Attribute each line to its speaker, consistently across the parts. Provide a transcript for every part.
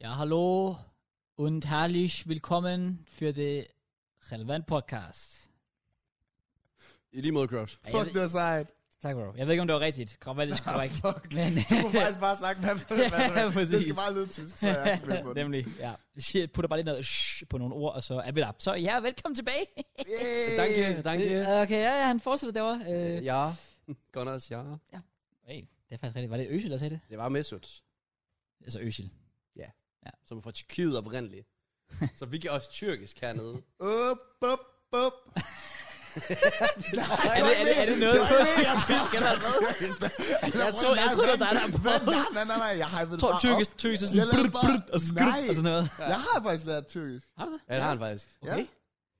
Speaker 1: Ja, hallo und herrlich willkommen für den Relevant Podcast.
Speaker 2: I lige måde, Kraus.
Speaker 1: Ja, jeg
Speaker 3: Fuck,
Speaker 1: ved-
Speaker 3: det var sejt.
Speaker 1: Tak, bro. Jeg ved ikke, om det var rigtigt. Grammatisk korrekt.
Speaker 3: Fuck.
Speaker 1: Men,
Speaker 3: Du kunne faktisk bare have sagt, hvad, hvad, hvad,
Speaker 1: Ja,
Speaker 3: hvad. Det
Speaker 1: præcis.
Speaker 3: skal bare lyde tysk, så jeg er med på det.
Speaker 1: Nemlig, ja. Shit, putter bare lidt noget shh på nogle ord, og så er vi der. Så ja, velkommen tilbage.
Speaker 3: Yeah.
Speaker 2: Danke, danke.
Speaker 1: Äh, Okay, ja, ja, han fortsætter derovre. Øh,
Speaker 2: Ja. Gunners, ja.
Speaker 1: hey, det er faktisk rigtigt. Var det Øsil, der sagde det?
Speaker 2: Det var Mesut,
Speaker 1: Altså Øsil.
Speaker 3: Ah,
Speaker 2: som er fra Tyrkiet oprindeligt. Så vi kan også tyrkisk hernede.
Speaker 3: Up, up, up.
Speaker 1: Er det, er det, er det noget?
Speaker 3: Nej, nej, jeg vidste
Speaker 1: Eller-
Speaker 3: det.
Speaker 1: Jeg tror- jeg tror, det var dig, der prøvede.
Speaker 3: Nej, nej, nej, nej, jeg hypede
Speaker 1: Jeg
Speaker 3: det
Speaker 1: tror
Speaker 3: bare
Speaker 1: tyrkisk, tyrkisk er sådan
Speaker 3: Jeg lavede
Speaker 1: brut,
Speaker 3: bare-
Speaker 1: brut, og skrut,
Speaker 3: Nej.
Speaker 1: og sådan noget.
Speaker 3: op. Jeg har faktisk lært tyrkisk.
Speaker 1: Har du det?
Speaker 2: Ja, det har han faktisk.
Speaker 1: Okay.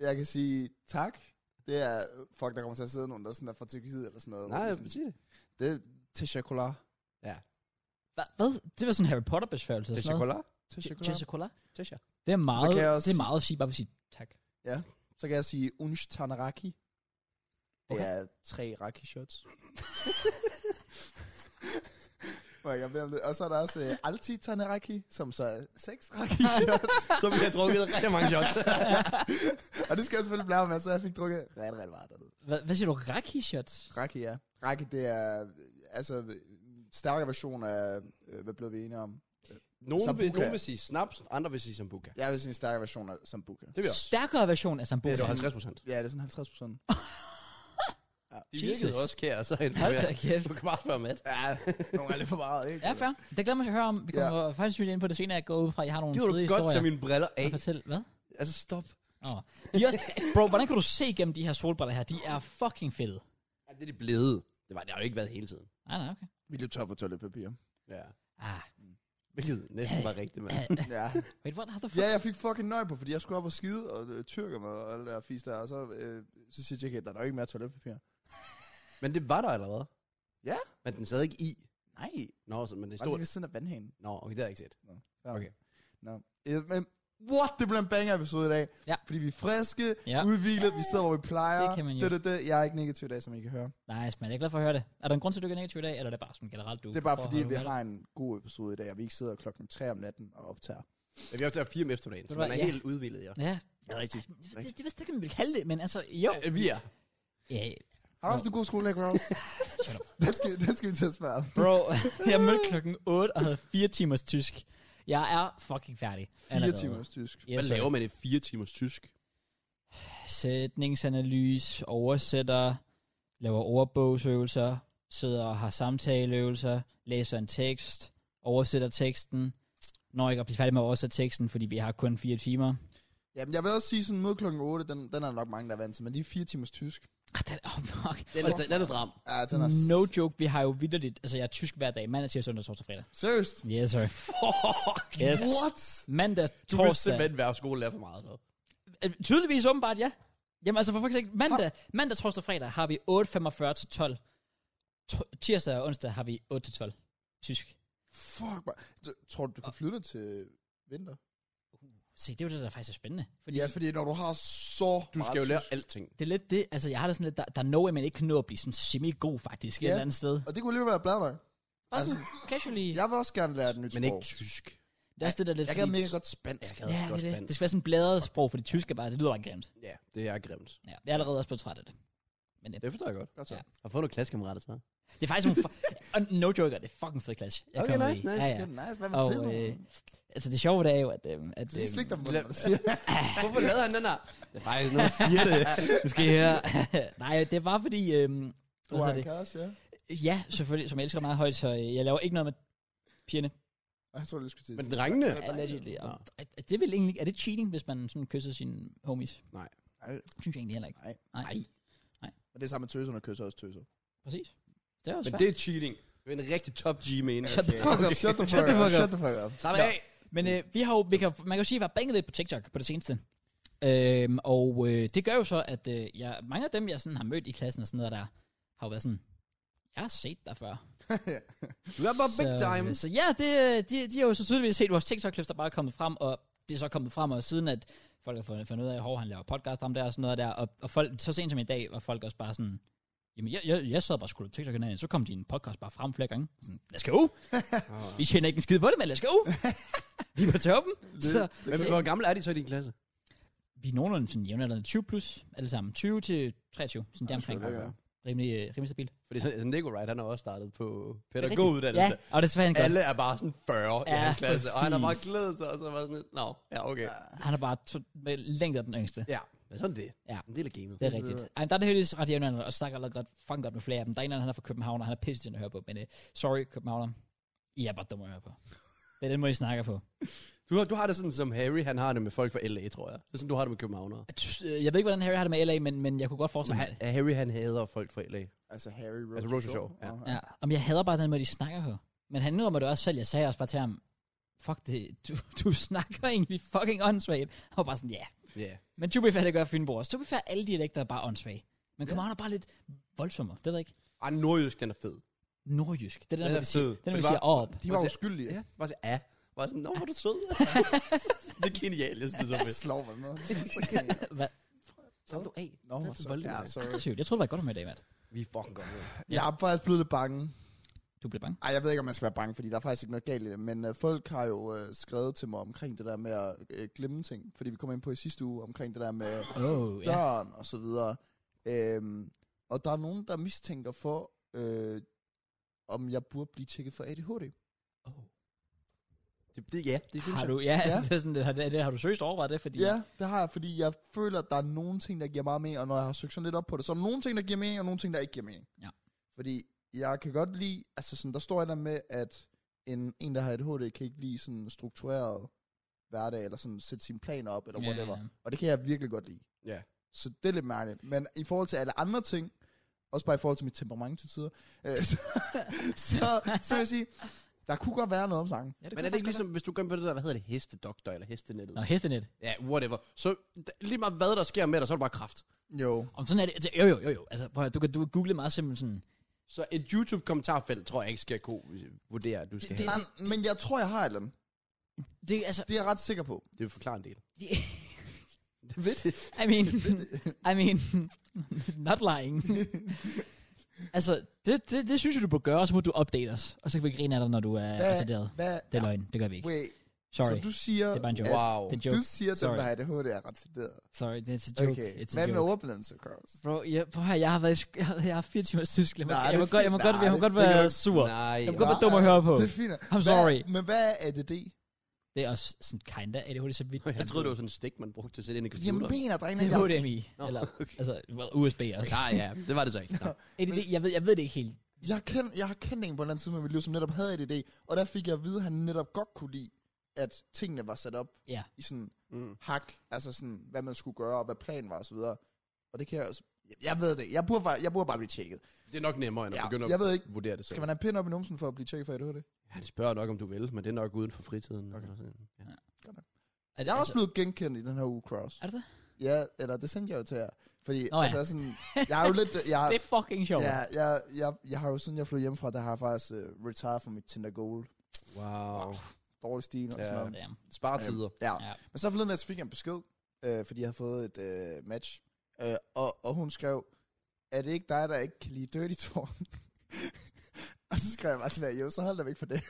Speaker 3: Jeg kan sige tak. Det er, fuck, der kommer til at sidde nogen, der sådan er fra Tyrkiet eller sådan noget.
Speaker 2: Nej,
Speaker 3: det,
Speaker 2: jeg
Speaker 3: er sådan-
Speaker 2: siger det.
Speaker 3: det er til chokolade.
Speaker 1: Hva- Hvad? Det var sådan en Harry Potter-besværgelse.
Speaker 2: Det
Speaker 1: og
Speaker 2: er
Speaker 1: sådan noget.
Speaker 2: chokolade.
Speaker 3: Til
Speaker 1: Til
Speaker 3: chokolade.
Speaker 1: chokolade.
Speaker 2: Det er
Speaker 1: Det er meget,
Speaker 3: kan jeg også-
Speaker 1: det er meget at sige, bare at sige tak.
Speaker 3: Så kan jeg sige unsh tanaraki. Det
Speaker 1: Okay.
Speaker 3: er tre raki shots. Må jeg gerne bede om det? Og så er der også uh, alti tanaraki, som så er seks raki shots.
Speaker 2: Så vi har drukket rigtig mange shots.
Speaker 3: og det skal jeg selvfølgelig blære med, så jeg fik drukket rigtig, rigtig meget dernede.
Speaker 1: Hvad, hvad siger du? Raki shots?
Speaker 3: Raki, ja. Raki, det er øh, altså øh, stærkere version af, øh, hvad blev vi enige om?
Speaker 2: Nogen vil,
Speaker 3: Sambuca.
Speaker 2: nogen vil sige snaps, andre vil sige sambuca.
Speaker 3: Jeg vil sige en stærkere version af sambuca.
Speaker 2: Det vil jeg også.
Speaker 1: Stærkere version af
Speaker 2: Det
Speaker 1: Sambuca.
Speaker 2: var 50 procent.
Speaker 3: Ja, det er sådan 50 procent.
Speaker 2: De
Speaker 1: Jesus.
Speaker 2: virkede også kære, så en
Speaker 1: Hold da kæft.
Speaker 2: Du kan bare være med.
Speaker 3: Ah, Ja, nogle gange lidt for meget, ikke?
Speaker 1: Ja, fair. Det glæder mig til at høre om. Vi kommer ja. faktisk ind på det senere, jeg går ud fra, at jeg har nogle
Speaker 2: Gider du
Speaker 1: fede
Speaker 2: godt
Speaker 1: historier.
Speaker 2: tage mine briller af?
Speaker 1: Og fortæl, hvad?
Speaker 2: Altså, stop.
Speaker 1: Oh. De er også, bro, hvordan kan du se gennem de her solbriller her? De er fucking fede.
Speaker 2: Ja, det er de blevet. Det, var, det har jo ikke været hele tiden.
Speaker 1: Nej, nej, okay.
Speaker 3: Vi løb tør på toiletpapir.
Speaker 2: Ja.
Speaker 1: Ah,
Speaker 2: Hvilket næsten var rigtigt, mand.
Speaker 1: ah,
Speaker 3: Ja.
Speaker 1: wait, what? How the fuck?
Speaker 3: Ja, jeg fik fucking nøje på, fordi jeg skulle op og skide og øh, tyrker med og alt det der fisk der, og så, øh, så siger Jackie, at der er nok ikke mere toiletpapir.
Speaker 2: Men det var der allerede.
Speaker 3: Ja.
Speaker 2: Men den sad ikke i.
Speaker 3: Nej,
Speaker 2: Nå, så, men det
Speaker 3: det var
Speaker 2: stod...
Speaker 3: lige ved siden af vandhanen.
Speaker 2: Nå, okay, det har jeg ikke set.
Speaker 3: Ja.
Speaker 2: Okay.
Speaker 3: No. Men what, det blev en banger episode i dag.
Speaker 1: Ja.
Speaker 3: Fordi vi er friske,
Speaker 1: Ja.
Speaker 3: ja. udvildet, vi sidder, hvor vi plejer.
Speaker 1: Det kan man jo.
Speaker 3: Det, det, det. Jeg er ikke negativ i dag, som I kan høre.
Speaker 1: Nice, man. Jeg er glad for at høre det. Er der en grund til, at du ikke er negativ i dag, eller er det bare sådan generelt, du...
Speaker 3: Det er bare
Speaker 1: prøver at
Speaker 3: fordi,
Speaker 1: holde
Speaker 3: vi
Speaker 1: humøret?
Speaker 3: har en god episode i dag, og vi ikke sidder klokken 3 om natten og optager.
Speaker 2: Ja, vi optager fire om eftermiddagen, så
Speaker 1: Ved du
Speaker 2: man
Speaker 1: hvad,
Speaker 2: er
Speaker 1: ja.
Speaker 2: helt udvildet, ja.
Speaker 1: Ja.
Speaker 2: Ja, rigtig.
Speaker 1: Ej, Det, det, det vidste jeg ikke, man ville kalde det, men altså, jo.
Speaker 2: Ja, Øh, vi er.
Speaker 1: Ja,
Speaker 3: Har du haft en god skoledag, Rose?
Speaker 1: Shut up.
Speaker 3: den, skal, den skal vi til at spørge om.
Speaker 1: bro, jeg mødte klokken 8 og havde 4 timers tysk. Jeg er fucking færdig.
Speaker 3: Fire timers tysk.
Speaker 1: Yes,
Speaker 2: Hvad
Speaker 1: sir.
Speaker 2: laver man i fire timers tysk?
Speaker 1: sætningsanalyse, oversætter, laver ordbogsøvelser, sidder og har samtaleøvelser, læser en tekst, oversætter teksten, når ikke at blive færdig med at oversætte teksten, fordi vi har kun fire timer.
Speaker 3: Jamen, jeg vil også sige, sådan mod klokken 8, den, den er der nok mange, der er vant til, men lige fire timers tysk.
Speaker 1: Ah, den, oh, fuck.
Speaker 2: Den er, den, den er stram.
Speaker 3: Ja, den er...
Speaker 1: No joke, vi har jo vidderligt, altså jeg er tysk hver dag, mandag, tirsdag, søndag, torsdag, fredag.
Speaker 3: Seriøst?
Speaker 1: Yes, sir.
Speaker 2: Fuck.
Speaker 1: Yes.
Speaker 3: What?
Speaker 1: Mandag,
Speaker 2: Du vil
Speaker 1: torsdag.
Speaker 2: simpelthen være skolelærer for meget, så.
Speaker 1: Øh, Tydeligvis åbenbart, ja. Jamen altså, for faktisk ikke. Mandag, mandag, torsdag og fredag har vi 8.45 til 12. To- tirsdag og onsdag har vi 8 til 12. Tysk.
Speaker 3: Fuck, man. Du, tror du, du kan flytte til vinter?
Speaker 1: Se, det er jo det, der faktisk er spændende. Fordi
Speaker 3: Ja,
Speaker 1: ja,
Speaker 3: fordi når du har så
Speaker 2: Du skal jo
Speaker 3: meget
Speaker 2: lære
Speaker 3: tysk-
Speaker 2: alting.
Speaker 1: det er lidt det, altså jeg har det sådan lidt, der, der er no way, man ikke kan nå at blive sådan semi-god faktisk ja. et
Speaker 3: Ja.
Speaker 1: eller andet sted.
Speaker 3: Og det kunne lige være blad nok.
Speaker 1: Bare
Speaker 3: Altså-
Speaker 1: sådan casually. Ja,
Speaker 3: Jeg vil også gerne lære et nyt
Speaker 2: Men
Speaker 3: sprog.
Speaker 2: ikke tysk.
Speaker 1: det er også det, der er lidt
Speaker 3: Jeg kan
Speaker 1: fordi-
Speaker 3: mega godt spansk.
Speaker 2: Jeg kan også
Speaker 1: ja,
Speaker 2: godt
Speaker 1: det, er det.
Speaker 2: spansk.
Speaker 1: det skal være sådan bladret sprog, fordi tysk er bare, det lyder bare grimt.
Speaker 2: Ja, det er grimt.
Speaker 1: Ja, jeg er allerede også blevet træt af det. Men det,
Speaker 2: Det forstår jeg godt.
Speaker 3: Godt så.
Speaker 1: Ja.
Speaker 2: Og få nogle klassekammerater til mig.
Speaker 1: det er faktisk nogle... Fa- og no joker, det er fucking fed clash. Jeg
Speaker 2: Okay,
Speaker 1: kommer
Speaker 2: nice,
Speaker 1: i.
Speaker 2: nice.
Speaker 1: Ja, ja.
Speaker 3: Shit, nice. Hvad med
Speaker 1: Og,
Speaker 3: tiden?
Speaker 1: øh, Altså det sjove det er jo, at... Øh, at
Speaker 3: Du skal ikke slikke dig på
Speaker 2: lad-
Speaker 3: munden, når du siger det.
Speaker 2: Hvorfor lavede han den her? Det er faktisk, når man siger det.
Speaker 1: nu skal I høre. Nej, det var fordi... Øh,
Speaker 3: Du har en kæreste, ja.
Speaker 1: Ja, selvfølgelig, som jeg elsker meget højt, så øh, jeg laver ikke noget med pigerne.
Speaker 3: Og Jeg tror, du skulle til
Speaker 2: Men drengene?
Speaker 3: Ja,
Speaker 1: Allegedly.
Speaker 2: Nå.
Speaker 1: Og er det vel egentlig, er det cheating, hvis man sådan kysser sine homies?
Speaker 2: Nej.
Speaker 3: Nej.
Speaker 1: Synes jeg egentlig heller ikke.
Speaker 3: Nej.
Speaker 1: Nej.
Speaker 3: Men det er samme med tøserne, kysser også tøser.
Speaker 1: Præcis. Det er også
Speaker 2: Men
Speaker 1: svært.
Speaker 2: det er cheating. Det er en rigtig top G, mener.
Speaker 1: Shut the fuck up.
Speaker 3: Shut the fuck up. Shut the fuck up.
Speaker 2: Slap
Speaker 1: Nå.
Speaker 2: af.
Speaker 1: Men øh, vi har jo, vi kan, man kan jo sige, at jeg har banget lidt på TikTok på det seneste. Øhm, og øh, det gør jo så, at øh, jeg, mange af dem, jeg sådan har mødt i klassen og sådan noget der, har jo været sådan, jeg har set dig før.
Speaker 2: Du er bare big
Speaker 1: så,
Speaker 2: time.
Speaker 1: øh, Så ja, det, øh, de, de har jo så tydeligvis set vores TikTok-klip, der bare er kommet frem, og det er så kommet frem, og siden at folk har fundet, fundet ud af, at han laver podcast om der og sådan noget der, og, og folk, så sent som i dag var folk også bare sådan, jamen jeg, jeg, jeg sad bare og skulle TikTok-kanalen, så kom din podcast bare frem flere gange. Sådan, let's go!
Speaker 2: Åh.
Speaker 1: Vi tjener ikke en skid på det, men let's go! vi er på toppen. så
Speaker 2: Men hvor gamle er de så i din klasse?
Speaker 1: vi er nogenlunde sådan jævnaldrende 20 plus, alle sammen. 20 til 23, sådan der omkring.
Speaker 3: selvfølgelig, ja.
Speaker 1: Rimelig, øh, rimelig stabil.
Speaker 2: Fordi sådan, Nico Wright, han har også startet på
Speaker 1: Ja,
Speaker 2: pædagoguddannelse.
Speaker 1: og det er svært, han godt.
Speaker 2: Alle er bare sådan 40 i
Speaker 1: Ja,
Speaker 2: hans klasse, og han har bare
Speaker 1: præcis.
Speaker 2: glædet sig, og så er bare sådan lidt, nå, ja, okay.
Speaker 1: Han er bare to, med længder den yngste.
Speaker 2: Ja, men sådan er det.
Speaker 1: Ja.
Speaker 2: En del af gamet.
Speaker 1: Det er rigtigt. Ej, men der er det heldigvis ret jævnaldrende, og snakker allerede godt, fucking godt med flere af dem. Der er en eller anden, han er fra København, og han er pisse til at høre på. Men uh, sorry, Københavner. I er bare dumme at høre på. Det er den måde, I snakker på.
Speaker 2: Du, har, du har det sådan, som Harry, han har det med folk fra LA, tror jeg. Det er sådan, du har det med københavnere.
Speaker 1: Jeg synes, øh, Jeg ved ikke, hvordan Harry har det med LA, men, men jeg kunne godt
Speaker 2: Men
Speaker 1: forestille mig
Speaker 2: han,
Speaker 1: det.
Speaker 2: Harry, han hader folk fra LA.
Speaker 3: Altså Harry Rose
Speaker 2: Altså Rose Shaw, ja.
Speaker 1: Ja, om jeg hader bare den måde, de snakker på. Men han indrømmer det også selv. Jeg sagde også bare til ham, fuck det, du, du snakker egentlig fucking åndssvagt. Han var bare sådan, ja. Yeah.
Speaker 2: Ja. Yeah.
Speaker 1: Men to be fair, det gør Fynborg også. To be fair, alle dialekter er bare åndssvage. Men København er bare lidt voldsommere. Det ved jeg ikke.
Speaker 2: Ej, nordjysk, den er fed.
Speaker 1: Nordjysk. Det er den,
Speaker 2: Den
Speaker 1: der,
Speaker 2: er
Speaker 1: vi siger,
Speaker 2: fed.
Speaker 1: den, der,
Speaker 2: Men
Speaker 1: vi
Speaker 2: det
Speaker 1: siger op.
Speaker 3: De var
Speaker 2: Altså,
Speaker 3: uskyldige.
Speaker 2: Ja, bare så, ja. Bare sådan, nå, hvor er du sød. det er genialt, jeg synes det er så
Speaker 3: Jeg
Speaker 2: fedt.
Speaker 3: slår mig med.
Speaker 1: Hvad?
Speaker 2: Slap du af.
Speaker 3: Nå,
Speaker 2: Hvad er det for voldelig,
Speaker 3: ja,
Speaker 2: mand?
Speaker 3: sorry.
Speaker 1: Aggressivt. Jeg tror, det var et godt humør i dag, Matt.
Speaker 2: Vi er fucking godt med.
Speaker 3: Jeg er faktisk blevet lidt bange.
Speaker 1: Du blev bange.
Speaker 3: Ej, jeg ved ikke, om man skal være bange, fordi der er faktisk ikke noget galt i det. Men øh, folk har jo øh, skrevet til mig omkring det der med at øh, glemme ting. Fordi vi kom ind på i sidste uge omkring det der med
Speaker 1: Oh, ja.
Speaker 3: døren og så videre. Øhm, og der er nogen, der mistænker for, øh, om jeg burde blive tjekket for ADHD.
Speaker 2: Oh. Det, det, ja, det synes
Speaker 1: Har
Speaker 2: jeg.
Speaker 1: du, ja,
Speaker 3: Ja.
Speaker 1: Det, er sådan, det, har, det, har du seriøst overvejet det, fordi...
Speaker 3: Ja, det har jeg, fordi jeg føler, at der er nogle ting, der giver meget mening, og når jeg har søgt sådan lidt op på det, så er der nogle ting, der giver mening, og nogle ting, der ikke giver mening.
Speaker 1: Ja.
Speaker 3: Fordi jeg kan godt lide, altså sådan, der står jeg der med, at en, en der har ADHD, kan ikke lide sådan en struktureret hverdag, eller sådan sætte sine planer op, eller whatever.
Speaker 1: ja.
Speaker 3: Og det kan jeg virkelig godt lide.
Speaker 2: Ja.
Speaker 3: Så det er lidt mærkeligt. Men i forhold til alle andre ting, også bare i forhold til mit temperament til tider, øh, så, så, så vil jeg sige, der kunne godt være noget om sangen.
Speaker 1: ja det
Speaker 2: Men er det ikke ligesom, hvis du går ind på det der, hvad hedder det, hestedoktor eller hestenettet?
Speaker 1: Nå, hestenet.
Speaker 2: Ja, whatever. Så d- lige meget hvad der sker med dig, så er det bare kraft.
Speaker 3: Jo.
Speaker 1: Om sådan er det. Altså, Jo, jo, jo, jo. Altså, prøv at, høre, du kan du kan google meget simpelt sådan...
Speaker 2: Så et YouTube-kommentarfelt tror jeg ikke skal kunne øh, vurdere, at du skal
Speaker 1: det-
Speaker 2: have.
Speaker 3: Men, Ah, men jeg tror, jeg har et eller andet.
Speaker 1: Det er altså...
Speaker 3: Det er jeg ret sikker på.
Speaker 2: Det vil forklare en del.
Speaker 3: Det ved det.
Speaker 1: I mean... I mean... Not lying. altså, det, det, det synes jeg, du burde gøre, og så må du update os. Og så kan vi grine af dig, når du er
Speaker 3: Hvad?
Speaker 1: retarderet.
Speaker 3: Hvad?
Speaker 1: Det er løgn. Det gør vi ikke.
Speaker 3: Wait.
Speaker 1: Sorry.
Speaker 3: Så du siger,
Speaker 1: Det er bare en joke.
Speaker 3: at-
Speaker 2: Wow.
Speaker 1: Det er en joke.
Speaker 3: du siger, at dem,
Speaker 1: Sorry.
Speaker 3: der har ADHD, er retarderet.
Speaker 1: Sorry, det er en joke.
Speaker 3: Okay.
Speaker 1: It's a
Speaker 3: Hvad med
Speaker 1: joke.
Speaker 3: overblendelse, Kraus?
Speaker 1: Bro, jeg, prøv at høre, jeg har været i sk- jeg har, jeg har fire timer tysk. Jeg må,
Speaker 3: Nej,
Speaker 1: jeg
Speaker 3: det
Speaker 1: må
Speaker 3: er
Speaker 1: godt, jeg
Speaker 3: fint.
Speaker 1: må godt, jeg må
Speaker 3: Nej,
Speaker 1: godt
Speaker 3: det
Speaker 1: være
Speaker 3: kan
Speaker 1: sur.
Speaker 2: Nej.
Speaker 1: Jeg vil godt
Speaker 3: Nej,
Speaker 1: være dum at høre på.
Speaker 3: Det er fint.
Speaker 1: I'm sorry.
Speaker 3: Hvad, men hvad er ADD?
Speaker 1: Det er også sådan kinda ADHD, så vidt.
Speaker 2: Jeg troede, det var sådan en stik, man brugte til at sætte ind i
Speaker 3: Jeg
Speaker 2: computeren.
Speaker 3: mener, drengene,
Speaker 1: Det er
Speaker 3: jeg...
Speaker 1: HDMI.
Speaker 2: Nå,
Speaker 1: Eller, altså, well, USB også.
Speaker 2: Nej, ja, det var det så ikke. Nå.
Speaker 1: ADD, jeg ved, jeg ved det ikke helt.
Speaker 3: Jeg, kend, jeg har kendt en på et eller andet tidspunkt i mit liv, som netop havde ADD, og der fik jeg at vide, at han netop godt kunne lide, at tingene var sat op
Speaker 1: Ja.
Speaker 3: i sådan
Speaker 2: Mm.
Speaker 3: hak, altså sådan, hvad man skulle gøre, og hvad planen var, og så videre. Og det kan jeg også... Jeg ved det. Jeg burde, bare- jeg burde bare blive tjekket.
Speaker 2: Det er nok nemmere, end at
Speaker 3: Ja,
Speaker 2: begynde at
Speaker 3: jeg ved ikke.
Speaker 2: vurdere det selv.
Speaker 3: Skal man have en pind op i numsen for at blive tjekket for ADHD?
Speaker 1: Altså-
Speaker 2: Ja, det spørger nok, om du vil, men det er nok uden for fritiden.
Speaker 3: Okay.
Speaker 2: Eller sådan. Ja.
Speaker 1: Er det, altså,
Speaker 3: Jeg er også blevet genkendt i den her uge, Kraus.
Speaker 1: Er det det?
Speaker 3: Ja, eller det sendte jeg jo til jer. Fordi,
Speaker 1: Nå ja.
Speaker 3: oh, altså sådan, jeg har jo lidt, jeg,
Speaker 1: Det er fucking sjovt.
Speaker 3: jeg, jeg, jeg, jeg har jo siden jeg flyttede hjemmefra, der har jeg faktisk uh, retired fra mit Tinder Gold.
Speaker 2: Wow.
Speaker 3: Dårlig stil og
Speaker 2: Ja.
Speaker 3: sådan noget.
Speaker 1: Damn.
Speaker 2: Sparetider.
Speaker 3: Ja.
Speaker 1: Ja.
Speaker 3: ja. Men så forleden dag, så fik jeg en besked, øh, fordi jeg havde fået et øh, match. Øh, og, og hun skrev, er det ikke dig, der ikke kan lide Dirty Talk? og så skrev jeg bare tilbage, jo, så hold da væk for det.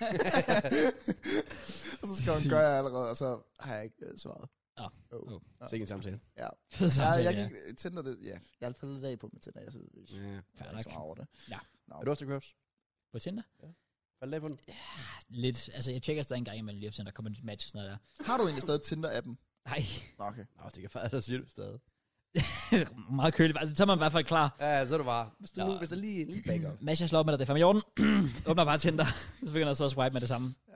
Speaker 3: og så skrev hun, gør jeg allerede, og så har jeg ikke øh, svaret.
Speaker 1: Nå.
Speaker 3: Oh.
Speaker 1: Oh.
Speaker 2: Ja. Sikke en samtale.
Speaker 3: Ja.
Speaker 1: Fed
Speaker 3: Jeg,
Speaker 1: samtale,
Speaker 3: jeg
Speaker 1: ja.
Speaker 3: gik øh, Tinder, det, ja, jeg har faldet lidt af på med Tinder, jeg synes, jeg
Speaker 2: Ja.
Speaker 1: Fair
Speaker 3: er
Speaker 1: nok.
Speaker 3: ikke så meget over det.
Speaker 2: Er du også til Grubs?
Speaker 1: På Tinder?
Speaker 2: Hvad lavede på den?
Speaker 1: Lidt. Altså, jeg tjekker stadig en gang imellem lige, om der kommer et match og sådan noget der.
Speaker 3: Har du egentlig stadig Tinder-appen?
Speaker 1: Nej,
Speaker 3: Nå, okay.
Speaker 2: Nå, det kan faktisk, der siger du stadig.
Speaker 1: meget køligt. Altså, så er man i hvert fald klar.
Speaker 2: Ja, så er du bare. Hvis du,
Speaker 1: Nå.
Speaker 2: nu, hvis der lige er en lille backup.
Speaker 1: Mads, jeg Mm, slår op med dig, det er fandme i orden. Åbner bare Tinder, så begynder jeg så at swipe med det samme.
Speaker 3: Ja.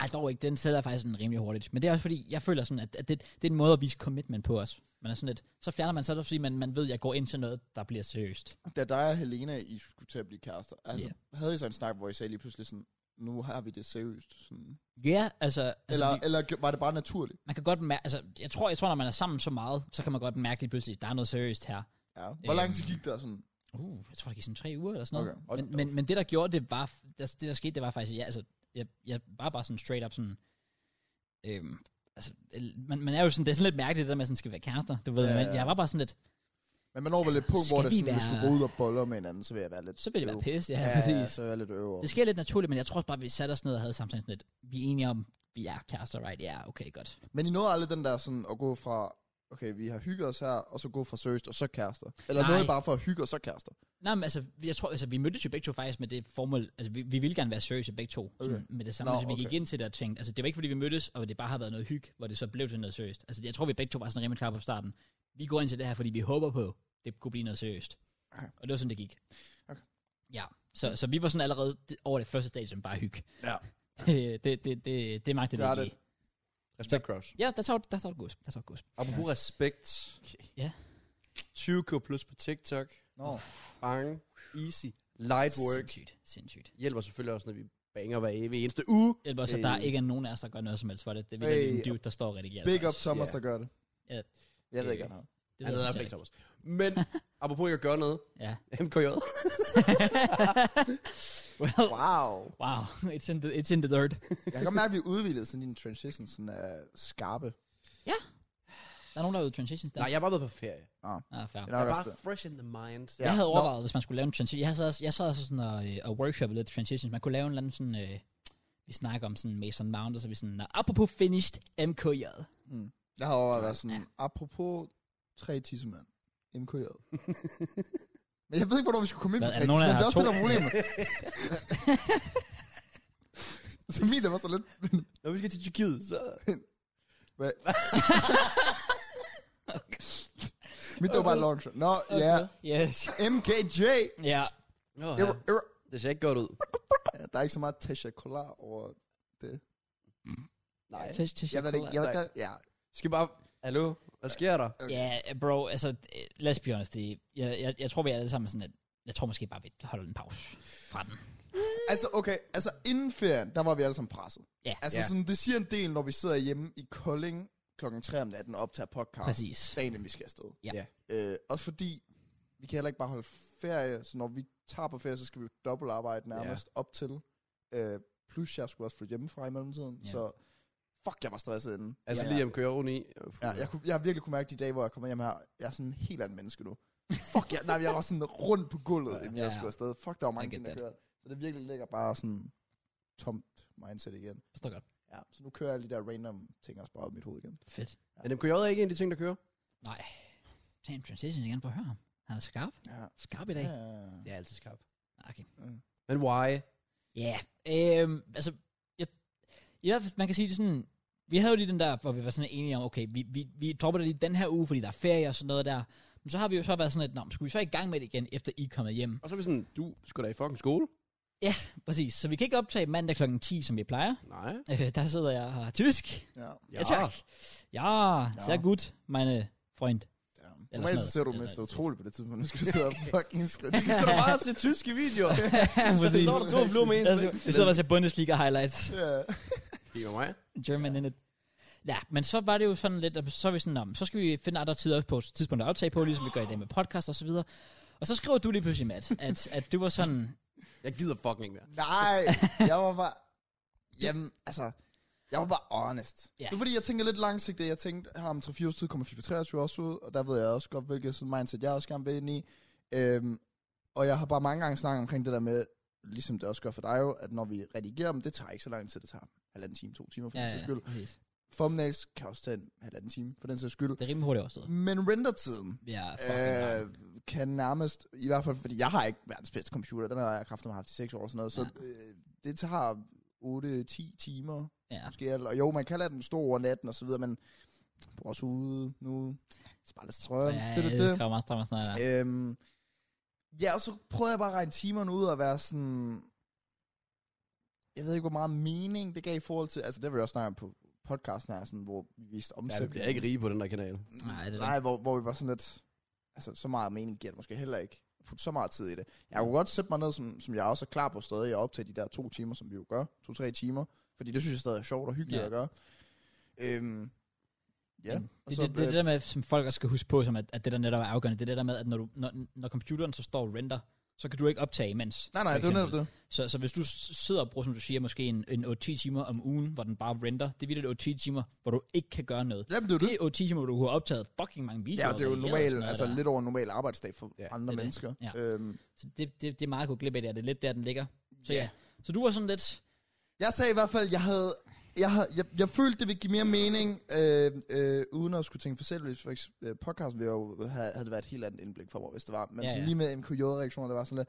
Speaker 1: Ej, dog ikke. Den sætter jeg faktisk sådan rimelig hurtigt. Men det er også fordi, jeg føler sådan, at, at det, det, er en måde at vise commitment på os. Man er sådan lidt, så fjerner man sig, fordi man, man ved, at jeg går ind til noget, der bliver seriøst.
Speaker 3: Da dig og Helena, I skulle til at blive kærester, altså,
Speaker 1: Ja.
Speaker 3: yeah. havde I så en snak, hvor I sagde lige pludselig sådan, nu har vi det seriøst. Sådan.
Speaker 1: Ja, yeah, altså... altså
Speaker 3: eller,
Speaker 1: vi-
Speaker 3: eller gø- var det bare naturligt?
Speaker 1: man kan godt mærke, altså, jeg tror, jeg tror, når man er sammen så meget, så kan man godt mærke lige pludselig, at der er noget seriøst her.
Speaker 3: Ja. Hvor
Speaker 1: Øhm.
Speaker 3: lang tid gik der sådan?
Speaker 1: Uh, jeg tror, det gik sådan tre uger eller sådan noget.
Speaker 3: Okay,
Speaker 1: Okay.
Speaker 3: hold
Speaker 1: Men,
Speaker 3: da
Speaker 1: men, men, det, der gjorde det, var, det, det der skete, det var faktisk, ja, altså, jeg, jeg var bare sådan straight up sådan, øhm, altså, el- man, man er jo sådan, det er sådan lidt mærkeligt, det der med, at sådan skal være kærester, du ved,
Speaker 3: Ja,
Speaker 1: ja, men
Speaker 3: ja.
Speaker 1: jeg var bare sådan lidt,
Speaker 3: Men man når altså,
Speaker 1: Altså,
Speaker 3: lidt punkt, hvor
Speaker 1: skal
Speaker 3: det er
Speaker 1: vi
Speaker 3: sådan, være... hvis
Speaker 1: være-
Speaker 3: du går ud og boller med hinanden, så vil jeg være lidt
Speaker 1: så ville det være
Speaker 3: øv.
Speaker 1: pisse, ja,
Speaker 3: Ja,
Speaker 1: ja,
Speaker 3: ja,
Speaker 1: præcis.
Speaker 3: så er jeg lidt øver.
Speaker 1: Det sker lidt naturligt, men jeg tror også bare, at vi satte os ned og havde samtalen sådan lidt, vi er enige om, vi er kærester, right? Ja, yeah, okay, godt.
Speaker 3: Men I nåede aldrig den der sådan at gå fra, okay, vi har hygget os her, og så gå fra seriøst, og så kærester. Eller
Speaker 1: Nej.
Speaker 3: nåede I bare for at hygge, og så kærester.
Speaker 1: Nej, men altså, jeg tror, altså, vi mødtes jo begge to faktisk med det formål, altså, vi, vi ville gerne være seriøse begge to, okay. sådan, med det samme,
Speaker 3: Nå,
Speaker 1: no, så vi gik
Speaker 3: okay.
Speaker 1: ind til det og tænkte, altså, det var ikke, fordi vi mødtes, og det bare har været noget hyg, hvor det så blev til noget seriøst. Altså, jeg tror, vi begge to var sådan rimelig klar på starten. Vi går ind til det her, fordi vi håber på, det kunne blive noget seriøst.
Speaker 3: Okay.
Speaker 1: Og det var sådan, det gik.
Speaker 3: Okay.
Speaker 1: Ja, så, så vi var sådan allerede d- over det første stadium bare hyg.
Speaker 3: Ja.
Speaker 1: Det, det, det, det, det magtede vi
Speaker 3: Got
Speaker 1: ikke.
Speaker 3: it.
Speaker 1: lige.
Speaker 2: Respekt, Kraus.
Speaker 1: Ja, der tager der tager goes. Der tager goes.
Speaker 2: Apropos respekt.
Speaker 1: Ja.
Speaker 2: 20k plus på TikTok.
Speaker 3: Nå,
Speaker 2: Bang. Easy. Light work.
Speaker 1: Sindssygt, sindssygt.
Speaker 2: Hjælper selvfølgelig også, når vi banger hver evig eneste uge.
Speaker 1: Hjælp også, at
Speaker 2: Øh.
Speaker 1: der ikke er nogen af os, der gør noget som helst for det. Det er
Speaker 3: Hey.
Speaker 1: virkelig en dude, der står og redigerer.
Speaker 3: big
Speaker 1: for
Speaker 3: up
Speaker 1: os.
Speaker 3: Thomas,
Speaker 2: Ja.
Speaker 3: der gør det.
Speaker 1: Ja.
Speaker 3: Jeg ved
Speaker 2: Øh,
Speaker 3: ikke, han har.
Speaker 1: Det
Speaker 2: Han
Speaker 1: ved jeg
Speaker 2: hedder
Speaker 1: faktisk
Speaker 2: ikke
Speaker 1: ikke.
Speaker 2: Thomas. Men apropos ikke at gøre noget.
Speaker 1: Ja.
Speaker 2: MKJ.
Speaker 1: well,
Speaker 3: Wow.
Speaker 1: wow. It's in the, it's in the dirt.
Speaker 3: Jeg kan godt mærke, at vi er udvildet sådan din transition, sådan uh, skarpe.
Speaker 1: Der er nogen, der er ude i transitions der.
Speaker 2: Nej, jeg har bare været på ferie.
Speaker 1: Ah, fair.
Speaker 3: Det er
Speaker 2: Jeg
Speaker 3: nok
Speaker 2: er
Speaker 3: også
Speaker 2: bare
Speaker 3: det.
Speaker 2: fresh in the mind.
Speaker 3: Ja.
Speaker 1: Jeg havde
Speaker 3: Nå.
Speaker 1: overvejet, hvis man skulle lave en transition. Jeg, havde så også, jeg sad også sådan og, øh, og workshoppede lidt transitions. Man kunne lave en eller anden sådan... Øh, vi snakker om sådan Mason Mount, og så er vi sådan, "Nå, apropos finished, MKJ.
Speaker 3: Mm. Jeg har overvejet at være sådan,
Speaker 1: Ja.
Speaker 3: apropos tre tissemand, MKJ. Men jeg ved ikke, hvornår vi skulle komme ind
Speaker 1: Hvad,
Speaker 3: på
Speaker 1: er
Speaker 3: tre
Speaker 1: der nogen af
Speaker 3: tissemand.
Speaker 1: jer,
Speaker 3: Det er også
Speaker 1: der
Speaker 3: det,
Speaker 1: har
Speaker 3: der er problemet. så min, der var så lidt...
Speaker 2: Når vi skal til Tyrkiet, så...
Speaker 3: Hvad? Mit, det var bare et long shot. Nå, ja.
Speaker 1: Yes.
Speaker 3: MKJ.
Speaker 1: Ja.
Speaker 2: Oh,
Speaker 3: Det var,
Speaker 2: Det ser ikke godt ud.
Speaker 3: ja, der er ikke så meget Tasha Kolar over det.
Speaker 2: Nej.
Speaker 1: Tish, tish,
Speaker 3: Jeg ved det ikke. Jeg ved,
Speaker 2: Nej.
Speaker 3: der, ja,
Speaker 2: Skal bare... Hallo? Hvad sker der?
Speaker 3: Okay.
Speaker 1: Ja, yeah, bro, altså, øh, let's be honest, det, jeg, jeg, jeg tror, vi er alle sammen sådan, at jeg tror måske bare, vi holder en pause fra den.
Speaker 3: Altså, okay, altså inden ferien, der var vi alle sammen presset.
Speaker 1: Ja.
Speaker 3: Altså
Speaker 2: Ja.
Speaker 3: sådan, det siger en del, når vi sidder hjemme i Kolding klokken 3 om natten og optager podcast.
Speaker 1: Præcis.
Speaker 3: Dagen, inden vi skal afsted.
Speaker 1: Ja.
Speaker 2: Ja.
Speaker 3: Øh, også fordi, vi kan heller ikke bare holde ferie, så når vi tager på ferie, så skal vi jo dobbeltarbejde nærmest ja. op til. Øh, plus jeg skulle også flytte hjemmefra i mellemtiden,
Speaker 1: Ja.
Speaker 3: ja. så fuck, jeg var stresset inden.
Speaker 2: Altså
Speaker 3: ja.
Speaker 2: lige MKJ i.
Speaker 3: Ja, jeg, kunne, jeg har virkelig kunne mærke de dage, hvor jeg kommer hjem her, jeg er sådan en helt anden menneske nu. Fuck, jeg, nej, jeg var sådan rundt på gulvet, inden
Speaker 1: Ja,
Speaker 3: jeg
Speaker 1: ja.
Speaker 3: skulle afsted. Fuck, der var mange
Speaker 1: I get
Speaker 3: ting, der
Speaker 1: that.
Speaker 3: kørte. Så det virkelig ligger bare sådan tomt mindset igen.
Speaker 1: Forstår godt.
Speaker 3: Ja. Så nu kører jeg alle de der random ting også bare op i mit hoved igen.
Speaker 1: Fedt.
Speaker 2: Men MKJ er ikke en af de ting, der kører?
Speaker 1: Nej. Tag en transition igen på at høre ham. Han er skarp.
Speaker 3: Ja.
Speaker 1: Skarp i dag.
Speaker 3: ja.
Speaker 2: Det er altid skarp.
Speaker 1: Okay.
Speaker 2: Men why?
Speaker 1: Ja. Yeah. Øhm, altså, jeg, i hvert fald, man kan sige det sådan, vi havde jo lige den der, hvor vi var sådan enige om, okay, vi, vi, vi dropper det lige den her uge, fordi der er ferie og sådan noget der. Men så har vi jo så været sådan lidt, nå, men skulle vi så i gang med det igen, efter I er kommet hjem?
Speaker 2: Og så er vi sådan, du skulle da i fucking skole?
Speaker 1: Præcis, så vi kan ikke optage mandag kl. 10, som vi plejer.
Speaker 2: Nej.
Speaker 1: Øh, der sidder jeg og har tysk.
Speaker 3: ja.
Speaker 1: Ja, tak. Ja, sehr gut, meine Freund.
Speaker 3: ja.
Speaker 1: sådan
Speaker 3: Normalt så
Speaker 1: noget.
Speaker 3: ser du
Speaker 1: Eller
Speaker 3: mistet
Speaker 1: noget.
Speaker 3: utroligt på det tidspunkt. Nu skal du sidde og fucking skridt.
Speaker 2: Så er der bare at se tyske videoer. Så
Speaker 1: Præcis.
Speaker 2: står der to blå med en.
Speaker 1: Altså, Det sidder også Bundesliga highlights.
Speaker 3: Ja.
Speaker 2: Det er jo mig.
Speaker 1: German in it. Ja, men så var det jo sådan lidt, at så er vi sådan, "Nå, men så skal vi finde andre tider på tidspunkter at optage på, ligesom vi gør i dag med podcast og så videre. Og så skriver du lige pludselig, Matt, at, at du var sådan,
Speaker 2: Jeg gider fucking ikke mere.
Speaker 3: Nej, jeg var bare... Jamen, altså... Jeg var bare honest.
Speaker 1: Ja.
Speaker 3: Det var fordi, jeg tænkte lidt langsigtet. Jeg tænkte, her om 3-4 års tid kommer FIFA 23 E også ud, og der ved jeg også godt, hvilket sådan mindset jeg også gerne vil ind i. Øhm, og jeg har bare mange gange snakket omkring det der med, ligesom det også gør for dig jo, at når vi redigerer dem, det tager ikke så lang tid, det tager halvanden time, to timer for
Speaker 1: ja,
Speaker 3: ja, den
Speaker 1: ja,
Speaker 3: sags
Speaker 1: ja,
Speaker 3: skyld.
Speaker 1: præcis.
Speaker 3: Thumbnails kan også tage en halvanden time for den sags skyld.
Speaker 1: det er rimelig hurtigt overstået.
Speaker 3: Men rendertiden,
Speaker 1: Ja, fucking
Speaker 3: Øh,
Speaker 1: øh,
Speaker 3: kan nærmest, i hvert fald, fordi jeg har ikke verdens bedste computer, den har jeg kraftigt haft i 6 år og sådan noget, så
Speaker 1: Ja.
Speaker 3: øh, det tager 8-10 timer,
Speaker 1: ja.
Speaker 3: måske, eller, og jo, man kan lade den stå over natten og så videre, men jeg bor også ude nu, så bare lidt strøm,
Speaker 1: Ja,
Speaker 3: det,
Speaker 1: det,
Speaker 3: det, det.
Speaker 1: kræver meget stramme snart. Ja.
Speaker 3: Øhm, ja, og så prøvede jeg bare at regne timerne ud og være sådan... Jeg ved ikke, hvor meget mening det gav i forhold til... Altså, det var vi også snakke om på podcasten her, sådan, hvor vi viste
Speaker 2: Ja,
Speaker 3: omsætning.
Speaker 2: vi bliver ikke rige på den der kanal.
Speaker 1: Nej, det er
Speaker 3: Nej, hvor, hvor vi var sådan lidt... Altså, så meget mening giver det måske heller ikke. At putte så meget tid i det. Jeg kunne godt sætte mig ned, som, som jeg også er klar på stadig, at optage de der to timer, som vi jo gør. To-tre timer. Fordi det synes jeg stadig er sjovt og hyggeligt
Speaker 1: Ja.
Speaker 3: ja. at gøre. Øhm, ja.
Speaker 1: Men
Speaker 3: og
Speaker 1: Det,
Speaker 3: så,
Speaker 1: det, det,
Speaker 3: øh,
Speaker 1: det der med, som folk også skal huske på, som at, at det der netop er afgørende, det er det der med, at når, du, når, når computeren så står og render, så kan du ikke optage imens.
Speaker 3: Nej, nej,
Speaker 1: for
Speaker 3: det er
Speaker 1: eksempel.
Speaker 3: netop det.
Speaker 1: Så, så hvis du s- sidder og bruger, som du siger, måske en, en 8-10 timer om ugen, hvor den bare render, det er vildt 8-10 timer, hvor du ikke kan gøre noget.
Speaker 3: Jamen, det er jo det.
Speaker 1: Det er 8-10 timer, hvor du har optaget fucking mange videoer.
Speaker 3: Ja, og det er jo
Speaker 1: og redigeret og sådan
Speaker 3: normal,
Speaker 1: noget
Speaker 3: altså
Speaker 1: der.
Speaker 3: lidt over en normal arbejdsdag for
Speaker 2: Ja,
Speaker 3: ja, andre
Speaker 1: det er det.
Speaker 3: mennesker.
Speaker 1: Ja.
Speaker 3: Øhm,
Speaker 1: Så det, det, det er meget at gå glip af det, og det er lidt der, den ligger. Så
Speaker 3: Ja.
Speaker 1: ja. Så du var sådan lidt...
Speaker 3: jeg sagde i hvert fald, jeg havde jeg, har, jeg, jeg følte, det ville give mere mening, øh, øh, uden at skulle tænke for selv, hvis for eksempel, øh, podcasten ville jo have, havde det været et helt andet indblik for mig, hvis det var. Men
Speaker 1: Ja,
Speaker 3: ja, sådan
Speaker 1: ja.
Speaker 3: lige med MKJ-reaktioner, det var sådan lidt,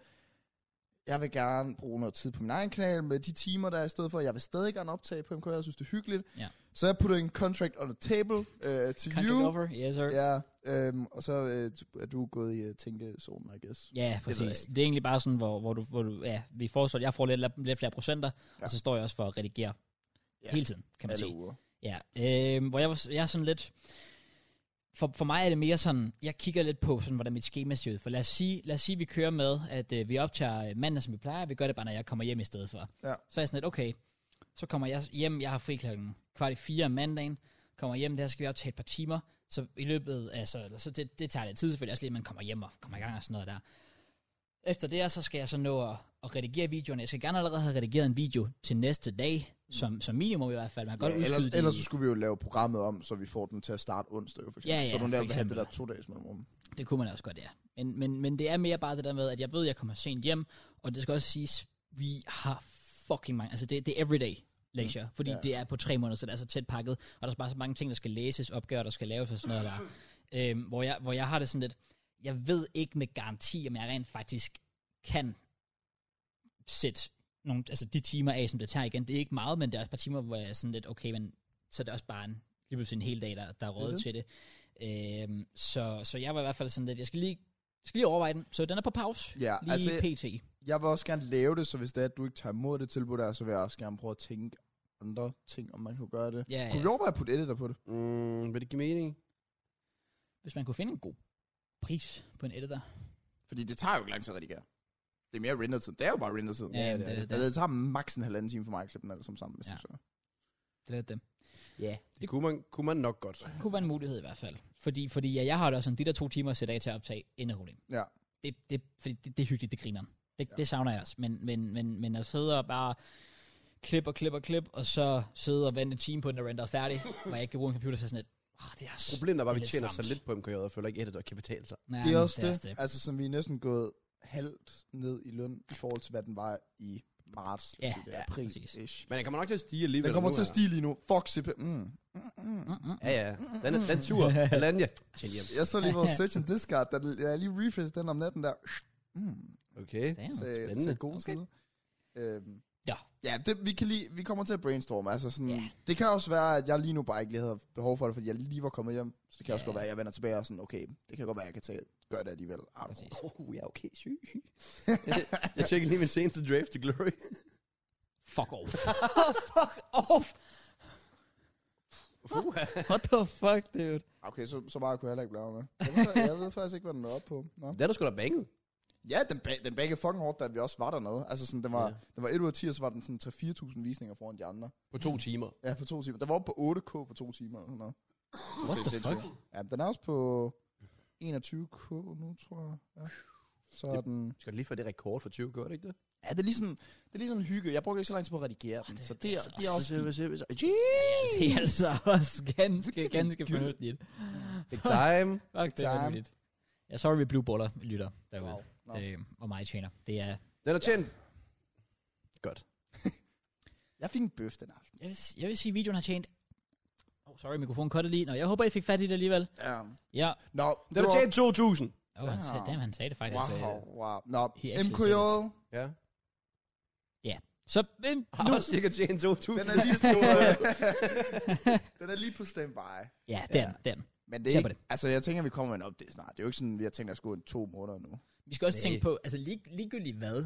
Speaker 3: jeg vil gerne bruge noget tid på min egen kanal med de timer, der er i stedet for. Jeg vil stadig gerne optage på MKJ, jeg synes, det er hyggeligt.
Speaker 1: Ja.
Speaker 3: Så jeg putter en contract on the table øh, til
Speaker 1: Contract
Speaker 3: you.
Speaker 1: over, yes sir. Ja,
Speaker 3: Ja, øhm, og så øh, er du gået i øh, tænkezonen, I guess.
Speaker 1: ja
Speaker 3: ved jeg
Speaker 1: præcis. Det, det er egentlig bare sådan, hvor, hvor, du, hvor du, ja, vi foreslår, jeg får lidt, lidt flere procenter, ja.
Speaker 3: Ja.
Speaker 1: og så står jeg også for at redigere ja.
Speaker 3: Ja.
Speaker 1: hele tiden, kan man
Speaker 3: Alle
Speaker 1: sige.
Speaker 3: uger.
Speaker 1: Ja, øh, hvor jeg, var, jeg er sådan lidt... For, for mig er det mere sådan, jeg kigger lidt på, sådan, hvordan mit schema ser ud. For lad os sige, lad os sige vi kører med, at øh, vi optager øh, mandag, som vi plejer. Vi gør det bare, når jeg kommer hjem i stedet for.
Speaker 3: Ja.
Speaker 1: Så er jeg sådan lidt, okay, så kommer jeg hjem, jeg har fri klokken kvart i fire om mandagen. Kommer hjem, der skal vi optage et par timer. Så i løbet af, så, så det, det tager lidt tid selvfølgelig, også lige, at man kommer hjem og kommer i gang og sådan noget der. Efter det, her, så skal jeg så nå at, at redigere videoerne. Jeg skal gerne allerede have redigeret en video til næste dag, som, som minimum i hvert fald. Man kan
Speaker 3: Mm.
Speaker 1: godt
Speaker 3: Ja,
Speaker 1: udskyde
Speaker 3: ellers,
Speaker 1: det
Speaker 3: ellers
Speaker 1: i-
Speaker 3: så skulle vi jo lave programmet om, så vi får den til at starte onsdag, jo, for eksempel.
Speaker 1: Ja, ja,
Speaker 3: så du
Speaker 1: for
Speaker 3: der vil have det
Speaker 1: eksempel.
Speaker 3: der to dages mellemrum.
Speaker 1: Det kunne man også godt, ja. Men, men, men det er mere bare det der med, at jeg ved, at jeg kommer sent hjem, og det skal også siges, vi har fucking mange, altså det, det er everyday lektier, fordi ja.
Speaker 3: Ja.
Speaker 1: det er på tre måneder, så det er så tæt pakket, og der er bare så mange ting, der skal læses, opgaver, der skal laves og sådan noget der. Øhm, hvor, jeg, hvor jeg har det sådan lidt, jeg ved ikke med garanti, om jeg rent faktisk kan sætte nogle, altså de timer af, som det tager igen. Det er ikke meget, men det er også et par timer, hvor jeg er sådan lidt, okay, men så er det også bare en, lige pludselig en hel dag, der, der er råd
Speaker 3: det.
Speaker 1: til det. Øhm, så, så jeg var i hvert fald sådan lidt, jeg skal lige, skal lige overveje den. Så den er på pause.
Speaker 3: Ja,
Speaker 1: Lige
Speaker 3: altså-
Speaker 1: pt.
Speaker 3: Jeg vil også gerne lave det, så hvis det er, at du ikke tager imod det tilbud der, så vil jeg også gerne prøve at tænke andre ting, om man kunne gøre det.
Speaker 1: Ja,
Speaker 3: Kunne vi
Speaker 1: ja.
Speaker 3: overveje at putte editor på det?
Speaker 2: Mm, vil det give mening?
Speaker 1: Hvis man kunne finde en god pris på en editor.
Speaker 3: Fordi det tager jo ikke lang tid at redigere. Det er mere rendertid. Det er jo bare rendertid.
Speaker 1: Ja, jamen, det er det, det er
Speaker 3: det. det tager maks en halvanden time for mig at klippe den alle sammen sammen. Hvis
Speaker 1: Ja.
Speaker 3: ja. så.
Speaker 1: Det er lidt det.
Speaker 2: Ja. Det kunne man, kunne man nok godt.
Speaker 1: kunne være en mulighed i hvert fald. Fordi, fordi ja, jeg har da sådan, de der to timer at sætte af til at optage inden problem.
Speaker 3: Ja.
Speaker 1: Det, det, fordi det, det er hyggeligt, det griner. Det, ja.
Speaker 3: Ja.
Speaker 1: det savner jeg også. Men, men, men, men at sidde og bare klip og klip og klip, og så sidde og vente en time på, at den er renderet færdig, hvor jeg ikke kan bruge en computer, så er jeg sådan lidt, oh, det er s-
Speaker 2: Problemet er bare,
Speaker 1: Det er
Speaker 2: at vi
Speaker 1: lidt
Speaker 2: tjener så
Speaker 1: stramt.
Speaker 2: lidt på MKJ, og jeg føler ikke, at editor kan betale sig.
Speaker 1: Ja,
Speaker 3: Det er
Speaker 1: men
Speaker 3: også det. det. Altså, som vi er næsten gået halvt ned i løn i forhold til, hvad den var i marts. lad os
Speaker 1: Ja,
Speaker 3: sige det,
Speaker 2: ja,
Speaker 3: april
Speaker 2: Men den kommer nok til at stige alligevel.
Speaker 3: Den kommer
Speaker 2: nu
Speaker 3: til at
Speaker 2: her.
Speaker 3: stige lige nu. Fuck CP. Mm.
Speaker 1: Mm, mm,
Speaker 2: Ja, ja. Den, den tur. Halvanden, ja. Tjen hjem.
Speaker 3: Jeg så lige vores search and discard. Den, jeg lige refreshed den om natten der. Mm.
Speaker 2: Okay.
Speaker 1: damn.
Speaker 3: Så
Speaker 2: spændende.
Speaker 3: til gode
Speaker 1: Okay.
Speaker 3: okay. side. Øhm,
Speaker 1: Ja.
Speaker 3: Ja, det, vi, kan lige, vi kommer til at brainstorme. Altså sådan,
Speaker 1: Ja.
Speaker 3: Det kan også være, at jeg lige nu bare ikke lige havde behov for det, fordi jeg lige var kommet hjem. Så det kan
Speaker 1: Ja.
Speaker 3: også godt være, at jeg vender tilbage og sådan, okay, det kan godt være, at jeg kan tage, gøre det alligevel. I don't
Speaker 1: Præcis.
Speaker 3: know.
Speaker 2: Oh, ja, okay, syg. jeg tjekker lige min seneste draft til Glory.
Speaker 1: Fuck off. fuck off.
Speaker 2: Uh,
Speaker 1: What the fuck, dude?
Speaker 3: Okay, så, så meget kunne jeg heller ikke blive af med. Jeg ved, jeg ved faktisk ikke, hvad den er oppe på. Nå.
Speaker 2: den er du sgu da banget.
Speaker 3: Ja, den, bag, den baggede fucking hårdt, da vi også var dernede. Altså sådan, den var,
Speaker 2: Ja.
Speaker 3: ja. den var 1 ud af 10, og så var den sådan 3-4.000 visninger foran de andre.
Speaker 2: På to timer.
Speaker 3: Ja, på to timer. Den var oppe på 8K på to timer eller sådan noget.
Speaker 2: What
Speaker 3: Det er
Speaker 2: the fuck?
Speaker 3: sindssygt. Ja, den er også på 21k nu, tror jeg. Ja. Så er den...
Speaker 2: Skal lige få det rekord for 20 gør det ikke det?
Speaker 3: Ja, det er lige sådan, det er lige sådan hygge. Jeg brugte ikke så lang tid på at redigere den, så det, det, er, det er også fint.
Speaker 1: Altså, Det er altså også ganske, ganske fornuftigt.
Speaker 2: Big time.
Speaker 1: Fuck, det er
Speaker 3: time.
Speaker 1: vanvittigt. Ja, sorry, vi blue baller, lytter derude.
Speaker 3: Wow. Nå.
Speaker 1: øh, og mig tjener. Det er,
Speaker 2: Den er tjent. Godt.
Speaker 3: Jeg fik en bøf den aften.
Speaker 1: jeg vil, s- jeg vil sige, at videoen har tjent... Oh, sorry, mikrofonen cuttede lige. Nå, jeg håber, I fik fat i det alligevel.
Speaker 3: Ja.
Speaker 1: Ja.
Speaker 3: Nå,
Speaker 2: Den er tjent 2.000.
Speaker 1: Oh, han sagde,
Speaker 3: Wow.
Speaker 1: damn, han sagde det faktisk. øh. Wow.
Speaker 3: Wow, wow. Nå,
Speaker 1: He actually
Speaker 3: MKJ,
Speaker 2: Ja.
Speaker 1: Så øh,
Speaker 2: Har
Speaker 1: nu...
Speaker 2: også cirka tjent 2.000.
Speaker 3: den er lige på, øh, den er lige på standby.
Speaker 1: Ja, den, den.
Speaker 3: Men det er
Speaker 1: Se på
Speaker 3: ikke, altså jeg tænker, vi kommer med en update snart. Det er jo ikke sådan, vi har tænkt os at gå en to måneder nu.
Speaker 1: Vi skal også
Speaker 2: Nej.
Speaker 1: tænke på, altså lig, ligegyldigt hvad,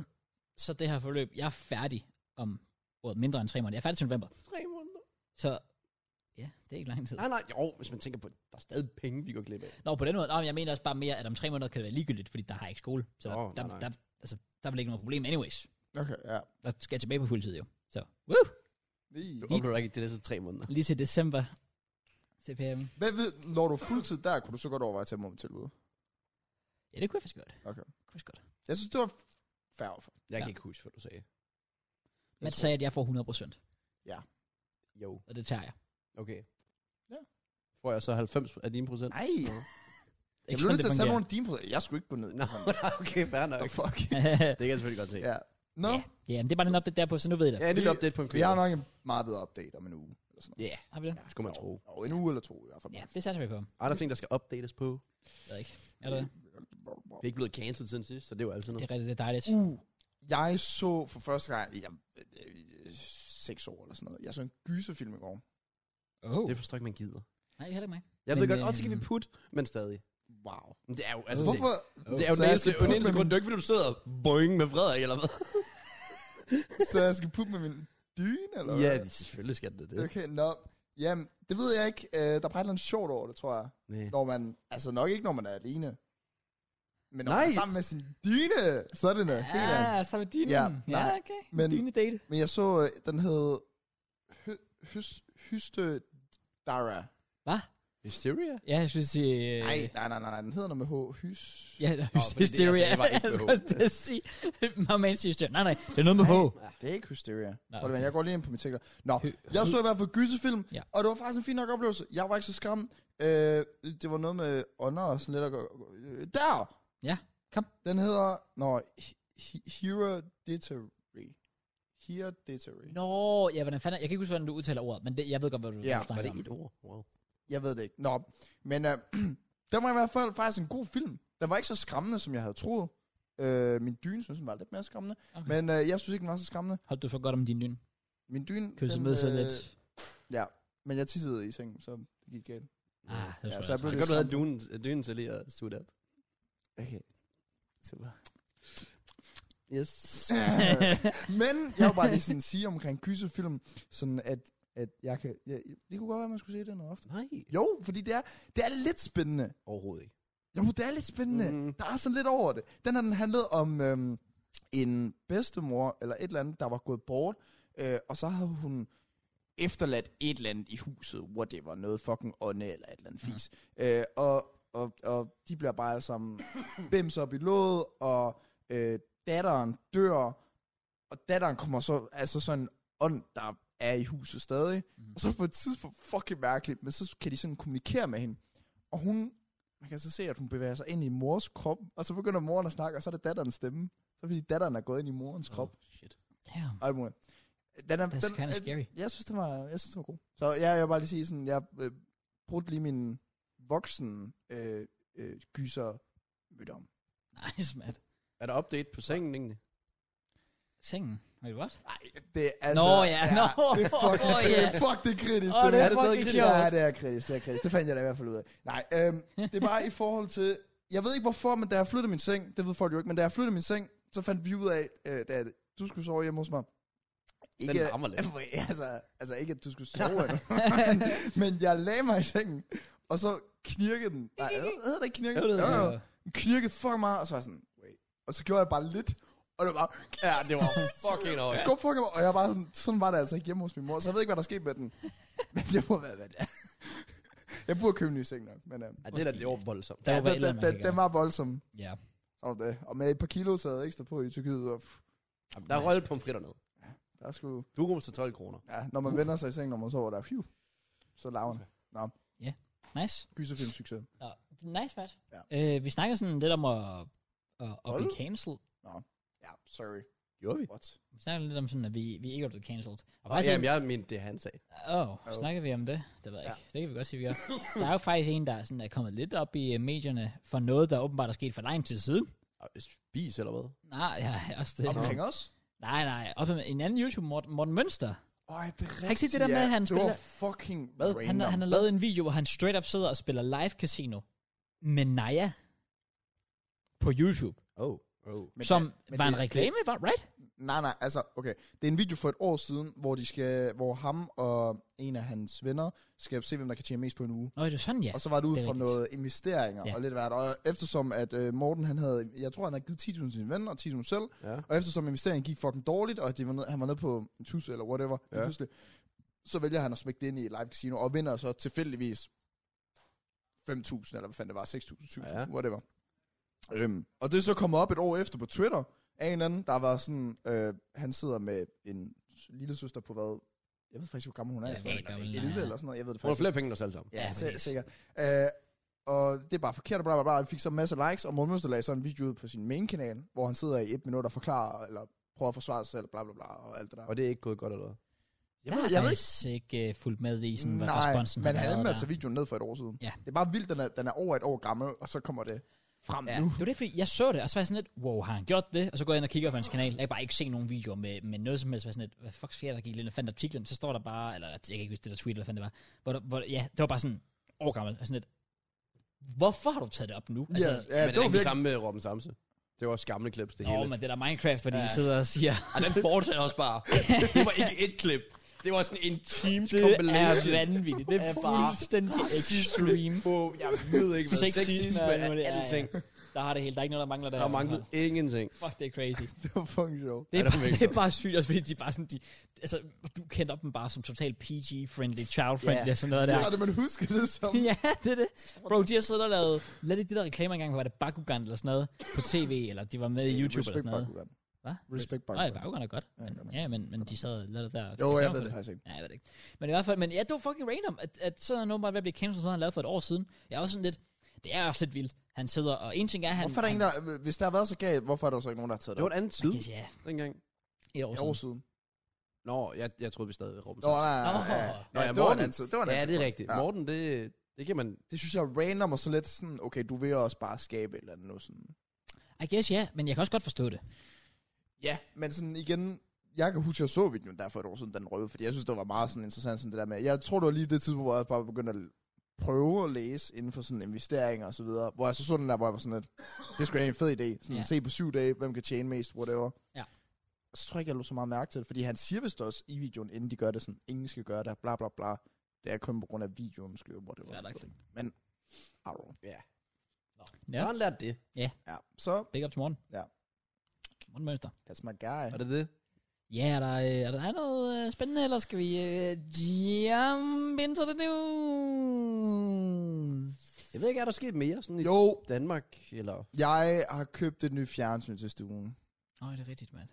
Speaker 1: så det her forløb, jeg er færdig om året mindre end tre måneder. Jeg er færdig til november.
Speaker 2: Tre måneder.
Speaker 1: Så ja, det er ikke lang tid.
Speaker 2: Nej, nej, jo, hvis man tænker på, der er stadig penge, vi går glip af.
Speaker 1: Nå, på den måde, Nå, men jeg mener også bare mere, at om tre måneder kan det være ligegyldigt, fordi der har jeg ikke skole. Så
Speaker 2: Nå,
Speaker 1: der, der,
Speaker 2: nej, nej.
Speaker 1: der, altså, der bliver ikke noget problem anyways.
Speaker 3: Okay, ja.
Speaker 1: Der skal jeg tilbage på fuldtid jo. Så, woo!
Speaker 2: Du
Speaker 3: Lige.
Speaker 2: oplever ikke det næste tre måneder.
Speaker 1: Lige til december. CPM.
Speaker 3: Hvad ved, når du er fuldtid der, kunne du så godt overveje at tage mig med tilbud.
Speaker 1: Ja, det kunne jeg faktisk godt. Det
Speaker 3: Okay.
Speaker 1: kunne jeg faktisk godt.
Speaker 3: Jeg synes, det var færre for.
Speaker 2: Jeg
Speaker 1: Ja.
Speaker 2: kan ikke huske, hvad du sagde.
Speaker 1: Man
Speaker 3: tror-
Speaker 1: sagde, at jeg får 100%,
Speaker 2: Jo,
Speaker 1: og det tager jeg.
Speaker 2: okay.
Speaker 3: Ja.
Speaker 2: Får jeg så 90 af dine procent?
Speaker 3: Nej.
Speaker 1: Det er
Speaker 3: Jeg
Speaker 1: ikke
Speaker 3: blev
Speaker 1: sådan,
Speaker 3: nødt til
Speaker 1: det
Speaker 3: at tage
Speaker 1: fungerer.
Speaker 3: nogle af dine på. Jeg skulle ikke gå ned.
Speaker 2: Nå, okay, fair nok.
Speaker 3: The fuck?
Speaker 2: Det kan jeg selvfølgelig godt se.
Speaker 3: ja. Nå,
Speaker 1: Ja, ja men det er bare den update derpå, så nu ved I det.
Speaker 2: Ja, en lille
Speaker 3: Vi-
Speaker 2: update på en
Speaker 3: vi har
Speaker 2: køer.
Speaker 3: nok en meget bedre update om en uge. Eller sådan noget.
Speaker 2: Ja,
Speaker 1: Har vi det?
Speaker 2: skulle man tro.
Speaker 3: Og en uge eller to i hvert fald.
Speaker 1: Ja, det satser vi på.
Speaker 2: Er der ting, der skal updates på?
Speaker 1: Jeg ved ikke. Er det,
Speaker 2: Vi er ikke blevet cancelled siden sidst, så det er jo altid
Speaker 1: det
Speaker 2: noget.
Speaker 1: er rigtigt, det er dejligt.
Speaker 3: Uh, jeg så for første gang i jamen, øh, øh, seks år eller sådan noget. Jeg så en gyserfilm i går.
Speaker 1: Oh.
Speaker 2: Det forstår jeg ikke, man gider.
Speaker 1: Nej, heller ikke mig.
Speaker 2: Jeg
Speaker 1: Men,
Speaker 2: ved godt, også
Speaker 1: øhm,
Speaker 2: kan vi putte, men stadig.
Speaker 3: Wow.
Speaker 2: Men det er jo, altså,
Speaker 3: Hvorfor?
Speaker 2: det, det er jo
Speaker 3: så
Speaker 2: den
Speaker 3: jeg
Speaker 2: eneste,
Speaker 3: skal putte
Speaker 2: den eneste
Speaker 3: med
Speaker 2: grund,
Speaker 3: min-
Speaker 2: det er jo ikke, fordi du sidder og boing med Frederik, eller hvad?
Speaker 3: Så jeg skal putte med min dyne, eller
Speaker 2: Ja,
Speaker 3: hvad?
Speaker 2: det- selvfølgelig skal det det.
Speaker 3: Okay, nå. Jamen, det ved jeg ikke. Øh, der er bare et eller andet sjovt over det, tror jeg.
Speaker 2: Nej.
Speaker 3: Når man, altså nok ikke, når man er alene. Men når
Speaker 2: Nej.
Speaker 3: man er sammen med sin dyne, så er det noget helt andet.
Speaker 1: Ja, sammen Ah, med din.
Speaker 3: Ja,
Speaker 1: ja
Speaker 3: nej.
Speaker 1: okay. Men,
Speaker 3: Men-
Speaker 1: Dine date.
Speaker 3: Men jeg så, øh, den hed Hø- Hys- Hyste Dara.
Speaker 2: Hysteria?
Speaker 1: Ja, jeg synes, sige... øh,
Speaker 3: Nej, nej, nej, nej, nej, den hedder noget med H. Hys.
Speaker 1: Ja, der
Speaker 2: Nå,
Speaker 1: er
Speaker 2: fordi det, jeg sagde,
Speaker 1: hysteria.
Speaker 2: det var ikke
Speaker 1: Jeg
Speaker 2: med
Speaker 1: skulle
Speaker 2: H.
Speaker 1: også til at sige, my man's hysteria. Nej, nej, det er noget med H.
Speaker 3: Det er ikke Hysteria.
Speaker 1: Nej,
Speaker 3: Nej, okay.
Speaker 1: okay.
Speaker 3: Jeg går lige ind på min tekster. Nå, jeg så i hvert fald gyserfilm,
Speaker 1: Ja.
Speaker 3: ja. og det var faktisk en fin nok oplevelse. Jeg var ikke så skræmt. Øh, det var noget med ånder og sådan lidt. at gå- øh, Der!
Speaker 1: Ja, kom.
Speaker 3: Den hedder... Nå, Hereditary. Hereditary. No.
Speaker 1: Nå, ja, hvordan fanden... Jeg kan ikke huske, hvordan du udtaler ordet, men det, jeg ved godt, hvad du
Speaker 3: Ja,
Speaker 1: du
Speaker 2: Var
Speaker 1: snakker
Speaker 2: det
Speaker 1: om.
Speaker 2: et ord? Wow.
Speaker 3: Jeg ved det ikke. Nå, men øh, den var i hvert fald faktisk en god film. Den var ikke så skræmmende, som jeg havde troet. Øh, min dyne synes, den var lidt mere skræmmende.
Speaker 1: Okay.
Speaker 3: Okay. Men øh, jeg synes ikke, den var så skræmmende.
Speaker 1: Hold du for godt om din dyn.
Speaker 3: Min dyne...
Speaker 1: Kan du så
Speaker 3: den,
Speaker 1: med så
Speaker 3: øh,
Speaker 1: lidt...
Speaker 3: Ja, men jeg tissede i sengen, så det gik galt.
Speaker 1: Ah, det
Speaker 3: ja,
Speaker 1: var
Speaker 3: så
Speaker 1: svært.
Speaker 3: jeg
Speaker 2: Det
Speaker 3: blev
Speaker 2: er godt, du havde dynen, dynen til lige at suge det op.
Speaker 3: Okay. Super.
Speaker 2: Yes.
Speaker 3: Men jeg vil bare lige sådan sige omkring gyserfilm, sådan at, at jeg kan... Jeg, det kunne godt være, at man skulle se det noget ofte.
Speaker 2: Nej.
Speaker 3: Jo, fordi det er, det er lidt spændende.
Speaker 2: Overhovedet ikke.
Speaker 3: Jo, det er lidt spændende.
Speaker 2: Mhm.
Speaker 3: Mm. Der er sådan lidt over det. Den her, den handlede om øhm, en bedstemor, eller et eller andet, der var gået bort, øh, og så havde hun efterladt et eller andet i huset, whatever, noget fucking ånde eller et eller andet fis. Mm. Øh, og, og, og de bliver bare alle sammen bims op i låget, og øh, datteren dør, og datteren kommer så, altså sådan en ånd, der er i huset stadig,
Speaker 1: Mhm.
Speaker 3: mm. og så på et tidspunkt, fucking mærkeligt, men så kan de sådan kommunikere med hende, og hun, man kan så se, at hun bevæger sig ind i mors krop, og så begynder moren at snakke, og så er det datterens stemme, så er det, fordi datteren er gået ind i morens krop,
Speaker 2: shit.
Speaker 1: Damn,
Speaker 3: og alt muligt. Den er, den,
Speaker 1: that's kind of
Speaker 3: øh,
Speaker 1: scary.
Speaker 3: jeg synes, det var, jeg synes, det var god. Så jeg, jeg vil bare lige sige sådan, jeg øh, brugte lige min voksen øh, øh, gyser mødt om.
Speaker 1: Nice, man.
Speaker 2: Er der update på sengen egentlig?
Speaker 1: Sengen. Wait, what?
Speaker 3: Nej, det er altså...
Speaker 1: Nå ja, nå.
Speaker 3: Det er fuck,
Speaker 1: Åh,
Speaker 3: det,
Speaker 1: ja.
Speaker 3: er, fuck, det er kritisk.
Speaker 1: Åh, det er
Speaker 3: er det stadig
Speaker 1: fucking
Speaker 3: kritisk?
Speaker 1: sjovt.
Speaker 3: Ja, det er kritisk, det er kritisk. Det fandt jeg da i hvert fald ud af. Nej, øhm, det er bare i forhold til... Jeg ved ikke hvorfor, men da jeg flyttede min seng, det ved folk jo ikke, men da jeg flyttede min seng, så fandt vi ud af, øh, da du skulle sove hjemme hos mig.
Speaker 2: larmer lidt.
Speaker 3: altså, altså ikke, at du skulle sove endnu. men, men jeg lagde mig i sengen, og så knirkede den. Nej, hedder det ikke knirket?
Speaker 2: Jo, det hedder
Speaker 3: Jo, jo.
Speaker 1: Øh,
Speaker 3: Den knirkede fucking meget, og så var jeg sådan, wait. Og så gjorde jeg bare lidt, og det var bare, ja, det var
Speaker 2: Fucking over.
Speaker 3: Go fucking Og jeg var sådan, sådan var det altså ikke hjemme hos min mor, så jeg ved ikke, hvad der skete med den. Men det må være, hvad det er. Jeg burde købe en ny seng nok, men um,
Speaker 2: Ja, det der, det var voldsomt.
Speaker 1: Der
Speaker 3: ja,
Speaker 1: var hvad
Speaker 3: den,
Speaker 1: ældre,
Speaker 3: den,
Speaker 1: man
Speaker 3: den,
Speaker 1: kan
Speaker 3: den
Speaker 1: gøre.
Speaker 3: var voldsom.
Speaker 1: Ja.
Speaker 3: Og, det. og med et par kilo taget ekstra på i Tyrkiet, og pff,
Speaker 2: Der er røget pomfritter ned.
Speaker 3: der skulle,
Speaker 2: Du rummer til 12 kroner.
Speaker 3: ja, når man vender sig i sengen, når man sover der, phew, så laver den.
Speaker 1: Nice.
Speaker 3: Gyserfilm succes.
Speaker 1: Nå, nice, Matt.
Speaker 3: Ja.
Speaker 1: Øh, vi snakker sådan lidt om at, at, at blive
Speaker 3: Hold.
Speaker 1: cancelled.
Speaker 3: Ja, sorry.
Speaker 2: Gjorde vi?
Speaker 3: What?
Speaker 1: Vi snakker lidt om sådan, at vi, vi ikke er blevet cancelled. Og
Speaker 2: Ja,
Speaker 1: faktisk,
Speaker 2: jamen, jeg mente det, han sagde.
Speaker 1: Åh, oh, snakker vi om det? Det ved jeg
Speaker 3: Ja.
Speaker 1: ikke. Det kan vi godt sige, vi gør. Der er jo faktisk en, der sådan er kommet lidt op i øh, medierne for noget, der åbenbart er sket for lang tid siden.
Speaker 2: Og Spis eller hvad?
Speaker 1: Nej, ja, også det.
Speaker 3: Omkring os?
Speaker 1: Nej, nej. Også med en anden YouTube, Morten, Morten Mønster.
Speaker 3: Øj, det er rigtigt.
Speaker 1: ikke set det der med, at han
Speaker 3: Det var
Speaker 1: spiller-
Speaker 3: fucking
Speaker 2: Hvad?
Speaker 3: random.
Speaker 1: Han, han har lavet en video, hvor han straight up sidder og spiller live casino med Naja på YouTube,
Speaker 2: Oh. Oh.
Speaker 1: men
Speaker 3: Men
Speaker 1: som
Speaker 3: det-
Speaker 1: det,
Speaker 3: men
Speaker 1: var en
Speaker 3: det-
Speaker 1: reklame, var right?
Speaker 3: Nej, nej, altså, okay. Det er en video for et år siden, hvor, de skal, hvor ham og en af hans venner skal se, hvem der kan tjene mest på en uge.
Speaker 1: Nå, det er sådan, ja.
Speaker 3: Og så var det ud
Speaker 1: det er
Speaker 3: fra
Speaker 1: rigtigt.
Speaker 3: noget investeringer
Speaker 1: Ja.
Speaker 3: ja. og lidt af hvert. Og eftersom at øh, Morten, han havde, jeg tror, han havde givet 10.000 til sin ven og 10.000 selv.
Speaker 2: Ja.
Speaker 3: Og eftersom investeringen gik fucking dårligt, og det var ned, han var nede på en tusse eller whatever,
Speaker 2: Ja.
Speaker 3: ja. pludselig, så vælger han at smække det ind i live casino, og vinder så tilfældigvis 5.000, eller hvad fanden det var, 6.000, 7.000,
Speaker 2: Ja.
Speaker 3: ja. whatever. Øhm, og det er så kommet op et år efter på Twitter, af en eller anden, der var sådan, øh, han sidder med en lille søster på hvad, jeg ved faktisk, ikke, hvor gammel hun er.
Speaker 1: Ja,
Speaker 3: Jeg
Speaker 1: hvor
Speaker 3: ved ikke,
Speaker 1: gammel
Speaker 3: 11
Speaker 1: hun er.
Speaker 3: eller sådan noget, jeg ved det
Speaker 2: Hun har
Speaker 3: faktisk
Speaker 2: flere penge end os alle sammen.
Speaker 1: Ja,
Speaker 3: Ja, ja
Speaker 1: præcis.
Speaker 3: s- sikkert. Øh, og det er bare forkert, og bla, bla, bla. og Han fik så en masse likes, og Morten Mønster lagde så en video ud på sin main-kanal, hvor han sidder i et minut og forklarer, eller prøver at forsvare sig selv, bla bla bla, og alt det der.
Speaker 2: Og det er ikke gået godt, eller hvad?
Speaker 1: Jeg, ved, jeg har faktisk ikke uh, fulgt med i, sådan, hvad
Speaker 3: Nej,
Speaker 1: responsen
Speaker 3: men
Speaker 1: har
Speaker 3: han
Speaker 1: været
Speaker 3: anmeldte
Speaker 1: der.
Speaker 3: sig videoen ned for et år siden.
Speaker 1: Ja.
Speaker 3: Det er bare vildt, den er, den er over et år gammel, og så kommer det frem
Speaker 1: Ja,
Speaker 3: nu.
Speaker 1: det var det, fordi jeg så det, og så var jeg sådan lidt, wow, har han gjort det? Og så går jeg ind og kigger på hans kanal. Jeg kan bare ikke se nogen videoer med, med noget som helst. Jeg var sådan lidt, hvad fuck sker der? Jeg Gik lidt ind og fandt artiklen, så står der bare, eller jeg kan ikke huske det der tweet, eller hvad fanden det var. Hvor, der- hvor, ja, det var bare sådan år gammel. Og sådan lidt, hvorfor har du taget det op nu? Altså,
Speaker 3: Ja, ja,
Speaker 2: men det er ikke
Speaker 3: virkelig-
Speaker 2: det samme med Robin Samse. Det er jo også gamle clips, det hele.
Speaker 1: Nå, men det er der Minecraft, hvor de
Speaker 2: Ja.
Speaker 1: sidder og siger,
Speaker 2: Og den fortsætter også bare. Det var ikke et klip. Det var sådan en teams
Speaker 1: det er
Speaker 2: compilation.
Speaker 1: vanvittigt. Det er
Speaker 2: Ja, bare-
Speaker 1: fuldstændig extreme.
Speaker 2: På, jeg ved ikke, hvad
Speaker 1: Sexisme
Speaker 2: sexisme
Speaker 1: og
Speaker 2: er
Speaker 1: alt muligt. Ja, ja.
Speaker 2: alting.
Speaker 1: Der har det hele. Der er ikke noget, der mangler der.
Speaker 2: Der manglede ingenting.
Speaker 1: Fuck, det er crazy.
Speaker 3: Det var fucking sjovt.
Speaker 1: Det er,
Speaker 2: Ja, det
Speaker 1: bare,
Speaker 2: var virkelig
Speaker 1: det er bare sygt, også fordi de bare sådan, de, altså, du kendte op dem bare som totalt PG-friendly, child-friendly
Speaker 2: Ja.
Speaker 1: og sådan noget der.
Speaker 3: Ja. det, man husker det som.
Speaker 1: ja, det er det. Bro, de har siddet og lavet, lad det de der reklamer engang, var det Bakugan eller sådan noget, på tv, eller de var med i YouTube eller
Speaker 3: Øh, Respect
Speaker 1: sådan noget.
Speaker 3: Bakugan.
Speaker 1: Hvad?
Speaker 3: Respect
Speaker 1: Nej,
Speaker 3: Bakugan.
Speaker 1: Bakugan er godt.
Speaker 3: Ja,
Speaker 1: Men,
Speaker 3: det er
Speaker 1: ja, men, men de sad og lavede det der.
Speaker 3: Jo, jeg
Speaker 1: reklamer
Speaker 3: ved
Speaker 1: for
Speaker 3: det faktisk ikke.
Speaker 1: Ja, jeg ved det ikke. Men i hvert fald, men ja, det var fucking random, at, at sådan er noget bare ved at blive kendt, som han lavede for et år siden. Jeg er også sådan lidt, det er også lidt vildt. Han sidder, og en ting er, han...
Speaker 3: Hvorfor er der
Speaker 1: han,
Speaker 3: ingen, der, hvis der har været så galt, hvorfor er der så ikke nogen, der har taget
Speaker 2: Det
Speaker 3: det
Speaker 2: var
Speaker 3: op?
Speaker 2: en anden tid
Speaker 1: Ja,
Speaker 2: dengang.
Speaker 1: et år
Speaker 3: Et år
Speaker 1: siden.
Speaker 3: siden.
Speaker 2: Nå, jeg, jeg troede, vi stadig var Robin
Speaker 3: Nå,
Speaker 2: Samse.
Speaker 3: nej, nej,
Speaker 1: Nå.
Speaker 3: nej, ja.
Speaker 2: Nå,
Speaker 3: ja,
Speaker 2: ja,
Speaker 3: det var en
Speaker 2: Morten.
Speaker 3: anden tid. Det var en
Speaker 2: Ja,
Speaker 3: anden
Speaker 2: det er
Speaker 3: tid.
Speaker 2: rigtigt.
Speaker 3: Ja.
Speaker 2: Morten, det, det kan man...
Speaker 3: Det synes jeg er random og så lidt sådan, okay, du vil også bare skabe et eller andet nu sådan.
Speaker 1: I guess, ja, men jeg kan også godt forstå det.
Speaker 3: Ja, men sådan igen, jeg kan huske, jeg så videoen der for et år siden, den røde, fordi jeg synes, det var meget sådan interessant, sådan det der med, jeg tror, det var lige det tidspunkt, hvor jeg bare begyndte at prøve at læse inden for sådan investeringer og så videre, hvor jeg så så den der, hvor jeg var sådan lidt, det er sgu da en fed idé, sådan
Speaker 1: Ja.
Speaker 3: ja. se på syv dage, hvem kan tjene mest, whatever.
Speaker 1: Ja.
Speaker 3: Og så tror jeg ikke, jeg lå så meget mærke til det, fordi han siger vist også i videoen, inden de gør det sådan, ingen skal gøre det, bla bla bla, det er kun på grund af videoen, skriver, hvor det
Speaker 1: Fair
Speaker 3: var.
Speaker 1: nok.
Speaker 3: Men, arrow.
Speaker 1: Ja.
Speaker 2: Ja. Har han lært det?
Speaker 3: Ja, så,
Speaker 1: Big up til morgen.
Speaker 3: Ja.
Speaker 1: Morgen Mønster.
Speaker 3: that's my guy.
Speaker 2: Er det det?
Speaker 1: Ja, er der, øh, er der noget øh, spændende, eller skal vi øh, jump into the news?
Speaker 2: Jeg ved ikke, er der sket mere sådan i
Speaker 3: Jo,
Speaker 2: Danmark? Eller...
Speaker 3: jeg har købt et nyt fjernsyn til stuen.
Speaker 1: Åh, det er rigtigt, mand.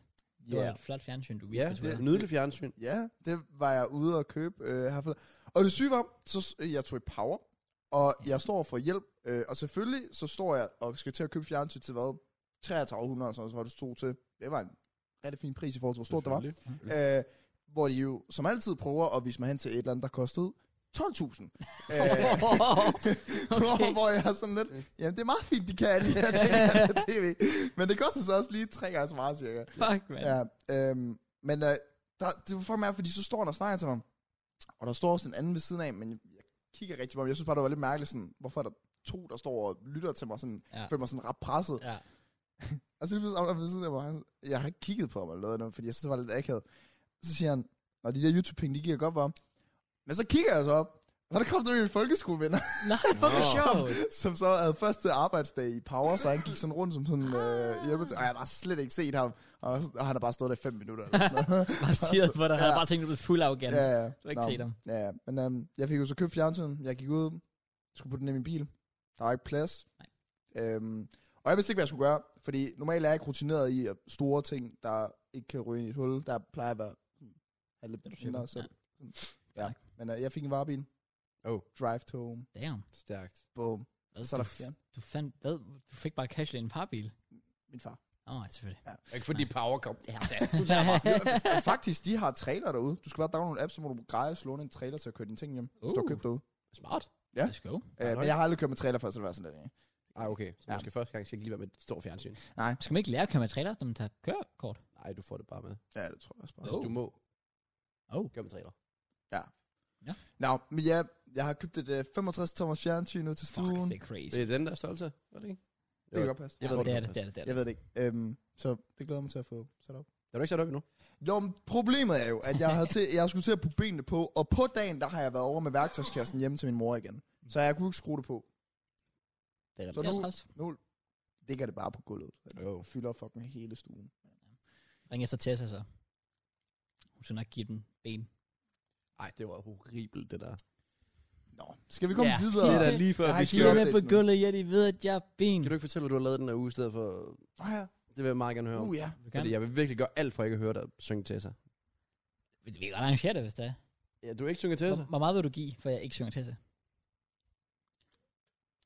Speaker 1: Det
Speaker 3: Ja.
Speaker 1: var et flot fjernsyn, du viste
Speaker 2: Ja,
Speaker 1: mig, tror
Speaker 2: det
Speaker 1: jeg.
Speaker 2: er nydeligt fjernsyn.
Speaker 3: Ja, det var jeg ude at købe øh, her forleden. Og det syge var, så s- øh, jeg tog i power, og jeg står for hjælp. Øh, og selvfølgelig, så står jeg og skal til at købe fjernsyn til hvad? 3300 og sådan noget, så var det stod til. Det var en rigtig fin pris i forhold til, hvor stort det var. Øh, hvor de jo som altid prøver at vise mig hen til et eller andet, der kostede 12.000. øh, okay. hvor jeg er sådan lidt, jamen det er meget fint, de kan lige her ting her på tv. Men det koster så også lige tre gange så meget, cirka.
Speaker 1: Fuck, mand. Ja.
Speaker 3: Ja, øhm, men øh, der, det var fucking mærkeligt, fordi så står han og snakker til mig. Og der står også en anden ved siden af, men jeg, jeg kigger rigtig på ham. Jeg synes bare, det var lidt mærkeligt, sådan, hvorfor er der to, der står og lytter til mig, sådan,
Speaker 1: Ja.
Speaker 3: ja. føler mig sådan ret presset.
Speaker 1: ja.
Speaker 3: Og så lige pludselig ham der ved siden af mig, han, jeg har ikke kigget på ham eller noget, af det, fordi jeg synes, det var lidt akavet. Så siger han, og de der YouTube-penge, de giver godt var. Men så kigger jeg så op, og så er der kommet en folkeskolevenner,
Speaker 1: Nej, hvor er det
Speaker 2: Nå.
Speaker 1: sjovt.
Speaker 3: som så havde første arbejdsdag i Power, så han gik sådan rundt som sådan øh, hjælpe til. Og jeg har bare slet ikke set ham, og, og han har bare stået der i fem minutter. Eller sådan noget.
Speaker 1: Bare siger det for dig. Jeg havde
Speaker 3: Ja.
Speaker 1: bare tænkt, at du blev fuld arrogant.
Speaker 3: Ja, ja.
Speaker 1: Du har ikke
Speaker 3: Nå,
Speaker 1: set ham.
Speaker 3: Ja, ja. Men øhm, jeg fik jo så købt fjernsyn. Jeg gik ud, skulle putte den i min bil. Der var ikke plads.
Speaker 1: Nej.
Speaker 3: Øhm, og jeg vidste ikke, hvad jeg skulle gøre. Fordi normalt er jeg ikke rutineret i at store ting, der ikke kan ryge ind i et hul. Der plejer jeg at være hmm, have
Speaker 1: Det er du
Speaker 3: lidt
Speaker 1: sikker på.
Speaker 3: mindre selv. Ja.
Speaker 1: Nej.
Speaker 3: ja. Men øh, jeg fik en varebil.
Speaker 2: Oh.
Speaker 3: Drive to home.
Speaker 1: Damn.
Speaker 2: Stærkt.
Speaker 3: Boom.
Speaker 1: Hvad,
Speaker 3: Så er
Speaker 1: du,
Speaker 3: der fjern.
Speaker 1: du, fandt, hvad, du fik bare casual en parbil.
Speaker 3: Min far.
Speaker 1: Åh, oh, selvfølgelig.
Speaker 2: Ikke fordi power kom. Ja,
Speaker 3: Og faktisk, de har trailer derude. Du skal bare downloade en app, så må du gratis låne en trailer til at køre dine ting hjem. Uh. Du
Speaker 1: Uh.
Speaker 3: købt derude.
Speaker 2: Smart.
Speaker 3: Ja.
Speaker 1: Let's go.
Speaker 3: Øh,
Speaker 2: nok.
Speaker 3: men jeg har aldrig kørt med trailer før, så det var sådan lidt. øh.
Speaker 2: Ej, Ah, okay. Så
Speaker 3: Ja.
Speaker 2: måske første gang skal jeg ikke lige være med et stort fjernsyn.
Speaker 1: Skal man ikke lære at køre med trailer, når man tager kørekort?
Speaker 2: Nej, du får det bare med.
Speaker 3: Ja, det tror jeg også bare.
Speaker 2: Hvis
Speaker 1: Oh.
Speaker 2: du må.
Speaker 1: Oh.
Speaker 2: Gør med trailer.
Speaker 3: Nå, men ja, jeg har købt et øh, 65-tommers fjernsyn ud til
Speaker 1: Fuck,
Speaker 3: stuen.
Speaker 1: det er crazy.
Speaker 2: Det er den der størrelse, var det ikke?
Speaker 3: Det kan godt passe.
Speaker 1: Ja,
Speaker 3: Jeg, ved det,
Speaker 1: det
Speaker 3: ikke.
Speaker 1: er det, det er det, det er
Speaker 3: jeg
Speaker 1: det.
Speaker 3: ved det ikke. Øhm, så det glæder jeg mig til at få sat op.
Speaker 2: Det er du ikke sat op endnu?
Speaker 3: Jo, men problemet er jo, at jeg, havde til, jeg skulle til at putte benene på, og på dagen, der har jeg været over med værktøjskassen hjemme til min mor igen. Så jeg kunne ikke skrue det på.
Speaker 2: Det er
Speaker 3: Så
Speaker 1: Det er
Speaker 3: nu
Speaker 1: træls.
Speaker 3: ligger det bare på gulvet.
Speaker 2: Jo.
Speaker 3: Og fylder fucking hele stuen.
Speaker 1: Ring efter Tessa så. Hun skal nok give den ben.
Speaker 2: Ej, det var horribelt, det der.
Speaker 3: Nå, skal vi komme
Speaker 1: Ja.
Speaker 3: videre?
Speaker 1: Det er da
Speaker 2: lige før,
Speaker 3: Jeg har
Speaker 2: vi
Speaker 3: ikke
Speaker 2: skal-
Speaker 3: lige
Speaker 1: Kigger ned på
Speaker 3: opdagelsen.
Speaker 1: gulvet, ja, de ved, at jeg er ben.
Speaker 2: Kan du ikke fortælle, hvad du har lavet den her uge i stedet for...
Speaker 3: Ah, ja.
Speaker 2: Det vil jeg meget gerne høre om.
Speaker 3: Uh, ja.
Speaker 1: Vil du gerne?
Speaker 2: Fordi jeg vil virkelig gøre alt for ikke at høre dig synge til sig.
Speaker 1: Vi vi kan godt arrangere det, hvis det er.
Speaker 2: Ja, du ikke synger til
Speaker 1: Hvor,
Speaker 2: sig?
Speaker 1: hvor meget vil du give, for jeg ikke synger til det?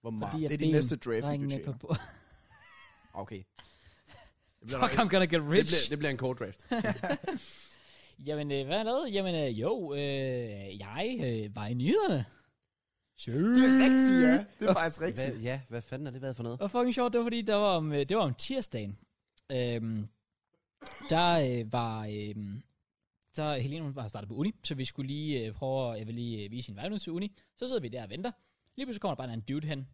Speaker 2: Hvor
Speaker 1: Fordi
Speaker 2: meget?
Speaker 1: jeg
Speaker 3: Det er din næste draft,
Speaker 1: drengene
Speaker 3: du
Speaker 1: på
Speaker 3: tjener.
Speaker 1: bordet.
Speaker 2: Okay. Det bliver,
Speaker 1: Fuck,
Speaker 2: nok-
Speaker 1: I'm gonna get
Speaker 2: det,
Speaker 1: rich.
Speaker 2: bliver, det bliver en kort draft.
Speaker 1: Jamen, øh, hvad er lavet? Jamen, øh, jo, øh, jeg øh, var i nyhederne. Sure.
Speaker 3: Det er rigtigt, ja. Det er faktisk rigtigt.
Speaker 2: ja, hvad fanden har det været for noget?
Speaker 1: Og fucking sjovt, det var fordi, der var om, øh, det var om tirsdagen. Øhm, der øh, var... Øhm, der Helene, hun var startet på uni, så vi skulle lige øh, prøve at, jeg vil lige øh, vise hende vejen ud til uni. Så sidder vi der og venter. Lige pludselig kommer der bare en anden dude hen.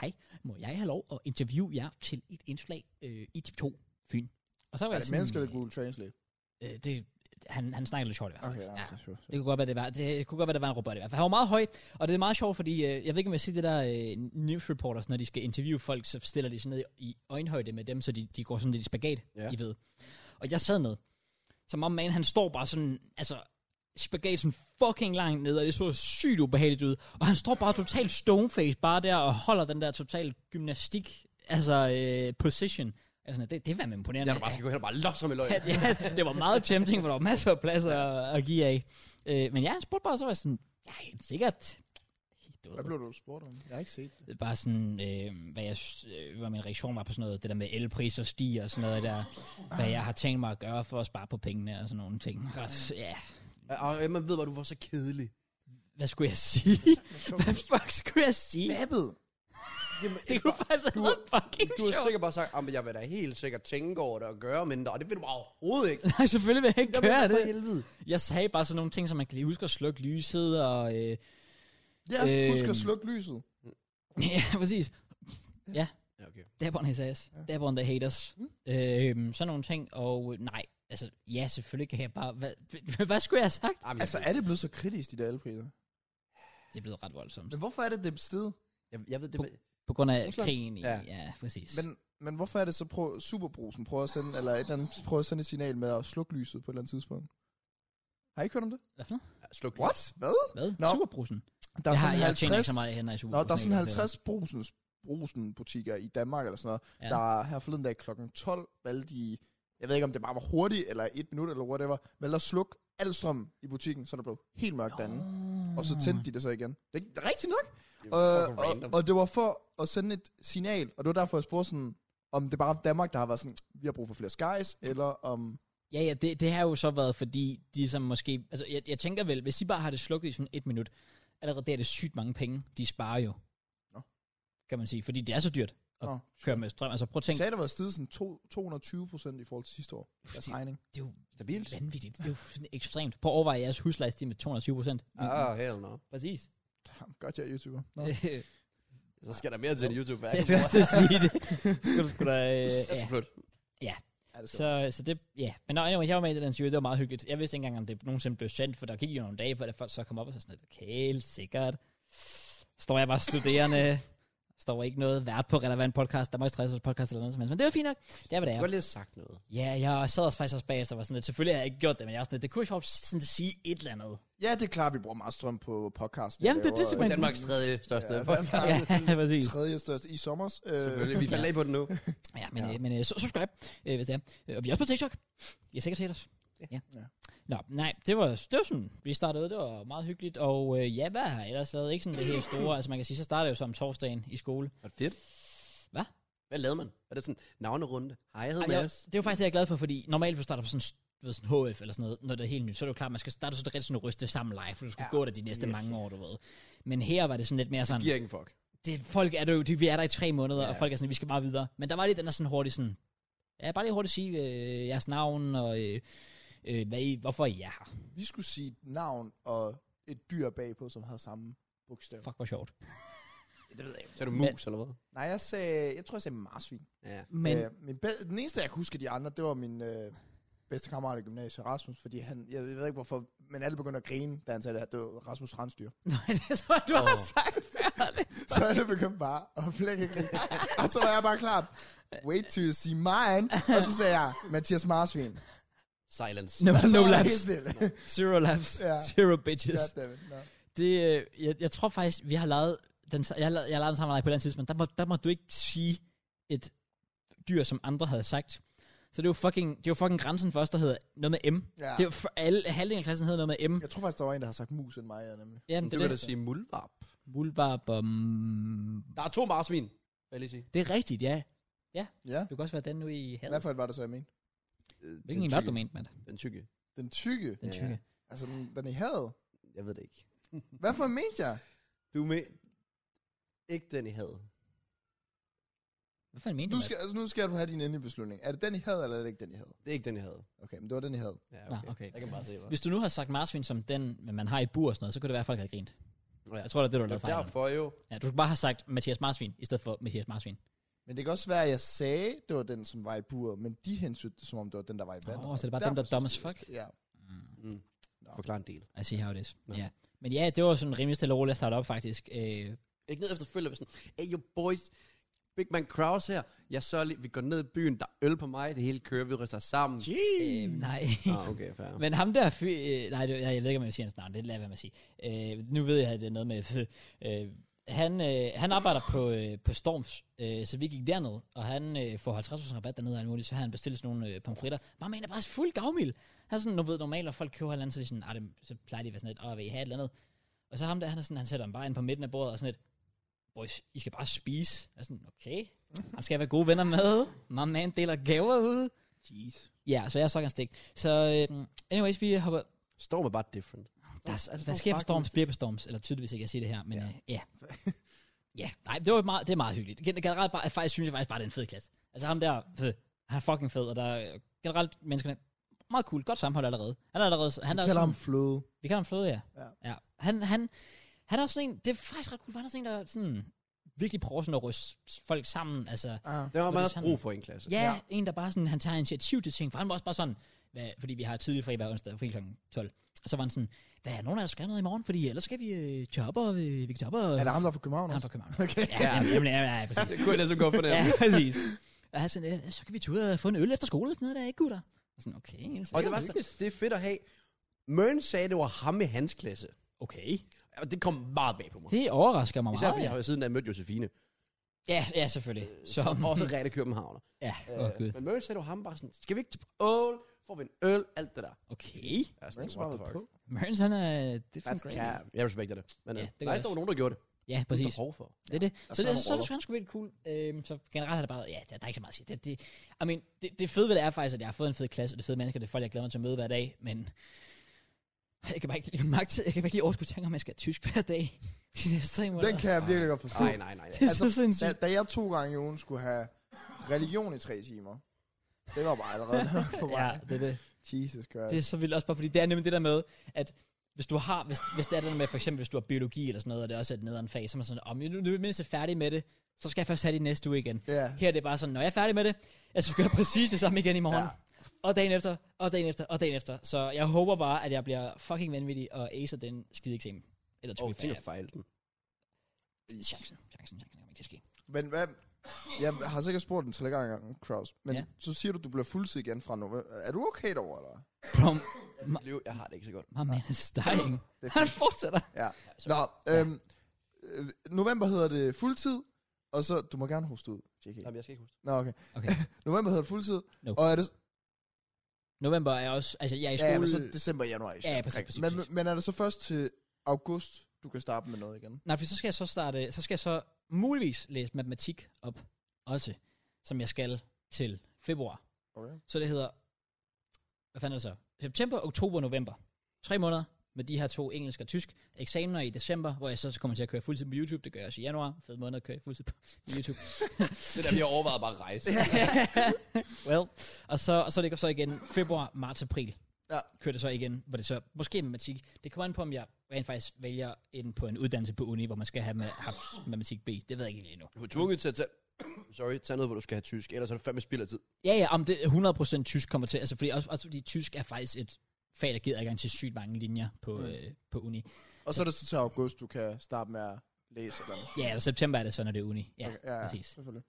Speaker 1: Hej, må jeg have lov at interviewe jer til et indslag øh, i TV2 Fyn? Og så var
Speaker 3: Er
Speaker 1: jeg
Speaker 3: det
Speaker 1: sådan,
Speaker 3: mennesker, der
Speaker 1: øh,
Speaker 3: Google Translate?
Speaker 1: øh, det, han, han snakkede lidt sjovt i hvert fald.
Speaker 3: Okay, ja.
Speaker 1: ja. Det kunne godt være, det var, det kunne godt være, det var en robot i hvert fald. Han var meget høj, og det er meget sjovt, fordi øh, jeg ved ikke, om jeg siger det der øh, news reporters, når de skal interviewe folk, så stiller de sådan ned i øjenhøjde med dem, så de, de går sådan lidt i spagat,
Speaker 2: Ja.
Speaker 1: ja. I ved. Og jeg sad ned, som om man, han står bare sådan, altså spagat sådan fucking langt ned, og det så sygt ubehageligt ud. Og han står bare totalt stoneface, bare der og holder den der total gymnastik, altså øh, position. Altså, det, det var man imponerende.
Speaker 2: Jeg er bare skal gå hen og bare losse med løgn.
Speaker 1: At, ja, det var meget tempting, for der var masser af pladser at, at give af. Øh, men ja, han spurgte bare, så var jeg sådan, ja, helt sikkert. Du
Speaker 3: Hvad
Speaker 1: ved,
Speaker 3: blev du spurgt om? Jeg har ikke set det.
Speaker 1: bare sådan, øh, hvad, jeg, s- øh, hvad min reaktion var på sådan noget, det der med elpriser stiger og sådan noget der. Hvad jeg har tænkt mig at gøre for at spare på pengene og sådan nogle ting. Ret, ja,
Speaker 2: Og man ved bare, du var så kedelig.
Speaker 1: hvad skulle jeg sige? Hvad fuck skulle jeg sige?
Speaker 3: Nabbet.
Speaker 2: Jamen,
Speaker 1: Det kunne faktisk have været fucking
Speaker 2: Du har
Speaker 1: sjovt.
Speaker 2: sikkert bare sagt, at jeg vil da helt sikkert tænke over det og gøre mindre, og det vil du bare overhovedet ikke.
Speaker 1: Nej, selvfølgelig vil jeg ikke
Speaker 2: Jamen, altså,
Speaker 1: gøre
Speaker 2: for
Speaker 1: det.
Speaker 2: helvede.
Speaker 1: Jeg sagde bare sådan nogle ting, som man kan lige huske at slukke lyset og... Øh,
Speaker 3: Ja, husk at
Speaker 1: Øhm.
Speaker 3: slukke lyset.
Speaker 1: ja, præcis.
Speaker 2: Ja, okay.
Speaker 1: Dab on his ass.
Speaker 3: Ja.
Speaker 1: Dab on the haters. Mm. Øhm, sådan nogle ting. Og øh, nej, altså ja, selvfølgelig kan jeg bare... Hvad, hvad skulle jeg have sagt?
Speaker 2: Jamen,
Speaker 3: Altså, er det blevet så kritisk, de der elpriser?
Speaker 1: Det er blevet ret voldsomt.
Speaker 3: Men hvorfor er det det sted?
Speaker 2: jeg, jeg ved det.
Speaker 1: På grund af
Speaker 2: Rusland?
Speaker 1: krigen i...
Speaker 2: Ja.
Speaker 1: Ja, ja præcis.
Speaker 3: Men, men hvorfor er det så prøv, superbrusen prøver at sende, eller et eller andet, prøver at sende et signal med at slukke lyset på et eller andet tidspunkt? Har I ikke hørt om det?
Speaker 1: hvad for noget?
Speaker 2: Sluk
Speaker 3: What? Hvad?
Speaker 1: Hvad?
Speaker 3: Nå.
Speaker 1: No. Superbrusen?
Speaker 3: Der er
Speaker 1: jeg, har,
Speaker 3: sådan
Speaker 1: jeg tjener
Speaker 3: 50,
Speaker 1: ikke så meget hænder i
Speaker 3: Nå,
Speaker 1: Superbrusen.
Speaker 3: der er sådan
Speaker 1: ikke? altså.
Speaker 3: 50 brusens, brusenbutikker i Danmark eller sådan noget.
Speaker 1: Ja.
Speaker 3: Ja. Der her forleden dag klokken 12 valgte de, jeg ved ikke om det bare var hurtigt, eller et minut eller whatever, valgte at slukke al strøm i butikken, så der blev helt mørkt derinde. Og så tændte de det så igen. Det er rigtigt nok. Og,
Speaker 1: Øh,
Speaker 3: Øh, og, og det var for at sende et signal, og det var derfor, jeg spurgte sådan, om det bare er Danmark, der har været sådan, vi har brug for flere skies, eller om...
Speaker 1: Ja, ja, det, det har jo så været, fordi de som måske... Altså, jeg, jeg tænker vel, hvis de bare har det slukket i sådan et minut, allerede der er det sygt mange penge, de sparer jo.
Speaker 3: Nå.
Speaker 1: Kan man sige. Fordi det er så dyrt at
Speaker 3: Nå,
Speaker 1: køre med strøm. Altså, prøv at
Speaker 3: Tænk.
Speaker 1: tænke...
Speaker 3: sagde, der var steget sådan to, 220 procent i forhold til sidste år. Deres
Speaker 1: Det-
Speaker 3: regning.
Speaker 1: Det er jo
Speaker 2: Stabilt.
Speaker 1: Vanvittigt. Det er jo sådan ekstremt. Prøv at overveje jeres husleje stiger med 220 procent.
Speaker 2: Ah, hell no.
Speaker 1: Præcis.
Speaker 3: Damn, Godt, jeg er YouTuber. Nå.
Speaker 1: Jeg
Speaker 2: Så skal der mere til en youtube værk
Speaker 1: skal også til at sige det. Skulle du sgu da... Øh,
Speaker 2: Det er
Speaker 1: ja.
Speaker 2: så flot.
Speaker 3: Ja, det skal
Speaker 1: Så, så det, ja. Men nej, anyway, jeg var med i den interview, det var meget hyggeligt. Jeg vidste ikke engang, om det nogensinde blev sendt, for der gik jo nogle dage, før der folk så kom op og så sådan lidt, okay, helt sikkert. Står jeg bare studerende, står ikke noget vært på relevant podcast, der må ikke stresse podcast eller noget som helst, men det var fint nok. Det er, hvad det
Speaker 2: Jeg
Speaker 1: er.
Speaker 2: kunne godt lige have sagt noget.
Speaker 1: Ja, jeg sad også faktisk også bagefter, og var sådan lidt, selvfølgelig har jeg ikke gjort det, men jeg er sådan lidt, det kunne jeg sjovt sådan at sige et eller andet.
Speaker 3: Ja, det er klart, vi bruger meget strøm på podcasten.
Speaker 1: Jamen, det er det,
Speaker 3: Jeg laver-
Speaker 1: simpelthen.
Speaker 2: Danmarks tredje største
Speaker 3: Ja,
Speaker 2: podcast.
Speaker 3: Danmarks
Speaker 1: Ja, præcis.
Speaker 3: tredje største i sommer. Øh,
Speaker 2: Selvfølgelig, vi falder af på den nu.
Speaker 1: Ja, men,
Speaker 3: Ja.
Speaker 1: ja. Øh, men øh, su- subscribe, øh, hvis det er. Øh, Og vi er også på TikTok. Jeg er sikkert set os. Ja. ja.
Speaker 3: Ja.
Speaker 1: Nå, nej, det var, det var sådan, vi startede ud. Det var meget hyggeligt. Og øh, ja, hvad har jeg ellers lavet? Ikke sådan det helt store. Altså man kan sige, så startede jeg jo så om torsdagen i skole.
Speaker 2: Var det fedt?
Speaker 1: Hvad?
Speaker 2: Hvad lavede man? Var det sådan navnerunde? Hej, jeg hedder
Speaker 1: Ej, jeg,
Speaker 2: Mads.
Speaker 1: det er jo faktisk det, jeg er glad for, fordi normalt, hvis du starter på sådan du ved, sådan HF eller sådan noget, når det er helt nyt, så er det jo klart, man skal starte så det er rigtig sådan at ryste sammen live, for du skal
Speaker 2: Ja,
Speaker 1: ja, gå der de næste
Speaker 2: virkelig.
Speaker 1: mange år, du ved. Men her var det sådan lidt mere sådan,
Speaker 2: Giver ingen fuck.
Speaker 1: det, folk er der jo, de, vi er der i tre måneder,
Speaker 2: Ja.
Speaker 1: ja. og folk er sådan, vi skal bare videre. Men der var lige den der sådan hurtigt sådan, ja, bare lige hurtigt sige øh, jeres navn, og øh, øh, hvad I, hvorfor I er her.
Speaker 3: vi skulle sige et navn og et dyr bagpå, som havde samme bogstav.
Speaker 1: Fuck, hvor sjovt.
Speaker 2: Så er du mus, eller hvad?
Speaker 3: Nej, jeg sagde, jeg tror, jeg sagde marsvin.
Speaker 2: Ja.
Speaker 1: Men,
Speaker 3: Men... Øh, min be- den eneste, jeg kan huske af de andre, det var min øh, bedste kammerat i gymnasiet, Rasmus, fordi han, jeg ved ikke hvorfor, men alle begyndte at grine, da han sagde det her, det var Rasmus Rensdyr.
Speaker 1: nej, det tror jeg, du har
Speaker 2: Åh.
Speaker 1: sagt før. Det.
Speaker 3: Så alle begyndte bare at flække og grine. og så var jeg bare klar, wait till you see mine, og så sagde jeg, Mathias Marsvin.
Speaker 2: Silence.
Speaker 1: No,
Speaker 3: Og så
Speaker 1: no
Speaker 3: var det helt
Speaker 1: laughs.
Speaker 3: stille.
Speaker 1: Zero laughs.
Speaker 3: Ja.
Speaker 1: Zero bitches.
Speaker 3: Goddammit, nå.
Speaker 1: Det, øh, jeg, jeg tror faktisk, vi har lavet den, sa- jeg, har lavet- jeg har lavet en sammenlejr på et eller andet tidspunkt. Der må, der må du ikke sige et dyr, som andre havde sagt. Så det er jo fucking, det er jo fucking grænsen for os, der hedder noget med M.
Speaker 3: Ja.
Speaker 1: Det er jo for alle, halvdelen af klassen hedder noget med M.
Speaker 3: Jeg tror faktisk, der var en, der har sagt mus end mig, ja, nemlig.
Speaker 1: Jamen,
Speaker 2: Du
Speaker 1: det, det,
Speaker 2: kan
Speaker 1: det.
Speaker 2: da sige mulvarp.
Speaker 1: Mulvarp og... mm,
Speaker 2: Der er to marsvin, vil jeg lige sige.
Speaker 1: Det er rigtigt, ja.
Speaker 3: Ja.
Speaker 1: Du kan også være den nu i
Speaker 3: Hvad
Speaker 1: helvede.
Speaker 3: for et var det så, jeg mente?
Speaker 2: Øh,
Speaker 1: Hvilken
Speaker 2: den
Speaker 1: en var det,
Speaker 2: tykke.
Speaker 1: du mente, Matt?
Speaker 2: Den tykke.
Speaker 3: Den tykke.
Speaker 1: Den
Speaker 2: Ja.
Speaker 1: tykke.
Speaker 3: Altså, den, den i havet.
Speaker 2: Jeg ved det ikke.
Speaker 3: Hvad for en mente jeg?
Speaker 2: Du med... Ikke den, I havde.
Speaker 1: Hvad fanden mente du,
Speaker 3: Nu
Speaker 1: Matt?
Speaker 3: skal, altså, nu skal du have din endelige beslutning. Er det den i havet, eller er det ikke den i havet?
Speaker 2: Det er ikke den, I havde.
Speaker 3: Okay, men det var den i havet.
Speaker 2: Ja,
Speaker 1: Nå, okay.
Speaker 2: Jeg kan bare se, hvad.
Speaker 1: Hvis du nu har sagt marsvin som den, man har i bur og sådan noget, så kunne det være, at folk havde grint.
Speaker 2: Ja.
Speaker 1: Jeg tror, det er det, du
Speaker 2: Det
Speaker 1: har lavet
Speaker 2: er
Speaker 1: fejl.
Speaker 2: derfor jo.
Speaker 1: Ja, du skulle bare have sagt Mathias Marsvin, i stedet for Mathias Marsvin.
Speaker 3: Men det kan også være, at jeg sagde, det var den, som var i buret, men de hensynte det, som om det var den, der var i vandet.
Speaker 1: Åh, så det er bare dem, der er
Speaker 3: Derfor
Speaker 1: dumb as
Speaker 3: synes jeg-
Speaker 1: fuck?
Speaker 3: Ja.
Speaker 1: Mm.
Speaker 2: Mm.
Speaker 3: Nå.
Speaker 2: Forklar en del.
Speaker 1: I see how it is.
Speaker 2: Nå.
Speaker 1: Ja. Men ja, det var sådan rimelig stille og roligt at starte op, faktisk. Øh,
Speaker 2: Ikke ned efterfølgende, sådan, hey yo boys, Big Man Kraus her. Jeg sørger lige, vi går ned i byen, der er øl på mig, det hele kører, vi ryster sammen.
Speaker 1: øh, nej.
Speaker 2: Ah, okay, fair.
Speaker 1: Men ham der fyr, øh, nej, det, jeg, jeg ved ikke, om jeg siger hans navn, det lader jeg være med at sige. Øh, nu ved jeg, at det er noget med, øh, han, øh, han arbejder på, øh, på Storms, øh, så vi gik derned, og han øh, får 50% rabat dernede, og alt muligt, så har han bestilt sådan nogle øh, pomfritter. Bare man er bare fuld gavmild. Han er sådan, nu ved normalt, når folk køber et eller andet, så, er de sådan, "Ah, det, så plejer de at være sådan lidt, åh, vil I have et eller andet? Og så ham der, han, er sådan, han sætter dem bare ind på midten af bordet, og sådan lidt, boys, I skal bare spise. Jeg er sådan, okay, han skal være gode venner med, my man deler gaver ud.
Speaker 3: Jeez.
Speaker 1: Ja, så jeg så en stik. Så øh, anyways, vi hopper,
Speaker 2: Storm er bare different.
Speaker 1: der, altså,
Speaker 2: Altså, altså,
Speaker 1: der
Speaker 2: nogle
Speaker 1: sker for
Speaker 2: fucking-
Speaker 1: storms, bliver på storms, eller tydeligvis ikke, jeg siger det her, men ja.
Speaker 2: Ja.
Speaker 1: Øh, ja. ja, nej, det var meget, det er meget hyggeligt. Gen- Generelt bare, faktisk synes jeg faktisk bare, det er en fed klasse. Altså ham der, fed, han er fucking fed, og der er øh, generelt menneskerne, meget cool, godt sammenhold allerede. Han er allerede, han er
Speaker 3: kalder
Speaker 1: sådan,
Speaker 3: ham fløde.
Speaker 1: vi kalder ham fløde, ja.
Speaker 3: Ja.
Speaker 1: ja. Han, han, han er også sådan en, det er faktisk ret cool, for han er sådan en, der sådan, virkelig prøver sådan at ryste folk sammen, altså,
Speaker 3: Ah.
Speaker 1: Hvor
Speaker 2: Der var man
Speaker 1: det
Speaker 2: også
Speaker 1: sådan-
Speaker 2: brug for i en klasse.
Speaker 1: Ja, ja, en der bare sådan, han tager initiativ til ting, for han var også bare sådan, hvad, fordi vi har tidlig fri hver onsdag, fri kl. 12. Og så var han sådan, hvad er nogen af jer, der skal have noget i morgen? Fordi ellers skal vi øh, choppe, og vi, vi kan choppe. Og,
Speaker 3: Er det ham, der er fra København?
Speaker 1: han
Speaker 3: også?
Speaker 1: fra København.
Speaker 3: Okay.
Speaker 1: Ja, jamen, jamen, ja, ja, præcis.
Speaker 2: Det kunne jeg næsten godt fornemme.
Speaker 1: Ja, præcis. Og han sådan, øh, så kan vi ture og få en øl efter skole, og sådan noget der, ikke gutter? Og sådan, okay. Så
Speaker 2: Og det, var, det er fedt at have. Møn sagde, det var ham i hans klasse.
Speaker 1: Okay.
Speaker 2: Og det kom meget bag på mig.
Speaker 1: Det overrasker mig
Speaker 2: Især
Speaker 1: meget.
Speaker 2: fordi jeg Øh,
Speaker 1: Ja,
Speaker 2: har siden da jeg mødte Josefine.
Speaker 1: ja, ja selvfølgelig.
Speaker 2: Som
Speaker 1: Som,
Speaker 2: også rigtig københavner.
Speaker 1: ja, åh oh, gud.
Speaker 2: Øh, men Møn sagde, det var ham bare sådan, skal vi ikke til ål? Får vi en øl? Alt det der.
Speaker 1: Okay.
Speaker 2: Jeg er
Speaker 3: Hvad
Speaker 2: sådan,
Speaker 3: så
Speaker 2: what
Speaker 3: var
Speaker 2: the fuck?
Speaker 3: det på?
Speaker 1: Mørens, han er... Det er
Speaker 2: That's cap. Jeg respekter det. Men
Speaker 1: Ja,
Speaker 2: ja,
Speaker 1: det
Speaker 2: det
Speaker 1: gør
Speaker 2: der
Speaker 1: jeg
Speaker 2: er nogen, der gjorde det.
Speaker 1: Ja, præcis.
Speaker 2: Det er behov for.
Speaker 1: Det er det. Så,
Speaker 3: er
Speaker 1: det, så, er
Speaker 3: roller.
Speaker 1: det sgu- han skulle virkelig cool. Øhm, så generelt har det bare, ja, der, der er ikke så meget at sige. Det, det, I mean, det, det fede ved det er faktisk, at jeg har fået en fed klasse, og det er fede mennesker, det er folk, jeg glæder mig til at møde hver dag, men jeg kan bare ikke lige magt, jeg kan bare ikke lige overskue tanker, om jeg skal have tysk hver dag de næste tre måneder.
Speaker 3: Den kan jeg virkelig godt forstå.
Speaker 2: Nej, nej, nej.
Speaker 1: Det er
Speaker 2: nej.
Speaker 1: altså, så
Speaker 3: Da,
Speaker 1: sindssygt.
Speaker 3: da jeg to gange i ugen skulle have religion i tre timer, det var bare allerede nok for mig.
Speaker 1: Ja, det er det.
Speaker 3: Jesus Christ.
Speaker 1: Det er så vildt også bare, fordi det er nemlig det der med, at hvis du har, hvis, hvis det er det der med, for eksempel hvis du har biologi eller sådan noget, og det også er et nederen fag, så er man sådan, om oh, nu nu er jeg mindst færdig med det, så skal jeg først have det i næste uge igen.
Speaker 3: Ja.
Speaker 1: Her er det bare sådan, når jeg er færdig med det, jeg skal gøre præcis det samme igen i morgen. Ja.
Speaker 3: Ja.
Speaker 1: Og dagen efter, og dagen efter, og dagen efter. Så jeg håber bare, at jeg bliver fucking vanvittig og acer den skide eksamen. Eller
Speaker 2: Åh,
Speaker 1: tvivl.
Speaker 2: det
Speaker 1: Oh,
Speaker 2: er fejl den.
Speaker 1: chancen, chancen, chancen kommer ikke til at ske.
Speaker 3: Men hvad... Jeg har sikkert spurgt den tre gange, Kraus. Men
Speaker 1: Ja.
Speaker 3: ja. så siger du, du bliver fuldtid igen fra nu. Er du okay derovre, eller?
Speaker 1: Bro,
Speaker 2: Jeg har det ikke så godt.
Speaker 1: my man is dying.
Speaker 3: Det er
Speaker 1: Han fortsætter.
Speaker 3: Ja. Nå, øhm, øh, november hedder det fuldtid, og så... Du må gerne hoste ud, JK.
Speaker 2: Jamen, jeg skal ikke huske.
Speaker 3: Nå, okay.
Speaker 1: Okay.
Speaker 3: november hedder det fuldtid,
Speaker 1: No.
Speaker 3: og er det...
Speaker 1: November er også, altså jeg er i
Speaker 3: Ja, ja,
Speaker 1: skole.
Speaker 3: men så december, januar.
Speaker 1: Ja, ja, præcis, præcis,
Speaker 3: men,
Speaker 1: præcis.
Speaker 3: men er det så først til august, du kan starte med noget igen?
Speaker 1: Nej, for så skal jeg så starte, så skal jeg så muligvis læse matematik op også, som jeg skal til februar.
Speaker 3: Okay.
Speaker 1: Så det hedder, hvad fanden er det så? September, oktober, november. Tre måneder med de her to engelsk og tysk. Eksamener i december, hvor jeg så kommer til at køre fuldtid på YouTube. Det gør jeg også i januar. Fed måned at køre fuldtid på YouTube.
Speaker 2: Det der, vi har overvejet bare at rejse.
Speaker 1: well. Og så, og så det går så igen februar, marts, april.
Speaker 3: Ja.
Speaker 1: Kører det så igen, hvor det så måske matematik. Det kommer an på, om jeg rent faktisk vælger ind på en uddannelse på uni, hvor man skal have med, haft matematik B. Det ved jeg ikke lige endnu.
Speaker 2: Du er tvunget til at tage... Sorry, tag noget, hvor du skal have tysk. Ellers er det fandme spild af tid.
Speaker 1: Ja, ja, om det 100% tysk kommer til. Altså, fordi også, også fordi tysk er faktisk et fag, der giver adgang til sygt mange linjer på, mm.
Speaker 3: Mm.
Speaker 1: øh, på uni.
Speaker 3: Og så er det så til august, du kan starte med at læse eller noget.
Speaker 1: Ja, eller september er det så, når det er uni. Ja, okay,
Speaker 3: okay, ja, ja,
Speaker 1: præcis.
Speaker 3: Selvfølgelig.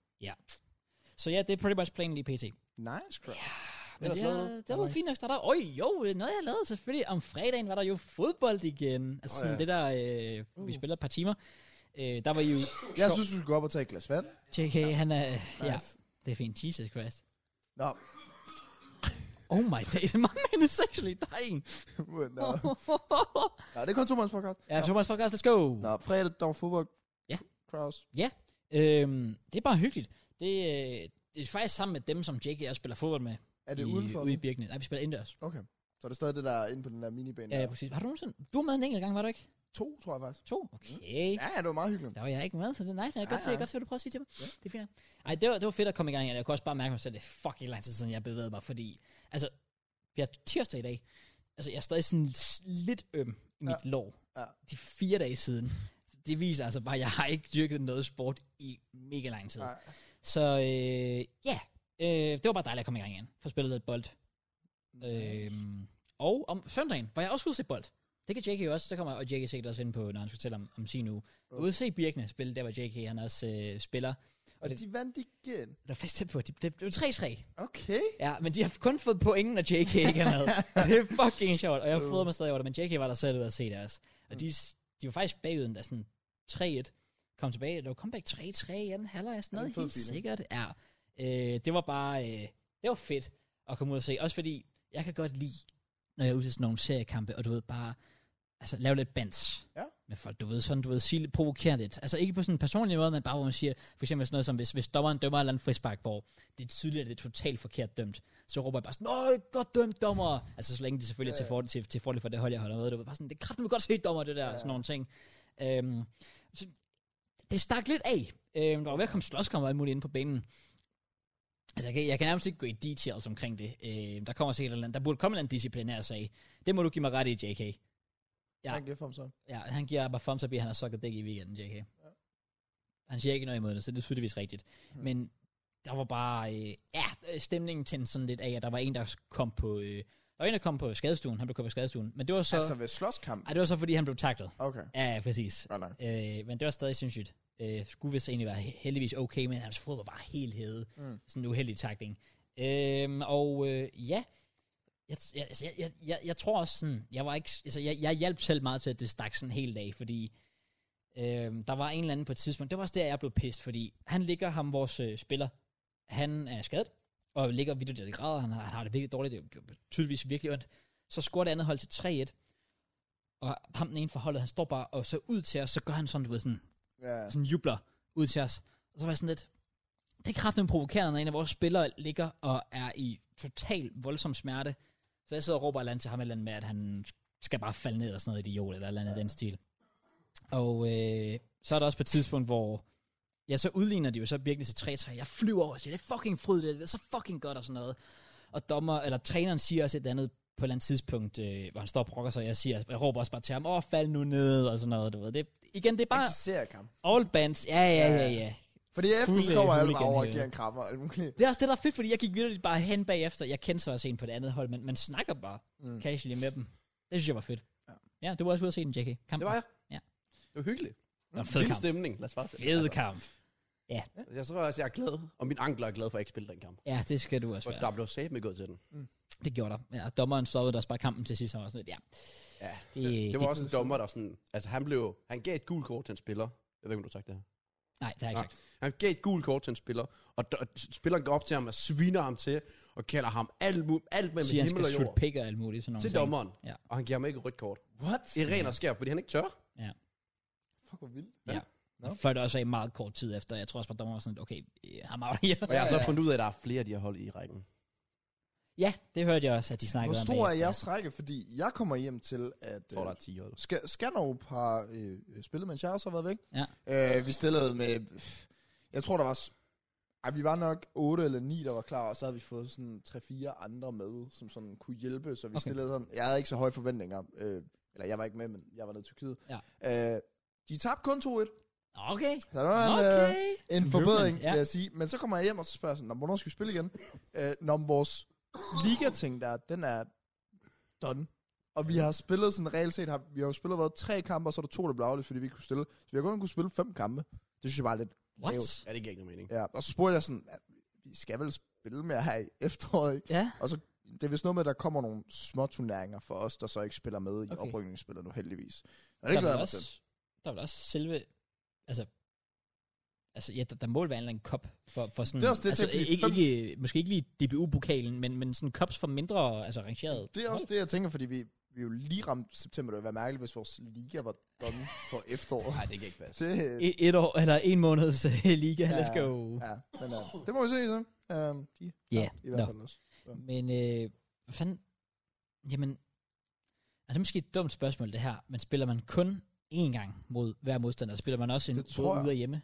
Speaker 1: Så ja, det er pretty much planen lige pt.
Speaker 3: Nice, crap. Yeah.
Speaker 1: Men
Speaker 2: Ellers
Speaker 1: det, er,
Speaker 2: noget?
Speaker 1: det var
Speaker 3: Nice.
Speaker 1: fint nok starte. Øj, jo, øh, noget jeg lavede selvfølgelig. Om fredagen var der jo fodbold igen. Altså
Speaker 3: Åh,
Speaker 1: sådan
Speaker 3: ja.
Speaker 1: det der, øh, vi
Speaker 3: Uh.
Speaker 1: spiller et par timer. Øh, der var I jo...
Speaker 3: Jeg synes, du skal gå op og tage et glas vand.
Speaker 1: JK, han er...
Speaker 3: Nice.
Speaker 1: Ja, det er fint. Jesus Christ.
Speaker 3: Nå,
Speaker 1: Oh my days, my man is actually dying.
Speaker 3: no.
Speaker 1: Uh.
Speaker 3: Nå, det er kun Thomas podcast.
Speaker 1: ja, Thomas Podcast, let's go.
Speaker 3: Nå, fredag, der var fodbold.
Speaker 1: Ja.
Speaker 3: Kraus.
Speaker 1: Øhm, det er bare hyggeligt. Det, øh, det er faktisk sammen med dem, som Jake og jeg spiller fodbold med.
Speaker 3: Er det
Speaker 1: i,
Speaker 3: udenfor?
Speaker 1: Ude i
Speaker 3: nu?
Speaker 1: Birkene. Nej, vi spiller indendørs.
Speaker 3: Okay. Så er det stadig det der inde på den der minibane.
Speaker 1: Ja, ja,
Speaker 3: der.
Speaker 1: præcis. Har du nogensinde... Du var med en enkelt gang, var du ikke?
Speaker 3: To, tror jeg faktisk.
Speaker 1: To? Okay.
Speaker 3: Ja, ja, det var meget hyggeligt.
Speaker 1: Der var jeg ikke med, så det er nice. Jeg kan godt
Speaker 3: Ja,
Speaker 1: se, jeg
Speaker 3: ja.
Speaker 1: kan godt se, hvad du prøver at sige til mig. Ja. Det er fint. Ej, det var, det var fedt at komme i gang igen. Jeg kunne også bare mærke mig selv, det er fucking lang tid siden, jeg bevægede mig, fordi... Altså, vi har tirsdag i dag. Altså, jeg er stadig sådan lidt øm i mit ja. lår.
Speaker 3: Ja.
Speaker 1: De fire dage siden. Det viser altså bare, at jeg har ikke dyrket noget sport i mega lang tid.
Speaker 3: Nej.
Speaker 1: Så øh, ja, øh, det var bare dejligt at komme i gang igen. For spillet lidt bold. Øh, og om søndagen, hvor jeg også skulle se bold. Det kan JK jo også, der kommer, og JK sikkert også ind på, når han skal fortælle om, om sin uge. Okay.
Speaker 3: Okay.
Speaker 1: Ude at se Birkene spille, der var JK, han også øh, spiller.
Speaker 3: Og de vandt igen.
Speaker 1: Der er faktisk tæt på, det de, de, de var 3-3.
Speaker 3: Okay.
Speaker 1: Ja, men de har kun fået pointen, når JK ikke er med. Og det er fucking sjovt, og jeg
Speaker 3: Øh.
Speaker 1: fodrer mig stadig over det, men JK var der selv ude at se det også. Og de, de var faktisk bagud, der sådan 3-1 kom tilbage. Der var comeback 3-3 i anden halvleg, og sådan
Speaker 3: Ja,
Speaker 1: noget,
Speaker 3: det er en fed
Speaker 1: helt
Speaker 3: feeling.
Speaker 1: sikkert. Ja, øh, det var bare, øh, det var fedt at komme ud og se. Også fordi, jeg kan godt lide, når jeg er ude til sådan nogle seriekampe, og du ved bare, altså lave lidt bands
Speaker 3: Ja.
Speaker 1: med folk, du ved, sådan, du ved, sige, lidt- provokere lidt. Altså ikke på sådan en personlig måde, men bare hvor man siger, for eksempel sådan noget som, hvis, hvis dommeren dømmer et eller andet frispark, hvor det er tydeligt, at det er totalt forkert dømt, så råber jeg bare sådan, nej, godt dømt, dommer. Altså så længe de selvfølgelig
Speaker 3: Ja,
Speaker 1: er til
Speaker 3: ja.
Speaker 1: fordel, til, til fordel for det hold, jeg holder med, det var bare sådan, det er kraftigt, godt set, dommer, det der,
Speaker 3: Ja,
Speaker 1: ja.
Speaker 3: ja.
Speaker 1: sådan nogle ting. Øhm, så det stak lidt af. Øhm, der var ved at komme slåskammer og alt muligt inde på banen. Altså, jeg kan, jeg kan nærmest ikke gå i details omkring det. Øhm, der kommer sikkert et eller andet, der burde komme en eller anden disciplinær sag. Det må du give mig ret i, JK. Ja.
Speaker 3: Ja. Han giver for ham så.
Speaker 1: Ja, han giver bare thumbs up i, at han har sukket dæk i weekenden, JK. Ja. Han siger ikke noget imod det, så det er tydeligvis rigtigt.
Speaker 3: Hmm.
Speaker 1: Men der var bare, øh, ja, stemningen tændte sådan lidt af, at der var en, der kom på, øh, der var en, der kom på skadestuen, han blev kommet på skadestuen, men det var så,
Speaker 3: så. Altså
Speaker 1: altså,
Speaker 3: ved slåskamp.
Speaker 1: ej, det var så, fordi han blev taklet.
Speaker 3: Okay.
Speaker 1: Ja, ja, præcis.
Speaker 3: Godt nok.
Speaker 1: Øh, men det var stadig sindssygt. Øh, skulle vist egentlig være he- heldigvis okay, men hans fod var bare helt hede. Mm.
Speaker 3: Mm.
Speaker 1: Sådan en uheldig takling. Øh, og øh, ja, jeg, jeg, altså, jeg, jeg, jeg, jeg tror også sådan, jeg var ikke, altså jeg, jeg hjalp selv meget til, at det stak sådan en hel dag, fordi øh, der var en eller anden på et tidspunkt, det var også der, jeg blev pissed, fordi han ligger ham, vores øh, spiller, han er skadet, og ligger vidt der i grader, han har, han har det virkelig dårligt, det er tydeligvis virkelig ondt. Så scorer det andet hold til 3-1, og ham den ene fra holdet, han står bare og så ud til os, så gør han sådan, du ved, sådan,
Speaker 3: Ja.
Speaker 1: sådan jubler ud til os. Og så var jeg sådan lidt, det er kraften provokerende, når en af vores spillere ligger og er i total voldsom smerte. Så jeg sidder og råber et eller andet til ham et eller andet med, at han skal bare falde ned og sådan noget idiot, eller et eller andet ja. den stil. Og øh, så er der også på et tidspunkt, hvor ja, så udligner de jo så virkelig til 3-3. Jeg flyver over og siger, det er fucking frydeligt, det er så fucking godt og sådan noget. Og dommer, eller træneren siger også et eller andet på et eller andet tidspunkt, øh, hvor han står og brokker sig, og jeg, siger, jeg råber også bare til ham, åh, fald nu ned, og sådan noget, du ved. Det, igen, det er bare...
Speaker 3: Ikke seriekamp.
Speaker 1: All bands, ja, ja, ja, ja.
Speaker 3: Fordi efter så
Speaker 1: Fulde
Speaker 3: kommer alle bare
Speaker 1: hooligan
Speaker 3: over og
Speaker 1: her.
Speaker 3: giver en krammer og alt muligt.
Speaker 1: Det er også det, der er fedt, fordi jeg gik virkelig bare hen bagefter. Jeg kendte så også en på det andet hold, men man snakker bare mm.
Speaker 3: Mm.
Speaker 1: casually med dem. Det synes jeg var fedt. Ja, du var også ude at se den, Jackie. Kampen.
Speaker 2: Det var jeg.
Speaker 1: Ja.
Speaker 2: Det var hyggeligt.
Speaker 1: Det var en fed
Speaker 2: Vild
Speaker 1: kamp.
Speaker 2: stemning, lad os bare sige.
Speaker 1: Fed kamp.
Speaker 2: Altså, jeg tror også, jeg er glad, og min ankler er glad for, at jeg ikke spillede den kamp.
Speaker 1: Ja, det skal du også
Speaker 2: For
Speaker 1: være.
Speaker 2: der blev sæt med gået til den.
Speaker 1: Det gjorde der. Ja, og dommeren stoppede også bare kampen til sidst. Han var sådan lidt, ja.
Speaker 2: Ja,
Speaker 1: det,
Speaker 2: Det var også en dommer, der sådan... Altså, han blev... Han gav et gult kort til en spiller. Jeg ved ikke, om du har sagt det her.
Speaker 1: Nej, det har jeg ikke sagt.
Speaker 2: Han gav et gult kort til en spiller, og, d- og spilleren går op til ham og sviner ham til, og kalder ham alt, mu- alt mellem
Speaker 1: Siger, han
Speaker 2: himmel
Speaker 1: skal
Speaker 2: og
Speaker 1: shoot
Speaker 2: jord
Speaker 1: pick og alt muligt. Sådan nogle
Speaker 2: til
Speaker 1: ting.
Speaker 2: dommeren.
Speaker 1: Ja.
Speaker 2: Og han giver ham ikke et rødt kort.
Speaker 3: What?
Speaker 2: Det er ren og skær, fordi han ikke tør.
Speaker 3: Fuck, hvor vildt.
Speaker 1: Og Før det også af meget kort tid efter. Jeg tror også, at dommeren var sådan lidt, okay, øh, ham out here.
Speaker 2: Og jeg har så
Speaker 3: Ja, ja.
Speaker 2: fundet ud af, at der er flere af de her hold i rækken.
Speaker 1: Ja, det hørte jeg også, at de snakkede
Speaker 3: Hvor
Speaker 1: om
Speaker 3: stor er
Speaker 1: bagefter.
Speaker 3: jeres række? Fordi jeg kommer hjem til, at...
Speaker 2: Jeg tror,
Speaker 3: øh,
Speaker 2: der er 10 hold.
Speaker 3: Ska- Skanderup har øh, spillet, mens jeg også har været væk.
Speaker 1: Ja.
Speaker 3: Øh, vi stillede med, jeg tror der var, s- ej, vi var nok 8 eller 9, der var klar, og så havde vi fået sådan 3-4 andre med, som sådan kunne hjælpe, så vi
Speaker 1: Okay.
Speaker 3: okay. stillede sådan, jeg havde ikke så høje forventninger, øh, eller jeg var ikke med, men jeg var nede i Tyrkiet. Ja. Øh, de tabte kun 2-1, så
Speaker 1: Okay.
Speaker 3: der var en, øh,
Speaker 1: Okay.
Speaker 3: en forbedring,
Speaker 1: ja.
Speaker 3: ja. vil jeg sige. Men så kommer jeg hjem, og så spørger jeg sådan, "Nå, hvornår skal vi spille igen? øh, når vores ligating der, den er done. Og vi har spillet sådan reelt set, har, vi har jo spillet været tre kampe, og så er der to, der blev aflyst, fordi vi ikke kunne stille. Så vi har kun kunne spille fem kampe. Det synes jeg bare er lidt...
Speaker 1: What?
Speaker 3: lavt.
Speaker 2: Ja, det giver ikke nogen mening.
Speaker 3: Ja. Og så spurgte jeg sådan, "Ja, vi skal vel spille mere her i efteråret, ikke?
Speaker 1: Ja.
Speaker 3: Det er vist noget med, at der kommer nogle små turneringer for os, der så ikke spiller med i
Speaker 1: Okay.
Speaker 3: okay. oprykningsspillet nu heldigvis. Og
Speaker 1: Der
Speaker 3: det
Speaker 1: er
Speaker 3: glæder
Speaker 1: vel
Speaker 3: jeg mig
Speaker 1: også,
Speaker 3: til.
Speaker 1: Der er vel også selve, altså, altså ja, der, der må vel være en eller anden kop for, for sådan,
Speaker 3: Det er også det,
Speaker 1: altså,
Speaker 3: til, fordi
Speaker 1: ikke,
Speaker 3: fem-
Speaker 1: ikke, måske ikke lige DBU-pokalen, men, men sådan kops for mindre, altså rangeret.
Speaker 3: Det er også det, jeg tænker, fordi vi, vi er jo lige ramt september. Det ville være mærkeligt, hvis vores liga var done for efteråret.
Speaker 2: Nej, det kan ikke passe.
Speaker 3: Det,
Speaker 1: Et, et år, eller en måneds øh, liga, ja, let's go.
Speaker 3: Ja, men, uh, det må vi se så. Um, de
Speaker 1: Ja,
Speaker 3: har i hvert
Speaker 1: nå.
Speaker 3: fald også.
Speaker 1: Men øh, hvad fanden... Jamen... Er det måske et dumt spørgsmål, det her? Men spiller man kun én gang mod hver modstander? Spiller man også en
Speaker 3: Det tror
Speaker 1: ude
Speaker 3: jeg.
Speaker 1: og hjemme?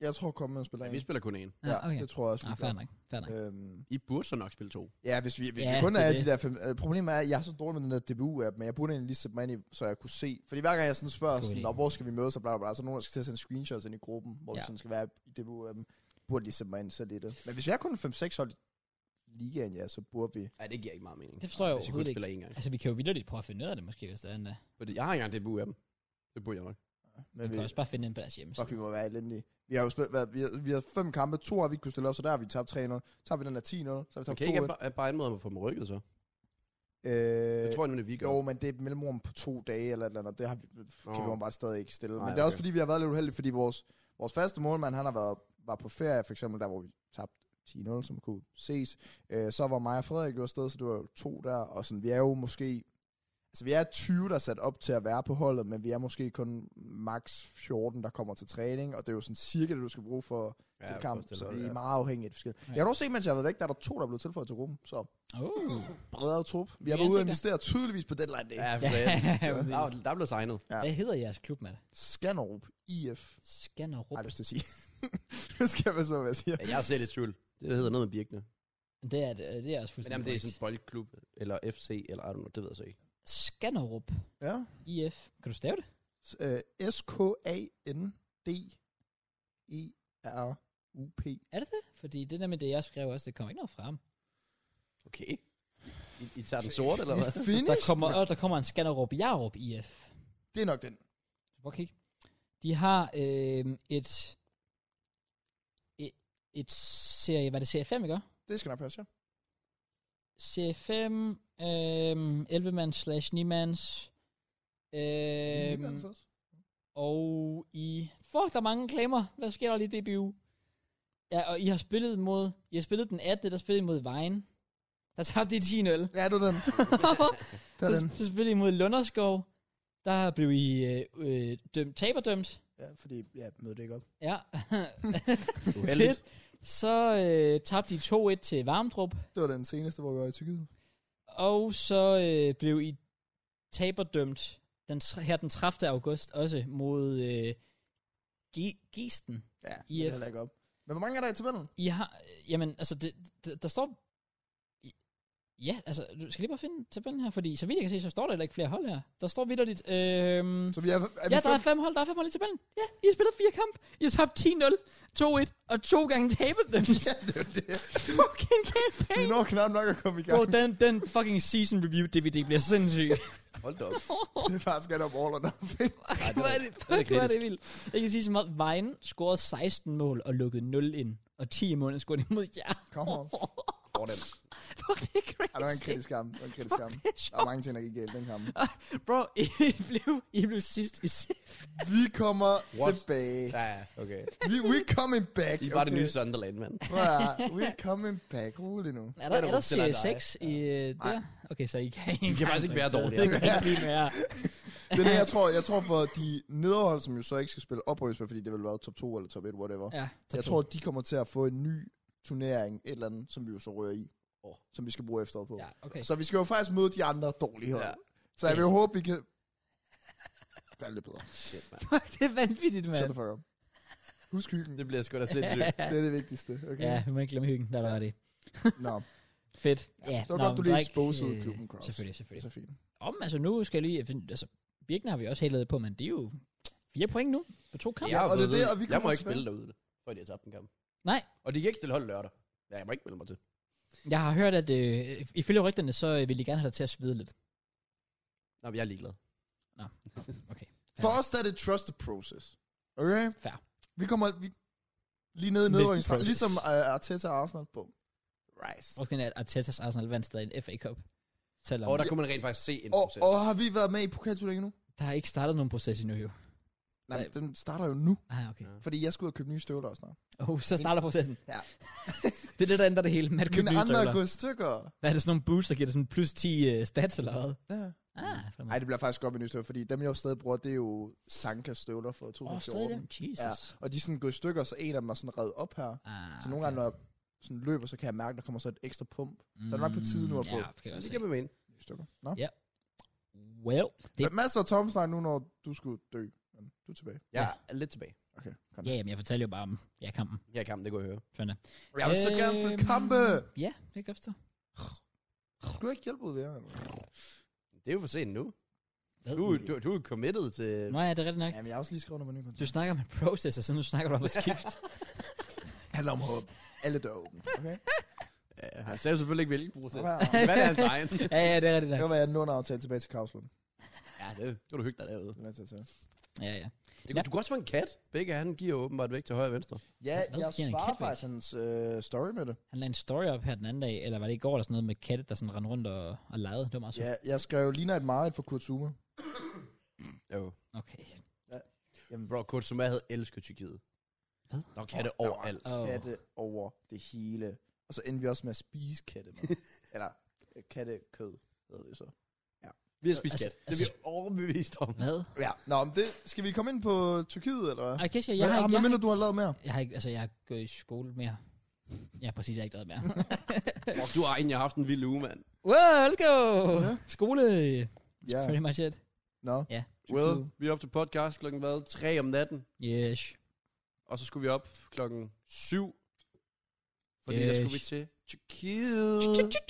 Speaker 3: Jeg tror, Common spiller
Speaker 2: Ja,
Speaker 3: en.
Speaker 2: vi spiller kun en.
Speaker 1: Ah,
Speaker 3: ja,
Speaker 1: okay.
Speaker 3: det tror jeg også. vi
Speaker 1: Ah,
Speaker 3: gør.
Speaker 1: fair nok. Fair nok.
Speaker 3: Øhm,
Speaker 2: I burde så nok spille to.
Speaker 3: ja, hvis vi, hvis
Speaker 1: Ja,
Speaker 3: vi kun
Speaker 1: det
Speaker 3: er,
Speaker 1: er
Speaker 3: er
Speaker 1: det.
Speaker 3: de der fem... Øh, problemet er, at jeg er så dårlig med den der DBU-app, men jeg burde egentlig lige sætte mig ind i, så jeg kunne se. Fordi hver gang jeg sådan spørger,
Speaker 1: God idé.
Speaker 3: sådan, "Nå, hvor skal vi mødes, og bla, bla, bla, så er nogen, der skal til at sende screenshots ind i gruppen, hvor ja.
Speaker 1: Ja.
Speaker 3: vi sådan skal være i DBU-appen, burde lige sætte mig ind, så er det det. Men hvis vi er kun 5-6 hold i ligaen, ja, så burde vi...
Speaker 2: Ja, det giver ikke meget mening.
Speaker 1: Det forstår jeg
Speaker 2: Hvis I kun
Speaker 1: overhovedet
Speaker 2: spiller
Speaker 1: ikke.
Speaker 2: en gang.
Speaker 1: Altså, vi kan jo vildt prøve at finde ud af det måske, hvis der er en... øh,
Speaker 2: Fordi jeg har ikke engang DBU af dem. Det burde jeg nok.
Speaker 1: Man
Speaker 3: Men vi,
Speaker 1: kan også bare finde den på deres hjemmeside.
Speaker 3: fuck, vi må være elendige. Vi har jo spillet, været, vi, har, vi har fem kampe, to har vi ikke kunne stille op, så der har vi tabt 3-0. Så har vi den der 10-0, så har vi
Speaker 2: Man
Speaker 3: tabt
Speaker 2: kan ikke
Speaker 3: 2-1.
Speaker 2: bare- bare anmode om at få dem rykket så.
Speaker 3: Øh,
Speaker 2: Det tror jeg nemlig, vi gør.
Speaker 3: Jo, men det er et mellemrum på to dage eller et eller andet, og det har vi, kan vi jo bare stadig ikke stille.
Speaker 2: Nej,
Speaker 3: Nej, men det er også
Speaker 2: okay.
Speaker 3: fordi, vi har været lidt uheldige, fordi vores, vores faste målmand, han har været, var på ferie, for eksempel der, hvor vi tabte 10-0, som kunne ses. Øh, så var mig og Frederik jo afsted, så det var jo to der, og sådan, vi er jo måske... Altså, vi er 20, der er sat op til at være på holdet, men vi er måske kun max 14, der kommer til træning, og det er jo sådan cirka det, du skal bruge for ja,
Speaker 2: jeg
Speaker 3: til kamp,
Speaker 2: forestiller
Speaker 3: så
Speaker 2: mig
Speaker 3: vi er
Speaker 2: det,
Speaker 3: meget afhængige af forskellige.
Speaker 1: Ja.
Speaker 3: Jeg kan også se, mens jeg har været væk, der er der to, der er blevet tilføjet til gruppen, så
Speaker 1: Oh.
Speaker 3: bredere trup. Vi har
Speaker 1: Ja,
Speaker 3: været ude og
Speaker 1: sikkert.
Speaker 3: investere tydeligvis på deadline day.
Speaker 2: Ja,
Speaker 1: Ja,
Speaker 2: for ja.
Speaker 1: præcis.
Speaker 2: Der, er- der er blevet signet.
Speaker 3: Ja.
Speaker 1: Hvad hedder jeres klub, Matt?
Speaker 3: Skanderup IF.
Speaker 1: Skanderup.
Speaker 3: Nej, det skal jeg sige. det skal jeg passe på, hvad jeg siger.
Speaker 2: Ja, jeg er selv i tvivl. Det hedder noget med Birkene.
Speaker 1: Det er, det det er også
Speaker 2: Men
Speaker 1: fuldstændig
Speaker 2: jamen, det er sådan
Speaker 1: korrekt.
Speaker 2: en boldklub, eller FC, eller I don't know, det ved jeg så ikke.
Speaker 1: Skanderup.
Speaker 3: Ja.
Speaker 1: IF. Kan du stave det?
Speaker 3: S- øh, S-K-A-N-D-E-R-U-P. E,
Speaker 1: Er det det? Fordi det der med det, jeg skrev også, det kommer ikke noget frem.
Speaker 2: Okay. I, I tager den sorte, eller hvad?
Speaker 3: Finish?
Speaker 1: Der kommer, øh, der kommer en Skanderup Jarup IF.
Speaker 3: Det er nok den.
Speaker 1: Okay. De har øh, et, et, et serie, var det serie 5, ikke?
Speaker 3: Det skal nok passe, ja.
Speaker 1: Serie 5, øh, 11 mands slash 9 mands. Øh,
Speaker 3: Øhm, også.
Speaker 1: Og I... Fuck, der er mange klamer. Hvad sker der lige i DBU? Ja, og I har spillet mod... I har spillet den 18. der spillede I mod Vejen. Der tabte I 10-0.
Speaker 3: Ja, det er den. Det er den.
Speaker 1: så, så spillede I mod Lunderskov. Der blev I øh, øh, dømt, taberdømt.
Speaker 3: Ja, fordi jeg ja, mødte ikke op.
Speaker 1: Ja.
Speaker 2: Uheldigt.
Speaker 1: så øh, tabte I 2-1 til Varmdrup.
Speaker 3: Det var den seneste, hvor vi var i Tyrkiet.
Speaker 1: Og så øh, blev I taberdømt den, tre- her den 30. august også mod øh, G- Gesten.
Speaker 3: Ja,
Speaker 1: IF.
Speaker 3: mødte heller ikke op. Men hvor mange er der i tabellen?
Speaker 1: I har, øh, jamen, altså, det, det, der står, I- ja, altså, du skal lige bare finde tabellen her, fordi så vidt jeg kan se, så står der heller ikke flere hold her. Der står vidderligt, øh,
Speaker 3: Så vi er, er vi
Speaker 1: ja, der er
Speaker 3: fem?
Speaker 1: fem hold, der er fem hold i tabellen. Ja, I har spillet fire kamp, I har tabt 10-0, 2-1, og to gange tabet dem.
Speaker 3: Ja, det er jo det.
Speaker 1: fucking
Speaker 3: Vi
Speaker 1: campaign.
Speaker 3: når knap nok at komme i gang.
Speaker 1: Bro, den, den fucking season review DVD bliver sindssyg.
Speaker 2: Hold da op.
Speaker 3: Det er faktisk alt op all or nothing.
Speaker 1: Fuck,
Speaker 2: det
Speaker 1: hvor
Speaker 2: var-
Speaker 1: er det, fuck, hvor er det
Speaker 2: kritisk.
Speaker 1: vildt. Jeg kan sige så meget, Vejen scorede 16 mål og lukkede 0 ind, og 10 mål scorede imod jer.
Speaker 3: Kom on.
Speaker 2: Fordem.
Speaker 1: Fuck, det er crazy.
Speaker 3: Ja, det var en kritisk kamp. Det var en kritisk kamp.
Speaker 1: Det er
Speaker 3: Der er mange ting, der gik galt i den kamp.
Speaker 1: Bro, I blev, I blev sidst i CF.
Speaker 3: Vi kommer
Speaker 2: What?
Speaker 3: tilbage.
Speaker 2: Ja, ja, okay.
Speaker 3: We, we coming back.
Speaker 2: I var det nye Sunderland, mand.
Speaker 3: Prøv at høre, we coming back. Rolig nu.
Speaker 1: Er der, er der
Speaker 2: Stiller
Speaker 1: serie
Speaker 2: dig.
Speaker 1: 6 i øh,
Speaker 3: Nej.
Speaker 1: der? Okay, så I kan ikke
Speaker 2: kan faktisk ikke være dårligere.
Speaker 1: Det kan ikke blive mere.
Speaker 3: Det er det, jeg tror, jeg tror for de nederhold, som jo så ikke skal spille oprykningsspil, fordi det vil være top 2 eller top 1, whatever.
Speaker 1: Ja,
Speaker 3: jeg tror, de kommer til at få en ny turnering, et eller andet, som vi jo så rører i,
Speaker 2: Åh.
Speaker 3: som vi skal bruge efteråret på.
Speaker 1: Ja, okay.
Speaker 3: Så vi skal jo faktisk møde de andre dårlige hold.
Speaker 2: Ja.
Speaker 3: Så jeg vil jo håbe, vi kan gøre det lidt bedre.
Speaker 2: Shit, mand.
Speaker 1: Fuck, det er vanvittigt,
Speaker 3: Shut
Speaker 1: mand.
Speaker 3: the fuck up. Husk hyggen.
Speaker 2: Det bliver sgu da sindssygt.
Speaker 3: Det er det vigtigste, okay?
Speaker 1: Ja, vi må ikke glemme hyggen, der var det.
Speaker 3: Nå,
Speaker 1: Fedt. Ja,
Speaker 3: det var
Speaker 1: nå,
Speaker 3: godt, du
Speaker 1: men
Speaker 3: lige
Speaker 1: der er ikke,
Speaker 3: exposede
Speaker 1: øh,
Speaker 3: klubben, Kraus.
Speaker 1: Selvfølgelig,
Speaker 3: det er
Speaker 1: selvfølgelig.
Speaker 3: så fint.
Speaker 1: Om, altså nu skal jeg lige... jeg finder- Altså, Birken har vi også hældet på, men det er jo fire point nu på to kampe.
Speaker 2: Jeg, har
Speaker 3: og det er
Speaker 2: fået at
Speaker 3: det,
Speaker 2: vide,
Speaker 3: og vi
Speaker 2: jeg må
Speaker 3: kommer
Speaker 2: ikke
Speaker 3: tilbage.
Speaker 2: spille derude, for de har tabt en kamp.
Speaker 1: Nej.
Speaker 2: Og de kan ikke stille hold lørdag. Ja, jeg må ikke melde mig til.
Speaker 1: Jeg har hørt, at øh, ifølge rygterne, så øh, vil de gerne have dig til at svide lidt.
Speaker 2: Nå, men jeg er ligeglad.
Speaker 3: For
Speaker 1: Ja.
Speaker 3: os der er det trust the process. Okay?
Speaker 1: Fair.
Speaker 3: Vi kommer vi, lige ned i
Speaker 1: Hvilken
Speaker 3: nedrykningsstrand,
Speaker 1: process?
Speaker 3: ligesom uh, Arteta og Arsenal. Bum.
Speaker 2: Rice.
Speaker 1: Og at Arteta's Arsenal vandt stadig en FA Cup. Selvom
Speaker 2: Og
Speaker 1: der,
Speaker 2: der kunne man rent faktisk se en
Speaker 3: Og,
Speaker 2: proces.
Speaker 3: og har vi været med i pokalturneringen nu?
Speaker 1: der har ikke startet nogen proces endnu, jo.
Speaker 3: Nej,
Speaker 1: Nej.
Speaker 3: men den starter jo nu.
Speaker 1: Ah, okay.
Speaker 3: Fordi jeg skulle ud og købe nye støvler og sådan noget.
Speaker 1: Oh, så starter processen.
Speaker 3: Ja.
Speaker 1: det er det, der ændrer det hele. Matt købte
Speaker 3: Mine
Speaker 1: nye
Speaker 3: andre er
Speaker 1: støvler.
Speaker 3: gået i stykker.
Speaker 1: Hvad er det sådan nogle boots, der giver dig sådan plus 10 uh, stats eller hvad?
Speaker 3: Ja.
Speaker 1: Ah,
Speaker 3: Ej, det bliver faktisk godt med nye støvler, fordi dem jeg jo stadig bruger, det er jo Sankas støvler fra
Speaker 1: Åh, stadig dem.
Speaker 3: 2014.
Speaker 1: Jesus. Ja.
Speaker 3: og de er sådan gået i stykker, så en af dem er sådan reddet op her.
Speaker 1: Ah,
Speaker 3: Så nogle gange, når jeg sådan løber, så kan jeg mærke, at der kommer så et ekstra pump. Så er det nok på tide nu at få
Speaker 1: Mm, Ja, kan jeg
Speaker 2: Det
Speaker 1: også
Speaker 2: kan
Speaker 1: se.
Speaker 2: man mene.
Speaker 3: i stykker. Nå?
Speaker 1: Ja. Well, det,
Speaker 3: Det... Masser af tomsnak nu, når du skulle dø. Men du er tilbage.
Speaker 2: Jeg er lidt tilbage.
Speaker 3: Okay, kom
Speaker 1: ja, men jeg fortæller jo bare om ja, kampen.
Speaker 2: Her kampen, det kunne jeg høre.
Speaker 1: Sådan der.
Speaker 3: Jeg vil så gerne spille
Speaker 1: Øhm,
Speaker 3: kampe!
Speaker 1: Ja, det kan jeg forstå.
Speaker 3: Du har ikke hjælp ud ved jer, eller?
Speaker 2: Det er jo for sent nu.
Speaker 1: Hvad?
Speaker 2: Du, du, du er committed til...
Speaker 1: Nå ja, det er rigtigt nok.
Speaker 3: Jamen, jeg har også lige skrevet under på en ny kontrakt.
Speaker 1: Du snakker om en proces, og så nu snakker du om at skifte.
Speaker 3: Det handler om håb. Alle døre åbne, okay?
Speaker 2: Ja, han sagde selvfølgelig ikke, hvilken proces.
Speaker 3: Hvad er-
Speaker 2: Hvad er hans egen?
Speaker 1: ja, ja, det er rigtigt
Speaker 3: Det
Speaker 1: nok.
Speaker 3: var, hvad jeg nåede en aftale tilbage til Kavslund.
Speaker 2: ja, det, det kunne du hygge dig derude.
Speaker 3: Det er nødt til at tage.
Speaker 1: Ja, ja.
Speaker 2: Det, kunne- Du kunne også få en kat. Begge af han giver åbenbart væk til højre og venstre.
Speaker 3: Ja,
Speaker 1: Hvad?
Speaker 3: jeg
Speaker 1: Giver han en
Speaker 3: svarede
Speaker 1: kat væk?
Speaker 3: faktisk hans øh, story med det.
Speaker 1: Han lagde en story op her den anden dag, eller var det i går eller sådan noget med katte, der sådan rendte rundt og, og legede. Det var meget sødt.
Speaker 3: Ja, jeg skrev ligner et meget for Kurt Zuma.
Speaker 2: Jo.
Speaker 1: Okay.
Speaker 3: Jamen, bro.
Speaker 2: Bro, Kurt Suma havde elsket Tyrkiet.
Speaker 1: Hvad?
Speaker 2: Der var katte overalt.
Speaker 1: Åh.
Speaker 3: Katte over det hele. Og så endte vi også med at spise katte. Eller øh, kattekød, hedder det så.
Speaker 2: Vi har spist
Speaker 1: Altså-
Speaker 2: kat. Det er vi overbevist om.
Speaker 1: Hvad?
Speaker 3: Ja, nå, men det, skal vi komme ind på Tyrkiet, eller hvad? ah,
Speaker 1: Okay, jeg, jeg,
Speaker 3: Jeg
Speaker 1: har
Speaker 3: har,
Speaker 1: ikke, jeg, har
Speaker 3: mindre,
Speaker 1: ikke,
Speaker 3: du har lavet mere.
Speaker 1: jeg har ikke, altså jeg har gået i skole mere. Ja, præcis, jeg har ikke lavet mere.
Speaker 2: Fuck, du har egentlig haft en vild uge, mand.
Speaker 1: wow, let's go!
Speaker 3: Ja.
Speaker 1: Skole,
Speaker 3: Ja,
Speaker 1: pretty much it.
Speaker 3: nå.
Speaker 1: Ja.
Speaker 2: Well,
Speaker 3: Tyrkiet.
Speaker 2: vi er op til podcast klokken hvad? 3 om natten.
Speaker 1: Yes.
Speaker 2: Og så skulle vi op klokken 7. Fordi yes. der
Speaker 1: Yes.
Speaker 2: skulle vi til Tyrkiet.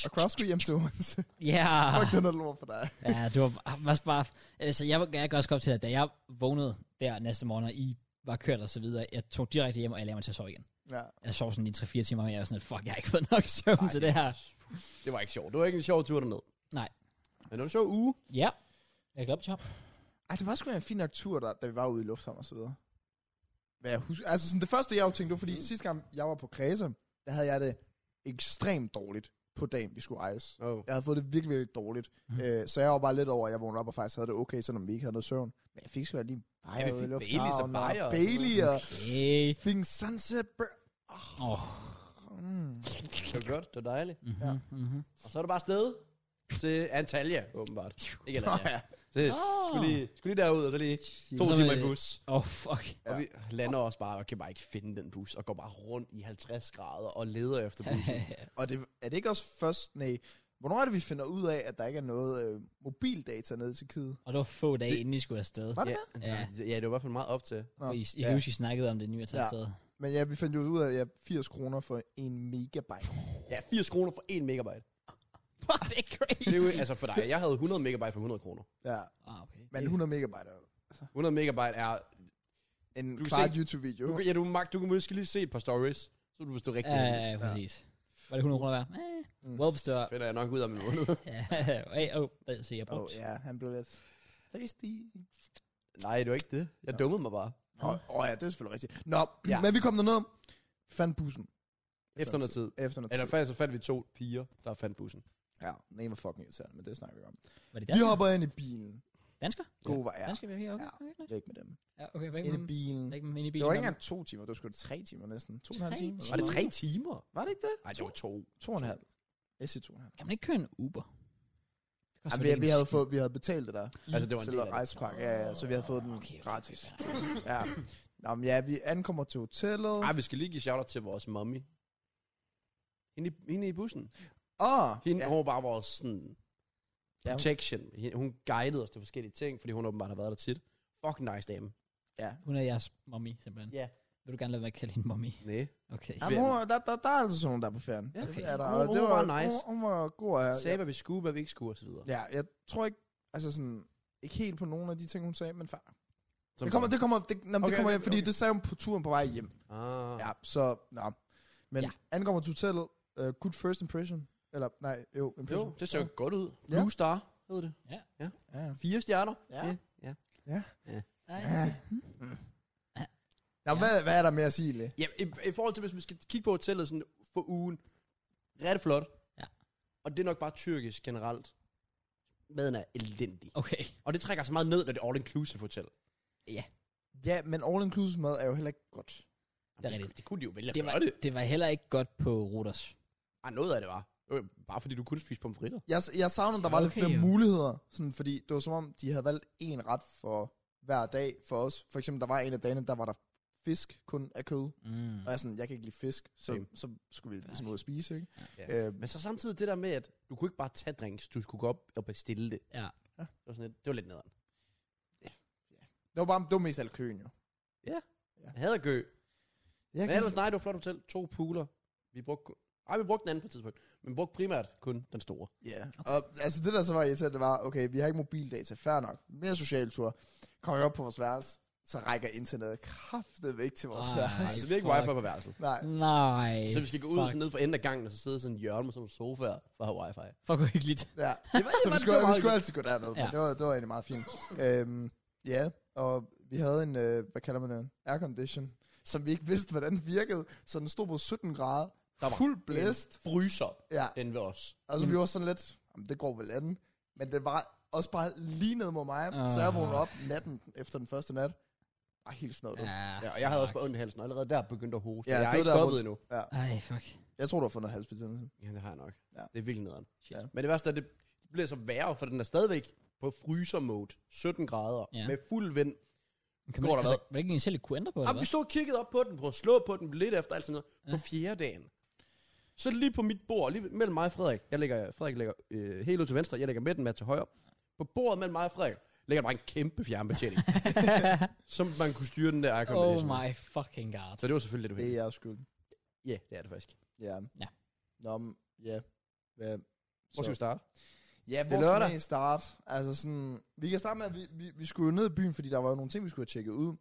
Speaker 3: Og Kraus skulle hjem til Odense.
Speaker 1: Ja.
Speaker 3: Fuck, den er lort for dig.
Speaker 1: Ja, det var også bare... Altså, jeg, jeg kan også godt til, at da jeg vågnede der næste morgen, og I var kørt og så videre, jeg tog direkte hjem, og jeg lagde mig til at sove igen.
Speaker 3: Ja.
Speaker 1: Jeg sov sådan i 3-4 timer, og jeg var sådan, lidt, fuck, jeg har ikke fået nok søvn
Speaker 2: Nej,
Speaker 1: til
Speaker 2: det
Speaker 1: det her.
Speaker 2: Det var ikke sjovt. Det var ikke en sjov tur derned.
Speaker 1: Nej.
Speaker 2: Men det var en sjov uge.
Speaker 1: Ja. Jeg er glad på job.
Speaker 3: Ej, det var sgu da en fin nok tur, der, da vi var ude i lufthavnen og så videre. Hvad jeg husker. Altså, sådan, det første, jeg jo tænkte, det var, fordi mm. sidste gang, jeg var på Kreta, der havde jeg det ekstremt dårligt på dagen, vi skulle rejse.
Speaker 2: Oh.
Speaker 3: Jeg havde fået det virkelig, virkelig dårligt.
Speaker 1: Mhm.
Speaker 3: Mm. Øh, så jeg var bare lidt over, at jeg vågnede op og faktisk havde det okay, selvom vi ikke havde noget søvn. Men jeg fik sgu da lige bajer
Speaker 2: Ja, vi
Speaker 3: ude i
Speaker 2: fik
Speaker 3: lufthavnen.
Speaker 2: Baileys og bajere
Speaker 3: og
Speaker 2: og
Speaker 3: Bailey og
Speaker 1: Okay.
Speaker 3: fik en sunset bur-
Speaker 1: Åh. Oh.
Speaker 3: mm.
Speaker 2: Det var godt. Det var dejligt.
Speaker 1: Mm-hmm,
Speaker 3: Ja.
Speaker 1: Mm-hmm.
Speaker 2: Og så er det bare sted til Antalya, åbenbart. Ikke
Speaker 3: Nå,
Speaker 2: Antalya.
Speaker 3: ja.
Speaker 2: Det
Speaker 1: Åh.
Speaker 2: skulle lige, skulle lige derud, og så lige to
Speaker 1: Så
Speaker 2: timer
Speaker 1: var
Speaker 2: i
Speaker 1: det-
Speaker 2: bus.
Speaker 1: Oh, fuck.
Speaker 2: Ja. Og
Speaker 3: Ja.
Speaker 2: vi lander også bare, og kan bare ikke finde den bus, og går bare rundt i 50 grader og leder efter bussen.
Speaker 3: Og det, er det ikke også først, nej, hvornår er det, vi finder ud af, at der ikke er noget øh, mobildata nede til Kide?
Speaker 1: og det var få dage,
Speaker 2: Det-
Speaker 1: inden I skulle afsted.
Speaker 3: Var det
Speaker 2: ja,
Speaker 3: der?
Speaker 1: Ja.
Speaker 2: det? Ja, det var i hvert fald meget op til.
Speaker 1: Og I, I
Speaker 2: Ja.
Speaker 1: ja. husker, I snakkede om det nye at tage
Speaker 3: Ja.
Speaker 1: afsted.
Speaker 3: Men ja, vi fandt jo ud af, at ja, 80 kroner for en megabyte.
Speaker 2: Ja, 80 kroner for 1 megabyte.
Speaker 1: Fuck, det er crazy.
Speaker 2: Det er jo, altså for dig, jeg havde 100 megabyte for 100 kroner.
Speaker 3: Ja,
Speaker 1: Ah, okay.
Speaker 3: men 100 megabyte er jo
Speaker 2: 100 megabyte er...
Speaker 3: en
Speaker 2: Du kan
Speaker 3: kvart
Speaker 2: se-
Speaker 3: YouTube-video.
Speaker 2: Du, kan- ja, du, mag, du kan måske lige se et par stories, så du forstår rigtigt.
Speaker 1: Ja, ja, præcis. Var det 100 kroner værd? Eh,
Speaker 3: Mm.
Speaker 1: well består.
Speaker 2: Finder jeg nok ud af min måned.
Speaker 1: Ja, hey, oh, hvad siger jeg
Speaker 3: Åh,
Speaker 1: brugt?
Speaker 3: oh, ja, han blev lidt thirsty.
Speaker 2: Nej, det var ikke det. Jeg dummede mig bare.
Speaker 3: Åh oh, ja, det er selvfølgelig rigtigt. Nå,
Speaker 2: Ja.
Speaker 3: ja. men vi kom derned. Vi fandt bussen.
Speaker 2: Efter noget tid.
Speaker 3: Efter noget
Speaker 2: Eller
Speaker 3: tid.
Speaker 2: faktisk så fandt vi to piger, der fandt bussen.
Speaker 3: Ja, den ene var fucking irriterende, men det snakker vi ikke om.
Speaker 1: Var det
Speaker 3: Vi
Speaker 1: dansker?
Speaker 3: hopper ind i bilen.
Speaker 1: Dansker?
Speaker 3: God vej, ja.
Speaker 1: Dansker, vi er okay.
Speaker 3: Ja.
Speaker 1: okay, nice.
Speaker 3: Væk med dem.
Speaker 1: Ja, okay, væk med
Speaker 3: Ind i
Speaker 1: dem.
Speaker 3: bilen.
Speaker 1: Væk med dem ind i
Speaker 3: Det
Speaker 1: bilen.
Speaker 3: var ikke engang to timer, det var sgu da tre timer næsten. To og en halv
Speaker 1: Tre
Speaker 3: time.
Speaker 2: Var det
Speaker 1: timer?
Speaker 2: tre timer?
Speaker 3: Var det ikke det?
Speaker 2: Nej, det var to.
Speaker 3: To og en halv. Jeg siger to og en halv.
Speaker 1: Kan man ikke køre en Uber? Det koster
Speaker 3: Ja,
Speaker 1: vel
Speaker 3: vi,
Speaker 1: ikke
Speaker 3: vi,
Speaker 1: en
Speaker 3: havde
Speaker 1: skid.
Speaker 3: fået, vi havde betalt det der.
Speaker 2: Altså, det var en del af
Speaker 3: Selve
Speaker 2: det.
Speaker 3: rejsepakken, ja, ja, så vi havde fået den
Speaker 1: Okay, okay,
Speaker 3: gratis.
Speaker 1: okay,
Speaker 3: Ja. Nå, men ja, vi ankommer til hotellet.
Speaker 2: Ej, vi skal lige give shout-out til vores mommy. Hende, i- hende i bussen.
Speaker 3: Åh!
Speaker 2: Hende, ja.
Speaker 3: ja,
Speaker 2: hun var bare vores sådan,
Speaker 3: Ja, hun-
Speaker 2: protection. Hende- Hun guidede os til forskellige ting, fordi hun åbenbart har været der tit. Fuck nice dame.
Speaker 3: ja.
Speaker 1: Hun er jeres mommy, simpelthen.
Speaker 2: Ja.
Speaker 1: Vil du gerne lade være at kalde hende mommy?
Speaker 2: Nej.
Speaker 1: Okay.
Speaker 3: Jamen, hun, der, der, der er altså sådan nogen, der er på ferien.
Speaker 2: Ja,
Speaker 1: okay.
Speaker 3: Er der,
Speaker 2: Hun-
Speaker 3: og
Speaker 2: hun
Speaker 3: det
Speaker 2: var nice.
Speaker 3: Hun, hun var god at
Speaker 2: Sagde,
Speaker 3: have.
Speaker 2: hvad vi skulle, hvad vi ikke skulle, osv.
Speaker 3: Ja, jeg tror ikke, altså sådan, ikke helt på nogen af de ting, hun sagde, men far. Det kommer, det kommer, det, nå, men
Speaker 2: Okay,
Speaker 3: det kommer
Speaker 2: okay,
Speaker 3: hjem, fordi
Speaker 2: okay.
Speaker 3: det sagde hun på turen på vej hjem.
Speaker 2: Ah.
Speaker 3: Ja, så, nå. Men
Speaker 1: Ja.
Speaker 3: ankommer til hotellet, uh, good first impression. Eller, nej, jo,
Speaker 2: Jo,
Speaker 3: impression.
Speaker 2: det ser jo godt ud.
Speaker 3: Ja.
Speaker 2: Blue Star hed det.
Speaker 3: Ja.
Speaker 2: Fire stjerner.
Speaker 3: Ja.
Speaker 2: ja.
Speaker 1: Nej.
Speaker 3: Nå,
Speaker 1: Ja.
Speaker 3: hvad, hvad er der mere at sige, Le?
Speaker 2: ja i, I forhold til, hvis vi skal kigge på hotellet sådan for ugen. Ret flot.
Speaker 1: Ja.
Speaker 2: Og det er nok bare tyrkisk generelt. Maden er elendig.
Speaker 1: Okay.
Speaker 2: Og det trækker så meget ned, når det er all-inclusive hotel.
Speaker 3: Ja, men all-inclusive mad er jo heller ikke godt.
Speaker 1: Det er rigtigt.
Speaker 2: Det kunne de jo vælge at
Speaker 1: Det var,
Speaker 2: gøre det.
Speaker 1: det var heller ikke godt på Ruters.
Speaker 2: Ej, noget af det var. Det var bare fordi du kunne spise pomfritter.
Speaker 3: Jeg, jeg savner, der
Speaker 1: Så
Speaker 3: var lidt
Speaker 1: okay,
Speaker 3: flere
Speaker 1: jo.
Speaker 3: muligheder, sådan, fordi det var som om, de havde valgt en ret for hver dag for os. For eksempel, der var en af dagene, der var der fisk kun er kød.
Speaker 1: Mm.
Speaker 3: Og jeg er sådan, jeg kan ikke lide fisk, så,
Speaker 2: Same.
Speaker 3: så skulle vi ligesom
Speaker 1: Fuck.
Speaker 3: ud og spise, ikke?
Speaker 2: Ja.
Speaker 3: Øh,
Speaker 2: Men så samtidig det der med, at du kunne ikke bare tage drinks, du skulle gå op og bestille det.
Speaker 1: Ja.
Speaker 2: Det var, sådan lidt, det var lidt nederen.
Speaker 3: det var bare, det var mest alt køen jo.
Speaker 2: Jeg havde kø.
Speaker 3: Jeg
Speaker 2: Men ellers nej, det var et flot hotel. To pooler. Vi brugte kun- ej, vi brugte den anden på et tidspunkt. Men brugte primært kun den store.
Speaker 3: Ja, og altså det der så var irriterende, det var, okay, vi har ikke mobildata, fair nok. Mere social tur. Kommer jeg op på vores værelse, så rækker internettet kraftet væk til vores
Speaker 1: Ej.
Speaker 3: Ej.
Speaker 2: Ej,
Speaker 3: Mm. værelse.
Speaker 2: så vi har ikke
Speaker 1: fuck.
Speaker 2: wifi på værelset.
Speaker 3: Nej,
Speaker 1: Nej.
Speaker 2: Så vi skal gå ud
Speaker 1: fuck.
Speaker 2: sådan ned for enden af gangen, og så sidde i sådan en hjørne med sådan nogle sofaer for at have wifi.
Speaker 1: Fuck, hvor hyggeligt.
Speaker 3: ja. Det var, så
Speaker 2: var-
Speaker 3: vi
Speaker 2: det
Speaker 3: skulle,
Speaker 2: var
Speaker 3: vi
Speaker 2: meget
Speaker 3: skulle altid gå derned.
Speaker 1: Ja.
Speaker 3: Ja. Det, var, det var egentlig meget fint. øhm, ja, og vi havde en, øh, hvad kalder man det, aircondition, som vi ikke vidste, hvordan virkede. Så den stod på 17 grader,
Speaker 2: Der var
Speaker 3: fuld blæst.
Speaker 2: Fryser
Speaker 3: Ja,
Speaker 2: den ved os.
Speaker 3: altså vi var sådan lidt, jamen, det går vel anden. Men det var også bare lige ned mod mig, uh. så jeg
Speaker 1: Ah.
Speaker 3: vågnede op natten efter den første nat. Bare helt snart
Speaker 2: Ja, og jeg havde også
Speaker 1: Ah, fuck.
Speaker 2: bare ondt i halsen, og allerede der begyndte at hoste.
Speaker 3: Ja,
Speaker 2: Ja, jeg
Speaker 3: det
Speaker 2: er
Speaker 3: var
Speaker 2: ikke
Speaker 3: der,
Speaker 2: stoppet
Speaker 3: hvor-
Speaker 2: endnu.
Speaker 3: Ja.
Speaker 1: Ej, fuck.
Speaker 3: Jeg tror, du har fået noget halsbetændelse.
Speaker 2: Ja, det har jeg nok.
Speaker 3: Ja.
Speaker 2: Det er virkelig nederen.
Speaker 3: Shit.
Speaker 2: Men det værste er, at det bliver så værre, for den er stadigvæk på fryser-mode. 17 grader,
Speaker 1: Ja.
Speaker 2: ja. med fuld vind.
Speaker 1: Kan man,
Speaker 2: Går der
Speaker 1: altså, var det ikke en selv kunne ændre på, eller
Speaker 2: Og vi
Speaker 1: hvad?
Speaker 2: stod og kiggede op på den, prøvede at slå på den lidt efter alt sådan noget. På
Speaker 1: Ja.
Speaker 2: fjerde dagen. Så lige på mit bord, lige mellem mig og Frederik. Jeg ligger, Frederik ligger øh, helt ud til venstre, jeg ligger midten med til højre. På bordet mellem mig og Frederik ligger der bare en kæmpe fjernbetjening, som man kunne styre den der air
Speaker 1: oh
Speaker 2: condition med. ligesom.
Speaker 1: my fucking god.
Speaker 2: Så det var selvfølgelig det
Speaker 3: Det er
Speaker 2: vigtige.
Speaker 3: jeres skyld.
Speaker 2: Ja, det er det faktisk.
Speaker 3: Ja.
Speaker 1: Ja.
Speaker 3: Nå, men, ja. Hvad?
Speaker 2: Hvor skal
Speaker 3: så-
Speaker 2: vi starte?
Speaker 3: Ja,
Speaker 2: er
Speaker 3: hvor skal
Speaker 2: lørdag.
Speaker 3: man egentlig starte? Altså sådan, vi kan starte med, at vi, vi, vi skulle jo ned i byen, fordi der var jo nogle ting, vi skulle have tjekket ud. Blandt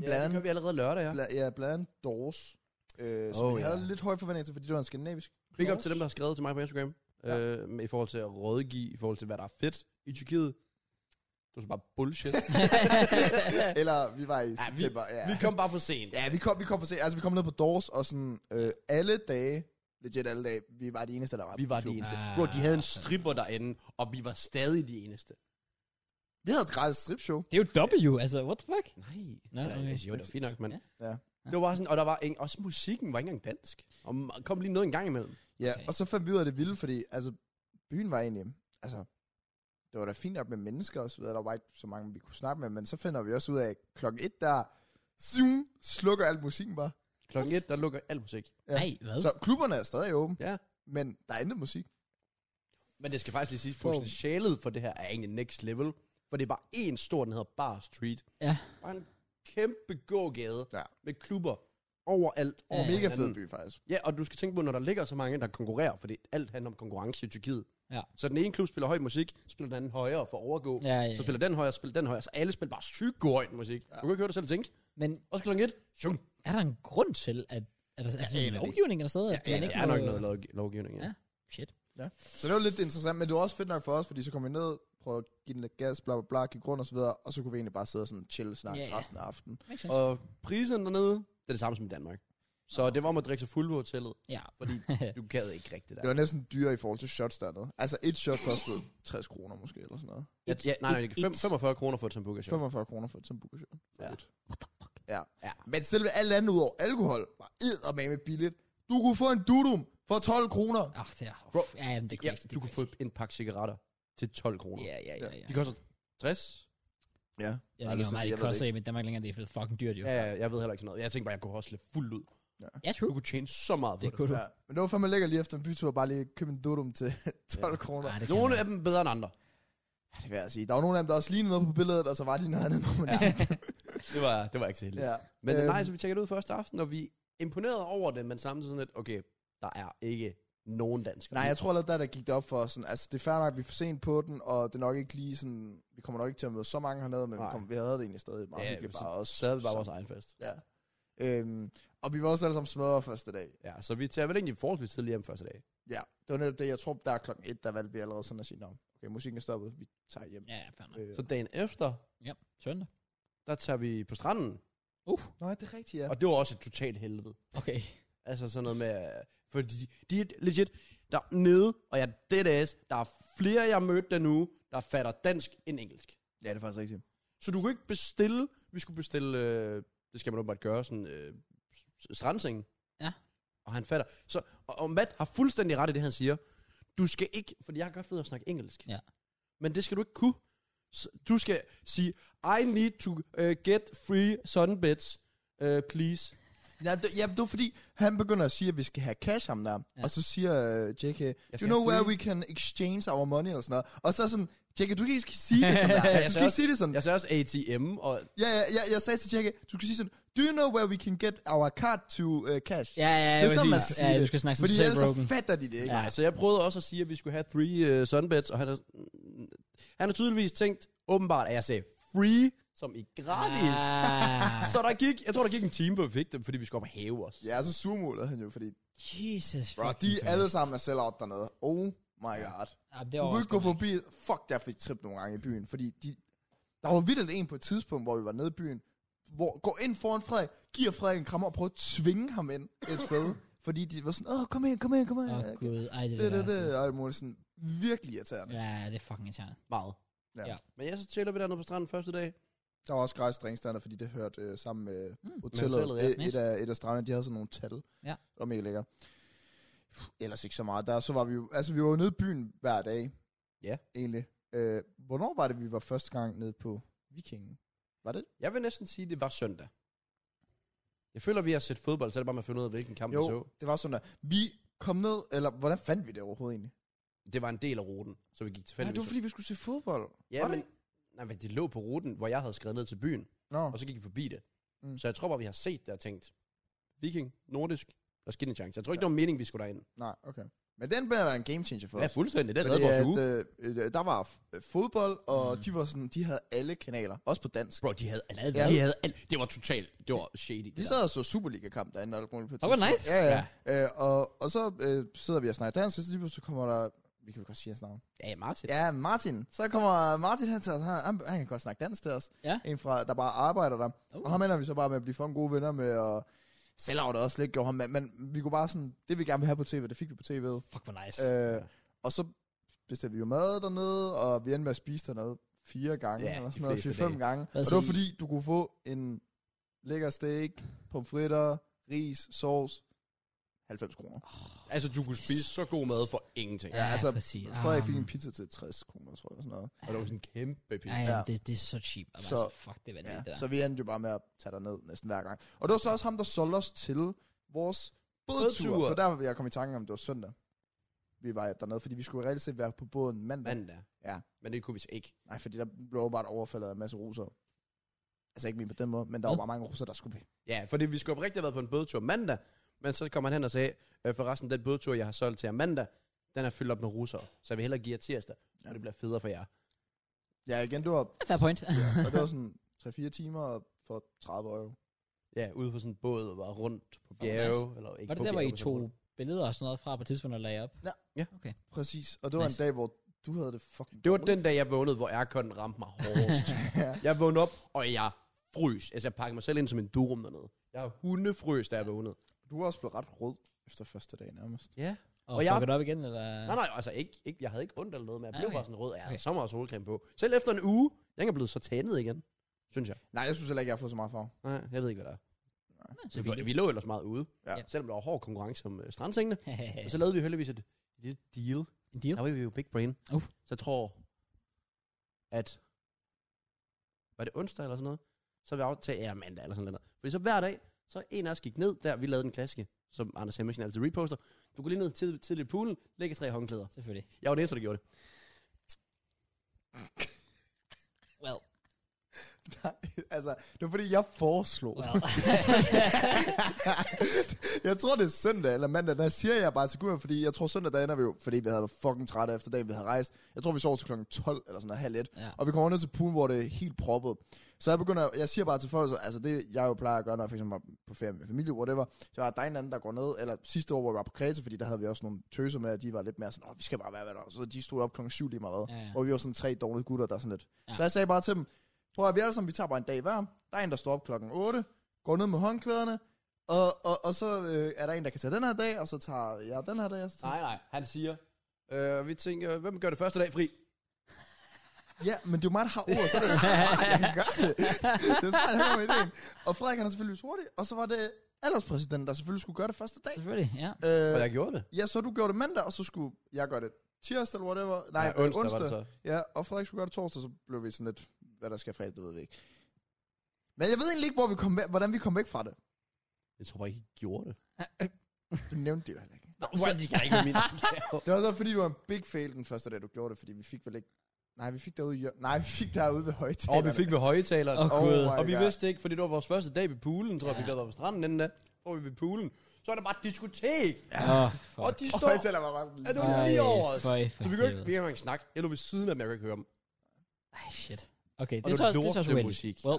Speaker 2: Ja, det gør
Speaker 3: andet,
Speaker 2: vi allerede lørdag, ja.
Speaker 3: ja, bla, ja, blandt andet Doors, øh, som
Speaker 2: Oh,
Speaker 3: oh, vi havde
Speaker 2: ja.
Speaker 3: lidt høje forventninger til, fordi det var en skandinavisk.
Speaker 2: Big up
Speaker 1: Claus.
Speaker 2: til dem, der har skrevet til mig på Instagram.
Speaker 3: Ja.
Speaker 2: Ja. Øh, med- I forhold til at rådgive, i forhold til hvad der er fedt i Tyrkiet. Det var så bare bullshit.
Speaker 3: Eller vi var i
Speaker 2: vi-
Speaker 3: september. Ja,
Speaker 2: vi kom bare for sent.
Speaker 3: ja vi, kom, vi kom for sent. Altså, vi kom ned på Doors, og sådan øh, alle dage, legit alle dage, vi var de eneste, der var.
Speaker 2: Vi
Speaker 3: på
Speaker 2: var de
Speaker 3: klubben.
Speaker 2: eneste.
Speaker 1: Ah.
Speaker 2: Bro, de havde en stripper derinde, og vi var stadig de eneste.
Speaker 3: Vi havde et gratis stripshow.
Speaker 1: Det er jo W, altså, what the fuck?
Speaker 2: Nej.
Speaker 1: Nå,
Speaker 2: Eller,
Speaker 1: okay.
Speaker 2: altså, Jo, det var fint nok, men...
Speaker 1: Ja.
Speaker 3: Ja.
Speaker 2: Det var sådan, og der var en, også musikken var ikke engang dansk. Og m- kom lige noget en gang imellem.
Speaker 3: Ja,
Speaker 1: Okay.
Speaker 3: okay. og så fandt vi ud af det vilde, fordi altså, byen var egentlig, altså, det var da fint op med mennesker og så videre, der var ikke så mange, vi kunne snakke med, men så finder vi også ud af, at klokken et der, zoom, slukker alt musikken bare.
Speaker 2: Klokken et, der lukker al musik.
Speaker 3: Ja.
Speaker 1: Nej, hvad?
Speaker 3: Så klubberne er stadig åbne,
Speaker 2: Ja.
Speaker 3: men der er intet musik.
Speaker 2: Men det skal faktisk lige sige,
Speaker 1: Fuck.
Speaker 2: potentialet for det her er egentlig next level. For det er bare en stor, den hedder Bar Street.
Speaker 1: Ja.
Speaker 2: Bare en kæmpe gågade
Speaker 3: Ja.
Speaker 2: med klubber overalt.
Speaker 1: Ja,
Speaker 2: Over
Speaker 1: ja.
Speaker 3: Mega
Speaker 2: hinanden.
Speaker 3: fed by, faktisk.
Speaker 2: Ja, og du skal tænke på, når der ligger så mange, der konkurrerer, fordi alt handler om konkurrence i Tyrkiet.
Speaker 1: Ja.
Speaker 2: Så den ene klub spiller høj musik, spiller den anden højere for at overgå.
Speaker 1: Ja, ja,
Speaker 2: Så
Speaker 1: ja.
Speaker 2: spiller den højere, spiller den højere. Så alle spiller bare sygt god højt musik. Ja. Du kan ikke høre dig selv tænke.
Speaker 1: Men
Speaker 2: Og så klokken et, sjung.
Speaker 1: er der en grund til, at er der altså,
Speaker 2: aner
Speaker 1: en
Speaker 2: det
Speaker 1: lovgivning eller sådan noget? at
Speaker 2: Ja,
Speaker 1: man
Speaker 2: det
Speaker 1: ikke
Speaker 2: er
Speaker 1: må-
Speaker 2: nok noget lov- lovgivning, ja.
Speaker 1: Ja. Shit.
Speaker 3: Så det var lidt interessant, men det var også fedt nok for os, fordi så kom vi ned, prøvede at give den lidt gas, bla bla bla, gik rundt og så videre, og så kunne vi egentlig bare sidde og sådan chill snakke
Speaker 1: Ja,
Speaker 3: yeah,
Speaker 1: ja.
Speaker 3: resten af aftenen.
Speaker 1: Makes sense.
Speaker 2: Og prisen dernede, det er det samme som i Danmark. Så det var om at drikke sig fuld på hotellet,
Speaker 1: Ja.
Speaker 2: fordi du gad ikke rigtigt
Speaker 3: Det
Speaker 2: der.
Speaker 3: var næsten dyrere i forhold til shots dernede. Altså et shot kostede 60 kroner måske, eller sådan noget.
Speaker 2: Ja,
Speaker 1: Et-
Speaker 2: ja, nej, nej,
Speaker 1: et-
Speaker 2: det er fem-
Speaker 1: et-
Speaker 2: 45 kroner for et Sambuca shot.
Speaker 3: 45 kroner for et Sambuca shot.
Speaker 2: Ja.
Speaker 1: What the fuck?
Speaker 3: Ja.
Speaker 2: Ja.
Speaker 3: ja. Men selve alt andet udover alkohol var eddermame billigt. Du kunne få en dudum for 12 kroner.
Speaker 1: Ah, det er...
Speaker 2: Bro,
Speaker 1: ja, jamen, det er
Speaker 2: Ja,
Speaker 1: crazy. det
Speaker 2: du
Speaker 1: er
Speaker 2: kan få
Speaker 1: crazy.
Speaker 2: en pakke cigaretter til 12 kroner.
Speaker 1: Ja, ja, ja, ja.
Speaker 2: De koster 60,
Speaker 3: Ja.
Speaker 1: Jeg
Speaker 3: Jeg
Speaker 1: ved
Speaker 3: har
Speaker 1: ikke,
Speaker 3: lyst
Speaker 1: hvor
Speaker 3: til
Speaker 1: meget det
Speaker 3: at sige, jeg ved det
Speaker 1: koster i Danmark længere. Det er blevet fucking dyrt, jo.
Speaker 2: Ja, ja, jeg ved heller ikke sådan noget. Jeg tænkte bare, jeg kunne hostle fuldt ud.
Speaker 1: Ja,
Speaker 2: Du
Speaker 1: true.
Speaker 2: kunne tjene så meget på
Speaker 1: Det
Speaker 2: det.
Speaker 1: kunne du.
Speaker 3: Ja. Men det var fandme lækker lige efter en bytur bare lige købe en dudum til 12 ja. kroner.
Speaker 1: Ah, det kan
Speaker 2: Nogle
Speaker 1: man.
Speaker 2: af dem er bedre end andre.
Speaker 3: Ja, det vil jeg sige. Der var nogle af dem, der også lignede noget på billedet, og så var de noget andet, når man
Speaker 2: Ja. det, var, det var ikke så heldigt. Ja.
Speaker 3: ja.
Speaker 2: Men øhm.
Speaker 3: Øhm,
Speaker 2: nej, så vi tjekkede det ud første aften, og vi imponerede over det, men samtidig sådan lidt, okay, der er ikke nogen danskere.
Speaker 3: Nej, jeg tror allerede, der, der gik det op for os, sådan, altså det er fair nok, at vi er for sent på den, og det er nok ikke lige sådan, vi kommer nok ikke til at møde så mange hernede, men vi,
Speaker 2: Nej.
Speaker 3: kom, vi havde det egentlig stadig meget
Speaker 2: Ja,
Speaker 3: hyggeligt,
Speaker 2: så-
Speaker 3: bare også.
Speaker 2: Så havde vi bare vores egen fest.
Speaker 3: Ja. Øhm, og vi var også alle sammen smadret første dag.
Speaker 2: Ja, så vi tager vel egentlig forholdsvis tidligt hjem første dag.
Speaker 3: Ja, det var netop det. Jeg tror, der er klokken et, der valgte vi allerede sådan at sige, Nå, okay, musikken er stoppet, vi tager hjem.
Speaker 1: Ja, ja, fair nok.
Speaker 3: Øh,
Speaker 2: Så dagen efter,
Speaker 1: Søndag.
Speaker 2: der tager vi på stranden,
Speaker 1: Uh,
Speaker 3: nej, det er rigtigt, ja.
Speaker 2: og det var også et totalt helvede.
Speaker 1: okay.
Speaker 2: Altså sådan noget med, øh, fordi de, de er legit dernede, og jeg er dead ass, der er flere, jeg mødte der nu, der fatter dansk end engelsk.
Speaker 3: Ja, det er faktisk rigtigt.
Speaker 2: Så du kunne ikke bestille, vi skulle bestille, øh, det skal man åbenbart gøre, sådan øh, s- strandseng.
Speaker 1: Ja.
Speaker 2: Og han fatter. Så, og, og Matt har fuldstændig ret i det, han siger. Du skal ikke, fordi jeg kan godt ved at snakke engelsk.
Speaker 1: Ja.
Speaker 2: Men det skal du ikke kunne. Så, du skal sige, I need to uh, get free øh, sunbeds. Uh, please.
Speaker 3: Nej, det, ja, det var fordi, han begynder at sige, at vi skal have cash ham der.
Speaker 1: Ja.
Speaker 3: Ja. Og så siger uh, JK, do you
Speaker 2: have
Speaker 3: know where
Speaker 2: free."
Speaker 3: we can exchange our money, eller sådan noget. Og så er sådan, JK, du kan ikke sige det sådan der.
Speaker 1: Jeg
Speaker 3: Du
Speaker 1: skal
Speaker 3: skal ikke
Speaker 1: også-
Speaker 3: sige det sådan.
Speaker 2: Jeg sagde også ATM, og
Speaker 3: Ja, ja, ja, jeg sagde til JK, du skal sige sådan, do you know where we can get our card to uh, cash?
Speaker 1: Ja, ja, ja.
Speaker 3: det er sådan,
Speaker 1: præcis.
Speaker 3: man skal sige
Speaker 1: ja,
Speaker 3: det.
Speaker 1: du skal snakke som
Speaker 3: Fordi
Speaker 1: Seth
Speaker 3: ellers
Speaker 1: Rogen.
Speaker 3: så fatter de det ikke.
Speaker 1: Ja.
Speaker 3: Ja.
Speaker 2: Nej, så jeg prøvede også at sige, at vi skulle have three uh, sunbeds, og han har, han har tydeligvis tænkt, åbenbart, at jeg sagde free, som i gratis. Ah.
Speaker 1: Ah,
Speaker 2: Så der gik, jeg tror, der gik en time, hvor vi fik dem, fordi vi skulle op og hæve os.
Speaker 3: ja, så surmulede han jo, fordi
Speaker 1: Jesus
Speaker 3: bro, de
Speaker 1: fucking
Speaker 3: alle
Speaker 1: Christ.
Speaker 3: sammen er sell-out dernede. Oh my god.
Speaker 1: Ja, det
Speaker 3: Du kunne ikke
Speaker 1: overrasker
Speaker 3: gå
Speaker 1: mig
Speaker 3: forbi. Fuck, jeg fik trip nogle gange i byen, fordi de, der var vildt en på et tidspunkt, hvor vi var nede i byen, hvor går ind foran Frederik, giver Frederik en krammer og prøver at tvinge ham ind et sted, fordi de var sådan, åh, kom ind, kom ind, kom ind.
Speaker 1: Åh, oh, gud. altså. Ej, det,
Speaker 3: øh, det, det,
Speaker 1: værste.
Speaker 3: det, og alt muligt sådan virkelig irriterende. Ja.
Speaker 1: Ja, det er fucking irriterende.
Speaker 2: Meget.
Speaker 3: Ja.
Speaker 1: Ja.
Speaker 2: Men jeg så chiller vi dernede på stranden første dag.
Speaker 3: Der var også gratis drinkstander, fordi det hørte øh, sammen med
Speaker 1: Med
Speaker 3: mm, hotellet.
Speaker 2: hotellet, ja.
Speaker 3: hotellet ja. et, et, af, et af strandene, de havde sådan nogle tal.
Speaker 1: Ja.
Speaker 3: Det var mega lækkert. Puh, Ellers ikke så meget. Der, så var vi jo, altså vi var jo nede i byen hver dag.
Speaker 2: Ja.
Speaker 3: Egentlig. Øh, hvornår var det, vi var første gang nede på Vikingen? Var det
Speaker 2: Jeg vil næsten sige, at det var søndag. Jeg føler, vi har set fodbold, så er det bare med at finde ud af, hvilken kamp vi
Speaker 3: Jo,
Speaker 2: så.
Speaker 3: det var sådan der. Vi kom ned, eller hvordan fandt vi det overhovedet egentlig?
Speaker 2: Det var en del af ruten, så vi gik
Speaker 3: Nej, det
Speaker 2: tilfældigvis.
Speaker 3: var fordi, vi skulle se fodbold.
Speaker 2: ja,
Speaker 3: var
Speaker 2: men,
Speaker 3: det?
Speaker 2: nej, men det lå på ruten, hvor jeg havde skrevet ned til byen,
Speaker 3: Nå,
Speaker 2: og så gik vi forbi det.
Speaker 3: Mm.
Speaker 2: Så jeg tror bare, vi har set det og tænkt, viking, nordisk, der skinner chance. Jeg tror ikke, det var meningen, vi skulle derind.
Speaker 3: nej, okay. Men den blev en game changer for
Speaker 2: Ja,
Speaker 3: os.
Speaker 2: fuldstændig. Det er
Speaker 3: Fordi
Speaker 2: lavet vores uge.
Speaker 3: at, øh, øh, der var f- fodbold, og
Speaker 1: Mm.
Speaker 3: mm. de, var sådan, de havde alle kanaler, også på dansk.
Speaker 2: Bro, de havde alt.
Speaker 3: Ja.
Speaker 2: De havde alt. Det var totalt. Det var shady. Det
Speaker 3: Vi
Speaker 2: der.
Speaker 3: sad og så Superliga-kamp derinde. Og alt muligt på et
Speaker 1: Åh, hvor
Speaker 3: tidspunkt.
Speaker 1: nice.
Speaker 3: Ja, ja. Øh, og, og så øh, sidder vi og snakker dansk, og så lige pludselig kommer der... Vi kan jo godt sige hans navn.
Speaker 2: Ja, Martin.
Speaker 3: Ja, Martin. Så kommer Martin hen til os. Han, han, han kan godt snakke dansk til os.
Speaker 1: Ja.
Speaker 3: En fra, der bare arbejder der.
Speaker 1: Uh.
Speaker 3: Uh. Og ham ender vi så bare med at blive for gode venner med, og selv har det også lidt gjort ham, men, men vi kunne bare sådan, det vi gerne ville have på tv, det fik vi på tv'et.
Speaker 1: Fuck, hvor nice.
Speaker 3: Øh, og så bestilte vi jo mad dernede, og vi endte med at spise dernede fire gange,
Speaker 2: Ja,
Speaker 3: ja, eller
Speaker 2: de
Speaker 3: sådan noget,
Speaker 2: fleste
Speaker 3: fire-fem
Speaker 2: dage.
Speaker 3: gange.
Speaker 1: Hvad
Speaker 3: og det var
Speaker 1: så-
Speaker 3: fordi, du kunne få en lækker steak, pomfritter, ris, sovs, 90 kroner.
Speaker 2: Altså, du kunne spise så god mad for ingenting.
Speaker 1: Ja,
Speaker 3: Ja, altså,
Speaker 1: præcis.
Speaker 3: Frederik fik
Speaker 1: Ah.
Speaker 3: en pizza til 60 kroner, tror jeg, eller sådan noget.
Speaker 2: Og det var sådan en kæmpe
Speaker 1: Ja,
Speaker 2: pizza.
Speaker 1: ja,
Speaker 3: Ja.
Speaker 1: det, det er så cheap. Og så,
Speaker 3: Så-
Speaker 1: altså, fuck, det er vanvittigt,
Speaker 3: Ja,
Speaker 1: det der.
Speaker 3: så vi endte jo bare med at tage derned næsten hver gang. Og det var så også ham, der solgte os til vores bådtur.
Speaker 2: Bådtur.
Speaker 3: Det var der, jeg kom i tanke om, det var søndag, vi var dernede. Fordi vi skulle reelt set være på båden mandag. Man.
Speaker 2: Mandag.
Speaker 3: Ja.
Speaker 2: Men det kunne vi så ikke.
Speaker 3: Nej, fordi der blev åbenbart overfaldet af en masse ruser. Altså ikke min på den måde, men der var
Speaker 1: Hvad?
Speaker 3: bare mange ruser, der skulle blive.
Speaker 2: Ja, fordi vi skulle oprigtigt have været på en bådetur mandag, men så kom han hen og sagde, øh, forresten, den bådetur, jeg har solgt til jer mandag, den er fyldt op med russere, så jeg vil hellere give jer tirsdag, så det bliver federe for jer.
Speaker 3: Ja, igen, det var,
Speaker 1: Fair point.
Speaker 3: og det var sådan 3-4 timer for 30 euro.
Speaker 2: Ja, ude på sådan en båd og bare rundt på
Speaker 1: nice.
Speaker 2: bjerge. Oh, eller ikke
Speaker 1: Var det
Speaker 2: på
Speaker 1: der, hvor
Speaker 2: bjerge,
Speaker 1: I
Speaker 2: men
Speaker 1: tog
Speaker 2: sådan rundt.
Speaker 1: billeder og sådan noget fra på et tidspunkt og lagde op?
Speaker 3: Præcis, og det var
Speaker 1: Nice.
Speaker 3: en dag, hvor du havde det fucking
Speaker 2: Det var
Speaker 3: dårligt.
Speaker 2: den dag, jeg vågnede, hvor airconen ramte mig hårdest. jeg vågnede op, og jeg frøs. Altså, jeg pakkede mig selv ind som en durum dernede. Jeg har hundefrøs, da jeg vågnede.
Speaker 3: Du var også blevet ret rød efter første dag nærmest.
Speaker 2: Ja.
Speaker 1: Og, og
Speaker 2: Og
Speaker 1: jeg...
Speaker 2: jeg-
Speaker 1: fucket op igen, eller?
Speaker 2: Nej, nej, altså ikke, ikke, jeg havde ikke ondt eller noget, men jeg
Speaker 1: Ah,
Speaker 2: blev
Speaker 1: okay.
Speaker 2: bare sådan rød. Jeg havde
Speaker 1: Okay.
Speaker 2: sommer og solcreme på. Selv efter en uge, jeg er ikke blevet så tandet igen, synes jeg.
Speaker 3: Nej, jeg synes heller ikke, jeg har fået så meget farve.
Speaker 2: Nej, jeg ved ikke, hvad der er.
Speaker 1: Så
Speaker 2: Vi, vi lå ellers meget ude.
Speaker 3: Ja.
Speaker 2: Selvom der var hård konkurrence om øh, strandsengene.
Speaker 1: fint.
Speaker 2: Og så lavede vi heldigvis et lille deal.
Speaker 1: En deal?
Speaker 2: Der var vi jo big brain.
Speaker 1: Uf.
Speaker 2: Så jeg tror, at... Var det onsdag eller sådan noget? Så vi aftalte... Ja, mandag eller sådan noget. Fordi så hver dag, så en af os gik ned der. Vi lavede den klassiske, som Anders Hemmingsen altid reposter. Du går lige ned tid, tidligt i poolen, lægger tre håndklæder.
Speaker 1: Selvfølgelig.
Speaker 2: Jeg var den eneste, der gjorde det.
Speaker 1: Well.
Speaker 3: Nej, altså, det var fordi, jeg foreslog.
Speaker 1: well.
Speaker 3: jeg tror, det er søndag eller mandag, der siger jeg bare til Gunnar, fordi jeg tror søndag, der ender vi jo, fordi vi havde været fucking trætte efter dagen, vi havde rejst. Jeg tror, vi sov til klokken 12 eller sådan noget, halv et.
Speaker 1: Ja.
Speaker 3: Og vi kommer ned til poolen, hvor det er helt proppet. Så jeg begynder, jeg siger bare til folk, så, altså det jeg jo plejer at gøre, når jeg for eksempel var på ferie med familie, whatever, så var der en eller anden, der går ned, eller sidste år, hvor vi var på Kreta, fordi der havde vi også nogle tøser med, at de var lidt mere sådan, åh, vi skal bare være hvad der, er." så de stod op klokken syv lige meget,
Speaker 1: Ja, ja.
Speaker 3: og vi var sådan tre dårlige gutter, der sådan lidt.
Speaker 1: Ja.
Speaker 3: Ja. Så jeg sagde bare til dem, prøv at vi alle sammen, vi tager bare en dag hver, der er en, der står op klokken 8, går ned med håndklæderne, og, og, og så øh, er der en, der kan tage den her dag, og så tager jeg den her dag, og så tager
Speaker 2: Nej, nej. Han siger... Øh, vi tænker, hvem gør det første dag fri?
Speaker 3: Ja, men det er jo mig, der har ordet, så er det jo smart, jeg kan gøre det. Det er smart, jeg har ideen. Og Frederik, han er selvfølgelig hurtig, og så var det alderspræsidenten, der selvfølgelig skulle gøre det første dag.
Speaker 1: Selvfølgelig, ja.
Speaker 2: Og
Speaker 3: Øh,
Speaker 2: jeg gjorde det.
Speaker 3: ja, så du gjorde det mandag, og så skulle jeg gøre det tirsdag eller whatever. Nej,
Speaker 2: ja, onsdag, onsdag. Var det
Speaker 3: onsdag.
Speaker 2: så.
Speaker 3: Ja, og Frederik skulle gøre det torsdag, så blev vi sådan lidt, hvad der skal fredag, det ved vi ikke. Men jeg ved egentlig ikke, hvor vi kom væ- hvordan vi kom væk fra det.
Speaker 2: Jeg tror bare ikke, I gjorde det.
Speaker 3: Du nævnte det jo heller ikke.
Speaker 2: Nå, så... det kan ikke min
Speaker 3: Det var så, fordi du var en big fail den første dag, du gjorde det, fordi vi fik vel ikke... Nej, vi fik derude, i Jør- Nej, vi fik derude ved
Speaker 2: Og
Speaker 3: højtalerne.
Speaker 2: vi fik ved højtalerne.
Speaker 1: Åh,
Speaker 2: Oh,
Speaker 1: oh, gud.
Speaker 3: my
Speaker 2: og vi
Speaker 3: God.
Speaker 2: vidste ikke, fordi det var vores første dag ved poolen, tror jeg,
Speaker 1: Ja.
Speaker 2: vi glæder på stranden inden da. Hvor vi ved poolen. Så er der bare et diskotek.
Speaker 1: Åh, fuck.
Speaker 2: Og de
Speaker 3: Og
Speaker 2: står...
Speaker 3: højtalerne var bare sådan...
Speaker 2: Ja, det var
Speaker 1: Ej,
Speaker 2: lige over os.
Speaker 1: føj for
Speaker 2: Så vi kan jo ikke,
Speaker 1: helvede.
Speaker 2: vi kan jo ikke snakke. Jeg lå ved siden af dem, jeg kan ikke høre dem.
Speaker 1: Ej, shit. Okay,
Speaker 2: Og
Speaker 1: det er
Speaker 2: det
Speaker 1: så også, det er så også
Speaker 2: lorte
Speaker 1: uheldigt.
Speaker 2: musik.
Speaker 1: Well,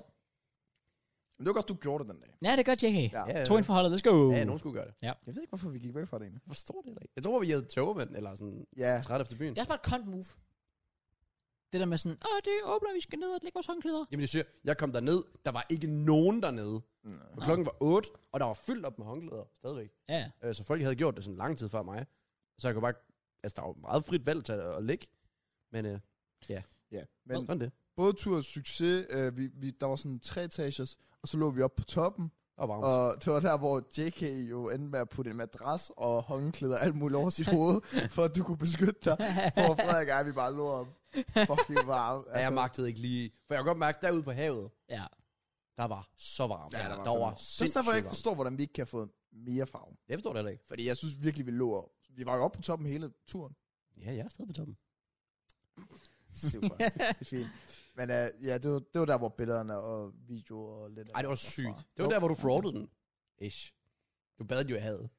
Speaker 3: Men det var godt, du gjorde det den dag.
Speaker 1: ja, det er godt, JK.
Speaker 3: Ja.
Speaker 2: Ja,
Speaker 1: To ind for holdet, let's go.
Speaker 2: ja, nogen skulle gøre det.
Speaker 3: Jeg ved ikke, hvorfor vi gik væk fra det egentlig.
Speaker 2: Jeg forstår det heller ikke. Jeg tror, vi havde togmænd, eller sådan
Speaker 3: Ja.
Speaker 2: træt efter byen.
Speaker 1: Det er også bare et kont move. Det der med sådan, åh, det åbner, vi skal ned og lægge vores håndklæder.
Speaker 2: Jamen, jeg siger, jeg kom derned, der var ikke nogen dernede.
Speaker 3: Mm.
Speaker 2: Og klokken var 8, og der var fyldt op med håndklæder stadigvæk.
Speaker 1: Ja,
Speaker 2: Øh, Så folk havde gjort det sådan lang tid før mig. Så jeg kunne bare... Altså, der var meget frit valg til at at ligge. Men øh,
Speaker 3: Ja. Men
Speaker 2: sådan det.
Speaker 3: både tur og succes, øh, vi, vi, der var sådan tre etagers, og så lå vi oppe på toppen,
Speaker 2: Og varmt.
Speaker 3: og det var der, hvor JK jo endte med at putte en madras og håndklæder og alt muligt over sit hoved, for at du kunne beskytte dig. Hvor Frederik og jeg, vi bare lå op. Fucking varme. Altså,
Speaker 2: Ja, jeg magtede ikke lige... For jeg kunne godt mærke, derude på havet,
Speaker 1: ja.
Speaker 2: der var så varmt.
Speaker 3: Ja, der var
Speaker 2: der
Speaker 3: fandme
Speaker 2: var
Speaker 3: varmt. Det er
Speaker 2: sindssygt
Speaker 3: derfor, jeg ikke
Speaker 2: varmt.
Speaker 3: forstår, hvordan vi ikke kan få mere farve.
Speaker 2: Jeg forstår det heller ikke.
Speaker 3: Fordi jeg synes virkelig, vi lå op. Vi var jo oppe på toppen hele turen.
Speaker 2: Ja, jeg er stadig på toppen.
Speaker 3: Super. det er fint. Men uh, ja, det var, det var der, hvor billederne og videoer og lidt... af
Speaker 2: Ej, det var
Speaker 3: derfra.
Speaker 2: sygt. Det var der, hvor du fraudede den. Ish. Du bad jo i havet.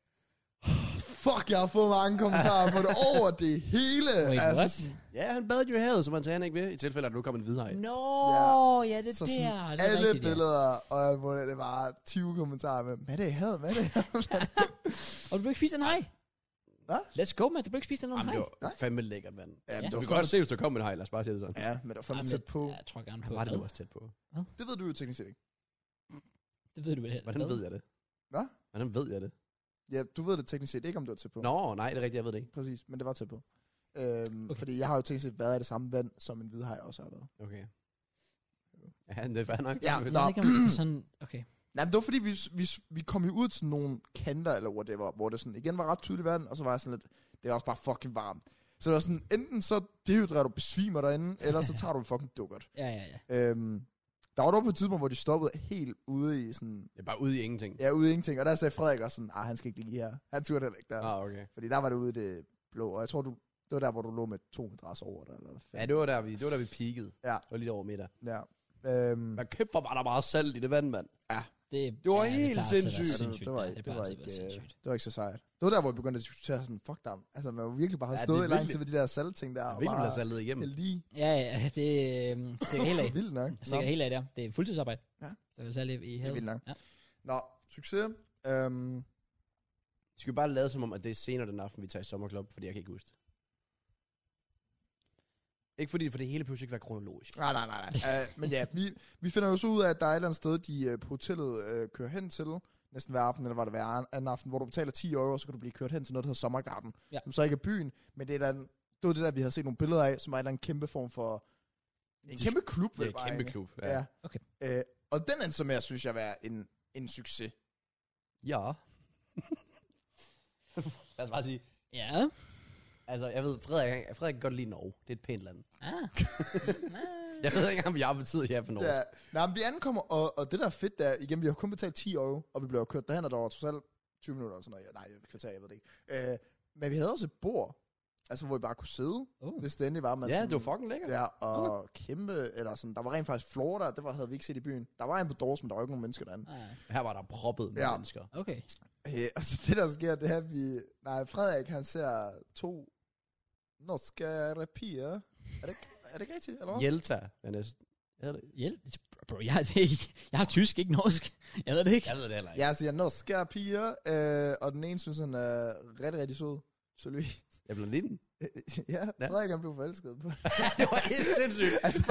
Speaker 3: Fuck, jeg har fået mange kommentarer på det over det hele.
Speaker 1: Wait,
Speaker 3: altså,
Speaker 1: what?
Speaker 3: sådan,
Speaker 2: Ja, han bad jo i havet, som han sagde, han ikke vil. I tilfælde, at nu kommer en hvidhaj.
Speaker 1: Nå, ja, det
Speaker 3: så
Speaker 1: er
Speaker 3: sådan,
Speaker 1: der. Det er
Speaker 3: alle
Speaker 1: rigtigt, ja.
Speaker 3: billeder, og alt muligt, det var 20 kommentarer med, hvad er det, jeg havde, hvad er det, jeg havde?
Speaker 1: Og du blev ikke spist af en hej.
Speaker 3: Hvad?
Speaker 1: Let's go, mand. Du blev ikke spist af nogen
Speaker 2: Jamen,
Speaker 1: hej.
Speaker 2: det var fandme lækkert, mand.
Speaker 3: Ja, men
Speaker 1: Ja.
Speaker 3: det
Speaker 2: Du
Speaker 3: var
Speaker 2: kan godt
Speaker 3: fandme,
Speaker 2: se, hvis der kom en hej. Lad os bare sige det sådan.
Speaker 3: ja, men det var fandme
Speaker 1: Jamen,
Speaker 3: tæt på.
Speaker 1: Ja, jeg tror gerne
Speaker 2: Han
Speaker 1: på.
Speaker 2: var det nu
Speaker 1: hvad?
Speaker 2: også tæt på.
Speaker 3: Det ved du jo teknisk set ikke.
Speaker 1: Det ved du vel heller.
Speaker 2: Hvordan ved jeg det?
Speaker 3: Hvad?
Speaker 2: Hvordan ved jeg det?
Speaker 3: Ja, du ved det teknisk set ikke, om det var tæt på.
Speaker 2: Nå, nej, det er rigtigt, jeg ved det ikke.
Speaker 3: Præcis, men det var tæt på. Øhm,
Speaker 1: Okay.
Speaker 3: okay. Fordi jeg har jo teknisk set været i det samme vand, som en hvidhaj også har været.
Speaker 2: Okay. Ja, det er fair nok.
Speaker 3: Ja,
Speaker 1: Jeg
Speaker 3: Nå.
Speaker 1: ved ikke, om det er sådan... Okay.
Speaker 3: Nej, men det var fordi, vi, vi, vi kom jo ud til nogle kanter, eller whatever, hvor det sådan igen var ret tydeligt vand, og så var jeg sådan lidt, det var også bare fucking varmt. Så det var sådan, enten så dehydrerer du besvimer derinde, eller så tager du en fucking dukkert.
Speaker 1: Ja, ja, ja.
Speaker 3: Øhm, der var dog på et tidspunkt, hvor de stoppede helt ude i sådan,
Speaker 2: Det er bare ude i ingenting.
Speaker 3: ja, ude i ingenting, og der sagde Frederik også sådan, ah, han skal ikke ligge her. Han turde heller ikke der.
Speaker 2: Ah, okay.
Speaker 3: Fordi der var det ude i det blå, og jeg tror, du, det var der, hvor du lå med to madrasser over dig, eller hvad
Speaker 2: Ja,
Speaker 3: fanden.
Speaker 2: det var der, vi, det var der, vi peakede.
Speaker 3: Ja.
Speaker 2: Og lidt over middag.
Speaker 3: Ja. Øhm,
Speaker 2: Men kæft, hvor var der meget salt i det vand, mand.
Speaker 1: Det,
Speaker 2: Det var
Speaker 1: ja,
Speaker 2: helt
Speaker 1: plejer altid at være
Speaker 2: sindssygt.
Speaker 1: sindssygt.
Speaker 3: Det var
Speaker 1: Ja,
Speaker 3: ikke-
Speaker 1: plejer
Speaker 3: det var
Speaker 1: altid at være
Speaker 3: ikke, øh,
Speaker 1: sindssygt.
Speaker 3: Det var ikke så sejt. Det var der, hvor vi begyndte at diskutere sådan, fuck damn. Altså, man var virkelig bare havde
Speaker 2: Ja, det
Speaker 3: ja,
Speaker 2: er
Speaker 3: stået i lang
Speaker 2: virkelig-
Speaker 3: tid ved de der saltting der.
Speaker 2: Jeg
Speaker 3: og
Speaker 2: ved ikke, om
Speaker 3: bare
Speaker 2: der saltet igennem.
Speaker 3: Lige
Speaker 1: Ja, ja, det øh, stikker helt af.
Speaker 3: vildt nok.
Speaker 1: Jeg stikker
Speaker 3: Nå.
Speaker 1: helt af der. Det er fuldtidsarbejde.
Speaker 3: Ja.
Speaker 1: Så er det særlig i
Speaker 3: Det er
Speaker 1: havet.
Speaker 3: vildt nok.
Speaker 1: Ja.
Speaker 3: Nå, succes. Øhm,
Speaker 2: Skal vi bare lade som om, at det er senere den aften, vi tager i sommerklub, fordi jeg kan ikke huske det. Ikke fordi, for det hele pludselig ikke være kronologisk.
Speaker 3: nej, nej, nej, nej. øh, men ja, vi, vi finder jo så ud af, at der er et eller andet sted, de øh, på hotellet øh, kører hen til, næsten hver aften, eller var det hver an- anden aften, hvor du betaler 10 euro, så kan du blive kørt hen til noget, der hedder Sommergarden.
Speaker 1: Ja.
Speaker 3: Som så ikke er byen, men det er der, det var det der, vi havde set nogle billeder af, som er en eller anden kæmpe form for... En
Speaker 2: Disk-
Speaker 3: kæmpe klub,
Speaker 2: Det er
Speaker 3: vel,
Speaker 2: et
Speaker 3: bare
Speaker 2: kæmpe
Speaker 3: egentlig.
Speaker 2: klub.
Speaker 3: Ja. ja.
Speaker 1: Okay.
Speaker 3: Øh, og den endte så med, at synes jeg, være en, en succes.
Speaker 2: ja. Lad os bare sige,
Speaker 1: Ja.
Speaker 2: altså jeg ved, Frederik, Frederik kan godt lide Norge. Det er et pænt land.
Speaker 1: Ah.
Speaker 2: Jeg ved ikke engang, om jeg har betydet her på Norge.
Speaker 3: Ja. Nej, men vi ankommer, og, og det der er fedt, der, igen, vi har kun betalt 10 euro, og vi blev jo kørt derhen, og der var trods alt 20 minutter og sådan noget. Ja, Nej, et kvarter, jeg ved det ikke. Øh, men vi havde også et bord, altså hvor vi bare kunne sidde,
Speaker 1: Oh.
Speaker 3: hvis det endelig var. Man
Speaker 2: Ja,
Speaker 3: sådan,
Speaker 2: det var fucking lækkert.
Speaker 3: Ja, og kæmpe, eller sådan, der var rent faktisk floor der, det var, havde vi ikke set i byen. Der var en på Dawes, men der var ikke nogen mennesker derinde.
Speaker 1: Ah,
Speaker 2: Her var der proppet med
Speaker 3: Ja.
Speaker 2: mennesker.
Speaker 1: Okay.
Speaker 3: Øh, og så det, der sker, det er, at vi... Nej, Frederik, han ser to norske rapier. Er det, ikke- er det ikke rigtigt, eller hvad?
Speaker 2: Hjelta er næsten. Hedder det?
Speaker 1: Hjælp. Bro, jeg, det, er- jeg har tysk, ikke norsk. Jeg ved det ikke.
Speaker 2: Jeg ved det heller ikke.
Speaker 3: Ja, så jeg når skære piger, øh, og den ene synes, han er rigtig, rigtig sød. Så Louis.
Speaker 2: Jeg blev lidt.
Speaker 3: ja,
Speaker 2: Ja.
Speaker 3: Frederik, han blev forelsket på
Speaker 2: det var helt sindssygt. altså,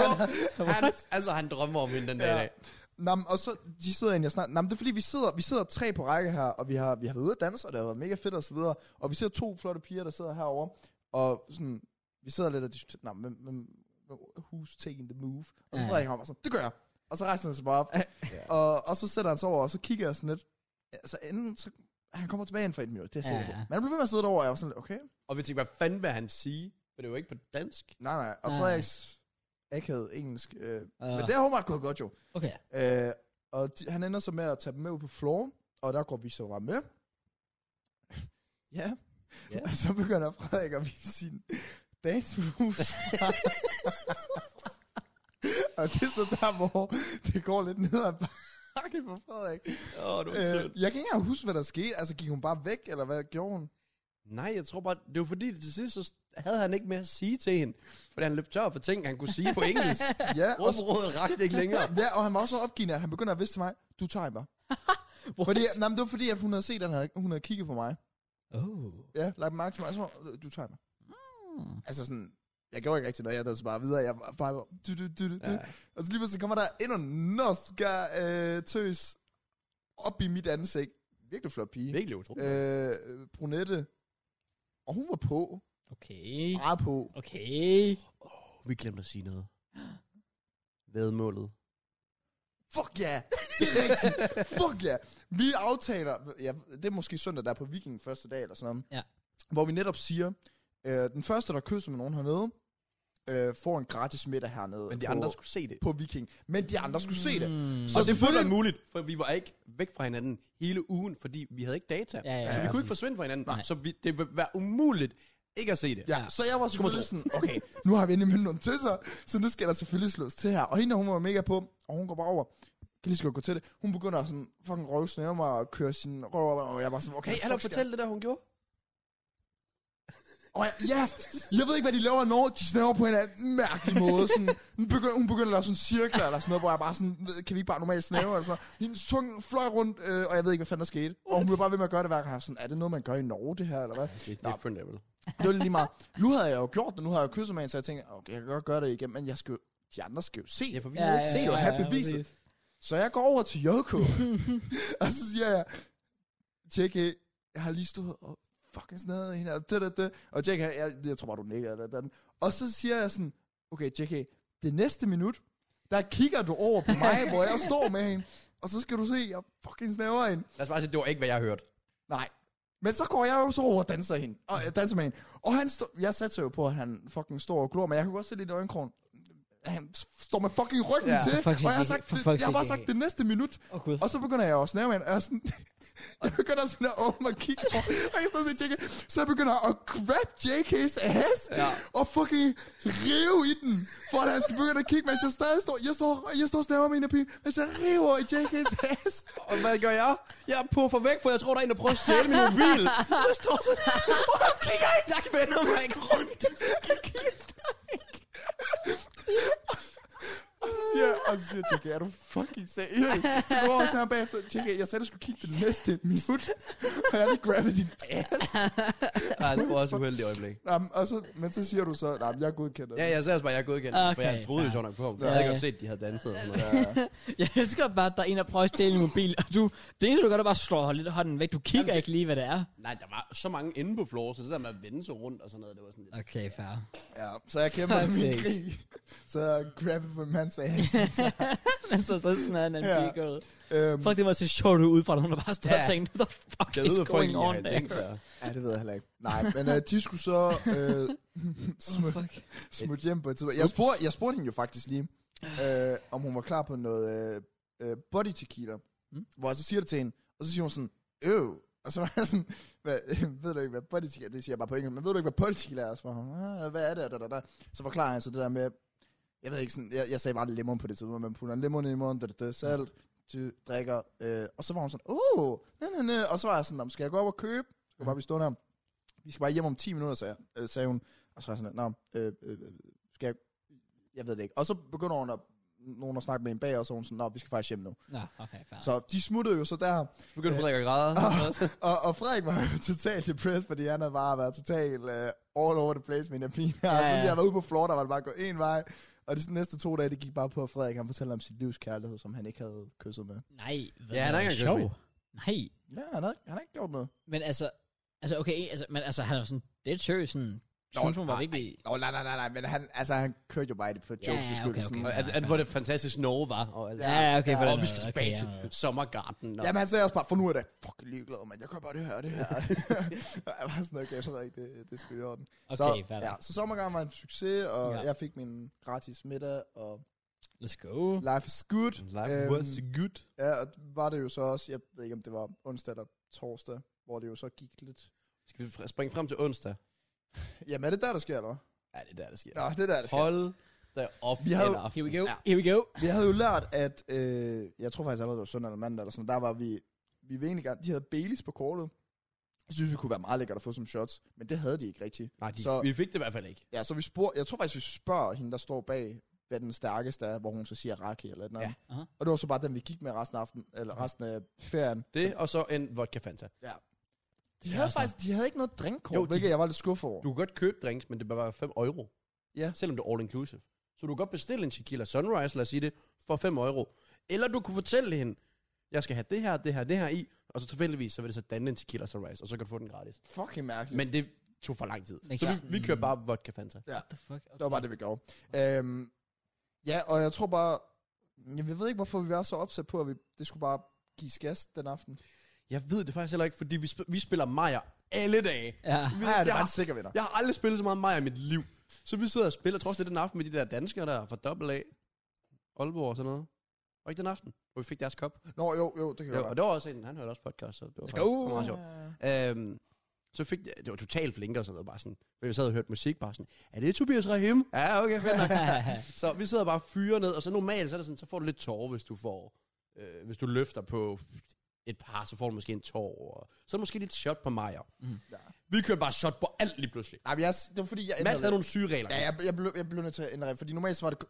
Speaker 2: Bro, han, altså, han drømmer om hende den dag i
Speaker 3: Ja.
Speaker 2: dag.
Speaker 3: Nå, men, og så, de sidder egentlig og snakker. Nå, men det er fordi, vi sidder, vi sidder tre på række her, og vi har, vi har været ude at danse, og det har været mega fedt og så videre. Og vi ser to flotte piger, der sidder herovre, og sådan, vi sidder lidt og diskuterer, nå, men, men, men who's taking the move? Og så
Speaker 1: Ja.
Speaker 3: Frederik kommer bare sådan, det gør jeg. Og så rejser han sig bare op,
Speaker 2: Ja.
Speaker 3: og, og så sætter han sig over, og så kigger jeg sådan lidt. Altså, enten, så, han kommer tilbage inden for et minut, det er jeg
Speaker 1: Ja,
Speaker 3: sikker på.
Speaker 1: ja.
Speaker 3: Men han blev ved med at sidde derovre, og jeg var sådan lidt, okay,
Speaker 2: Og vi tænkte, hvad fanden vil han sige? For det var jo ikke på dansk.
Speaker 3: Nej, nej. Og
Speaker 1: Nej.
Speaker 3: Frederiks akavet engelsk. Øh,
Speaker 1: Ah,
Speaker 3: Men det har hun bare gået godt jo.
Speaker 1: Okay.
Speaker 3: Øh, Og de, han ender så med at tage dem med ud på floor, og der går vi så bare med. ja.
Speaker 1: Ja.
Speaker 3: Yeah. Og så begynder Frederik at vise sin dance moves. og det er så der, hvor det går lidt ned ad bakke for Frederik.
Speaker 1: Åh, oh, du
Speaker 3: Øh, jeg kan ikke engang huske, hvad der skete. Altså, gik hun bare væk, eller hvad gjorde hun?
Speaker 2: Nej, jeg tror bare, det var fordi, til sidst så havde han ikke mere at sige til hende. Fordi han løb tør for ting, han kunne sige på engelsk.
Speaker 3: Ja, og,
Speaker 2: Råberådet rakte ikke længere.
Speaker 3: ja, og han var også så opgivende, at han begynder at vise til mig, du tager mig. Fordi, nej, men det var fordi, at hun havde set, at han havde, hun havde kigget på mig.
Speaker 1: Oh.
Speaker 3: Ja, lagt mærke til mig, så var, hun, du tager mig. Altså sådan, jeg gjorde ikke rigtig noget, jeg dansede bare videre, jeg var bare, du, du, du, du, du.
Speaker 2: Ja.
Speaker 3: Og så lige pludselig kommer der endnu en norska øh, tøs op i mit ansigt. Virkelig flot pige.
Speaker 2: Virkelig utroligt.
Speaker 3: Øh, brunette. Og hun var på.
Speaker 1: Okay.
Speaker 3: Meget på.
Speaker 1: Okay.
Speaker 2: Vi glemte at sige noget.
Speaker 3: Øh,
Speaker 2: Vedmålet.
Speaker 3: Fuck ja! Yeah. Det er rigtigt. Fuck ja! Yeah. Vi aftaler, ja, det er måske søndag, der er på Viking første dag eller sådan noget.
Speaker 1: Ja.
Speaker 3: Hvor vi netop siger, øh, den første, der kysser med nogen hernede, øh, får en gratis middag hernede.
Speaker 2: Men de
Speaker 3: på,
Speaker 2: andre skulle se det.
Speaker 3: På Viking. Men de andre skulle se det.
Speaker 1: Mm.
Speaker 2: Så
Speaker 3: Og
Speaker 2: det fuldt
Speaker 3: selvfølgelig-
Speaker 2: være muligt, for vi var ikke væk fra hinanden hele ugen, fordi vi havde ikke data.
Speaker 1: Ja, ja,
Speaker 2: så vi
Speaker 1: ja.
Speaker 2: kunne ikke forsvinde fra hinanden.
Speaker 1: Nej.
Speaker 2: Så vi, det ville være umuligt ikke at se det.
Speaker 3: Ja,
Speaker 1: Ja.
Speaker 3: ja. så jeg var selvfølgelig
Speaker 2: tro.
Speaker 3: sådan, okay, nu har vi endelig mødt nogen til sig, så nu skal der selvfølgelig slås til her. Og hende, hun var mega på, og hun går bare over, kan lige så godt gå til det. Hun begynder sådan fucking røvsnære mig og køre sin røv op, og jeg var sådan, okay,
Speaker 2: Kan I allerede
Speaker 3: fuck, skal-
Speaker 2: fortælle det der, hun gjorde?
Speaker 3: Og jeg, ja, jeg ved ikke, hvad de laver når de snæver på en eller anden mærkelig måde. Sådan, hun, begynder, hun begynder at lave sådan cirkler eller sådan noget, hvor jeg bare sådan, kan vi ikke bare normalt snæve? Eller sådan noget. Hendes tunge fløj rundt, øh, og jeg ved ikke, hvad fanden der skete. Og hun blev bare ved med at gøre det hver gang. Jeg var Sådan, er det noget, man gør i Norge, det her, eller hvad?
Speaker 2: Det er different level.
Speaker 3: Det var lige meget. Nu havde jeg jo gjort det, nu havde jeg jo kysset med hende, så jeg tænkte, okay, jeg kan godt gøre det igen, men jeg skal jo, de andre skal jo se.
Speaker 2: Ja, for vi havde ikke
Speaker 3: ja,
Speaker 2: set
Speaker 3: ja.
Speaker 2: det.
Speaker 3: have beviset.
Speaker 1: præcis.
Speaker 3: Så jeg går over til JK, og så siger jeg, JK, jeg har lige stået og fucking snadet hende, og, det, det, det. og JK, jeg, jeg tror bare, du nikker. Det, det. Og så siger jeg sådan, okay JK, det næste minut, der kigger du over på mig, hvor jeg står med hende, og så skal du se, jeg fucking snaver hende.
Speaker 2: Lad os bare sige, det var ikke, hvad jeg hørte.
Speaker 3: Nej. Men så går jeg jo så over og danser, hende, og, øh, danser med hende. Og han stå, jeg satser jo på, at han fucking står og glor, men jeg kan godt se lidt i øjenkrogen. Han står med fucking ryggen
Speaker 2: Ja,
Speaker 3: ja, til,
Speaker 1: for fuck's
Speaker 3: og jeg har,
Speaker 1: sake,
Speaker 3: sagt,
Speaker 1: for
Speaker 3: det,
Speaker 1: fuck's
Speaker 3: jeg har bare
Speaker 1: sake.
Speaker 3: sagt det næste minut,
Speaker 1: Åh, oh, Gud.
Speaker 3: og så begynder jeg også snæve ind, og jeg, er sådan, jeg begynder sådan at åbne og kigge på, og jeg står og siger, JK, så jeg begynder at grab JK's ass,
Speaker 2: Ja.
Speaker 3: og fucking rive i den, for at han skal begynde at kigge, mens jeg stadig står, jeg står, jeg står og snæver med en af pigen, mens jeg river i JK's ass.
Speaker 2: Og hvad gør jeg? Jeg puffer væk, for jeg tror, der er en, der prøver at stjæle min mobil. Så står jeg sådan, og jeg kigger ikke. Jeg vender mig ikke rundt. Jeg kigger stadig.
Speaker 3: Og så siger, og så siger JK, er du fucking seriøs? Så går jeg over til ham bagefter, JK, jeg sagde, du skulle kigge det næste minut, og jeg har lige grabbet din ass.
Speaker 2: Nej, det var også et uheldigt øjeblik.
Speaker 3: Nå, men, og så, men så siger du så, nej, men jeg godkender det.
Speaker 2: Ja, jeg sagde også bare, jeg er godkendt, okay, for
Speaker 1: Okay,
Speaker 2: jeg troede jo
Speaker 1: fair.
Speaker 2: sjovt nok på ham. for
Speaker 3: Ja,
Speaker 2: Jeg havde ikke
Speaker 1: ja.
Speaker 2: også set, at de havde danset. og sådan noget.
Speaker 1: Jeg elsker bare, at der er en, der prøver at stjæle en mobil, og du, det eneste, du gør, det er bare slår hold- lidt hånden væk. Du kigger
Speaker 2: Jamen, det-
Speaker 1: ikke lige, hvad det er.
Speaker 2: Nej, der var så mange inde på floor, så det der med at vende sig rundt og sådan noget, det var sådan lidt...
Speaker 1: Okay, fair.
Speaker 3: Ja, så jeg kæmpede
Speaker 1: Okay.
Speaker 3: min krig. Så jeg grabbede på en mands ass.
Speaker 1: Men så stadig sådan en anden
Speaker 3: Ja.
Speaker 1: pige ud.
Speaker 3: øhm,
Speaker 1: Fuck, det var så sjovt ud fra, at hun har bare stået
Speaker 2: Ja.
Speaker 1: og tænkt, what the fuck
Speaker 2: Jeg
Speaker 1: is
Speaker 2: ved, at folk
Speaker 1: going
Speaker 2: lige
Speaker 1: on
Speaker 2: havde
Speaker 1: there?
Speaker 2: tænkt der.
Speaker 3: ja, det ved jeg heller ikke. Nej, men øh, de skulle så øh,
Speaker 1: Oh,
Speaker 3: smutte
Speaker 1: fuck.
Speaker 3: smut hjem på et tidspunkt. Jeg spurgte, jeg spurgte hende jo faktisk lige, øh, om hun var klar på noget øh, øh, body tequila.
Speaker 1: Mm.
Speaker 3: Mm. Hvor jeg så siger det til hende, og så siger hun sådan, øv. Og så var jeg sådan, hvad, ved du ikke, hvad body tequila er? Det siger jeg bare på engelsk, men ved du ikke, hvad body tequila er? Så var hun, "Ah, hvad er det? Da, da, da. Så forklarer han så det der med, jeg ved ikke sådan, jeg, jeg sagde bare lemon på det tidspunkt, men putter en lemon i munden, da, da, da, salt, du drikker. Øh, og så var hun sådan, åh, oh, nej, nej, nej. Og så var jeg sådan, "Nå, men skal jeg gå op og købe? Skal jeg bare blive stående her? Vi skal bare hjem om 10 minutter, sagde, jeg, øh, sagde hun. Og så var jeg sådan, nå, øh, øh, skal jeg, jeg ved det ikke. Og så begynder hun at, nogen at snakke med en bag, og så er hun sådan, nå, vi skal faktisk hjem nu.
Speaker 1: Nå, okay, fair.
Speaker 3: Så de smuttede jo så der.
Speaker 2: Så begyndte Frederik at græde.
Speaker 3: Og, og Frederik var jo totalt depressed, fordi han havde bare været totalt uh, all over the place med en af mine her.
Speaker 1: Ja,
Speaker 3: Ja, ja. Så
Speaker 1: ja.
Speaker 3: jeg var ude på floor, der var det bare gået en vej. Og de næste to dage, det gik bare på, at Frederik han fortalte om sit livs kærlighed, som han ikke havde kysset med.
Speaker 1: Nej, hvad
Speaker 2: Ja, han har
Speaker 1: er
Speaker 2: ikke
Speaker 1: det
Speaker 2: engang
Speaker 1: sjov?
Speaker 2: kørt
Speaker 1: Nej,
Speaker 3: Ja, han har, han har ikke gjort noget.
Speaker 1: men altså, altså okay, altså, men altså, han er jo sådan, det er seriøst, sådan,
Speaker 3: Nå,
Speaker 1: synes hun var
Speaker 3: nej,
Speaker 1: virkelig...
Speaker 3: Nå, nej, nej, nej, nej, men han, altså, han kørte jo bare i det for
Speaker 1: Ja,
Speaker 3: jokes ja,
Speaker 1: okay,
Speaker 3: okay,
Speaker 1: okay.
Speaker 3: sådan.
Speaker 2: Og at, at, hvor det fantastisk Norge var. Og, alt.
Speaker 1: Ja, okay, for
Speaker 2: og
Speaker 1: den
Speaker 2: vi
Speaker 1: måde,
Speaker 2: skal
Speaker 1: okay,
Speaker 2: tilbage
Speaker 1: ja.
Speaker 2: til sommergarten. Og,
Speaker 3: Ja, men han sagde også bare, for nu er det fucking ligeglad, mand. Jeg gør bare det her og det her. Og jeg var sådan, okay, Frederik, det, det skal i orden.
Speaker 1: Okay,
Speaker 3: så,
Speaker 1: fair.
Speaker 3: ja, så sommergangen var en succes, og
Speaker 1: Ja.
Speaker 3: ja. jeg fik min gratis middag, og
Speaker 1: Let's go.
Speaker 3: Life is good.
Speaker 2: Life
Speaker 3: Øhm,
Speaker 2: was good.
Speaker 3: Ja, og var det jo så også, jeg ved ikke om det var onsdag eller torsdag, hvor det jo så gik lidt.
Speaker 2: Skal vi fr- springe frem til onsdag?
Speaker 3: Jamen er det der, der sker, eller hvad?
Speaker 2: Ja, det er der, der sker.
Speaker 3: Nå, det er der, der sker.
Speaker 2: Hold da op.
Speaker 3: Vi havde-
Speaker 2: den aften.
Speaker 1: Here we go.
Speaker 2: Ja.
Speaker 1: Here we go.
Speaker 3: Vi havde jo lært, at øh, jeg tror faktisk allerede, det var søndag eller mandag eller sådan, der var vi, vi var egentlig gerne, de havde Baileys på kortet. Jeg synes, det kunne være meget lækkert at få som shots, men det havde de ikke rigtigt.
Speaker 2: Nej, de,
Speaker 3: Så-
Speaker 2: vi fik det i hvert fald ikke.
Speaker 3: Ja, så vi spurgte, jeg tror faktisk, vi spørger hende, der står bag, hvad den stærkeste er, hvor hun så siger Raki eller noget.
Speaker 2: Ja.
Speaker 1: Aha.
Speaker 3: Og det var så bare den, vi gik med resten af, aften, eller resten af ferien.
Speaker 2: Det, og så en vodka Fanta.
Speaker 3: De
Speaker 1: Ja, sådan.
Speaker 3: havde faktisk, de havde ikke noget drinkkort,
Speaker 2: Jo,
Speaker 3: jo,
Speaker 2: de-
Speaker 3: hvilket jeg var lidt skuffet over.
Speaker 2: Du kan godt købe drinks, men det bør være 5 euro.
Speaker 3: Ja.
Speaker 2: Selvom det er all inclusive. Så du kan godt bestille en tequila sunrise, lad os sige det, for 5 euro. Eller du kunne fortælle hende, jeg skal have det her, det her, det her i, og så tilfældigvis, så vil det så danne en tequila sunrise, og så kan du få den gratis.
Speaker 3: Fucking mærkeligt.
Speaker 2: Men det tog for lang tid.
Speaker 1: Men
Speaker 2: Så
Speaker 1: ja.
Speaker 2: vi, vi kører bare vodka Fanta.
Speaker 1: What the fuck? Okay.
Speaker 3: Det var bare det, vi gjorde. Øhm, ja, og jeg tror bare... Jamen, Jeg ved ikke, hvorfor vi var så opsat på, at vi, det skulle bare give gas den aften.
Speaker 2: Jeg ved det faktisk heller ikke, fordi vi, sp- vi spiller Maja alle dage.
Speaker 1: Ja.
Speaker 2: Vi,
Speaker 3: Ja, det
Speaker 2: jeg,
Speaker 3: er ret
Speaker 2: har,
Speaker 3: sikker ved dig.
Speaker 2: jeg har aldrig spillet så meget Maja i mit liv. Så vi sidder og spiller, jeg tror også det er den aften med de der danskere der fra Double A, Aalborg og sådan noget. Og ikke den aften, hvor vi fik deres kop.
Speaker 3: Nå, jo, jo, det kan
Speaker 2: Jo,
Speaker 3: jo,
Speaker 2: og
Speaker 3: godt
Speaker 2: det var også en, han hørte også podcast, så det
Speaker 1: Let's
Speaker 2: var faktisk
Speaker 1: go.
Speaker 2: det var meget sjovt.
Speaker 3: være.
Speaker 2: Øhm, så fik det, det var totalt flinke og sådan noget, bare sådan, for vi sad og hørte musik, bare sådan, er det Tobias Rahim? Ja, okay, fedt nok. så vi sidder bare og fyrer ned, og så normalt, så er det sådan, så får du lidt tårer, hvis du får, øh, hvis du løfter på et par, så får du måske en tår, og så måske lidt shot på Maja.
Speaker 1: Mm.
Speaker 3: Ja.
Speaker 2: Vi kører bare shot på alt lige pludselig.
Speaker 3: Nej, men jeg, det var fordi, jeg
Speaker 2: Mads havde
Speaker 3: lidt.
Speaker 2: nogle syge regler.
Speaker 3: Ja, jeg, jeg, blev, jeg blev nødt til at ændre, fordi normalt så var det...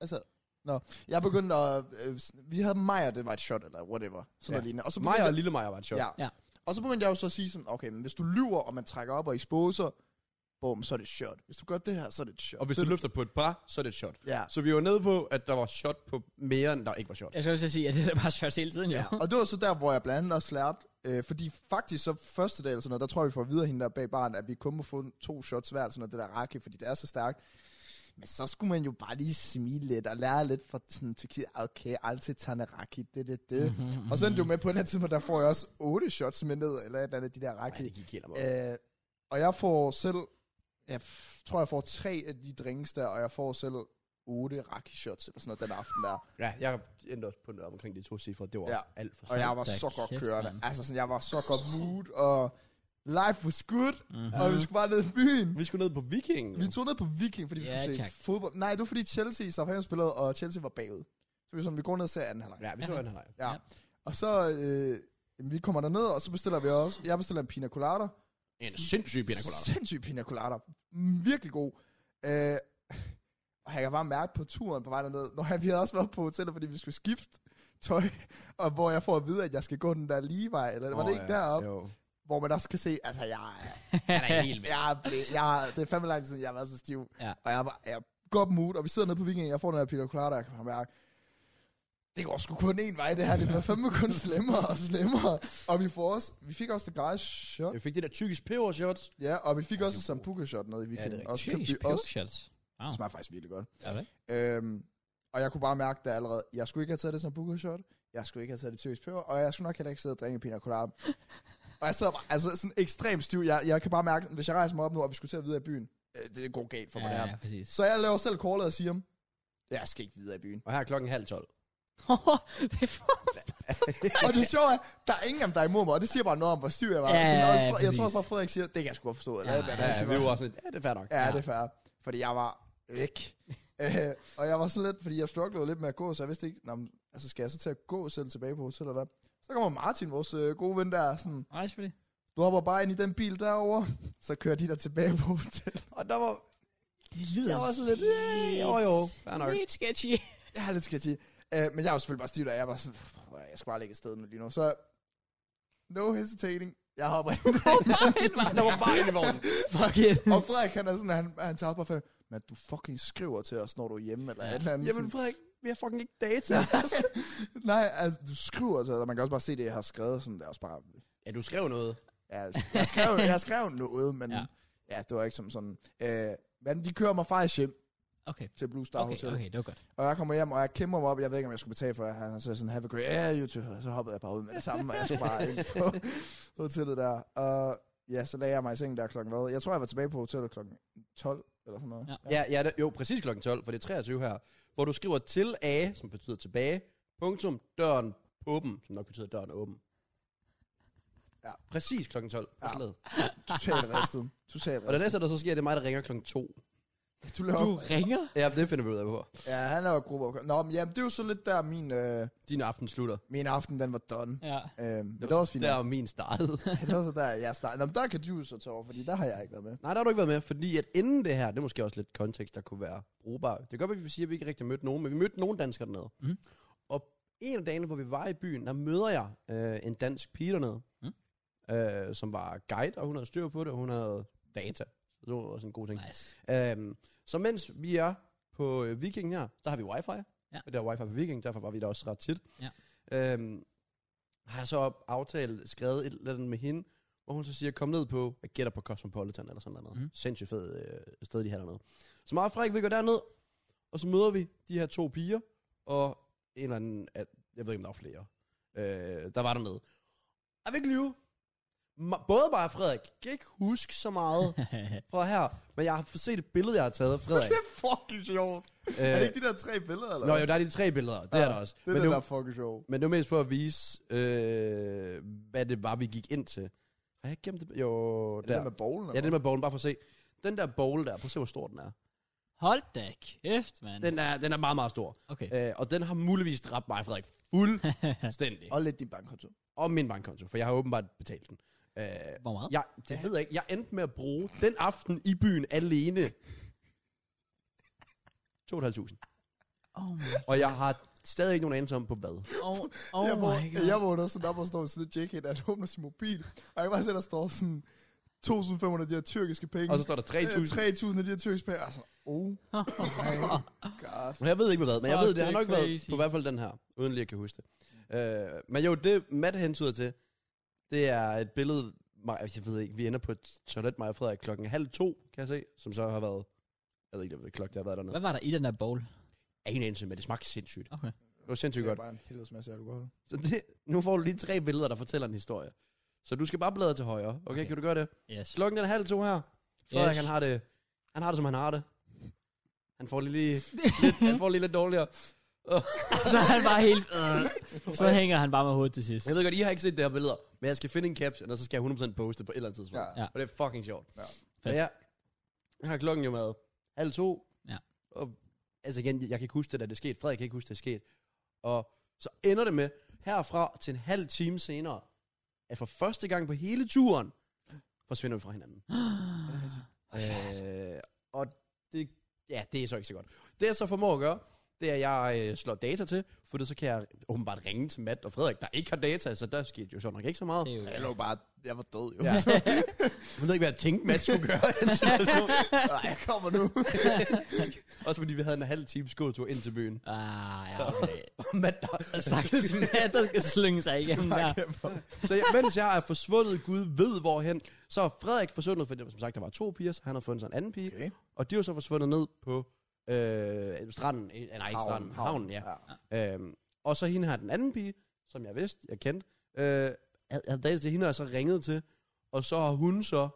Speaker 3: Altså, Nå, jeg begyndte at... Øh, vi havde Maja, det var et shot, eller whatever. Sådan
Speaker 2: Ja.
Speaker 3: noget lignende. Og så
Speaker 2: Maja og
Speaker 3: begyndte-
Speaker 2: Lille Maja var et shot.
Speaker 3: Ja.
Speaker 1: Ja.
Speaker 3: ja. Og så begyndte jeg jo så at sige sådan, okay, men hvis du lyver, og man trækker op og exposer, bum, så er det et shot. Hvis du gør det her, så er det et shot.
Speaker 2: Og hvis
Speaker 3: Så
Speaker 2: du
Speaker 3: er det-
Speaker 2: løfter på et par, så er det et shot.
Speaker 3: Ja.
Speaker 2: Så vi var nede på, at der var shot på mere, end der ikke var shot.
Speaker 1: Jeg skal også sige, at det er bare shots hele tiden, jo.
Speaker 2: Ja.
Speaker 3: Og det var så der, hvor jeg blandt andet også lærte, øh, fordi faktisk så første dag eller sådan noget, der tror jeg, vi får videre hende der bag barn, at vi kun må få to shots hver, sådan noget, det der rakke, fordi det er så stærkt. Men så skulle man jo bare lige smile lidt og lære lidt fra sådan Tyrkiet, Ah, okay, altid taneraki, det, det, det. Mm-hmm. Og så endte det jo med på den her tidspunkt, der får jeg også otte shots med ned, eller et eller andet, de der
Speaker 2: Ej,
Speaker 3: rakke.
Speaker 2: det gik helt amok.
Speaker 3: Øh, og jeg får selv, jeg f- tror jeg får tre af de drinks der, og jeg får selv otte raki shots eller sådan noget den aften der.
Speaker 2: Ja, jeg endte også på noget omkring de to cifre. Det var ja.
Speaker 3: Ja.
Speaker 2: alt for
Speaker 3: Og jeg var
Speaker 1: da
Speaker 3: så godt
Speaker 1: kæft,
Speaker 3: kørende.
Speaker 1: mand.
Speaker 3: Altså sådan, jeg var så godt mood, og life was good,
Speaker 1: Mhm.
Speaker 3: og vi skulle bare ned i byen.
Speaker 2: Vi skulle ned på Viking.
Speaker 3: Vi tog ned på Viking, fordi vi
Speaker 1: Ja,
Speaker 3: skulle se
Speaker 1: tak.
Speaker 3: fodbold. Nej, det var fordi Chelsea i Southampton spillede, og Chelsea var bagud. Så vi, sådan, vi går ned og ser anden halvleg.
Speaker 2: Ja, vi så den her.
Speaker 3: Ja.
Speaker 1: Ja.
Speaker 3: ja. Og så, øh, jamen, vi kommer derned, og så bestiller vi også, jeg bestiller en pina colada.
Speaker 2: En sindssyg pina colada.
Speaker 3: Sindssyg pina colada. Mm, Virkelig god. Øh, og jeg kan bare mærke på turen på vej derned, når jeg, vi havde også været på hotellet, fordi vi skulle skifte tøj, og hvor jeg får at vide, at jeg skal gå den der lige vej, eller var det ikke deroppe?
Speaker 2: Jo.
Speaker 3: hvor man også kan se, altså jeg,
Speaker 2: Han er helt væk.
Speaker 3: jeg, blev, jeg det er fandme lang tid siden, jeg har været så stiv.
Speaker 1: Ja.
Speaker 3: Og jeg er, bare- jeg er godt mood, og vi sidder nede på weekenden, jeg får den her pina colada, og jeg kan bare mærke, det går sgu kun én vej, det her, det bliver fandme kun slemmere og slemmere. Og vi, får også, vi fik også det gratis shot,
Speaker 2: Jeg fik det der tyrkisk pebershots.
Speaker 3: ja, og vi fik også sambuca shot nede i
Speaker 2: Ja,
Speaker 3: weekenden.
Speaker 2: det er
Speaker 3: og så købte
Speaker 1: Jeez,
Speaker 3: vi også,
Speaker 1: shots. Wow.
Speaker 3: det smager faktisk virkelig godt.
Speaker 1: Er det ikke?
Speaker 3: Øhm, og jeg kunne bare mærke det allerede, jeg skulle ikke have taget det sambuca shot, jeg skulle ikke have taget det tyrkisk peber, og jeg skulle nok heller ikke sidde og drikke en pina colada. Og jeg sidder bare, altså sådan ekstremt stiv. Jeg, jeg kan bare mærke, hvis jeg rejser mig op nu, og vi skulle til at videre i byen, øh, det går galt for mig
Speaker 1: Ja,
Speaker 3: ja.
Speaker 1: ja,
Speaker 3: her.
Speaker 1: præcis.
Speaker 3: Så jeg laver selv callet og siger, jeg skal ikke videre i byen.
Speaker 2: Og her er klokken halv tolv.
Speaker 1: det er for...
Speaker 3: og det sjove er, der er ingen af dem, der er imod mig, og det siger bare noget om, hvor stiv jeg var.
Speaker 1: Ja,
Speaker 3: Ja, sådan,
Speaker 1: ja,
Speaker 3: også,
Speaker 1: ja,
Speaker 3: Frederik- jeg tror
Speaker 1: præcis.
Speaker 3: også bare, Frederik siger, det kan jeg sgu godt forstå. Eller,
Speaker 1: Ja,
Speaker 3: ja, ja,
Speaker 2: Ja,
Speaker 3: ja,
Speaker 2: vi var sådan lidt, ja, det er fair nok.
Speaker 3: ja,
Speaker 1: ja.
Speaker 3: det er fair. Fordi jeg var væk. øh, og jeg var sådan lidt, fordi jeg strugglede lidt med at gå, så jeg vidste ikke, nå, men, altså skal jeg så til at gå selv tilbage på hotellet, eller hvad? Så kommer Martin, vores øh, gode ven der, er sådan,
Speaker 1: Nej, selvfølgelig.
Speaker 3: du hopper bare ind i den bil derovre, så kører de der tilbage på hotellet.
Speaker 2: Og der var,
Speaker 1: Det lyder
Speaker 2: jeg var sådan lidt, "Ja, jo jo, fair nok.
Speaker 1: Lidt sketchy.
Speaker 3: Jeg er lidt sketchy. Uh, men jeg er jo selvfølgelig bare stiv, og jeg var sådan, "Pff, jeg skal bare lægge et sted nu lige nu. Så, no hesitating. Jeg hopper ind.
Speaker 2: Der var bare en i vognen.
Speaker 1: Fuck it.
Speaker 3: og Frederik, han er sådan, han, han tager op og fanden, men du fucking skriver til os, når du er hjemme, eller
Speaker 1: Ja.
Speaker 3: et eller andet.
Speaker 2: Jamen
Speaker 3: Sådan,
Speaker 2: Frederik, vi har fucking ikke data.
Speaker 3: Nej, altså, du skriver til os, og man kan også bare se det, jeg har skrevet, sådan, det er også bare,
Speaker 2: Ja, du skrev noget.
Speaker 3: ja, altså, jeg skrev, jeg skrev noget, men
Speaker 1: Ja.
Speaker 3: ja. ja, det var ikke som sådan, øh, men de kører mig faktisk hjem
Speaker 1: Okay.
Speaker 3: til Blue Star
Speaker 1: Okay,
Speaker 3: Hotel.
Speaker 1: okay, det var godt.
Speaker 3: Og jeg kommer hjem, og jeg kæmper mig op. Jeg ved ikke, om jeg skulle betale for det. Han sagde sådan, have a great yeah, YouTube. Og så hoppede jeg bare ud med det samme, og jeg skulle bare ind på hotellet der. Og ja, så lagde jeg mig i sengen der klokken hvad? Jeg tror, jeg var tilbage på hotellet klokken 12, eller sådan noget.
Speaker 1: Ja.
Speaker 2: Ja, ja det, jo, præcis klokken 12, for det er 23 her, hvor du skriver til A, som betyder tilbage, punktum, døren åben, som nok betyder døren er åben.
Speaker 3: Ja.
Speaker 2: Præcis klokken 12.
Speaker 3: Ja.
Speaker 2: Ja.
Speaker 3: Totalt ristet. Totalt
Speaker 2: Og det
Speaker 3: ristet.
Speaker 2: næste, der så sker, det er mig, der ringer klokken 2.
Speaker 3: Du
Speaker 1: Du
Speaker 3: laver,
Speaker 1: ringer?
Speaker 2: Ja, det finder vi ud af, hvorfor.
Speaker 3: ja, han er jo gruppeopgave. Nå, men jamen, det er jo så lidt der, min, øh,
Speaker 2: Din aften slutter.
Speaker 3: min aften, den var done.
Speaker 1: Ja.
Speaker 3: Øhm, men det var også fint.
Speaker 2: Der er min startede.
Speaker 3: Det var så der, jeg startede. Nå, men der kan du jo så tage over, fordi der har jeg ikke været med.
Speaker 2: Nej, der har du ikke været med, fordi at inden det her, det er måske også lidt kontekst, der kunne være brugbar. Det kan godt være, at vi siger, at vi ikke rigtig mødte nogen, men vi mødte nogle danskere dernede.
Speaker 1: Mhm.
Speaker 2: Og en af dagene, hvor vi var i byen, der møder jeg øh, en dansk pige dernede,
Speaker 1: Mhm.
Speaker 2: øh, som var guide, og hun havde styr på det, og hun havde data. Så det var også en god ting.
Speaker 1: Nice.
Speaker 2: Øhm, så mens vi er på øh, Viking her, så har vi wifi.
Speaker 1: Ja.
Speaker 2: Og der er wifi på Viking, derfor var vi der også ret tit.
Speaker 1: Ja.
Speaker 2: Øhm, har jeg så aftalt, skrevet et eller andet med hende, hvor hun så siger, kom ned på, jeg gætter på Cosmopolitan eller sådan noget.
Speaker 1: Mhm.
Speaker 2: Mm. Sindssygt fed øh, sted, de har dernede. Så meget fræk, vi går derned, og så møder vi de her to piger, og en eller anden, at, jeg ved ikke, om der var flere, øh, der var dernede. Jeg vil ikke lyve. Ma- Både bare Frederik kan ikke huske så meget fra her, men jeg har set et billede, jeg har taget af Frederik.
Speaker 3: Det er fucking sjovt.
Speaker 2: Øh,
Speaker 3: Er det ikke de der tre billeder, eller
Speaker 2: Nå
Speaker 3: hvad?
Speaker 2: jo, der er de tre billeder, det
Speaker 3: Ja,
Speaker 2: er der også.
Speaker 3: Det er
Speaker 2: men,
Speaker 3: det,
Speaker 2: det
Speaker 3: der
Speaker 2: var,
Speaker 3: er fucking sjovt.
Speaker 2: men det var mest for at vise, øh, hvad det var, vi gik ind til. Har jeg ikke gemt det? Jo,
Speaker 3: Er det
Speaker 2: der.
Speaker 3: der med bowlen,
Speaker 2: ja, den med bowlen, bare for at se. Den der bowl der, prøv at se, hvor stor den er.
Speaker 1: Hold da kæft, mand.
Speaker 2: Den er, den er meget, meget stor.
Speaker 1: Okay.
Speaker 2: Øh, og den har muligvis dræbt mig, Frederik, fuldstændig.
Speaker 3: Og lidt din bankkonto.
Speaker 2: Og min bankkonto, for jeg har åbenbart betalt den. Øh,
Speaker 1: Hvor meget?
Speaker 2: jeg, det ved jeg ikke. Jeg endte med at bruge den aften i byen alene. 2.500.
Speaker 1: Oh my,
Speaker 2: Og jeg har stadig ikke nogen anelse om på hvad.
Speaker 1: oh, oh
Speaker 3: jeg,
Speaker 1: my god.
Speaker 3: jeg vågner sådan op og står ved siden af JK, der han åbner sin mobil. Og jeg kan bare se, der står sådan 2.500 af de her tyrkiske penge.
Speaker 2: Og så står der 3.000.
Speaker 3: øh, 3.000 af de her tyrkiske penge. Altså, oh my god.
Speaker 2: Og Jeg ved ikke, hvad, men jeg
Speaker 1: Fuck,
Speaker 2: ved, det har
Speaker 1: det er
Speaker 2: nok været
Speaker 1: crazy.
Speaker 2: på hvert fald den her, uden lige at kan huske det. Øh, men jo, det Matt hentyder til, det er et billede, mig- altså, jeg ved ikke, vi ender på et toilet, mig og Frederik, klokken halv to, kan jeg se, som så har været, jeg ved ikke, hvad klokken der har været dernede.
Speaker 1: Hvad var der i den der bowl?
Speaker 2: Jeg har ingen anelse, men det smagte sindssygt.
Speaker 1: Okay.
Speaker 2: Det var sindssygt
Speaker 3: Det er
Speaker 2: godt.
Speaker 3: bare en helvedes masse alkohol.
Speaker 2: Så det, nu får du lige tre billeder, der fortæller en historie. Så du skal bare bladre til højre. Okay,
Speaker 1: Okay.
Speaker 2: okay. kan du gøre det?
Speaker 1: Yes.
Speaker 2: Klokken den er halv to her. Frederik,
Speaker 1: Yes.
Speaker 2: yes. han har det. Han har det, som han har det. Han får lige, lige lidt, han får lige lidt dårligere. Øh.
Speaker 1: så er han bare helt... Øh, så hænger han bare med hovedet til sidst.
Speaker 2: Jeg ved godt, I har ikke set det her billeder, men jeg skal finde en caption, og så skal jeg 100% poste på et eller andet tidspunkt.
Speaker 3: Ja.
Speaker 2: Ja. Og det er fucking sjovt.
Speaker 3: Ja.
Speaker 2: Og jeg, jeg har klokken jo med halv to.
Speaker 1: Ja.
Speaker 2: Og, altså igen, jeg kan ikke huske det, da det skete. Frederik kan ikke huske, det er sket. Og så ender det med, herfra til en halv time senere, at for første gang på hele turen, forsvinder vi fra hinanden. Øh, og det, ja, det er så ikke så godt. Det jeg så formår at gøre, det er, at jeg øh, slår data til, for så kan jeg åbenbart ringe til Matt og Frederik, der ikke har data, så der skete jo sådan nok ikke så meget.
Speaker 1: Det er jo...
Speaker 3: Jeg lå bare, jeg var død jo.
Speaker 2: Ja. Hun ved ikke, hvad jeg tænkte, Matt skulle gøre. Altså, i den situation.
Speaker 3: Nej, jeg kommer nu.
Speaker 2: Også fordi vi havde en halv times gåtur ind til byen.
Speaker 1: Ah, ja, okay.
Speaker 2: Og Matt, der,
Speaker 1: Stakkels mand, der skal slynge sig igennem der.
Speaker 2: så jeg, mens jeg er forsvundet, Gud ved hvorhen, så er Frederik forsvundet, fordi som sagt, der var to piger, så han har fundet sig en anden pige.
Speaker 3: Okay.
Speaker 2: Og de var så forsvundet ned på øh, stranden, eh, nej ikke stranden, havnen, ja. Øhm, og så hende her, den anden pige, som jeg vidste, jeg kendte, øh, havde- havde datet til hende, og jeg så ringet til, og så har hun så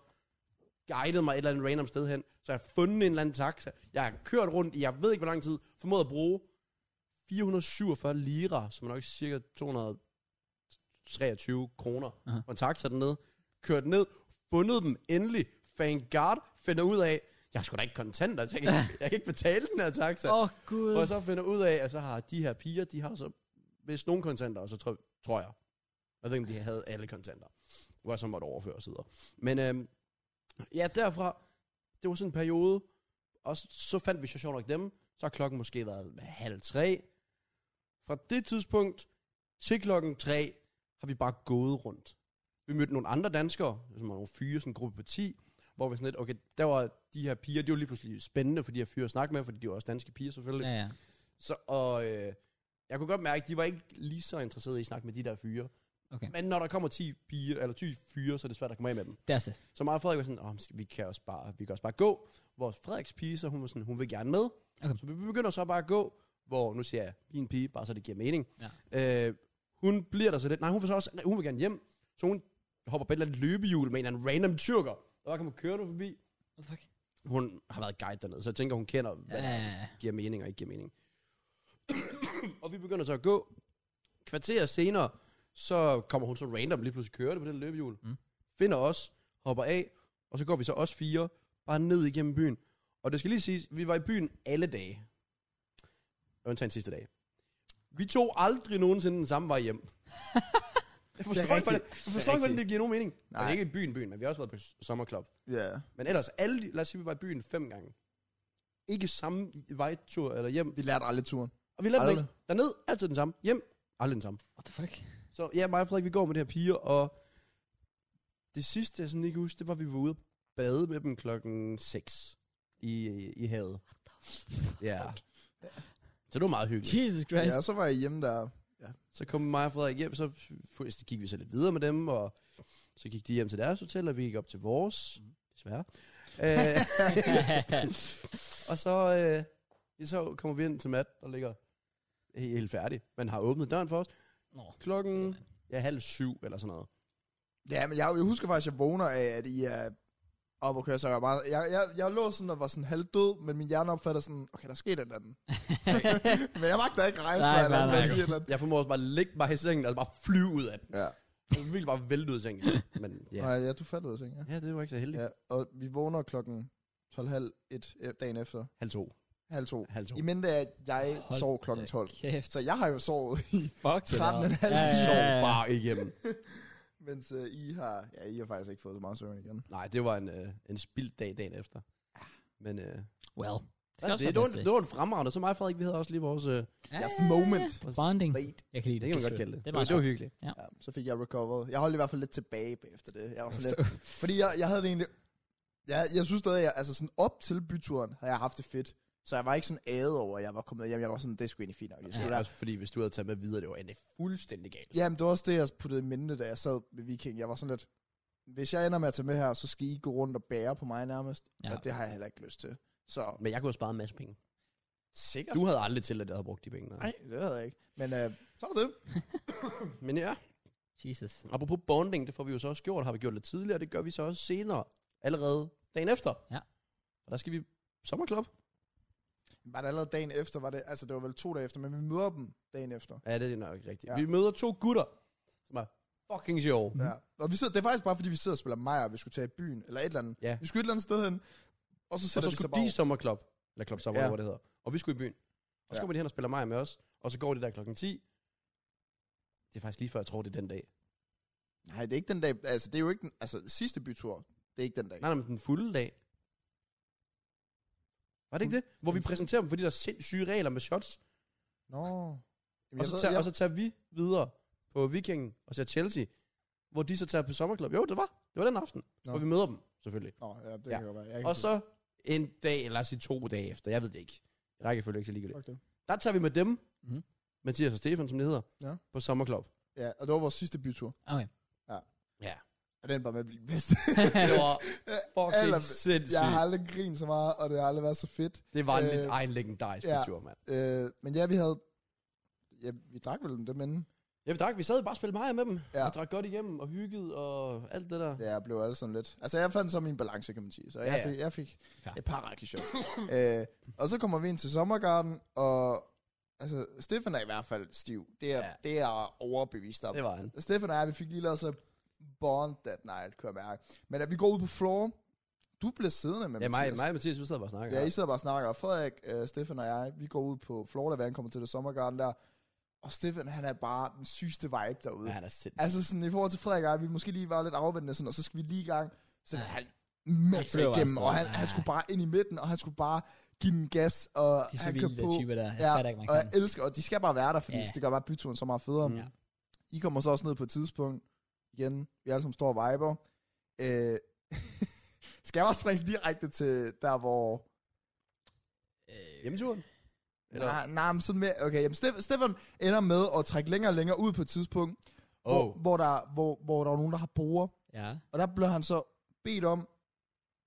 Speaker 2: guidet mig et eller andet random sted hen, så jeg har fundet en eller anden taxa, jeg har kørt rundt i, jeg ved ikke hvor lang tid, formået at bruge 447 lira, som er nok cirka 223 kroner,
Speaker 1: Aha.
Speaker 2: på en taxa dernede, kørt ned, fundet dem endelig, thank god, finder ud af, jeg har sgu da ikke kontanter, så jeg kan, jeg kan ikke betale den her taxa.
Speaker 1: Åh, oh, gud.
Speaker 2: Og så finder ud af, at så har de her piger, de har så, hvis nogen kontanter, og så tror, tror jeg, jeg ved ikke, om de havde alle kontanter, hvor jeg så måtte overføre og så videre. Men øhm, ja, derfra, det var sådan en periode, og så, så fandt vi så sjovt nok dem, så har klokken måske været halv tre. Fra det tidspunkt til klokken tre, har vi bare gået rundt. Vi mødte nogle andre danskere, som var nogle fyre, sådan en gruppe på 10, hvor vi sådan lidt, okay, der var de her piger, det var lige pludselig spændende for de her fyre at snakke med, fordi de var også danske piger selvfølgelig.
Speaker 1: Ja, ja.
Speaker 2: Så, og øh, jeg kunne godt mærke, at de var ikke lige så interesserede i at snakke med de der fyre.
Speaker 1: Okay.
Speaker 2: Men når der kommer 10 piger, eller 10 fyre, så er det svært at komme af med dem.
Speaker 1: Det er det.
Speaker 2: Så meget Frederik var sådan, oh, vi, kan også bare, vi kan også bare gå. Hvor Frederiks pige, så hun var sådan, hun vil gerne med.
Speaker 1: Okay.
Speaker 2: Så vi begynder så bare at gå, hvor nu siger jeg, min pige, bare så det giver mening. Ja. Øh, hun bliver der så lidt, nej, hun vil, så også, hun vil gerne hjem, så hun hopper på et eller andet løbehjul med en eller anden random tyrker. Og der kommer kørende forbi,
Speaker 1: What the fuck?
Speaker 2: hun har været guide dernede, så jeg tænker, hun kender, hvad
Speaker 1: Ja,
Speaker 2: der giver mening og ikke giver mening. og vi begynder så at gå. Kvarter senere, så kommer hun så random lige pludselig kørende på det løbehjul.
Speaker 1: Mm.
Speaker 2: Mm. Finder os, hopper af, og så går vi så os fire, bare ned igennem byen. Og det skal lige siges, vi var i byen alle dage. Undtagen sidste dag. Vi tog aldrig nogensinde den samme vej hjem. Jeg forstår ikke, hvordan-
Speaker 3: rigtigt.
Speaker 2: jeg forstår ikke, hvordan
Speaker 3: rigtigt.
Speaker 2: det giver nogen mening. Nej. Og det
Speaker 3: Nej.
Speaker 2: er ikke i byen, byen, men vi har også været på s- sommerklub.
Speaker 3: Ja.
Speaker 2: Men ellers, alle de, lad os sige, vi var i byen fem gange. Ikke samme vejtur eller hjem.
Speaker 3: Vi lærte aldrig turen.
Speaker 2: Og vi lader
Speaker 3: Aldrig.
Speaker 2: ikke. Derned, altid den samme. Hjem, aldrig den samme.
Speaker 1: What the fuck?
Speaker 2: Så ja, mig og Frederik, vi går med det her piger, og det sidste, jeg sådan ikke husker, det var, at vi var ude og bade med dem klokken 6 i, i havet. Ja. Så det var meget hyggeligt.
Speaker 1: Jesus Christ.
Speaker 3: Ja, og så var jeg hjemme der.
Speaker 2: Så kom mig og Frederik hjem, så, f- så gik vi så lidt videre med dem, og så gik de hjem til deres hotel, og vi gik op til vores, desværre. Øh, og så, øh, ja, så kommer vi ind til Matt, der ligger he- helt færdig, men har åbnet døren for os
Speaker 1: Nå.
Speaker 3: Hm.
Speaker 2: klokken ja, halv syv eller sådan noget.
Speaker 3: Ja, men jeg, jeg husker faktisk, at jeg vågner af, at I er oppe og køre, så jeg, var meget, jeg, jeg, jeg lå sådan og var sådan halvdød, men min hjerne opfattede sådan, okay, der skete et eller andet. men jeg magter ikke rejse
Speaker 1: Nej,
Speaker 3: mig,
Speaker 1: nej,
Speaker 3: eller sådan,
Speaker 1: nej.
Speaker 3: at sige et eller andet.
Speaker 2: Jeg formår også bare at lægge mig i sengen, og bare flyve ud af den.
Speaker 3: Ja.
Speaker 2: Jeg ville bare vælte ud af sengen. Men
Speaker 3: Ja.
Speaker 2: ja.
Speaker 3: Nej, ja, du faldt ud af sengen, ja.
Speaker 2: ja, det var ikke så heldigt. Ja.
Speaker 3: ja. Og vi vågner klokken 12.30 dagen efter,
Speaker 2: Halv to.
Speaker 3: halv to.
Speaker 2: Halv to.
Speaker 3: I mente, at jeg
Speaker 1: Hold
Speaker 3: sov klokken
Speaker 1: da
Speaker 3: 12.
Speaker 1: Kæft.
Speaker 3: Så jeg har jo sovet i,
Speaker 1: Fuck
Speaker 3: 13,5
Speaker 2: Jeg sov
Speaker 1: øh.
Speaker 2: bare igennem.
Speaker 3: mens øh, I har... Ja, I har faktisk ikke fået så meget søvn igen.
Speaker 2: Nej, det var en, øh, en spildt dag dagen efter. Men øh,
Speaker 1: Well.
Speaker 2: det, det, det, var, en- det var en fremragende. Så mig og Frederik, vi havde også lige vores... Øh,
Speaker 3: Jeres moment.
Speaker 1: Bonding.
Speaker 3: Late.
Speaker 1: Jeg kan lide
Speaker 2: det kan man godt kalde det.
Speaker 1: Det
Speaker 2: Det
Speaker 1: er
Speaker 2: var,
Speaker 1: meget
Speaker 2: det var hyggeligt.
Speaker 3: Ja, så fik jeg recovered. Jeg holdt i hvert fald lidt tilbage efter det. Jeg var sådan lidt, fordi jeg, jeg havde det egentlig... Jeg, jeg synes stadig, at jeg, altså sådan op til byturen havde jeg haft det fedt. Så jeg var ikke sådan æget over, at jeg var kommet hjem. Jeg var sådan, det skulle egentlig fint nok. Det
Speaker 2: Det
Speaker 3: skulle
Speaker 2: var
Speaker 3: ja.
Speaker 2: også fordi, hvis du havde taget med videre, det var endelig fuldstændig galt.
Speaker 3: Jamen, det var også det, jeg puttede i minde, da jeg sad ved Viking. Jeg var sådan lidt, hvis jeg ender med at tage med her, så skal I gå rundt og bære på mig nærmest.
Speaker 1: Ja.
Speaker 3: Ja. Og det har jeg heller ikke lyst til. Så
Speaker 2: Men jeg kunne have sparet en masse penge.
Speaker 3: sikkert.
Speaker 2: Du havde aldrig til, at jeg havde brugt de penge. Nej.
Speaker 3: Nej, det havde jeg ikke. Men øh, så er det det.
Speaker 2: Men ja,
Speaker 1: Jesus.
Speaker 2: apropos bonding, det får vi jo så også gjort, har vi gjort lidt tidligere, og det gør vi så også senere, allerede dagen efter.
Speaker 1: Ja.
Speaker 2: Og der skal vi sommerklub.
Speaker 3: Var det allerede dagen efter? Var det, altså, det var vel to dage efter, men vi møder dem dagen efter.
Speaker 2: Ja, det er nok rigtigt.
Speaker 3: Ja.
Speaker 2: Ja. Vi møder to gutter, som er fucking sjove.
Speaker 3: Ja. Og vi sidder, det er faktisk bare, fordi vi sidder og spiller Majer, vi skulle tage i byen, eller et eller andet.
Speaker 2: Ja.
Speaker 3: Vi skulle et eller andet sted hen, og så
Speaker 2: Og så
Speaker 3: sætter de sig
Speaker 2: skulle
Speaker 3: bare
Speaker 2: de i
Speaker 3: over.
Speaker 2: sommerklub, eller klub sommer,
Speaker 3: Ja.
Speaker 2: ja. hvad det hedder. Og vi skulle i byen. Og så
Speaker 3: Ja.
Speaker 2: kommer de hen og spiller mig med os, og så går det der klokken 10. Det er faktisk lige før, jeg tror, det er den dag.
Speaker 3: Nej, det er ikke den dag, altså det er jo ikke den, altså sidste bytur, det er ikke den dag.
Speaker 2: Nej, nej, men den fulde dag. Var det ikke det? Hvor vi præsenterer dem for de der sindssyge regler med shots.
Speaker 3: Nå. Jamen,
Speaker 2: Og så, tager, og så tager vi videre på Vikingen og ser Chelsea, hvor de så tager på sommerklub. Jo, det var. Det var den aften,
Speaker 3: Nå.
Speaker 2: Nå. hvor vi møder dem, selvfølgelig.
Speaker 3: Nå, ja, det
Speaker 2: Ja.
Speaker 3: kan godt være. Jeg kan
Speaker 2: Og så en dag, lad os sige to dage efter, jeg ved det ikke. Rækkefølge er ikke så ligegyldigt.
Speaker 3: Fuck det.
Speaker 2: Der tager vi med dem,
Speaker 1: Mhm.
Speaker 2: mm. Mathias og Stefan, som det hedder,
Speaker 3: Ja.
Speaker 2: ja. på sommerklub.
Speaker 3: Ja, og det var vores sidste bytur.
Speaker 1: Okay.
Speaker 2: Ja.
Speaker 3: Og den var med at blive den bedste.
Speaker 2: Det var fucking
Speaker 3: Eller-
Speaker 2: sindssygt.
Speaker 3: jeg har aldrig grinet så meget, og det har aldrig været så fedt.
Speaker 2: Det var en, lidt,
Speaker 3: Øh,
Speaker 2: ej, en legendarisk
Speaker 3: ja.
Speaker 2: ja. tur, mand.
Speaker 3: Øh, men ja, vi havde... Ja, vi drak vel dem inden.
Speaker 2: Jeg drak, vi sad jo bare og spillede meget med dem.
Speaker 3: Ja.
Speaker 2: Ja. Og drak godt igennem og hyggede og alt det der. Ja.
Speaker 3: Ja, jeg blev alle sådan lidt... Altså, jeg fandt så min balance, kan man sige. Så jeg,
Speaker 2: Ja, ja.
Speaker 3: Fik, jeg fik
Speaker 1: Fair.
Speaker 3: et par rakishots. øh, og så kommer vi ind til Sommergarden, og... Altså, Stefan er i hvert fald stiv. Det er, ja.
Speaker 2: Ja.
Speaker 3: det er overbevist om.
Speaker 2: Det var han.
Speaker 3: Stefan og jeg, vi fik lige lavet så bond that night, kunne jeg mærke. Men at vi går ud på floor, du bliver siddende med
Speaker 2: Ja, mig,
Speaker 3: Mathias.
Speaker 2: mig og Mathias, vi sad bare og snakkede.
Speaker 3: Ja, I sidder bare og snakker, og Frederik, øh, Stefan og jeg, vi går ud på Florida, hvad han kommer til det sommergarden der, og Stefan, han er bare den sygeste vibe derude.
Speaker 2: ja,
Speaker 3: Ja.
Speaker 2: han er sindssygt.
Speaker 3: Altså sådan, i forhold til Frederik og jeg, vi måske lige var lidt afventende, sådan, og så skal vi lige i gang. Så han mægter
Speaker 1: flyver
Speaker 3: igennem,
Speaker 1: afsted.
Speaker 3: og han,
Speaker 1: Ja.
Speaker 3: han skulle bare ind i midten, og han skulle bare give den gas, og
Speaker 1: De
Speaker 3: han
Speaker 1: civile
Speaker 3: kørte på.
Speaker 1: typer der. Jeg
Speaker 3: Ja,
Speaker 1: fatter ikke, man
Speaker 3: og
Speaker 1: kan.
Speaker 3: jeg elsker, og de skal bare være der, fordi
Speaker 1: Ja.
Speaker 3: ja. det gør bare byturen så meget federe.
Speaker 2: Mm.
Speaker 3: Ja. I kommer så også ned på et tidspunkt, igen, vi alle sammen står og viber. Øh, skal jeg også springe direkte til der, hvor...
Speaker 1: Øh,
Speaker 2: Hjemmeturen? Eller?
Speaker 3: Nej, nej, men sådan med, okay, jamen Stef- Stefan ender med at trække længere og længere ud på et tidspunkt,
Speaker 2: Åh,
Speaker 3: hvor, hvor, der, hvor, hvor der er nogen, der har borer,
Speaker 1: Ja,
Speaker 3: og der blev han så bedt om,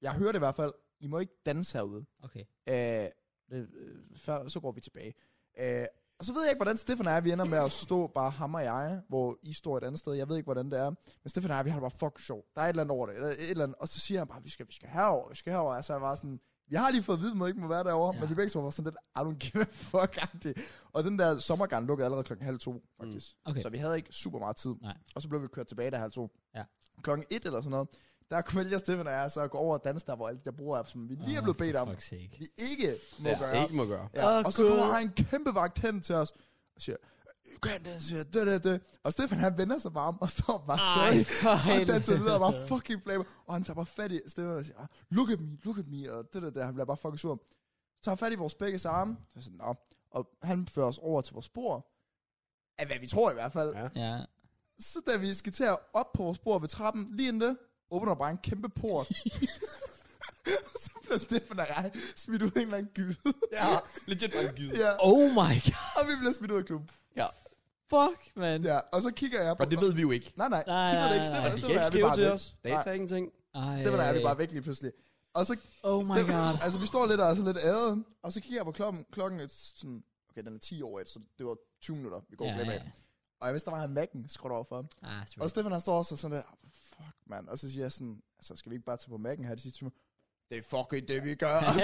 Speaker 3: jeg hørte det i hvert fald, I må ikke danse herude.
Speaker 1: okay.
Speaker 3: Øh, det, øh, før, så går vi tilbage. Øh, Og så ved jeg ikke, hvordan Stefan og jeg, vi ender med at stå bare ham og jeg, hvor I står et andet sted. Jeg ved ikke, hvordan det er. Men Stefan og jeg, vi har det bare fuck sjov. Der er et eller andet over det. eller Et eller andet. Og så siger han bare, vi skal, vi skal herover, vi skal herover. Altså, jeg var sådan, vi har lige fået at vide, at man ikke må være derovre,
Speaker 1: Ja.
Speaker 3: ja. men vi begge to var sådan lidt, I don't give a fuck -agtig. Og den der sommergarn lukkede allerede klokken halv to, faktisk. Mm.
Speaker 1: Okay.
Speaker 3: Så vi havde ikke super meget tid.
Speaker 1: Nej.
Speaker 3: Og så blev vi kørt tilbage der halv to.
Speaker 1: Ja.
Speaker 3: Klokken et eller sådan noget, der kunne vælge Stefan og jeg så at gå over og danse der, hvor alle de der bruger, som vi lige er blevet bedt om,
Speaker 1: Fuck sake.
Speaker 3: vi ikke må
Speaker 2: Ja,
Speaker 3: gøre.
Speaker 2: ikke må gøre.
Speaker 3: Ja.
Speaker 1: Åh,
Speaker 3: og så kommer
Speaker 1: Gud.
Speaker 3: der en kæmpe vagt hen til os, og siger, "You kan den, siger det, det, det. Og Stefan, han vender sig bare om, og står bare
Speaker 1: Ej,
Speaker 3: stadig.
Speaker 1: for
Speaker 3: Og danser
Speaker 1: helvede.
Speaker 3: videre, og bare fucking flamer. Og han tager bare fat i Stefan og siger, "Ah, look at me, look at me, og det, det, det. Han bliver bare fucking sur. Så tager fat i vores begge arme, så er jeg sådan, Nå. og han fører os over til vores spor. Af hvad vi tror i hvert fald.
Speaker 2: Ja.
Speaker 1: Ja.
Speaker 3: Så da vi skal til at op på vores bord ved trappen, lige inden det, åbner bare en kæmpe port. så bliver Stefan og jeg smidt ud i en eller anden gyde.
Speaker 2: Ja, legit bare en gyde.
Speaker 3: ja,
Speaker 1: Oh my god.
Speaker 3: og vi bliver smidt ud af klubben.
Speaker 1: Fuck, man.
Speaker 3: Ja, og så kigger jeg på...
Speaker 2: Og det ved vi jo ikke.
Speaker 3: Nej, nej,
Speaker 1: Nej,
Speaker 3: de ved det
Speaker 1: nej, nej,
Speaker 3: ikke. Stefan,
Speaker 1: nej.
Speaker 2: De
Speaker 3: Stefan
Speaker 2: kan
Speaker 3: og jeg,
Speaker 2: ikke
Speaker 3: vi
Speaker 2: skrive
Speaker 3: er bare
Speaker 2: til Øh.
Speaker 3: væk.
Speaker 2: os. Data
Speaker 3: Nej.
Speaker 2: er ingenting.
Speaker 1: Ej.
Speaker 3: Stefan og jeg, vi er bare væk lige pludselig. Og så...
Speaker 1: Oh my
Speaker 3: Stefan-
Speaker 1: god.
Speaker 3: Altså, vi står lidt og er så lidt æde, og så kigger jeg på klokken, klokken er sådan... Okay, den er 10 over et, så det var 20 minutter, vi går
Speaker 1: Ja,
Speaker 3: ja, glip af.
Speaker 1: ja.
Speaker 3: Og jeg vidste, der var en Mac'en skråt over for ham.
Speaker 1: Ah,
Speaker 3: Og
Speaker 1: selvfølgelig.
Speaker 3: Stefan han står også og sådan der, "Ah, fuck mand. Og så siger jeg sådan, altså skal vi ikke bare tage på Mac'en her de sidste timer? Det er fucking det, vi gør.
Speaker 1: Oh,
Speaker 3: Og så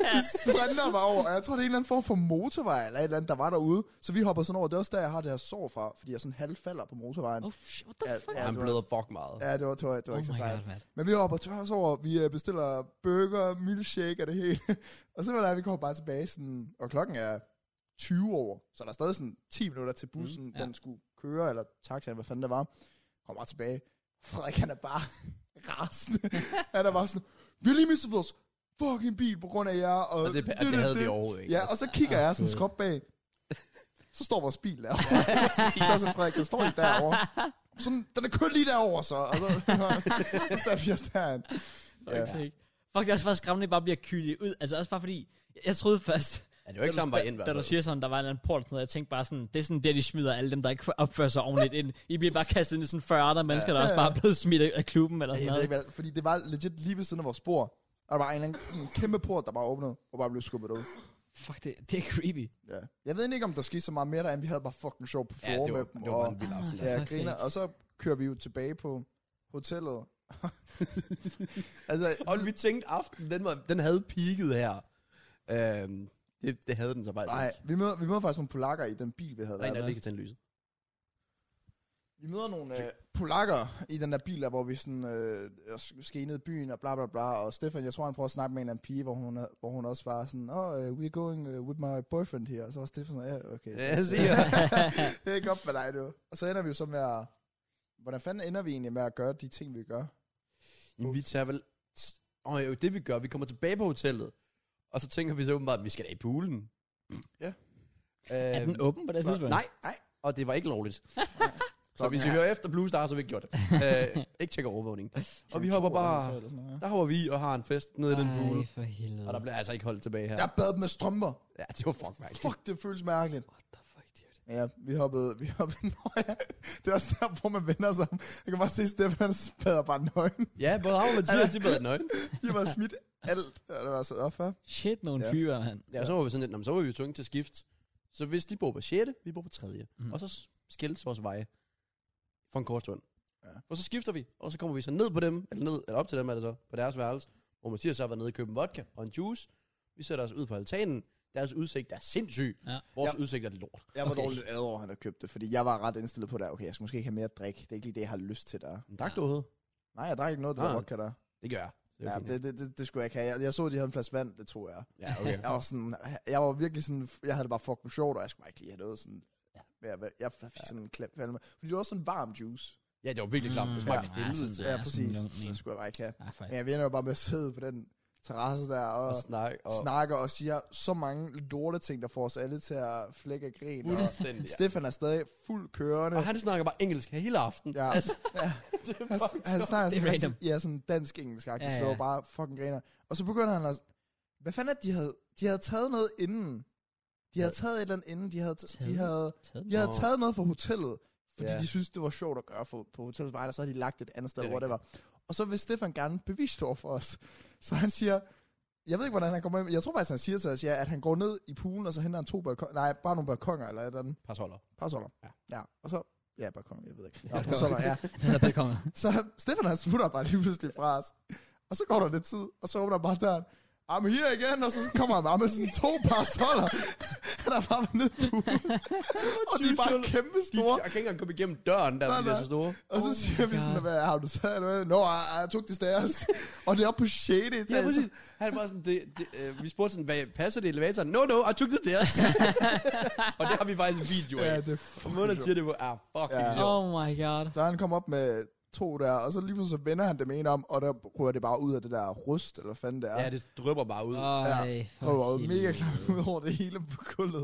Speaker 3: vi sprinter bare over. Og jeg tror, det er en eller anden form for motorvej, eller et eller andet, der var derude. Så vi hopper sådan over. Det er også der, jeg har det her sår fra, fordi jeg sådan halvfalder på motorvejen.
Speaker 1: Oh, shit, what the
Speaker 3: Ja,
Speaker 1: fuck?
Speaker 3: ja,
Speaker 2: Han
Speaker 3: det var-
Speaker 2: bløder fuck meget.
Speaker 3: Ja, det var, det var, det var
Speaker 1: oh
Speaker 3: ikke så
Speaker 1: my
Speaker 3: sejt.
Speaker 1: god, man.
Speaker 3: Men vi hopper tørs over, vi øh, bestiller burger, milkshake og det hele. og så var der, vi kommer bare tilbage, sådan, og klokken er 20 over, så der er stadig sådan 10 minutter til bussen, mm,
Speaker 1: ja.
Speaker 3: ja. den skulle køre, eller taxaen, hvad fanden det var. Kommer bare tilbage. Frederik, han er bare rasende. han er bare sådan, vi har lige mistet vores fucking bil på grund af jer. Og,
Speaker 2: Og det, og det havde vi overhovedet ikke.
Speaker 3: Ja, og så kigger jeg sådan skrop bag. Så står vores bil derovre. så er sådan, Frederik, den står lige derovre. Sådan, den er kørt lige derovre så. Og så, så satte vi os derhen.
Speaker 1: Fuck, sake. Fuck, det er også bare skræmmende, at I bare bliver kylet ud. Altså også bare fordi, jeg troede først,
Speaker 2: Ja, det var ikke
Speaker 1: Da du-
Speaker 2: samme vej ind, i
Speaker 1: da, da
Speaker 2: hvert
Speaker 1: du
Speaker 2: fald.
Speaker 1: siger sådan, der var en eller anden port, og sådan noget, jeg tænkte bare sådan, det er sådan der, de smider alle dem, der ikke opfører sig ordentligt ind. I bliver bare kastet ind i sådan 40 andre mennesker, der
Speaker 3: Ja,
Speaker 1: også
Speaker 3: ja.
Speaker 1: bare er blevet smidt af af klubben eller
Speaker 3: Ja,
Speaker 1: sådan
Speaker 3: Jeg ved
Speaker 1: noget.
Speaker 3: ikke hvad, fordi det var legit lige ved siden af vores spor. Og der var en, eller anden, en kæmpe port, der bare åbnede, og bare blev skubbet ud.
Speaker 1: Fuck, det, det er creepy.
Speaker 3: Ja. Jeg ved egentlig ikke, om der skete så meget mere derinde. Vi havde bare fucking sjov på
Speaker 2: Ja,
Speaker 3: forum
Speaker 2: det var,
Speaker 3: med dem.
Speaker 2: det var bare
Speaker 3: Og,
Speaker 2: en vild
Speaker 1: Ah,
Speaker 2: aften.
Speaker 1: for
Speaker 2: Ja.
Speaker 3: ja,
Speaker 1: fuck's
Speaker 3: griner.
Speaker 1: sake.
Speaker 3: Og så kører vi jo tilbage på hotellet. altså,
Speaker 2: Og vi tænkte, aften, den, var, den havde peaked her. Øhm, det, det havde den så bare altså
Speaker 3: nej, vi møder, vi møder faktisk nogle polakker i den bil, vi havde.
Speaker 2: Rent
Speaker 3: været
Speaker 2: der
Speaker 3: med.
Speaker 2: lige kan tænde lyset.
Speaker 3: Vi møder nogle øh, polakker i den der bil, der, hvor vi sådan, øh, skal ind i byen og bla bla bla. Og Stefan, jeg tror, han prøver at snakke med en eller anden pige, hvor hun, er- hvor hun også var sådan, oh, uh, we're going uh, with my boyfriend here. Og så var Stefan sådan, ja, yeah, okay.
Speaker 2: Ja, jeg siger.
Speaker 3: det er godt med dig, du. Og så ender vi jo så med at... Hvordan fanden ender vi egentlig med at gøre de ting, vi gør?
Speaker 2: Jamen, vi tager vel... Åh, oh, jo, det vi gør, vi kommer tilbage på hotellet. Og så tænker vi så åbenbart, at vi skal da i poolen.
Speaker 3: Ja.
Speaker 1: er den
Speaker 2: Øhm,
Speaker 1: åben på det
Speaker 3: så-
Speaker 1: tidspunkt?
Speaker 2: nej, nej. Og det var ikke lovligt. så hvis I
Speaker 3: Ja.
Speaker 2: hører efter Blue Stars, så har vi ikke gjort det. øh, ikke tjekke overvågning. Og vi hopper bare...
Speaker 3: Eller sådan noget, ja.
Speaker 2: Der hopper vi og har en fest nede i den pool.
Speaker 1: Ej, for helvede.
Speaker 2: Og der bliver altså ikke holdt tilbage her.
Speaker 3: Jeg bad med strømper.
Speaker 2: Ja, det var fuck mærkeligt.
Speaker 3: Fuck, det føles mærkeligt.
Speaker 1: What the fuck, dude?
Speaker 3: Ja, vi hoppede... Vi hoppede Nå, ja. Det er også der, hvor man vender sig om. Jeg kan bare se, Stefan han spader bare nøgen.
Speaker 2: Ja, både ham og Mathias, de blev lidt nøgne.
Speaker 3: De har bare smidt alt. Og det var så op for.
Speaker 1: Shit, nogle
Speaker 3: Ja.
Speaker 1: fyre, han.
Speaker 2: Ja, og så var vi sådan lidt, "Nå, men så var vi jo tvunget til skift. Så hvis de bor på 6., vi bor på 3.
Speaker 1: Mhm.
Speaker 3: Mm-hmm.
Speaker 2: Mm. Og så s- skiltes vores veje for en kort stund.
Speaker 3: Ja.
Speaker 2: Ja. Og så skifter vi, og så kommer vi så ned på dem, eller, ned, eller op til dem er det så, på deres værelse, hvor Mathias så har været nede og købe en vodka og en juice. Vi sætter os ud på altanen. Deres udsigt er sindssyg.
Speaker 1: Ja.
Speaker 2: Ja. Vores
Speaker 3: Ja.
Speaker 2: udsigt er lort.
Speaker 3: Jeg var
Speaker 1: Okay.
Speaker 3: okay. dog lidt ad over, at han havde købt det, fordi jeg var ret indstillet på det. Okay, jeg skal måske ikke have mere drik. Det er ikke lige det, jeg har lyst til der.
Speaker 2: Men drak du overhovedet?
Speaker 3: Nej, jeg drak ikke noget, det var
Speaker 2: Ah.
Speaker 3: vodka der.
Speaker 2: Det gør jeg. Det er
Speaker 3: Ja,
Speaker 2: fint.
Speaker 3: det, det, det, det, skulle jeg ikke have. Jeg, jeg så, at de havde en flaske vand, det tror jeg.
Speaker 2: ja okay.
Speaker 3: Jeg var sådan, jeg var virkelig sådan, jeg havde det bare fucking sjovt, og jeg skulle bare ikke lige have noget sådan, jeg, jeg, jeg fik sådan en klem, kvalme. fordi det var sådan en varm juice.
Speaker 2: ja, det var virkelig klamt. Det smagte
Speaker 1: Mm,
Speaker 2: ja.
Speaker 1: ja,
Speaker 2: helvede.
Speaker 1: sådan-
Speaker 3: Ja, ja
Speaker 1: sådan
Speaker 3: præcis,
Speaker 1: en lung en.
Speaker 3: så skulle jeg bare ikke have.
Speaker 1: Ah, fuck.
Speaker 3: Men jeg vender jo bare med at sidde på den terrasse der, og,
Speaker 2: Og snak. Og
Speaker 3: og snakker og siger så mange lorte ting, der får os alle til at flække af grin, og
Speaker 2: fuldstændig. Ja.
Speaker 3: Stefan er stadig fuld kørende.
Speaker 2: Og han snakker bare engelsk hele aften.
Speaker 3: Ja.
Speaker 2: Altså,
Speaker 3: ja.
Speaker 2: det er
Speaker 3: Han,
Speaker 2: fucking
Speaker 3: han
Speaker 2: sjovt.
Speaker 3: snakker
Speaker 1: Det er
Speaker 3: sådan,
Speaker 1: random.
Speaker 3: rigtig, ja, sådan dansk-engelsk,
Speaker 1: Ja,
Speaker 3: ja,
Speaker 1: ja.
Speaker 3: ja. bare fucking griner. Og så begynder han at... Hvad fanden er det, de havde... De havde taget noget inden. De havde taget et eller andet inden. De havde, t- de
Speaker 1: Taget?
Speaker 3: havde, de havde taget noget fra hotellet, fordi
Speaker 2: Ja.
Speaker 3: de synes det var sjovt at gøre for, på hotellets vegne, og så havde de lagt det et andet sted,
Speaker 2: Det er
Speaker 3: hvor det var. Og så vil Stefan gerne bevise det over for os. Så han siger, jeg ved ikke, hvordan han kommer hjem. Jeg tror faktisk, han siger til os, ja, at han går ned i poolen, og så henter han to balkoner. Nej, bare nogle balkoner, eller et eller andet.
Speaker 2: Pasholder.
Speaker 3: Parasoller.
Speaker 2: Ja.
Speaker 3: ja. Og så... Ja, balkoner, jeg ved ikke. Ja,
Speaker 1: Balkoner.
Speaker 3: parasoller, ja.
Speaker 1: Han er velkommen.
Speaker 3: Så Stefan, han smutter bare lige pludselig fra os. Og så går der lidt tid, og så åbner han bare døren. I'm here igen, og så kommer han bare med sådan to parasoller. Han har bare været nede i poolen. og de er bare kæmpe
Speaker 2: De, Oh
Speaker 3: store.
Speaker 2: jeg kan ikke engang komme igennem døren, der
Speaker 3: Nej,
Speaker 2: er de er
Speaker 3: nej.
Speaker 2: så store.
Speaker 3: Og så siger vi sådan,
Speaker 1: God.
Speaker 3: hvad har du taget? Eller hvad? Nå, jeg, jeg tog de stairs. og det er oppe på 6. etage.
Speaker 2: Ja, præcis. Han var sådan, det, det, øh, vi spurgte sådan, hvad passer det i elevatoren? No, no, I took the stairs. og det har vi faktisk en video af.
Speaker 3: Ja,
Speaker 2: Ja,
Speaker 3: det er
Speaker 2: og
Speaker 3: fucking
Speaker 2: måneder
Speaker 3: sjovt.
Speaker 2: til det var, ah, fucking
Speaker 3: Ja.
Speaker 2: ja. sjovt.
Speaker 1: Oh my god.
Speaker 3: Så han kom op med to der, og så lige pludselig så vender han dem ene om, og der rører det bare ud af det der rust, eller hvad fanden det er.
Speaker 2: Ja, det drøber bare ud.
Speaker 1: Ej,
Speaker 3: det var jo
Speaker 1: for
Speaker 3: mega
Speaker 1: helvede.
Speaker 3: klart ud over det hele på gulvet.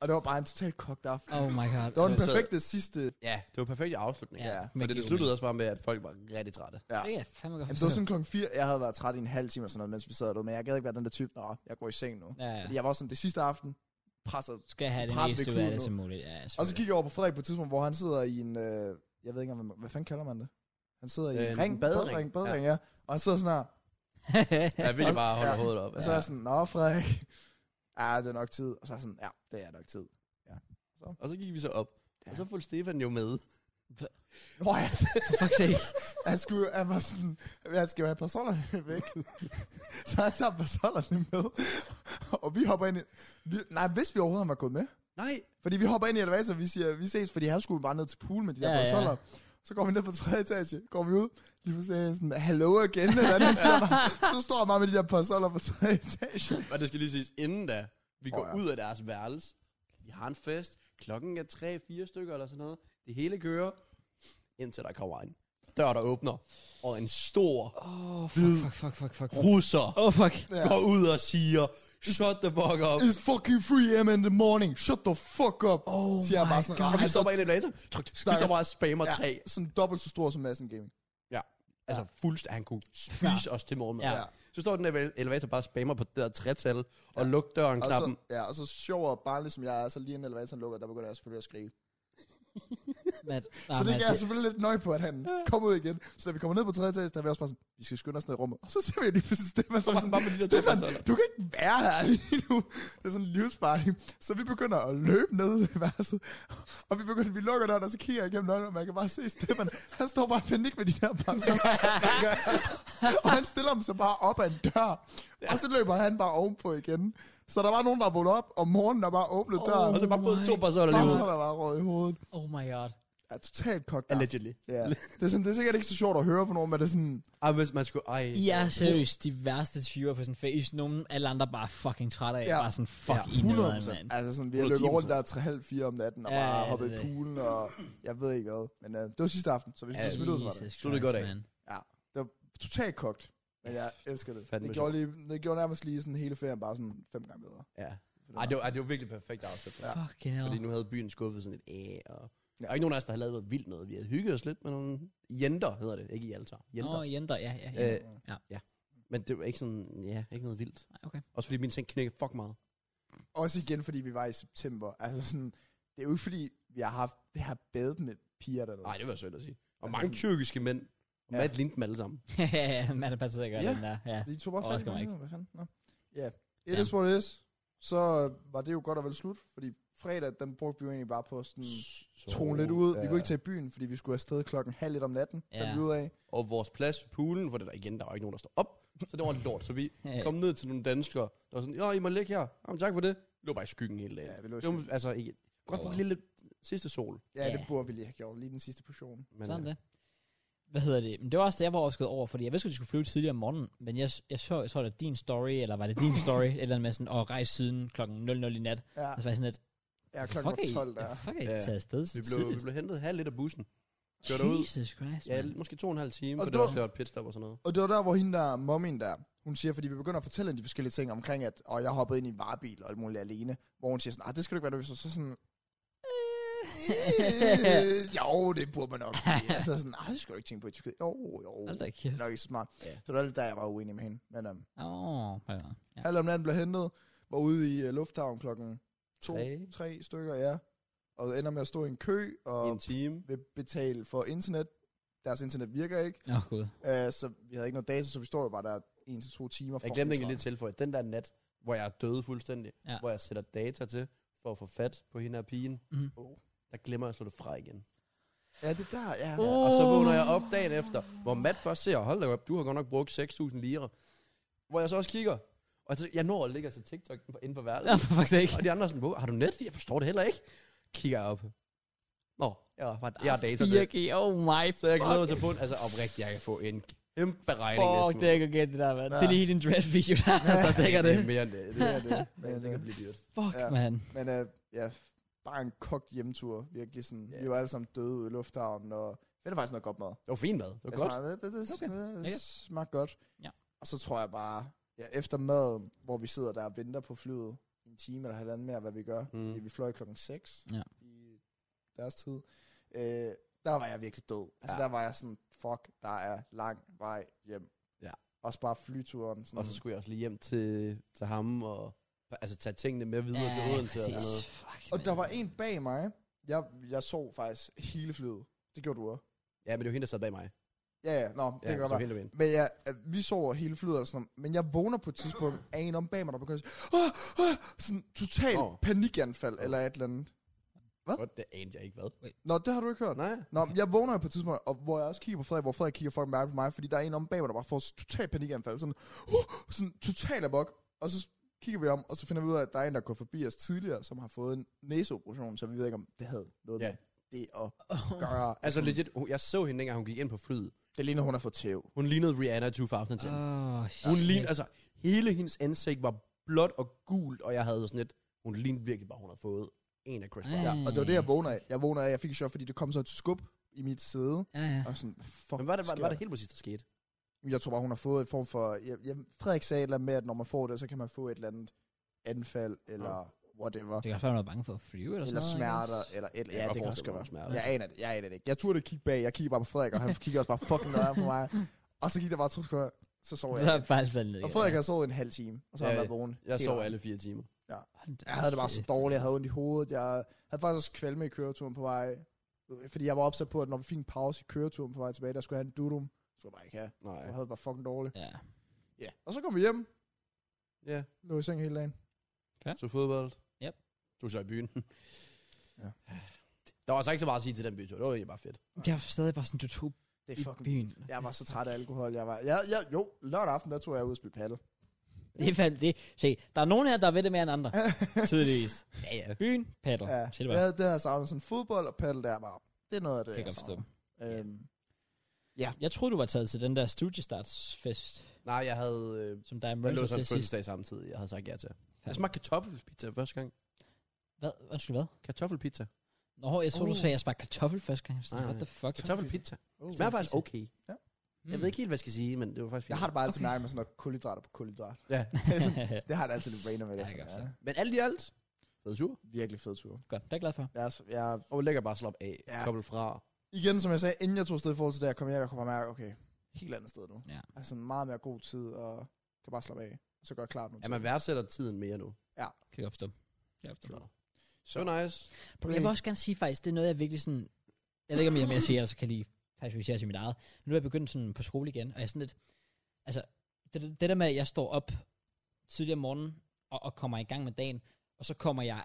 Speaker 3: Og det var bare en totalt kogt aften.
Speaker 1: Oh my god.
Speaker 3: Det var den
Speaker 2: Så-
Speaker 3: perfekte sidste.
Speaker 2: Ja, det var perfekt afslutning.
Speaker 1: Ja,
Speaker 2: Ja,
Speaker 3: Ja,
Speaker 2: for
Speaker 1: mega
Speaker 2: det sluttede også bare med, at folk var rigtig trætte.
Speaker 3: Ja.
Speaker 1: Det er fandme godt.
Speaker 3: Jamen, det var sådan klokken 4. Jeg havde været træt i en halv time eller sådan noget, mens vi sad derude, men jeg gad ikke være den der type, nå, jeg går i seng nu.
Speaker 1: Ja,
Speaker 3: Fordi
Speaker 1: ja.
Speaker 3: jeg var sådan, det sidste aften, presser.
Speaker 1: Skal have det
Speaker 3: Pres
Speaker 1: meste
Speaker 3: ved
Speaker 1: ud af
Speaker 3: kluden
Speaker 1: det
Speaker 3: nu.
Speaker 1: som muligt. Ja,
Speaker 3: Og så gik jeg over på Frederik på et tidspunkt, hvor han sidder i en, øh, jeg ved ikke engang, hvad, hvad fanden kalder man det? Han sidder i
Speaker 2: Øh,
Speaker 3: en
Speaker 2: en
Speaker 3: ring,
Speaker 2: badering.
Speaker 3: badering, badering, ja. Og han sidder sådan her,
Speaker 2: Jeg ville bare holde
Speaker 3: Ja. Altså,
Speaker 2: hovedet op.
Speaker 3: Og så er jeg sådan, nå Frederik, ja, det er nok tid. Og så er jeg sådan, ja, det er nok tid.
Speaker 2: Og så gik vi så op. Og så fulgte Stefan jo med.
Speaker 3: Nå ja,
Speaker 1: Fuck sake.
Speaker 3: han, skulle, jo- han var sådan, jeg skal jo have personerne væk. så han tager personerne med, og vi hopper ind i, vi, nej, hvis vi overhovedet var gået med.
Speaker 2: Nej,
Speaker 3: Fordi vi hopper ind i elevator, vi siger, vi ses, fordi han skulle bare ned til pool med de der
Speaker 1: Ja, ja.
Speaker 3: ja, personer. Ja. Så går vi ned på tredje etage, går vi ud, lige pludselig er jeg sådan, hello again, eller hvad han siger bare, så står han bare med de der personer på tredje etage.
Speaker 2: og det skal lige siges, inden da vi
Speaker 3: Åh,
Speaker 2: går
Speaker 3: ja.
Speaker 2: ud af deres værelse, vi har en fest, klokken er 3-4 stykker eller sådan noget, det hele kører, indtil der kommer en dør, der åbner, og en stor
Speaker 1: Oh, fuck, fuck, fuck, fuck, fuck.
Speaker 2: russer
Speaker 1: Oh, fuck.
Speaker 3: Ja. Oh
Speaker 2: går ud og siger, shut the fuck up.
Speaker 3: It's fucking 3 a.m. in the morning, shut the fuck up, oh siger han bare sådan,
Speaker 2: Og
Speaker 3: "Ej,
Speaker 2: vi står bare i elevatoren, tryk, vi
Speaker 3: Snakker.
Speaker 2: står bare og spammer tre.
Speaker 3: Ja, sådan dobbelt så stor som Madsen Gaming.
Speaker 2: Ja. Altså fuldstændig, han kunne spise os til morgenmad.
Speaker 1: Ja.
Speaker 3: Ja.
Speaker 2: Så står den der elevator bare og spammer på det der trætal, og luk døren
Speaker 3: Og så,
Speaker 2: knappen.
Speaker 3: ja, og så sjovere bare ligesom jeg er, så lige inden elevatoren lukker, der begynder jeg selvfølgelig at skrige.
Speaker 1: Matt. Nå,
Speaker 3: så det
Speaker 1: Matt,
Speaker 3: er jeg selvfølgelig lidt nøje på, at han kom ud igen. Så da vi kommer ned på tredje etage, der er vi også bare sådan, vi skal skynde os ned i rummet. Og så ser vi lige pludselig Stefan, som
Speaker 2: Bare-
Speaker 3: sådan,
Speaker 2: bare med de der
Speaker 3: Stefan,
Speaker 2: telefoner.
Speaker 3: du kan ikke være her lige nu. Det er sådan en livsfarlig. Så vi begynder at løbe ned i værelset. Og vi begynder, vi lukker døren, og så kigger jeg igennem døren, og man kan bare se Stefan. Han står bare i panik med de der bamser. og han stiller dem så bare op ad en dør. Og så løber han bare ovenpå igen. Så der var nogen, der vågnede op om morgenen, der bare åbnede døren.
Speaker 2: Og så bare fået to personer lige
Speaker 3: Bare
Speaker 2: ud.
Speaker 3: så der var råd i hovedet.
Speaker 1: Oh my god.
Speaker 3: Ja, totalt kogt. af.
Speaker 2: Allegedly.
Speaker 3: Ja. Det, er sådan, det er sikkert ikke så sjovt at høre for nogen, men det er sådan...
Speaker 2: Ej, hvis man skulle... Ej.
Speaker 1: I er seriøst de værste typer på sådan en face. Nogen alle andre bare fucking trætte af.
Speaker 3: Ja.
Speaker 1: Bare sådan, fuck
Speaker 2: Ja,
Speaker 1: i noget,
Speaker 3: 100%.
Speaker 1: mand.
Speaker 3: Altså sådan, vi har løbet
Speaker 2: 110%.
Speaker 3: rundt der 3 halv 4 om natten, og
Speaker 1: Ja,
Speaker 3: bare
Speaker 1: ja,
Speaker 3: hoppet
Speaker 1: det
Speaker 3: i
Speaker 1: er det.
Speaker 3: poolen, og jeg ved ikke hvad. Men uh, det var sidste aften, så hvis vi
Speaker 2: Ja,
Speaker 3: ja, smidt ud, så var det.
Speaker 1: Jesus
Speaker 2: Sluttede godt af.
Speaker 1: Christ, mand.
Speaker 3: Totalt kogt. Men jeg elsker det.
Speaker 2: Fandme
Speaker 3: det, gjorde lige, det gjorde nærmest lige sådan hele ferien bare sådan fem gange bedre.
Speaker 2: Ja. Ej, det var, ej, det var virkelig perfekt afsnit. Ja.
Speaker 1: Fucking hell.
Speaker 2: Fordi nu havde byen skuffet sådan et æh, og... Der er ikke nogen af os, der havde lavet noget vildt noget. Vi havde hygget os lidt med nogle jenter, hedder det. Ikke i altar.
Speaker 1: Nå,
Speaker 2: Jenter.
Speaker 1: jenter. Ja, ja, ja.
Speaker 2: Øh,
Speaker 1: Ja.
Speaker 2: ja. Men det var ikke sådan, ja, ikke noget vildt.
Speaker 1: Nej, Okay.
Speaker 2: Også fordi min seng knækkede fuck meget.
Speaker 3: Også igen, fordi vi var i september. Altså sådan, det er jo ikke fordi, vi har haft det her badet med piger dernede.
Speaker 2: Nej, det var sødt at sige. Og
Speaker 3: Ja.
Speaker 2: mange tyrkiske mænd. Og
Speaker 3: Ja.
Speaker 2: Matt lignede dem alle sammen.
Speaker 1: Matt er passet sikkert
Speaker 3: Ja.
Speaker 1: den der. Ja.
Speaker 3: De tog bare
Speaker 1: Overrasker
Speaker 3: fat i
Speaker 1: mig
Speaker 3: mig. Hvad fanden? Nå. Ja, yeah. it
Speaker 1: Ja.
Speaker 3: is what it is. Så var det jo godt og vel slut, fordi fredag, den brugte vi jo egentlig bare på sådan
Speaker 2: Så-
Speaker 3: tone lidt ud. Vi
Speaker 2: ja.
Speaker 3: kunne ikke tage i byen, fordi vi skulle afsted klokken halv et om natten,
Speaker 1: Ja.
Speaker 3: ja. fandt vi ud af.
Speaker 2: Og vores plads i poolen, hvor det der igen, der var ikke nogen, der stod op. Så det var en lort. Så vi
Speaker 1: Ja.
Speaker 2: kom ned til nogle danskere, der var sådan, ja, I må ligge her. Jamen, tak for det. Lå bare i skyggen hele dagen.
Speaker 3: Ja, vi lå i
Speaker 2: Det var, altså, ikke, godt
Speaker 1: Åh,
Speaker 2: nok
Speaker 1: wow.
Speaker 2: lige lidt sidste sol.
Speaker 3: Ja,
Speaker 1: Ja.
Speaker 3: det burde vi lige have gjort, lige den sidste portion.
Speaker 2: Men,
Speaker 1: Sådan
Speaker 2: øh,
Speaker 1: det. Hvad hedder det? Men det var også det, jeg var overskået over, fordi jeg vidste, at de skulle flyve tidligere om morgenen, men jeg, jeg så, jeg så det din story, eller var det din story, et eller andet med sådan, og rejse siden klokken 00 i nat.
Speaker 3: Ja,
Speaker 1: Og så var jeg sådan lidt,
Speaker 3: ja klokken
Speaker 1: Altså, fuck er
Speaker 3: var
Speaker 1: I,
Speaker 3: 12 der.
Speaker 1: fuck er I
Speaker 2: Ja.
Speaker 1: taget afsted så
Speaker 2: Vi blev, vi
Speaker 1: tidligt?
Speaker 2: blev hentet halv lidt af bussen. Kørte derud.
Speaker 1: Jesus Christ,
Speaker 2: Ja,
Speaker 1: ja,
Speaker 2: måske to og en halv time,
Speaker 3: Og
Speaker 2: for det
Speaker 3: det
Speaker 2: var
Speaker 3: var-
Speaker 2: også lavet pitstop og sådan noget.
Speaker 3: Og det var der, hvor hende der, mommien der, hun siger, fordi vi begynder at fortælle hende de forskellige ting omkring, at og jeg hoppede ind i en varebil og alt muligt alene, hvor hun siger sådan, ah, det skal du ikke være nervøs for." så sådan, "Øh, jo, det burde man nok. sige." altså sådan, nej, det skal du ikke tænke på i Tyrkiet. Jo, jo.
Speaker 1: Hold da
Speaker 3: Det
Speaker 1: kæft.
Speaker 3: er nok ikke så smart.
Speaker 2: Ja.
Speaker 3: Ja. Så det var lidt der, jeg var uenig med hende. Men um,
Speaker 1: Åh, ja.
Speaker 3: ja. halv om natten blev hentet, var ude i uh, lufthavn klokken to,
Speaker 2: Tre.
Speaker 3: tre. tre stykker, ja. Og ender med at stå i en kø,
Speaker 2: I
Speaker 3: og
Speaker 2: en time.
Speaker 3: vil betale for internet. Deres internet virker ikke, Øh,
Speaker 1: Åh, gud.
Speaker 3: uh, så vi havde ikke noget data, så vi står jo bare der en til to timer.
Speaker 2: Jeg glemte egentlig lidt tilføje. Den der nat, hvor jeg døde fuldstændig,
Speaker 1: Ja.
Speaker 2: ja. hvor jeg sætter data til for at få fat på hende her pigen,
Speaker 1: Mm.
Speaker 2: der glemmer jeg at slå det fra igen.
Speaker 3: Ja, det der, ja.
Speaker 2: Ja, og så vågner jeg op dagen efter, hvor Matt først ser, hold da op, du har godt nok brugt 6.000 lire. Hvor jeg så også kigger, og så, jeg når at ligge og se TikTok på- inde på
Speaker 1: Ja,
Speaker 2: værelset.
Speaker 1: for fuck's sake.
Speaker 2: og de andre er sådan, "Hvor, har du net? Jeg forstår det heller ikke. Kigger jeg op. Nå, jeg har, bare- jeg har data til.
Speaker 1: 4G, oh my
Speaker 2: Så jeg glæder
Speaker 1: fuck.
Speaker 2: mig til at få en, altså oprigtigt, jeg kan få en kæmpe regning
Speaker 1: Fuck,
Speaker 2: næste
Speaker 1: det er
Speaker 2: måned.
Speaker 1: ikke okay, det der, mand.
Speaker 3: Ja.
Speaker 1: Det er lige din dress video, der, der dækker det.
Speaker 2: Det er mere end det. Det,
Speaker 3: Det er det.
Speaker 2: det,
Speaker 3: Men,
Speaker 2: det kan
Speaker 3: øh,
Speaker 2: blive dyrt.
Speaker 1: Fuck,
Speaker 3: Ja.
Speaker 1: man.
Speaker 3: men øh, ja, bare en kogt hjemmetur. Virkelig sådan,
Speaker 2: Ja.
Speaker 3: vi var alle sammen døde ude i lufthavnen, og det er faktisk noget godt mad.
Speaker 2: Det var fint mad. Det var
Speaker 3: Jeg
Speaker 2: godt.
Speaker 3: smager- Det, det, det,
Speaker 1: Okay.
Speaker 3: det,
Speaker 1: Ja, ja.
Speaker 3: det smagte godt.
Speaker 1: Ja.
Speaker 3: Og så tror jeg bare, ja, efter maden, hvor vi sidder der og venter på flyet, en time eller halvanden mere, hvad vi gør,
Speaker 2: Mm.
Speaker 3: fordi vi fløj klokken 6
Speaker 1: Ja.
Speaker 3: i deres tid, øh, der var jeg virkelig død. Altså
Speaker 2: Ja.
Speaker 3: der var jeg sådan, fuck, der er lang vej hjem.
Speaker 2: Ja.
Speaker 3: Også bare flyturen. Sådan,
Speaker 2: Og så skulle jeg også lige hjem til, til ham og altså tage tingene med videre ja, til Odense og sådan noget.
Speaker 1: Fuck,
Speaker 3: og der
Speaker 1: man.
Speaker 3: var en bag mig. Jeg, jeg sov faktisk hele flyet. Det gjorde du også.
Speaker 2: Ja, men det var hende, der sad bag mig.
Speaker 3: Ja, ja, nå, det
Speaker 2: Ja,
Speaker 3: kan godt
Speaker 2: så
Speaker 3: være.
Speaker 2: hende derinde.
Speaker 3: Men jeg, øh, vi sover hele flyet eller sådan noget, men jeg vågner på et tidspunkt af en om bag mig, der begynder at sige, "Åh, åh," sådan total
Speaker 2: Nå.
Speaker 3: panikanfald
Speaker 2: Nå.
Speaker 3: eller et eller andet.
Speaker 2: Godt, det anede jeg ikke, hvad?
Speaker 3: Nå, det har du ikke hørt.
Speaker 2: Nej.
Speaker 3: Nå, men jeg vågner jo på et tidspunkt, og hvor jeg også kigger på Frederik, hvor Frederik kigger fucking mærke på mig, fordi der er en om bag mig, der bare får total panikanfald, sådan, uh, sådan total amok, og så kigger vi om, og så finder vi ud af, at der er en, der går forbi os tidligere, som har fået en næseoperation, så vi ved ikke, om det havde noget
Speaker 2: Ja.
Speaker 3: med det at gøre.
Speaker 2: Altså legit, hun- jeg så hende, dengang hun gik ind på flyet.
Speaker 3: Det ligner, hun har fået tæv.
Speaker 2: Hun lignede Rihanna i 2010.
Speaker 1: Åh,
Speaker 2: hun
Speaker 1: shit.
Speaker 2: lignede, altså hele hendes ansigt var blåt og gult, og jeg havde sådan et, hun lignede virkelig bare, hun havde fået en af Chris Brown.
Speaker 3: Ja,
Speaker 2: Ja.
Speaker 3: og det var det, jeg vågner af. Jeg vågner af, jeg fik et chok, fordi det kom så et skub i mit sæde.
Speaker 1: Ja, ja.
Speaker 3: Og sådan, fuck,
Speaker 2: Men var det, var, det, var det
Speaker 3: sker
Speaker 2: helt præcis, der skete?
Speaker 3: der? Jeg tror bare, hun har fået et form for... Jeg, jeg, Frederik sagde et eller andet med, at når man får det, så kan man få et eller andet anfald, eller whatever.
Speaker 1: Det kan også være, man er bange for at flyve eller,
Speaker 3: Eller
Speaker 1: sådan noget.
Speaker 3: smerter, eller et, ja,
Speaker 2: kan
Speaker 3: det
Speaker 2: godt
Speaker 3: kan også
Speaker 2: forestille
Speaker 3: godt
Speaker 2: mig,
Speaker 3: være.
Speaker 2: smerter.
Speaker 3: Jeg aner det, jeg aner det ikke. Jeg turde kigge bag, jeg kigger bare på Frederik, og han kigger også bare fucking noget af på mig. Og så gik der bare to sekunder, så sov
Speaker 1: Så er
Speaker 3: jeg.
Speaker 1: jeg faktisk faldet ned.
Speaker 3: Og
Speaker 1: igen.
Speaker 3: Frederik har sovet en halv time, og så har
Speaker 2: Ja,
Speaker 3: han været vågen.
Speaker 2: Jeg
Speaker 3: hele
Speaker 2: sov
Speaker 3: vejen.
Speaker 2: alle fire timer.
Speaker 1: Hold da
Speaker 3: Jeg havde det bare så
Speaker 1: kæft.
Speaker 3: dårligt, jeg havde ondt i hovedet, jeg havde faktisk også kvalme i køreturen på vej, fordi jeg var opsat på, at når vi fik en pause i køreturen på vej tilbage, der skulle jeg have en dudum. Det skulle jeg bare ikke have.
Speaker 2: Nej.
Speaker 3: Jeg havde det bare fucking dårligt.
Speaker 1: Ja.
Speaker 3: Ja. Og så kom vi hjem,
Speaker 2: Ja,
Speaker 3: lå i seng hele dagen.
Speaker 2: så fodbold.
Speaker 1: Yep.
Speaker 2: Du så i byen.
Speaker 3: Ja.
Speaker 2: Der var altså ikke så meget at sige til den bytur. Det var egentlig bare fedt.
Speaker 1: Jeg er stadig bare sådan, du tog
Speaker 3: Det
Speaker 1: i byen.
Speaker 3: Jeg var så træt af alkohol. Jeg var, jeg, jeg, jo, lørdag aften, der tog jeg ud og spille paddle.
Speaker 1: Det er fandt det. Se, der er nogen her, der ved det mere end andre. Tydeligvis.
Speaker 2: Ja, ja.
Speaker 1: Byen, paddle.
Speaker 3: ja,
Speaker 1: Sig det
Speaker 3: jeg
Speaker 1: bare.
Speaker 3: havde det her savnet sådan fodbold og paddle der bare. Det er noget af det,
Speaker 1: Kan jeg godt forstå.
Speaker 3: savner. Øhm,
Speaker 1: Jeg troede, du var taget til den der studiestartsfest,
Speaker 2: Nej, jeg havde... Øh,
Speaker 1: som der er
Speaker 2: jeg lå
Speaker 1: emergency
Speaker 2: så
Speaker 1: til
Speaker 2: en
Speaker 1: sidst.
Speaker 2: fødselsdag samtidig, jeg havde sagt ja til. Jeg smagte kartoffelpizza første gang.
Speaker 1: Hvad? Undskyld, hvad?
Speaker 2: Kartoffelpizza.
Speaker 1: Nå, jeg troede, du
Speaker 3: Oh.
Speaker 1: sagde, at jeg smagte kartoffel første gang. Jeg var sådan,
Speaker 2: Nej,
Speaker 1: What
Speaker 2: nej.
Speaker 1: the fuck?
Speaker 2: Kartoffelpizza.
Speaker 3: oh.
Speaker 2: Det smager faktisk okay.
Speaker 1: Mm.
Speaker 2: Jeg ved ikke helt, hvad jeg skal sige, men det var faktisk fint.
Speaker 3: Jeg har det bare altid okay. mærket med sådan noget kulhydrater på kulhydrat.
Speaker 2: Ja.
Speaker 3: Det har jeg det altid lidt brainer med. Det,
Speaker 1: Ja, jeg kan
Speaker 3: sådan,
Speaker 1: godt
Speaker 3: ja.
Speaker 2: Men alt i alt, fed tur.
Speaker 3: Virkelig fed tur.
Speaker 1: Godt, det er jeg glad for.
Speaker 3: Jeg, er, jeg er
Speaker 2: Og lægger bare at slappe af,
Speaker 3: Ja.
Speaker 2: ja. koblet fra.
Speaker 3: igen, som jeg sagde, inden jeg tog afsted i forhold til det, jeg kom hjem, jeg kunne bare mærke, okay, helt andet sted nu.
Speaker 1: Ja.
Speaker 3: Altså meget mere god tid, og kan bare slappe af, og så gør jeg klar nu.
Speaker 2: Ja, man værdsætter tiden mere nu.
Speaker 1: Kan jeg godt forstå. Kan jeg forstå.
Speaker 2: Så nice.
Speaker 1: Bro, jeg vil også gerne sige faktisk, det er noget, jeg virkelig sådan... Jeg ved ikke, om jeg er med at sige, eller så kan jeg lige passivisere til mit eget. Men nu er jeg begyndt sådan på skole igen, og jeg er sådan lidt... Altså, det, det der med, at jeg står op tidligere om morgenen, og, og kommer i gang med dagen, og så kommer jeg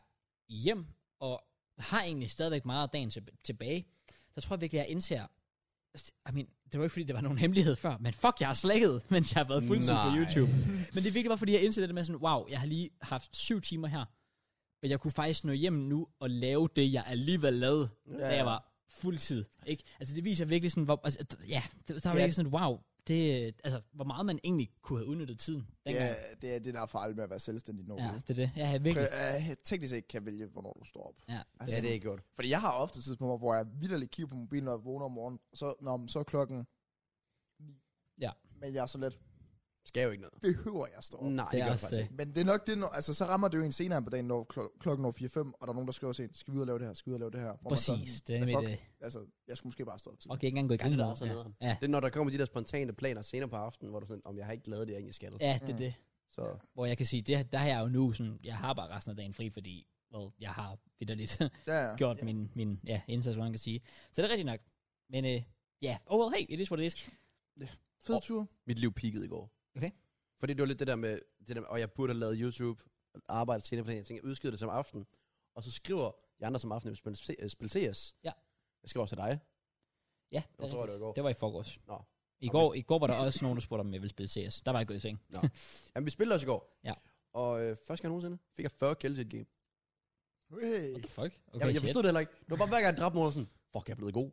Speaker 1: hjem, og har egentlig stadigvæk meget af dagen til, tilbage, så tror jeg virkelig, jeg indser... I mean, det var ikke fordi, det var nogen hemmelighed før, men fuck, jeg har slækket, mens jeg har været fuldtid på
Speaker 2: Nej.
Speaker 1: YouTube. Men det er virkelig bare, fordi jeg indser det der med sådan, wow, jeg har lige haft syv timer her, og jeg kunne faktisk nå hjem nu og lave det, jeg alligevel lavede, ja, da
Speaker 3: ja.
Speaker 1: jeg var fuldtid. Ikke? Altså det viser virkelig sådan, hvor, altså, d- ja, det, der var
Speaker 3: Ja.
Speaker 1: virkelig sådan, wow, det, altså, hvor meget man egentlig kunne have udnyttet tiden dengang. Ja,
Speaker 3: ja, det er det, der er farligt med at være selvstændig nu.
Speaker 1: ja det er det. Ja, ja, virkelig.
Speaker 3: Prøv, øh, teknisk set kan jeg vælge, hvornår du står op.
Speaker 1: Ja.
Speaker 2: Ja, det er ikke godt.
Speaker 3: Fordi jeg har ofte tidspunkter, hvor jeg vidderligt kigger på mobilen, når jeg vågner om morgenen, og så, når, så er klokken 9.
Speaker 1: Ja.
Speaker 3: Men jeg er så let,
Speaker 2: Skal jo ikke noget.
Speaker 3: behøver jeg at stå op?
Speaker 2: Nej,
Speaker 1: Det
Speaker 2: det,
Speaker 1: er
Speaker 2: det gør
Speaker 1: også
Speaker 2: jeg faktisk
Speaker 1: det.
Speaker 2: ikke.
Speaker 3: Men det er nok det, når, altså så rammer det jo en senere på dagen, når klo- klokken når 4-5, og der er nogen, der skriver til en, skal vi ud og lave det her, skal vi ud og lave det her. Hvor man så-
Speaker 1: Præcis. Det er
Speaker 3: "Ja,
Speaker 1: nemlig
Speaker 3: fuck."
Speaker 1: det.
Speaker 3: Altså, jeg skulle måske bare stå op til.
Speaker 1: Okay, ikke engang gå i gang
Speaker 2: Det
Speaker 1: med
Speaker 2: er også
Speaker 1: noget.
Speaker 2: nederen.
Speaker 1: Ja.
Speaker 2: Det er, når der kommer de der spontane planer senere på aftenen, hvor du sådan, om jeg har ikke lavet det, jeg egentlig skal.
Speaker 1: Ja. ja, det er det.
Speaker 2: Så
Speaker 1: Hvor jeg kan sige, det, der har jeg jo nu sådan, jeg har bare resten af dagen fri, fordi well, jeg har vidderligt
Speaker 3: Ja, ja.
Speaker 1: gjort ja. min, min ja, indsats, hvor man kan sige. Så det er rigtigt nok. Men øh, ja, oh well, hey, it is what it is.
Speaker 3: Fed
Speaker 2: Og-
Speaker 3: tur.
Speaker 2: mit liv peakede i går.
Speaker 1: Okay.
Speaker 2: Fordi det var lidt det der med, det der med og jeg burde have lavet YouTube, arbejde senere på dagen. Jeg tænkte, jeg udskyder det som aften. Og så skriver de andre som aften, at vi spiller, spiller øh, CS.
Speaker 1: Ja.
Speaker 2: Jeg skriver også til dig.
Speaker 1: Ja, det, er
Speaker 2: tror
Speaker 1: rigtigt.
Speaker 2: jeg, det var i går.
Speaker 1: det var i forgårs.
Speaker 2: Nå.
Speaker 1: I
Speaker 2: Og
Speaker 1: går, I går var der også nogen, der spurgte, om jeg ville spille CS. Der var jeg gået i seng.
Speaker 2: Jamen, vi spillede også i går.
Speaker 1: Ja.
Speaker 2: Og øh, første gang nogensinde fik jeg 40 kills i et game.
Speaker 3: Hey.
Speaker 1: What the fuck? Okay,
Speaker 2: Jamen, jeg
Speaker 1: shit.
Speaker 2: forstod det heller ikke. Det var bare hver gang, jeg dræbte nogen sådan, fuck, jeg er blevet god.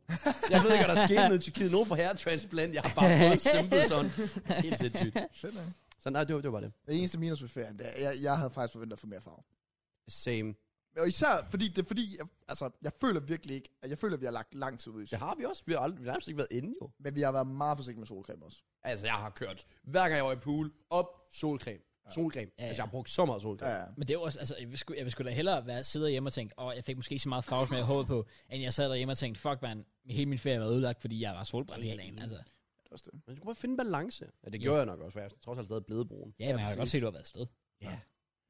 Speaker 2: jeg ved ikke, hvad der skete nede i Tyrkiet. Nogen fra herretransplant, jeg har bare fået simpelt sådan. Helt sindssygt.
Speaker 3: Shit, man.
Speaker 2: Så nej, det var, det var bare det.
Speaker 3: Det eneste minus ved ferien, det er, jeg, jeg havde faktisk forventet at få mere farve.
Speaker 2: Same.
Speaker 3: Og især fordi, det er fordi, jeg, altså, jeg føler virkelig ikke, at jeg føler, at vi har lagt lang tid ud i
Speaker 2: Det
Speaker 3: solen.
Speaker 2: har vi også. Vi har, aldrig, vi har nærmest ikke været inde, jo.
Speaker 3: Men vi har været meget forsigtige med solcreme også.
Speaker 2: Altså, jeg har kørt, hver gang jeg var i pool, op, solcreme, solcreme.
Speaker 1: Ja, ja.
Speaker 2: Altså, jeg har brugt så meget solcreme.
Speaker 3: Ja, ja.
Speaker 1: Men det er jo også, altså, jeg vil, sgu, jeg vil sgu da hellere være, sidde hjemme og tænke, åh, oh, jeg fik måske ikke så meget farve, som jeg håbede på, end jeg sad derhjemme og tænkte, fuck man, hele min ferie var ødelagt, fordi jeg var solbrændt hele dagen. Altså,
Speaker 3: Det er også det.
Speaker 2: Men du skulle bare finde balance. Ja, det gjorde jeg nok også, for jeg er trods alt stadig blevet brun.
Speaker 1: ja, men jeg kan godt se, at du har været afsted.
Speaker 3: Det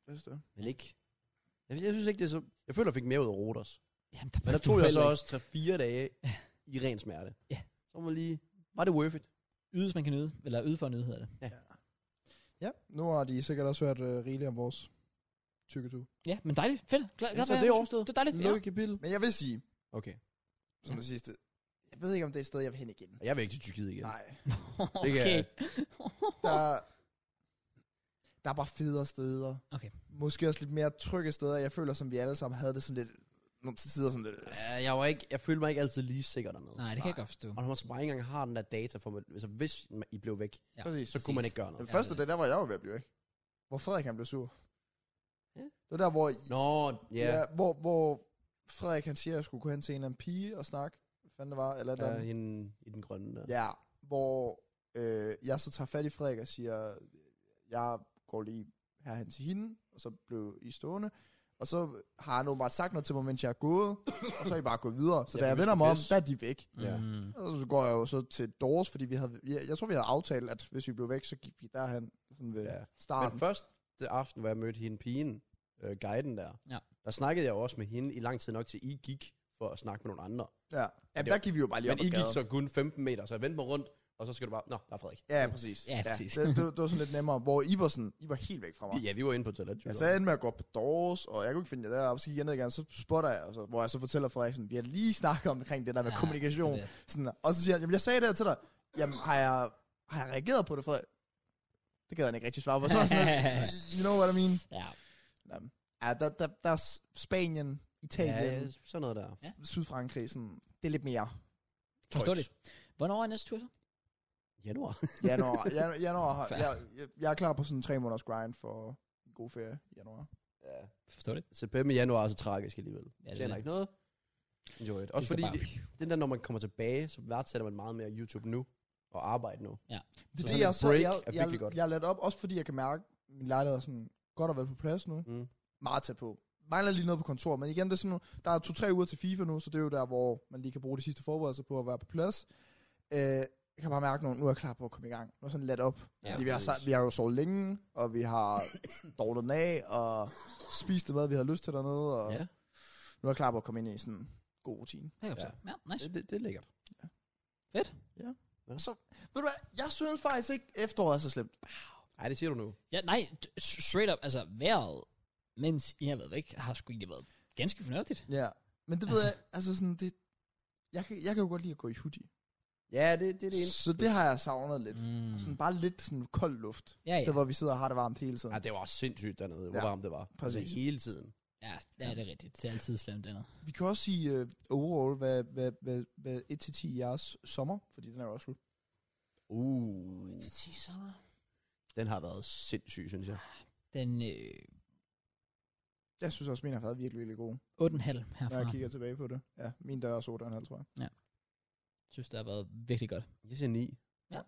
Speaker 3: er det.
Speaker 2: Men ikke... Jeg, jeg synes ikke, det er så... Jeg føler, jeg fik mere ud af Roters.
Speaker 1: Jamen, der,
Speaker 2: Men der tog jeg så også 3-4 dage i ren smerte.
Speaker 1: Ja.
Speaker 2: Så må man lige... Var det worth it?
Speaker 1: Ydes, man kan nyde, eller yde for at nyde, hedder det.
Speaker 3: Ja, nu har de sikkert også hørt uh, rigeligt om vores tykketur.
Speaker 1: Ja, men dejligt, fedt. Glad, glad
Speaker 2: så
Speaker 1: for
Speaker 2: det er
Speaker 1: jer.
Speaker 2: overstået.
Speaker 1: Det er dejligt, ja.
Speaker 2: Lukke kapitel.
Speaker 3: Men jeg vil sige,
Speaker 2: Okay.
Speaker 3: som det sidste, jeg ved ikke, om det er et sted, jeg vil hen igen.
Speaker 2: Og Jeg vil ikke til Tyrkiet igen.
Speaker 3: Nej.
Speaker 2: Det kan
Speaker 1: okay.
Speaker 2: jeg-
Speaker 3: Der, der er bare federe steder.
Speaker 1: Okay.
Speaker 3: Måske også lidt mere trygge steder. Jeg føler, som vi alle sammen havde det sådan lidt... Nogle til tider sådan lidt...
Speaker 2: Ja, jeg, var ikke, jeg følte mig ikke altid lige sikker dernede.
Speaker 1: Nej, det kan jeg godt forstå.
Speaker 2: Altså. Og når man så bare ikke engang har den der data for, man- altså hvis man- I blev væk,
Speaker 1: Ja,
Speaker 3: Præcis.
Speaker 2: så kunne man ikke gøre noget.
Speaker 3: Den første, det er der, hvor jeg var ved at blive, ikke? Hvor Frederik han blev sur.
Speaker 2: Ja.
Speaker 3: Det var der, hvor...
Speaker 2: Nå, ja.
Speaker 3: Ja, hvor, hvor Frederik han siger, at jeg skulle gå hen til en eller anden pige og snakke. Hvad fanden det var? Eller et
Speaker 2: Der
Speaker 3: eller
Speaker 2: er
Speaker 3: andet.
Speaker 2: hende i den grønne der.
Speaker 3: Ja, hvor øh, jeg så tager fat i Frederik og siger, jeg går lige herhen til hende, og så blev I stående. Og så har han åbenbart sagt noget til mig, mens jeg er gået, og så er I bare gået videre. Så
Speaker 2: Ja,
Speaker 3: ja, da
Speaker 2: for
Speaker 3: jeg
Speaker 2: vi
Speaker 3: vender
Speaker 2: skulle
Speaker 3: mig om,
Speaker 2: pisse.
Speaker 3: der er de væk.
Speaker 2: Ja.
Speaker 1: Mm.
Speaker 3: Og så går jeg jo så til Doors, fordi vi havde, jeg, jeg tror, vi havde aftalt, at hvis vi blev væk, så gik vi derhen sådan ved
Speaker 2: Ja.
Speaker 3: ja.
Speaker 2: Men
Speaker 3: starten.
Speaker 2: først det aften, hvor jeg mødte hende pigen, øh, guiden der,
Speaker 1: Ja.
Speaker 2: der snakkede jeg jo også med hende i lang tid nok, til I gik for at snakke med nogle andre.
Speaker 3: ja. Jamen,
Speaker 2: det var-
Speaker 3: der gik vi jo bare lige
Speaker 2: Men
Speaker 3: op ad
Speaker 2: I gik
Speaker 3: gaden.
Speaker 2: så kun 15 meter, så jeg vendte mig rundt, og så skal du bare, nå, der er Frederik.
Speaker 3: Ja, præcis.
Speaker 1: Ja, præcis.
Speaker 3: Det, det, det, var sådan lidt nemmere, hvor I var, sådan, I var helt væk fra mig.
Speaker 2: Ja, vi var inde på toilet.
Speaker 3: Ja, så jeg endte med at gå op på Doors, og jeg kunne ikke finde det der, og så gik jeg ned igen, så spotter jeg, og så, hvor jeg så fortæller Frederik, sådan, vi har lige snakket omkring det der med
Speaker 1: Ja,
Speaker 3: ja, kommunikation.
Speaker 1: det er
Speaker 3: Sådan, og så siger han, jamen jeg sagde det her til dig, jamen har jeg, har jeg reageret på det, Frederik? Det gad han ikke rigtig svare på. Så var jeg sådan, lidt, you know what I mean?
Speaker 1: Ja.
Speaker 3: Nå, men, Ja, der, der, der er S- Spanien, Italien,
Speaker 2: Ja, sådan noget der.
Speaker 3: Sydfrankrig, sådan, det er lidt mere
Speaker 1: Forstår det. Hvornår er næste tur så?
Speaker 2: Januar.
Speaker 3: januar. januar, januar har-
Speaker 1: Fair.
Speaker 3: jeg, jeg, jeg, er klar på sådan en tre måneders grind for en god ferie i januar.
Speaker 2: ja.
Speaker 1: Forstår det.
Speaker 2: CPM i januar er så tragisk alligevel.
Speaker 1: Ja,
Speaker 2: Ja,
Speaker 1: det
Speaker 2: Tjener
Speaker 1: er
Speaker 2: ikke noget. Enjoy it.
Speaker 1: Du
Speaker 2: Også
Speaker 1: skal
Speaker 2: fordi,
Speaker 1: bare-
Speaker 2: det, den der, når man kommer tilbage, så værdsætter man meget mere YouTube nu, og arbejde nu.
Speaker 3: Det
Speaker 2: Så
Speaker 3: er
Speaker 2: sådan
Speaker 3: det,
Speaker 2: en
Speaker 3: jeg, så,
Speaker 2: break
Speaker 3: jeg,
Speaker 2: er
Speaker 3: jeg,
Speaker 2: virkelig godt.
Speaker 3: jeg, jeg lader op, også fordi jeg kan mærke, at min lejlighed er sådan godt og vel på plads nu.
Speaker 2: Mm.
Speaker 3: Meget tæt på. Mangler lige noget på kontor, men igen, det er sådan, nu- der er to-tre uger til FIFA nu, så det er jo der, hvor man lige kan bruge de sidste forberedelser på at være på plads. Øh, jeg kan bare mærke, at nu er jeg klar på at komme i gang. Nu er sådan let op.
Speaker 1: Ja,
Speaker 3: Ja, fordi vi har,
Speaker 2: præcis.
Speaker 3: sa- vi har jo sovet længe, og vi har dårlet den af, og spist det mad, vi har lyst til dernede, og
Speaker 2: Ja.
Speaker 3: ja. nu er jeg klar på at komme ind i sådan en god rutine.
Speaker 1: Det kan jeg godt
Speaker 2: Ja.
Speaker 1: forstå. Ja, nice.
Speaker 2: Det, det, det er lækkert.
Speaker 3: Ved du hvad, jeg synes faktisk ikke, efteråret er så slemt.
Speaker 2: Ej, det siger du nu.
Speaker 1: Ja, nej, t- straight up, altså vejret, mens I har været væk, har sgu egentlig været ganske fornøjligt.
Speaker 3: Ja, men det ved
Speaker 1: Altså-
Speaker 3: altså, jeg, altså sådan, det, jeg kan, jeg kan jo godt lide at gå i hoodie.
Speaker 2: Ja, det, det er det eneste.
Speaker 3: Så det har jeg savnet lidt. Mm.
Speaker 1: Mm.
Speaker 3: Sådan bare lidt sådan kold luft.
Speaker 1: Ja,
Speaker 3: I
Speaker 1: ja.
Speaker 3: stedet hvor vi sidder og har det varmt hele tiden.
Speaker 2: Ja, det var også sindssygt dernede, hvor
Speaker 3: Ja,
Speaker 2: varmt det var.
Speaker 3: præcis.
Speaker 2: Altså, hele tiden.
Speaker 1: Ja, ja, det er rigtigt. Det er altid slemt andet.
Speaker 3: Vi kan også sige uh, overall, hvad, hvad, hvad, hvad 1-10 i jeres sommer, fordi den er jo også slut.
Speaker 2: Uh,
Speaker 1: sommer.
Speaker 2: den har været sindssyg, synes jeg.
Speaker 1: Den øh,
Speaker 3: Jeg synes også, min har været virkelig, virkelig god,
Speaker 1: 8,5 herfra.
Speaker 3: når jeg kigger tilbage på det. Ja, min der er også 8,5, tror jeg.
Speaker 1: Jeg synes, det har været virkelig godt.
Speaker 2: Jeg siger 9.
Speaker 3: Jeg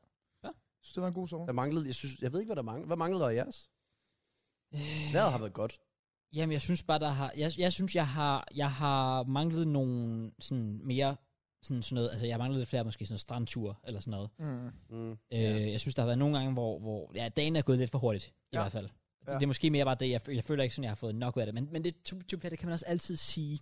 Speaker 3: synes, det var en god sommer.
Speaker 2: Der manglede, jeg, synes, jeg ved ikke, hvad der manglede. Hvad manglede der i jeres?
Speaker 1: Øh,
Speaker 2: Vejret har været godt.
Speaker 1: Jamen, jeg synes bare, der har... Jeg, jeg synes, jeg har, jeg har manglet nogle sådan mere... Sådan, sådan noget, altså jeg har manglet lidt flere måske sådan noget strandtur eller sådan noget.
Speaker 3: Mm.
Speaker 2: Mm.
Speaker 1: Ja. Øh, jeg synes, der har været nogle gange, hvor, hvor ja, dagen er gået lidt for hurtigt, i
Speaker 3: Ja.
Speaker 1: hvert fald. Det,
Speaker 3: Ja.
Speaker 1: det er måske mere bare det, jeg, fø- jeg føler ikke sådan, jeg har fået nok ud af det, men, men det, to, to, det kan man også altid sige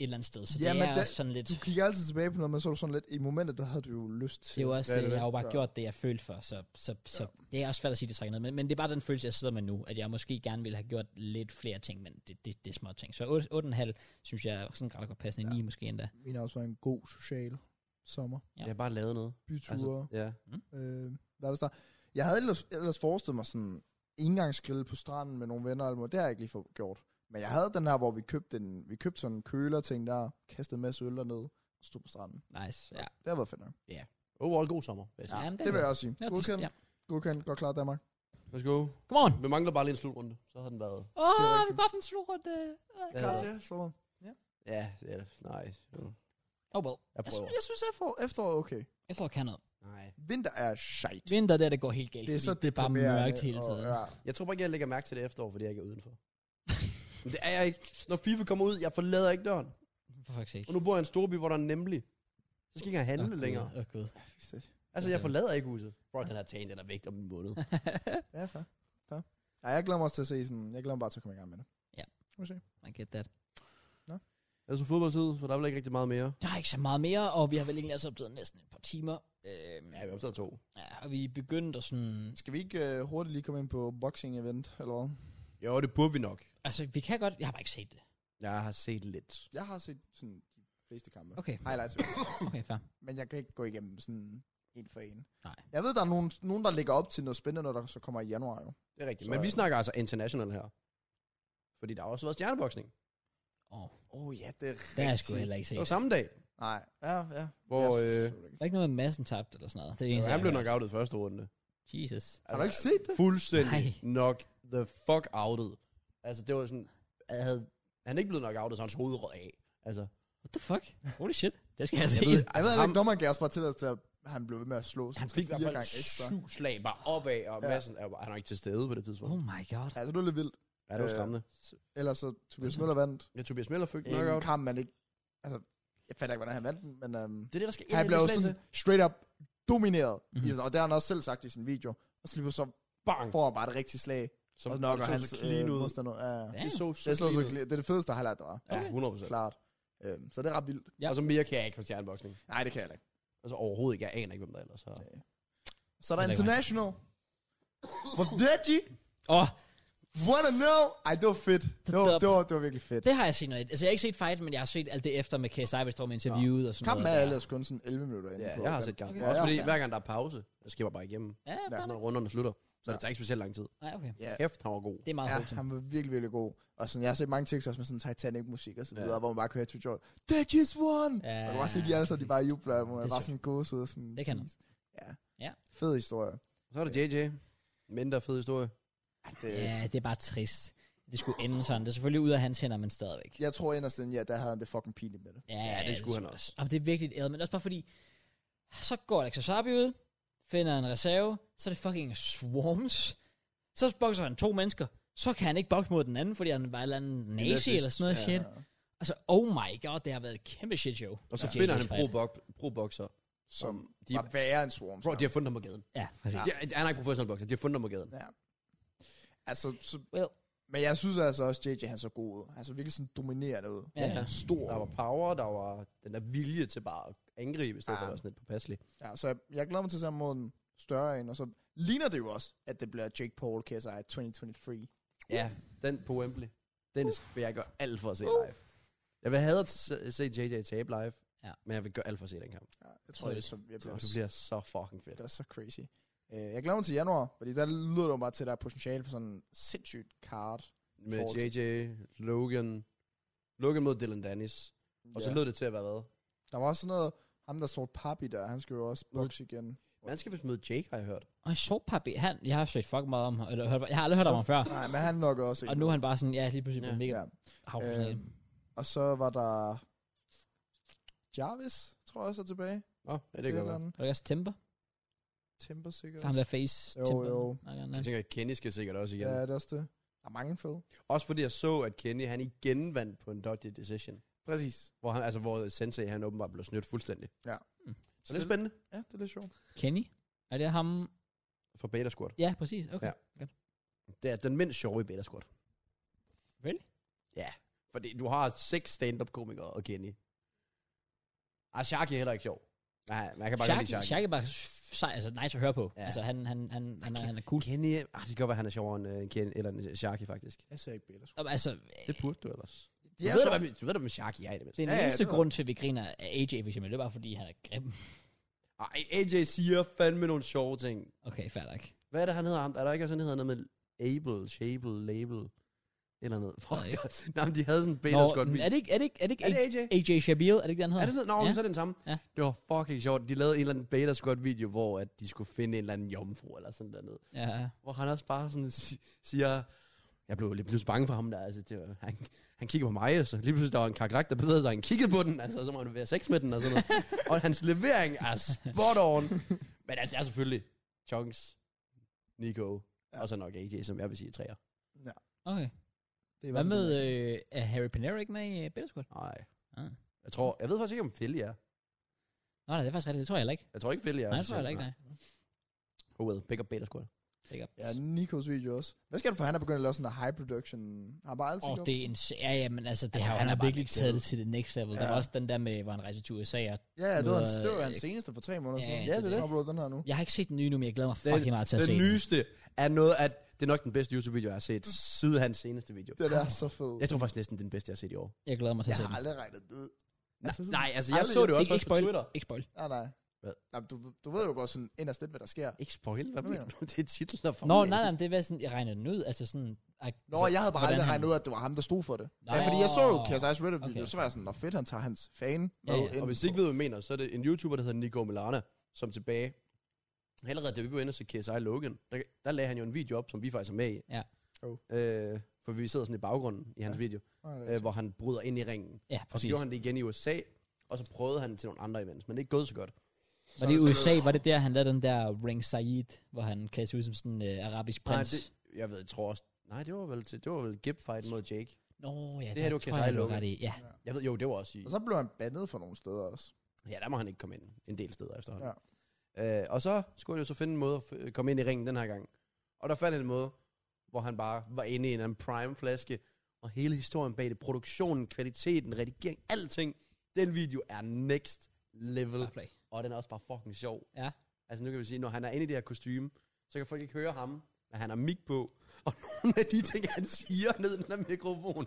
Speaker 1: et eller andet sted. Så
Speaker 3: Jamen,
Speaker 1: det er
Speaker 3: da-
Speaker 1: også sådan lidt...
Speaker 3: Du kigger altid tilbage på noget, men så er du sådan lidt, i momentet, der havde du jo lyst til.
Speaker 1: Det er jo også
Speaker 2: Ja,
Speaker 1: ja,
Speaker 2: det er
Speaker 1: det,
Speaker 2: det.
Speaker 1: jeg har jo bare
Speaker 3: Ja.
Speaker 1: ja. gjort det, jeg følte for, så, så, så ja. det er også svært at sige, det trækker ned. Men, men det er bare den følelse, jeg sidder med nu, at jeg måske gerne ville have gjort lidt flere ting, men det, det, det er små ting. Så 8, 8,5 synes jeg er sådan ret godt passende,
Speaker 3: Ja.
Speaker 1: ja. 9 måske endda.
Speaker 3: Min har også været en god social sommer.
Speaker 1: Ja.
Speaker 2: Jeg har bare lavet noget.
Speaker 3: Byture. Altså,
Speaker 2: ja.
Speaker 3: øh, hvad hvis der? Jeg havde ellers, ellers forestillet mig sådan engangsgrille på stranden med nogle venner og alt muligt. Det har jeg ikke lige fået gjort. Men jeg havde den her, hvor vi købte, en, vi købte sådan en køler ting der, kastede en masse øl dernede og stod på stranden.
Speaker 1: Nice, ja.
Speaker 3: Det har været fedt nok.
Speaker 2: Overall god sommer, vil jeg sige.
Speaker 1: Jamen,
Speaker 3: Det vil jeg også sige.
Speaker 1: Ja,
Speaker 3: Godkendt,
Speaker 1: det, ja.
Speaker 3: godkendt, godt klart Danmark.
Speaker 2: Let's go.
Speaker 1: Godmorgen.
Speaker 2: Vi mangler bare lige en slutrunde. Så har den været...
Speaker 1: Åh, oh, vi
Speaker 3: rigtigt.
Speaker 1: går for øh, en slutrunde.
Speaker 2: Ja.
Speaker 3: Klar til, slå mig.
Speaker 2: Ja, ja nej. jo.
Speaker 1: Oh well,
Speaker 2: Jeg
Speaker 3: Jeg,
Speaker 2: prøver.
Speaker 3: synes, jeg synes, jeg får efteråret er okay.
Speaker 1: jeg tror, jeg kan noget.
Speaker 2: Nej.
Speaker 3: Vinter er shite.
Speaker 1: Vinter der, det går helt galt, det er, fordi det er bare
Speaker 3: deprimerende,
Speaker 1: mørkt hele
Speaker 3: og-
Speaker 1: tiden.
Speaker 3: Ja.
Speaker 2: Jeg tror bare ikke, jeg lægger mærke til det efterår, fordi jeg ikke er udenfor. Men det er jeg ikke. Når FIFA kommer ud, jeg forlader ikke døren.
Speaker 1: For fuck's sake.
Speaker 2: Og nu bor jeg i en storby, hvor der er nemlig. Så skal jeg ikke engang handle
Speaker 1: Åh,
Speaker 2: oh,
Speaker 1: Gud,
Speaker 2: længere.
Speaker 1: Åh, Gud.
Speaker 2: Altså, jeg forlader ikke huset. Bro, den her tan, den er væk om en måned.
Speaker 3: Ja, fair. fair. Ja, jeg glæder mig også til at se sådan, jeg glæder mig bare til at komme i gang med det.
Speaker 1: Ja.
Speaker 3: Nu se.
Speaker 1: I get that.
Speaker 2: Er det så fodboldtid? For der er vel ikke rigtig meget mere.
Speaker 1: Der er ikke så meget mere, og vi har vel egentlig også optaget næsten et par timer. Øhm,
Speaker 2: Ja, vi optager to.
Speaker 1: ja, og vi begyndte at sådan
Speaker 3: Skal vi ikke øh, hurtigt lige komme ind på boxing event, eller hvad?
Speaker 2: Jo, det burde vi nok.
Speaker 1: Altså, vi kan godt... Jeg har bare ikke set det.
Speaker 2: Jeg har set lidt.
Speaker 3: Jeg har set sådan de fleste kampe.
Speaker 1: Okay,
Speaker 3: Highlights.
Speaker 1: okay, fair.
Speaker 3: men jeg kan ikke gå igennem sådan en for en.
Speaker 1: Nej.
Speaker 3: Jeg ved, der er nogen, nogen der ligger op til noget spændende, når der så kommer i januar jo.
Speaker 2: Det er rigtigt.
Speaker 3: Så
Speaker 2: Men
Speaker 3: er
Speaker 2: vi
Speaker 3: det.
Speaker 2: snakker altså international her. Fordi der har også været stjerneboksning.
Speaker 1: Åh, oh,
Speaker 3: Åh oh, ja, det er
Speaker 1: der er jeg sgu heller ikke
Speaker 2: Det
Speaker 1: set.
Speaker 2: var samme dag,
Speaker 3: Nej, ja, ja.
Speaker 2: hvor
Speaker 3: Jeg
Speaker 2: øh,
Speaker 3: så det ikke.
Speaker 1: Der er ikke noget med massen tabt eller sådan noget. Det er det eneste,
Speaker 2: han
Speaker 1: jeg
Speaker 2: blev
Speaker 1: har
Speaker 2: nok outet i første runde.
Speaker 1: hørt. Jesus.
Speaker 3: Har du
Speaker 2: altså,
Speaker 3: ikke set det?
Speaker 2: Fuldstændig
Speaker 1: Nej.
Speaker 2: nok the fuck outet. Altså, det var sådan... Jeg havde, han er ikke blevet nok outet, så hans hoved rød af. Altså,
Speaker 1: What the fuck? Holy shit. Det skal jeg se.
Speaker 2: ved-
Speaker 3: Jeg ved
Speaker 2: altså,
Speaker 3: heller
Speaker 2: ham-
Speaker 3: ikke, dommeren gav os bare tilladelse til, at han blev ved med at slå. sådan
Speaker 2: Han fik i
Speaker 3: fire
Speaker 2: hvert fald
Speaker 3: gange ekstra.
Speaker 2: syv slag bare opad, og
Speaker 3: Ja.
Speaker 2: ja. massen er, bare- han er ikke til stede på det tidspunkt.
Speaker 1: Oh my god.
Speaker 3: Ja, det var lidt vildt.
Speaker 2: Ja, det var
Speaker 3: Øh,
Speaker 2: skræmmende.
Speaker 3: Ellers så Tobias Møller vandt.
Speaker 2: Ja, Tobias Møller fik nok
Speaker 3: en
Speaker 2: out.
Speaker 3: kamp, man ikke... Altså, jeg fatter ikke, hvordan han vandt den, men øhm,
Speaker 2: Det er det, der skal
Speaker 3: han
Speaker 2: ind i
Speaker 3: blev
Speaker 2: det
Speaker 3: jo
Speaker 2: slag
Speaker 3: sådan
Speaker 2: til.
Speaker 3: til. straight up domineret.
Speaker 1: Mhm.
Speaker 3: Mm-hmm. Og det har han også selv sagt i sin video. Og så lige så
Speaker 2: Bang!
Speaker 3: får han bare et rigtigt slag.
Speaker 2: Som
Speaker 3: og nok
Speaker 2: så,
Speaker 3: og hans
Speaker 2: så
Speaker 3: øh,
Speaker 2: clean ud.
Speaker 3: modstander. Ja, ja.
Speaker 1: Damn.
Speaker 2: Det så så,
Speaker 3: Det, så, så,
Speaker 2: clean ud.
Speaker 3: clean- det er det fedeste highlight, der var.
Speaker 2: Ja,
Speaker 1: Okay.
Speaker 2: 100 procent.
Speaker 3: Klart. Øhm, så det er ret vildt.
Speaker 1: Ja.
Speaker 2: Altså mere kan jeg ikke fra stjerneboksning.
Speaker 3: Nej, det kan jeg ikke.
Speaker 2: Altså overhovedet ikke. Jeg aner ikke, hvem der ellers har.
Speaker 3: Så er
Speaker 1: Heller
Speaker 3: der
Speaker 1: ikke mig.
Speaker 3: International. For Deji,
Speaker 1: Åh, oh,
Speaker 3: wanna know? Ej, det var fedt. Det var,
Speaker 1: der-
Speaker 3: det var, det var virkelig fedt.
Speaker 1: det har jeg set noget. Altså, jeg har ikke set fight, men jeg har set alt det efter med Case Ivers, der var med interviewet og sådan
Speaker 3: Kampen er
Speaker 1: noget.
Speaker 3: ellers kun sådan 11 minutter inde
Speaker 2: Ja,
Speaker 3: på.
Speaker 2: jeg har
Speaker 3: den.
Speaker 2: set kamp.
Speaker 1: Okay.
Speaker 2: Okay. Også
Speaker 3: Ja,
Speaker 2: fordi
Speaker 1: ja.
Speaker 2: hver gang der er pause, jeg skipper bare igennem.
Speaker 1: Ja, ja, fair
Speaker 2: Når
Speaker 1: nok.
Speaker 2: runderne slutter. Så
Speaker 3: Ja.
Speaker 2: det tager ikke specielt lang tid.
Speaker 1: Nej, okay.
Speaker 3: Ja.
Speaker 2: Kæft, han var god.
Speaker 1: Det er meget
Speaker 3: Ja,
Speaker 1: ja, hårdt.
Speaker 3: han var virkelig, virkelig god. Og sådan, jeg har set mange TikToks med sådan Titanic-musik og så
Speaker 2: Ja.
Speaker 3: videre, hvor man bare kører til George. They just won! Ja,
Speaker 1: Ja,
Speaker 3: man kan bare se, de alle sammen, de bare jubler, og man
Speaker 1: Det
Speaker 3: er
Speaker 1: er
Speaker 3: bare
Speaker 1: sjovt.
Speaker 3: sådan gås ud og sådan.
Speaker 1: Det kan han.
Speaker 3: "Jeez." Ja.
Speaker 1: Ja.
Speaker 3: Fed historie.
Speaker 2: Så er der JJ. Mindre fed historie.
Speaker 3: Ja, det,
Speaker 1: ja, det er bare trist. Det skulle ende sådan. Det er selvfølgelig ud af hans hænder, men stadigvæk.
Speaker 3: Jeg tror inderst inden, ja, der havde han det fucking pinligt med det.
Speaker 1: Ja, altså,
Speaker 2: det skulle han
Speaker 1: tror jeg
Speaker 2: også.
Speaker 1: Jamen, det er virkelig et ad, men også bare fordi, så går Alex Sabi ud, finder en reserve, så er det fucking swarms. Så bokser han to mennesker, så kan han ikke bokse mod den anden, fordi han var en eller anden nazi
Speaker 2: nazist,
Speaker 1: eller sådan noget
Speaker 2: ja.
Speaker 1: ja. shit. Altså, oh my god, det har været et kæmpe shit show.
Speaker 2: Og så
Speaker 1: Ja.
Speaker 2: finder
Speaker 1: JJ's
Speaker 2: han en
Speaker 1: fight.
Speaker 2: pro-bok- pro-bokser.
Speaker 3: Som
Speaker 2: de,
Speaker 3: de var værre end Swarm.
Speaker 2: bro, de har fundet ham på gaden.
Speaker 1: Ja, præcis.
Speaker 2: Ja, han er ikke professionel bokser. De har fundet ham på gaden.
Speaker 3: Ja. Altså, så,
Speaker 1: Well,
Speaker 3: men jeg synes altså også, JJ han så god ud. Altså virkelig sådan dominerende ud.
Speaker 1: Ja, ja.
Speaker 3: Stor.
Speaker 2: Der var power, der var den der vilje til bare at angribe, i stedet
Speaker 3: Ja.
Speaker 2: for at være sådan lidt påpasselig.
Speaker 3: Ja, så jeg, jeg glæder mig til sammen mod en større en, og så ligner det jo også, at det bliver Jake Paul KSI 2023.
Speaker 2: Ja, den på Wembley. Den vil jeg gøre alt for at se live. Jeg vil have at se- se JJ tabe live,
Speaker 1: Ja.
Speaker 2: men jeg vil gøre alt for at se den kamp.
Speaker 3: Ja, jeg
Speaker 1: Tror
Speaker 3: tror, det er
Speaker 1: det.
Speaker 3: så, jeg
Speaker 2: Det
Speaker 3: bliver også,
Speaker 2: bliver så fucking fedt.
Speaker 3: det er så crazy. Uh, jeg glæder mig til januar, fordi der lyder det jo bare til, at der er potentiale for sådan en sindssygt card.
Speaker 2: Med
Speaker 3: forhold til-
Speaker 2: JJ, Logan, Logan mod Dylan Dennis. Og så lød det til at være hvad?
Speaker 3: Der var også sådan noget, ham der sort papi der, han skal jo også
Speaker 2: Nå.
Speaker 3: boxe igen.
Speaker 2: Man skal vist møde Jake, har jeg hørt.
Speaker 1: og en sjov papi, han, jeg har set fucking meget om ham, eller, hørt- jeg har aldrig hørt om ham før.
Speaker 3: Nej, men han er nok også
Speaker 1: Og nu er han bare sådan, ja, lige pludselig ja. mega
Speaker 3: ja.
Speaker 1: havprofessionel.
Speaker 3: Øhm, og så var der Jarvis, tror jeg også er tilbage.
Speaker 2: Nå, ja, det kan godt.
Speaker 1: Og også Temper,
Speaker 3: Temper sikkert.
Speaker 1: for han der face.
Speaker 3: Jo,
Speaker 1: Temper.
Speaker 3: jo.
Speaker 1: Nej, nej, nej.
Speaker 2: Jeg tænker, at Kenny skal sikkert også igen.
Speaker 3: Ja, det er også det. Der er mange fede.
Speaker 2: Også fordi jeg så, at Kenny, han igen vandt på en dodgy decision.
Speaker 3: Præcis.
Speaker 2: Hvor, han, altså, hvor Sensei, han åbenbart blev snydt fuldstændig.
Speaker 3: Ja.
Speaker 1: Mm.
Speaker 2: Så det er spændende.
Speaker 3: Ja, det er lidt sjovt.
Speaker 1: Kenny? Er det ham?
Speaker 2: For Beta Squad.
Speaker 1: Ja, præcis. Okay.
Speaker 2: Ja. Det er den mindst sjove i Beta Squad.
Speaker 1: Really?
Speaker 2: Ja. Fordi du har seks stand-up-komikere og Kenny. Ah, Sharky er heller ikke sjov. Nej, man kan bare godt
Speaker 1: Shaq,
Speaker 2: lide Sharky.
Speaker 1: Shaq er bare sej, altså nice at høre på. Ja.
Speaker 2: Ja.
Speaker 1: Altså han, han, han, han, er, han er cool.
Speaker 2: Kenny, ah, det kan godt være, han er sjovere end øh, en Kenny, eller en Sharky, faktisk.
Speaker 3: Jeg ser ikke billeder. sgu.
Speaker 1: Og Altså,
Speaker 2: Det burde du ellers.
Speaker 3: De
Speaker 2: Du
Speaker 3: er
Speaker 2: ved, da,
Speaker 3: sjove.
Speaker 2: hvad, vi- du ved da, hvem Sharky er i det mindste.
Speaker 1: den
Speaker 3: Ja, ja,
Speaker 1: eneste
Speaker 3: det ved
Speaker 1: grund til, at vi griner af AJ, for eksempel, det er bare fordi, han er grim.
Speaker 2: Ej, AJ Ah, siger fandme nogle sjove ting.
Speaker 1: Okay, fair nok.
Speaker 2: Hvad er det, han hedder ham? Er der ikke også, han hedder noget med Able, Shable, Label? Eller noget. Fuck,
Speaker 1: Nej.
Speaker 2: der, nej, men de havde sådan en
Speaker 1: Nå,
Speaker 2: bedre skot.
Speaker 1: er det ikke, er det ikke, er det ikke
Speaker 2: Er det AJ?
Speaker 1: AJ Shabil, er det ikke, den
Speaker 2: Er
Speaker 1: hedder?
Speaker 2: det det? Nå, ja.
Speaker 1: Ja.
Speaker 2: så er det den samme.
Speaker 1: Ja.
Speaker 2: Ja. Det var fucking sjovt. De lavede en eller anden beta squad video, hvor at de skulle finde en eller anden jomfru eller sådan der ned.
Speaker 1: Ja.
Speaker 2: Hvor han også bare sådan si- siger, jeg blev lige pludselig bange for ham der. Altså, det var, han, han kigger på mig, og så lige pludselig der var en karakter, der bedrede sig. Han kiggede på den, altså, og så må han være sex med den og sådan noget. og hans levering er spot on. Men altså, det er selvfølgelig Chunks, Nico,
Speaker 3: Ja.
Speaker 2: ja. og så nok AJ, som jeg vil sige er træer.
Speaker 1: Okay.
Speaker 3: Det er i hvert
Speaker 1: Hvad
Speaker 3: fald
Speaker 1: med,
Speaker 3: noget,
Speaker 1: øh, er Harry Panera ikke med i uh, Beta Squad?
Speaker 2: Nej.
Speaker 1: Ah.
Speaker 2: Jeg tror, jeg ved faktisk ikke, om Philly er.
Speaker 1: Nå, nej, det er faktisk rigtigt, det tror jeg heller ikke.
Speaker 2: Jeg tror ikke, Philly er.
Speaker 1: Nej, det tror jeg heller ikke, nej.
Speaker 2: Oh well, pick up beta squad.
Speaker 1: Take up.
Speaker 3: jeg. Ja, Nikos video også. Hvad skal du for, han er begyndt at lave sådan en high production? Han har bare altid
Speaker 1: Og
Speaker 3: gjort
Speaker 1: det er en... se- Ja, ja, men altså, det altså,
Speaker 2: Altså,
Speaker 1: har,
Speaker 2: han
Speaker 1: han
Speaker 2: er
Speaker 1: har
Speaker 2: bare
Speaker 1: virkelig
Speaker 2: lidt
Speaker 1: taget
Speaker 2: fed.
Speaker 1: det til det next level. Ja. Der
Speaker 3: Ja.
Speaker 1: var også den der med, hvor han rejser til USA. Og
Speaker 3: Ja, ja, det var,
Speaker 1: Noget,
Speaker 3: hans, det var
Speaker 1: øh,
Speaker 3: hans seneste for tre måneder
Speaker 1: ja,
Speaker 3: siden.
Speaker 1: det
Speaker 3: Ja,
Speaker 1: er
Speaker 3: det er
Speaker 1: det.
Speaker 3: det. Upload den her nu.
Speaker 1: jeg har ikke set den nye nu, men jeg glæder mig
Speaker 2: Den-
Speaker 1: fucking meget til at se
Speaker 2: Den
Speaker 1: den.
Speaker 2: nyeste er noget af... Det er nok den bedste YouTube-video, jeg har set siden hans seneste video.
Speaker 3: Den er så fed.
Speaker 2: Jeg tror faktisk næsten, det er den bedste, jeg har set i år.
Speaker 1: Jeg glæder mig til
Speaker 3: Jeg
Speaker 1: at se
Speaker 3: har
Speaker 1: den.
Speaker 3: aldrig regnet det ud. Altså, sådan-
Speaker 2: Nej, altså jeg
Speaker 3: Aldrig-
Speaker 2: så det jo
Speaker 1: Ikke,
Speaker 2: også
Speaker 1: ikke
Speaker 2: først på
Speaker 1: spoil.
Speaker 2: Twitter.
Speaker 1: Ikke spoil.
Speaker 3: Nej, nej.
Speaker 2: Hvad?
Speaker 3: Jamen, du, du ved jo godt sådan inderst lidt, hvad der sker.
Speaker 2: Ikke spoil? Hvad
Speaker 3: Hvad
Speaker 2: mener du? Det er titler for
Speaker 1: Nå, nej, nej, men det er sådan, jeg regner den ud. Altså sådan... Ej,
Speaker 3: Nå,
Speaker 1: altså,
Speaker 3: jeg havde bare
Speaker 1: hvordan
Speaker 3: aldrig
Speaker 1: han-
Speaker 3: regnet ud, at det var ham, der stod for det.
Speaker 1: Nå.
Speaker 3: Ja, fordi jeg så jo KSI's
Speaker 1: Okay,
Speaker 3: Reddit-video,
Speaker 1: okay.
Speaker 3: så var jeg sådan, nå fedt, han tager hans fan
Speaker 1: Ja,
Speaker 3: med
Speaker 1: ja.
Speaker 3: ind.
Speaker 2: Og hvis I ikke ved, hvad jeg mener, så er det en YouTuber, der hedder Nico Milana, som tilbage... Allerede da vi var inde og se KSI Logan, der, der lagde han jo en video op, som vi faktisk er med i.
Speaker 1: Ja.
Speaker 3: Oh.
Speaker 2: Øh, for vi sidder sådan i baggrunden i hans ja. video,
Speaker 3: Nå, det er
Speaker 2: øh, hvor han bryder ind i ringen.
Speaker 1: Ja,
Speaker 2: Og så
Speaker 1: præcis.
Speaker 2: gjorde han det igen i USA, og så prøvede han til nogle andre events, men det er ikke gået så godt.
Speaker 1: Var det i USA, var det der, han lavede den der Ring Said, hvor han klædte sig ud som sådan en øh, arabisk
Speaker 2: Nej,
Speaker 1: prins?
Speaker 2: det, jeg ved, jeg tror også... Nej, det var vel, til, det var vel Gip fight mod Jake.
Speaker 1: Nå, ja,
Speaker 2: det her, det
Speaker 1: tror
Speaker 2: var
Speaker 1: jeg,
Speaker 2: KSI
Speaker 1: du har
Speaker 2: Logan.
Speaker 1: ret i. Ja,
Speaker 2: Jeg ved, jo, det var også i...
Speaker 3: Og så blev han bandet for nogle steder også.
Speaker 2: Ja, der må han ikke komme ind en del steder efterhånden. Ja. Øh, og så skulle han jo så finde en måde at f- komme ind i ringen den her gang. Og der fandt han en måde, hvor han bare var inde i en eller anden prime-flaske, og hele historien bag det, produktionen, kvaliteten, redigering, alting, den video er next level,
Speaker 1: fair play.
Speaker 2: og den er også bare fucking sjov.
Speaker 1: Ja.
Speaker 2: Altså nu kan vi sige, når han er inde i det her kostume, så kan folk ikke høre ham, men han har mic på, og nogle af de ting, han siger ned i den her mikrofon.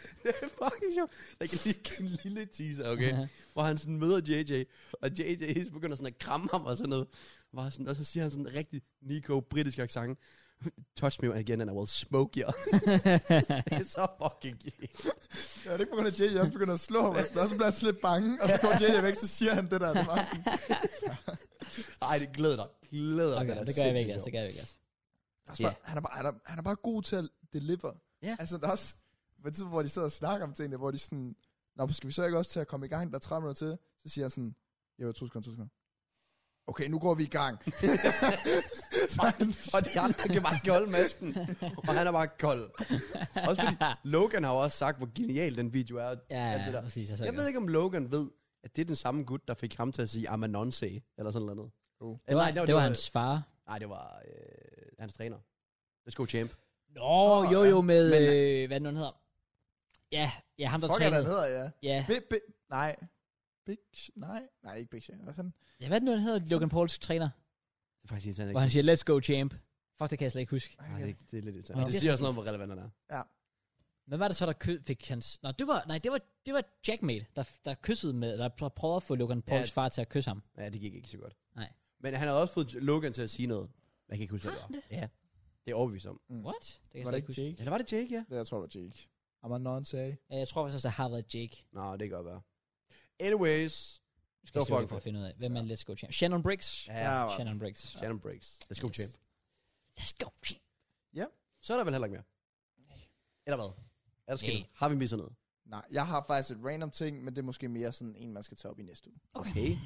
Speaker 2: det er fucking sjovt. Jeg kan lige give en lille teaser, okay? hvor han sådan møder JJ, og JJ begynder sådan at kramme ham og sådan noget. Var sådan, og så siger han sådan en rigtig Nico britisk accent. Touch me again and I will smoke you. det er så fucking genialt.
Speaker 3: Ja, det er ikke på grund af at JJ også begynder at slå ham, og sådan, og så bliver han sådan lidt bange, og så går JJ væk, så siger han det der. Det var sådan,
Speaker 2: Ej, det glæder dig. Glæder
Speaker 1: Okay,
Speaker 2: dig.
Speaker 1: det gør jeg væk, altså. Det gør jeg væk, altså.
Speaker 3: Der er også bare- han, er bare, han, er, han er bare god til at deliver.
Speaker 2: Ja.
Speaker 3: Altså, der er også på et tidspunkt, hvor de sidder og snakker om tingene, hvor de sådan, Nå, men skal vi så ikke også til at komme i gang, der er 30 minutter til? Så siger han sådan, jo, to sekunder, to sekunder. Okay, nu går vi i gang. så han,
Speaker 2: Og de andre kan bare ikke holde masken. Og han er bare kold. Også fordi Logan har jo også sagt, hvor genial den video er.
Speaker 1: Ja,
Speaker 2: Alt det
Speaker 1: ja,
Speaker 2: der.
Speaker 1: præcis. altså, Jeg, så
Speaker 2: Jeg ved ikke, om Logan ved, at det er den samme gut, der fik ham til at sige, I'm a nonce, eller sådan noget.
Speaker 3: Oh.
Speaker 1: Det var, det var hans far.
Speaker 2: Nej, det var øh, hans træner. Let's go, champ.
Speaker 1: Nå, jo jo med,
Speaker 2: Men-
Speaker 1: øh, hvad er det nu han hedder? Ja, ja, ham der
Speaker 3: fuck, hvad han
Speaker 1: trænede.
Speaker 3: hedder, ja.
Speaker 1: Ja,
Speaker 3: Big, big, nej. Big, Sh- nej. Nej, ikke Big Shane. Hvad fanden?
Speaker 1: ja, hvad er det nu han hedder, Logan Pauls træner?
Speaker 2: Det er faktisk irriterende.
Speaker 1: Hvor han siger, let's go champ. Fuck, det kan jeg slet ikke huske.
Speaker 3: Nej,
Speaker 2: Ej, det, er- det er lidt
Speaker 1: Men
Speaker 2: irriterende. Det,
Speaker 1: det er
Speaker 2: det siger også noget om, hvor relevant han er.
Speaker 1: Hvad var det så, der kø- fik hans... Nå, det var, nej, det var, det var Jackmate, der, der kyssede med, der prøvede at få Logan Pauls
Speaker 2: Ja.
Speaker 1: far til at kysse ham.
Speaker 2: Ja, det gik ikke så godt.
Speaker 1: Nej.
Speaker 2: Men han har også fået Logan til at sige noget. Jeg kan ikke huske, hvad det var. Ja. Det er jeg overbevist om.
Speaker 1: What? Det kan jeg slet
Speaker 3: Var
Speaker 1: ikke
Speaker 3: det ikke
Speaker 1: huske.
Speaker 3: Jake?
Speaker 2: Eller var det Jake, ja?
Speaker 3: Det, jeg tror, det var Jake. I'm a non-say.
Speaker 1: Ja, jeg tror faktisk, at det har været Jake.
Speaker 2: Nå, det kan godt være.
Speaker 1: Nu
Speaker 2: Anyways. Det
Speaker 1: skal
Speaker 2: var
Speaker 1: jeg
Speaker 2: fucking
Speaker 1: for at finde ud af, hvem er let's go champ. Shannon Briggs.
Speaker 2: Ja,
Speaker 3: Ja,
Speaker 2: ja.
Speaker 3: var-
Speaker 1: Shannon Briggs.
Speaker 2: Shannon Briggs. Let's go,
Speaker 1: Yes.
Speaker 2: champ.
Speaker 1: Let's go champ.
Speaker 2: Så er der vel heller ikke mere. Eller hvad? Er der sket?
Speaker 1: Nej.
Speaker 2: noget? Har vi misset noget?
Speaker 3: Nej, jeg har faktisk et random ting, men det er måske mere sådan en, man skal tage op i næste uge.
Speaker 1: Okay.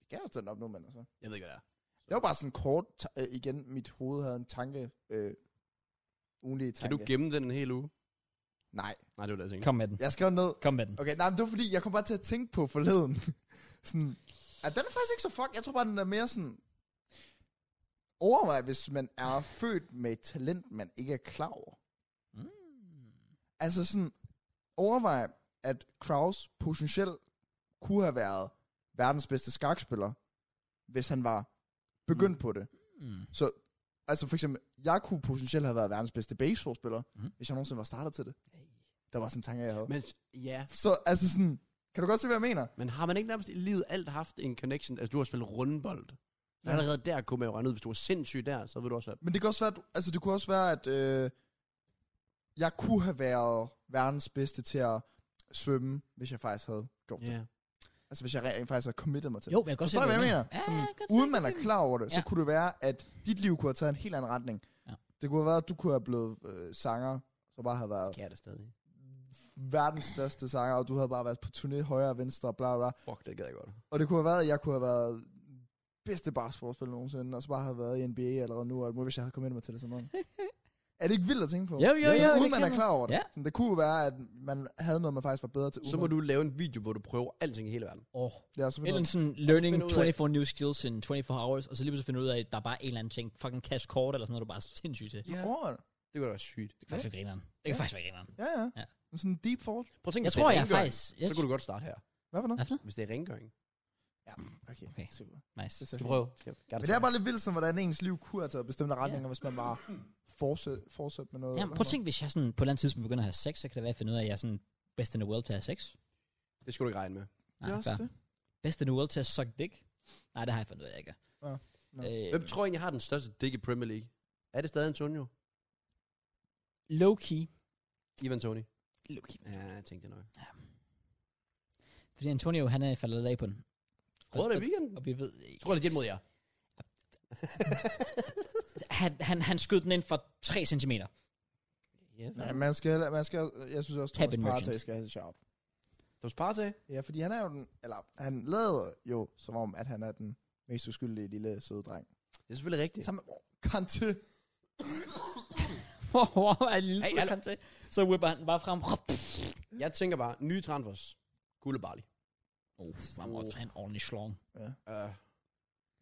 Speaker 3: Vi kan også tage den op nu, men altså.
Speaker 2: Jeg ved ikke, hvad det er.
Speaker 3: Det var bare sådan kort, ta- øh, igen, mit hoved havde en tanke, øh, ugenlige
Speaker 2: Kan
Speaker 3: tanke.
Speaker 2: du gemme den en hel uge?
Speaker 3: Nej,
Speaker 2: Nej, det var det, jeg altså tænkte.
Speaker 1: Kom med den.
Speaker 3: jeg skrev ned.
Speaker 1: Kom med den.
Speaker 3: Okay, nej, men det var fordi, jeg kom bare til at tænke på forleden. sådan, at den er faktisk ikke så fuck. Jeg tror bare, den er mere sådan... Overvej, hvis man er født med et talent, man ikke er klar over.
Speaker 1: Mm.
Speaker 3: Altså sådan, overvej, at Kraus potentielt kunne have været verdens bedste skakspiller, hvis han var begyndt mm. på det.
Speaker 1: Mm.
Speaker 3: Så, altså for eksempel, jeg kunne potentielt have været verdens bedste baseballspiller,
Speaker 1: Mhm.
Speaker 3: mm. hvis jeg nogensinde var startet til det. Der var sådan en tanke, jeg havde. Men,
Speaker 2: Men, ja.
Speaker 3: så altså sådan, kan du godt se, hvad jeg mener?
Speaker 2: Men har man ikke nærmest i livet alt haft en connection? Altså, du har spillet rundbold. Ja. Allerede der kunne man jo regne ud, hvis du var sindssyg der, så ville du også være...
Speaker 3: Men det kan også være, at- altså det kunne også være, at øh, jeg kunne have været verdens bedste til at svømme, hvis jeg faktisk havde gjort yeah. det.
Speaker 2: Ja.
Speaker 3: Altså hvis jeg rent faktisk havde committet mig til
Speaker 1: Jo, men jeg kan godt
Speaker 3: Forstår
Speaker 1: se,
Speaker 3: I, hvad jeg
Speaker 1: du
Speaker 3: mener?
Speaker 1: Ja,
Speaker 3: Sådan,
Speaker 1: jeg kan godt se,
Speaker 3: Uden man
Speaker 1: jeg
Speaker 3: er
Speaker 1: kan se det.
Speaker 3: klar over det, ja.
Speaker 1: Ja.
Speaker 3: så kunne det være, at dit liv kunne have taget en helt anden retning.
Speaker 1: Ja.
Speaker 3: Det kunne have været, at du kunne have blevet øh, sanger, så bare have været
Speaker 2: Kan jeg da stadig.
Speaker 3: verdens største sanger, og du havde bare været på turné højre og venstre, bla bla. bla.
Speaker 2: Fuck, det gad jeg godt.
Speaker 3: Og det kunne have været, at jeg kunne have været bedste basketballspiller nogensinde, og så bare have været i NBA allerede nu, og alt muligt, hvis jeg havde kommet mig til det som ung. er det ikke vildt at tænke på?
Speaker 1: Jo, jo,
Speaker 3: Sådan,
Speaker 1: jo, det
Speaker 3: Uden man
Speaker 1: kan
Speaker 3: er klar over det.
Speaker 1: Ja.
Speaker 3: Ja. Sådan, det kunne jo være, at man havde noget, man faktisk var bedre til.
Speaker 2: Så må du lave en video, hvor du prøver alting i hele verden.
Speaker 1: Åh,
Speaker 3: Ja,
Speaker 1: Et eller
Speaker 3: selvfølgelig.
Speaker 1: andet sådan learning
Speaker 2: finder ud af-
Speaker 1: 24 new skills in 24 hours, og så lige pludselig finder du ud af, at der er bare en eller anden ting, fucking cash kort eller sådan noget, du bare er sindssyg til. Det
Speaker 3: Ja. Over det.
Speaker 2: Det kunne da være sygt.
Speaker 1: kan faktisk være grineren. Det kan faktisk være grineren.
Speaker 3: Ja, ja.
Speaker 1: Ja.
Speaker 3: Men Sådan en deep thought.
Speaker 2: Prøv at tænke,
Speaker 1: Jeg
Speaker 2: hvis det
Speaker 1: tror,
Speaker 2: er
Speaker 1: jeg
Speaker 2: rengøring,
Speaker 1: faktisk... Jeg
Speaker 2: Så kunne du godt starte her.
Speaker 3: Hvad for noget?
Speaker 1: Hvad for noget?
Speaker 2: Hvis det er rengøring.
Speaker 3: Okay,
Speaker 1: Okay.
Speaker 3: super.
Speaker 1: Nice.
Speaker 3: Det er så
Speaker 2: Skal
Speaker 3: fint.
Speaker 2: prøve. Skal jeg
Speaker 3: Men det er bare lidt vildt, sådan, hvordan ens liv kunne have taget bestemte retninger, hvis man bare fortsat, fortsat med noget.
Speaker 1: Jamen, prøv at tænke, hvis jeg sådan på et eller andet tidspunkt begynder at have sex, så kan det være, at jeg finder ud af, at jeg er sådan best in the world til at have sex.
Speaker 2: Det skulle du ikke regne med.
Speaker 3: Det er også
Speaker 1: fair.
Speaker 3: det.
Speaker 1: Best in the world til at suck dick? Nej, det har jeg fundet ud af, jeg ikke.
Speaker 3: Nå. Nå.
Speaker 1: Øh,
Speaker 2: Hvem tror egentlig har den største dick i Premier League? Er det stadig Antonio?
Speaker 1: low key.
Speaker 2: Ivan Tony?
Speaker 1: Low key.
Speaker 2: Ja, jeg tænkte det nok.
Speaker 1: Fordi Antonio, han er faldet lidt af på den.
Speaker 2: Tror du det
Speaker 1: Og-
Speaker 2: i weekenden?
Speaker 1: Og vi ved...
Speaker 2: Jeg tror, det er mod jer.
Speaker 1: Han, han, han skød den ind for 3 cm.
Speaker 2: Ja,
Speaker 3: Ja, man skal, heller- man skal, jeg synes også,
Speaker 1: Tab
Speaker 3: Thomas
Speaker 1: and
Speaker 3: Partey
Speaker 1: merchant.
Speaker 3: skal have et shout.
Speaker 2: Thomas Partey?
Speaker 3: Ja, fordi han er jo den, eller han lader jo som om, at han er den mest uskyldige lille søde dreng.
Speaker 2: Det er selvfølgelig rigtigt.
Speaker 3: Sammen med Kante.
Speaker 1: Hvor er en lille
Speaker 2: Hey,
Speaker 1: hey,
Speaker 2: hallo.
Speaker 1: han til. Så whipper han den bare frem.
Speaker 2: Jeg tænker bare, nye transfers. Gule Barley.
Speaker 1: Oh, han var også en ordentlig slong.
Speaker 2: Uh, nå, det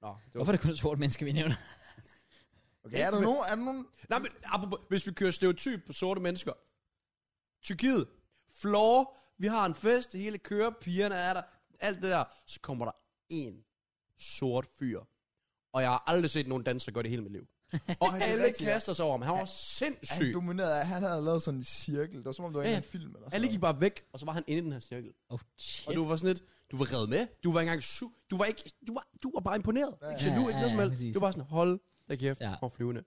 Speaker 2: var...
Speaker 1: Hvorfor er det kun et sort menneske, vi nævner?
Speaker 3: Okay, er der nogen? Er der nogen?
Speaker 2: Nej, men apropos, hvis vi kører stereotyp på sorte mennesker. Tyrkiet. Floor. Vi har en fest. Det hele kører. Pigerne er der. Alt det der. Så kommer der en sort fyr. Og jeg har aldrig set nogen danser gøre det hele mit liv. Og
Speaker 3: Ej, det er
Speaker 2: alle
Speaker 3: rigtigt, ja.
Speaker 2: kaster sig over ham. Han var
Speaker 3: Han
Speaker 2: sindssyg.
Speaker 3: dominerede, han havde lavet sådan en cirkel. Det var som om, det var
Speaker 2: Ja,
Speaker 3: ja,
Speaker 2: ja.
Speaker 3: en film eller sådan
Speaker 2: Alle gik
Speaker 3: noget.
Speaker 2: bare væk, og så var han inde i den her cirkel.
Speaker 1: Oh,
Speaker 2: Og
Speaker 1: shit.
Speaker 2: du var sådan lidt, du var revet med. Du var ikke engang su- Du var ikke, du var, du var bare imponeret.
Speaker 3: Ja,
Speaker 2: Ikke jaloux,
Speaker 1: ja,
Speaker 2: ikke noget som
Speaker 1: ja,
Speaker 2: helst.
Speaker 1: præcis.
Speaker 2: Du var sådan, hold da kæft,
Speaker 1: Ja.
Speaker 2: ja. og flyvende.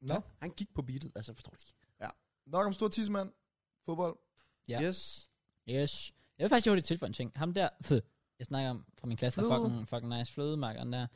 Speaker 3: Nå,
Speaker 2: Han gik på beatet, altså forstår du ikke.
Speaker 3: nok om stor tidsmand. Fodbold.
Speaker 1: Ja.
Speaker 2: Yes.
Speaker 1: Yes. Jeg vil faktisk hurtigt tilføje en ting. Ham der, fed, jeg snakker om fra min klasse, der er
Speaker 3: Fløde.
Speaker 1: fucking, fucking nice flødemarkeren der.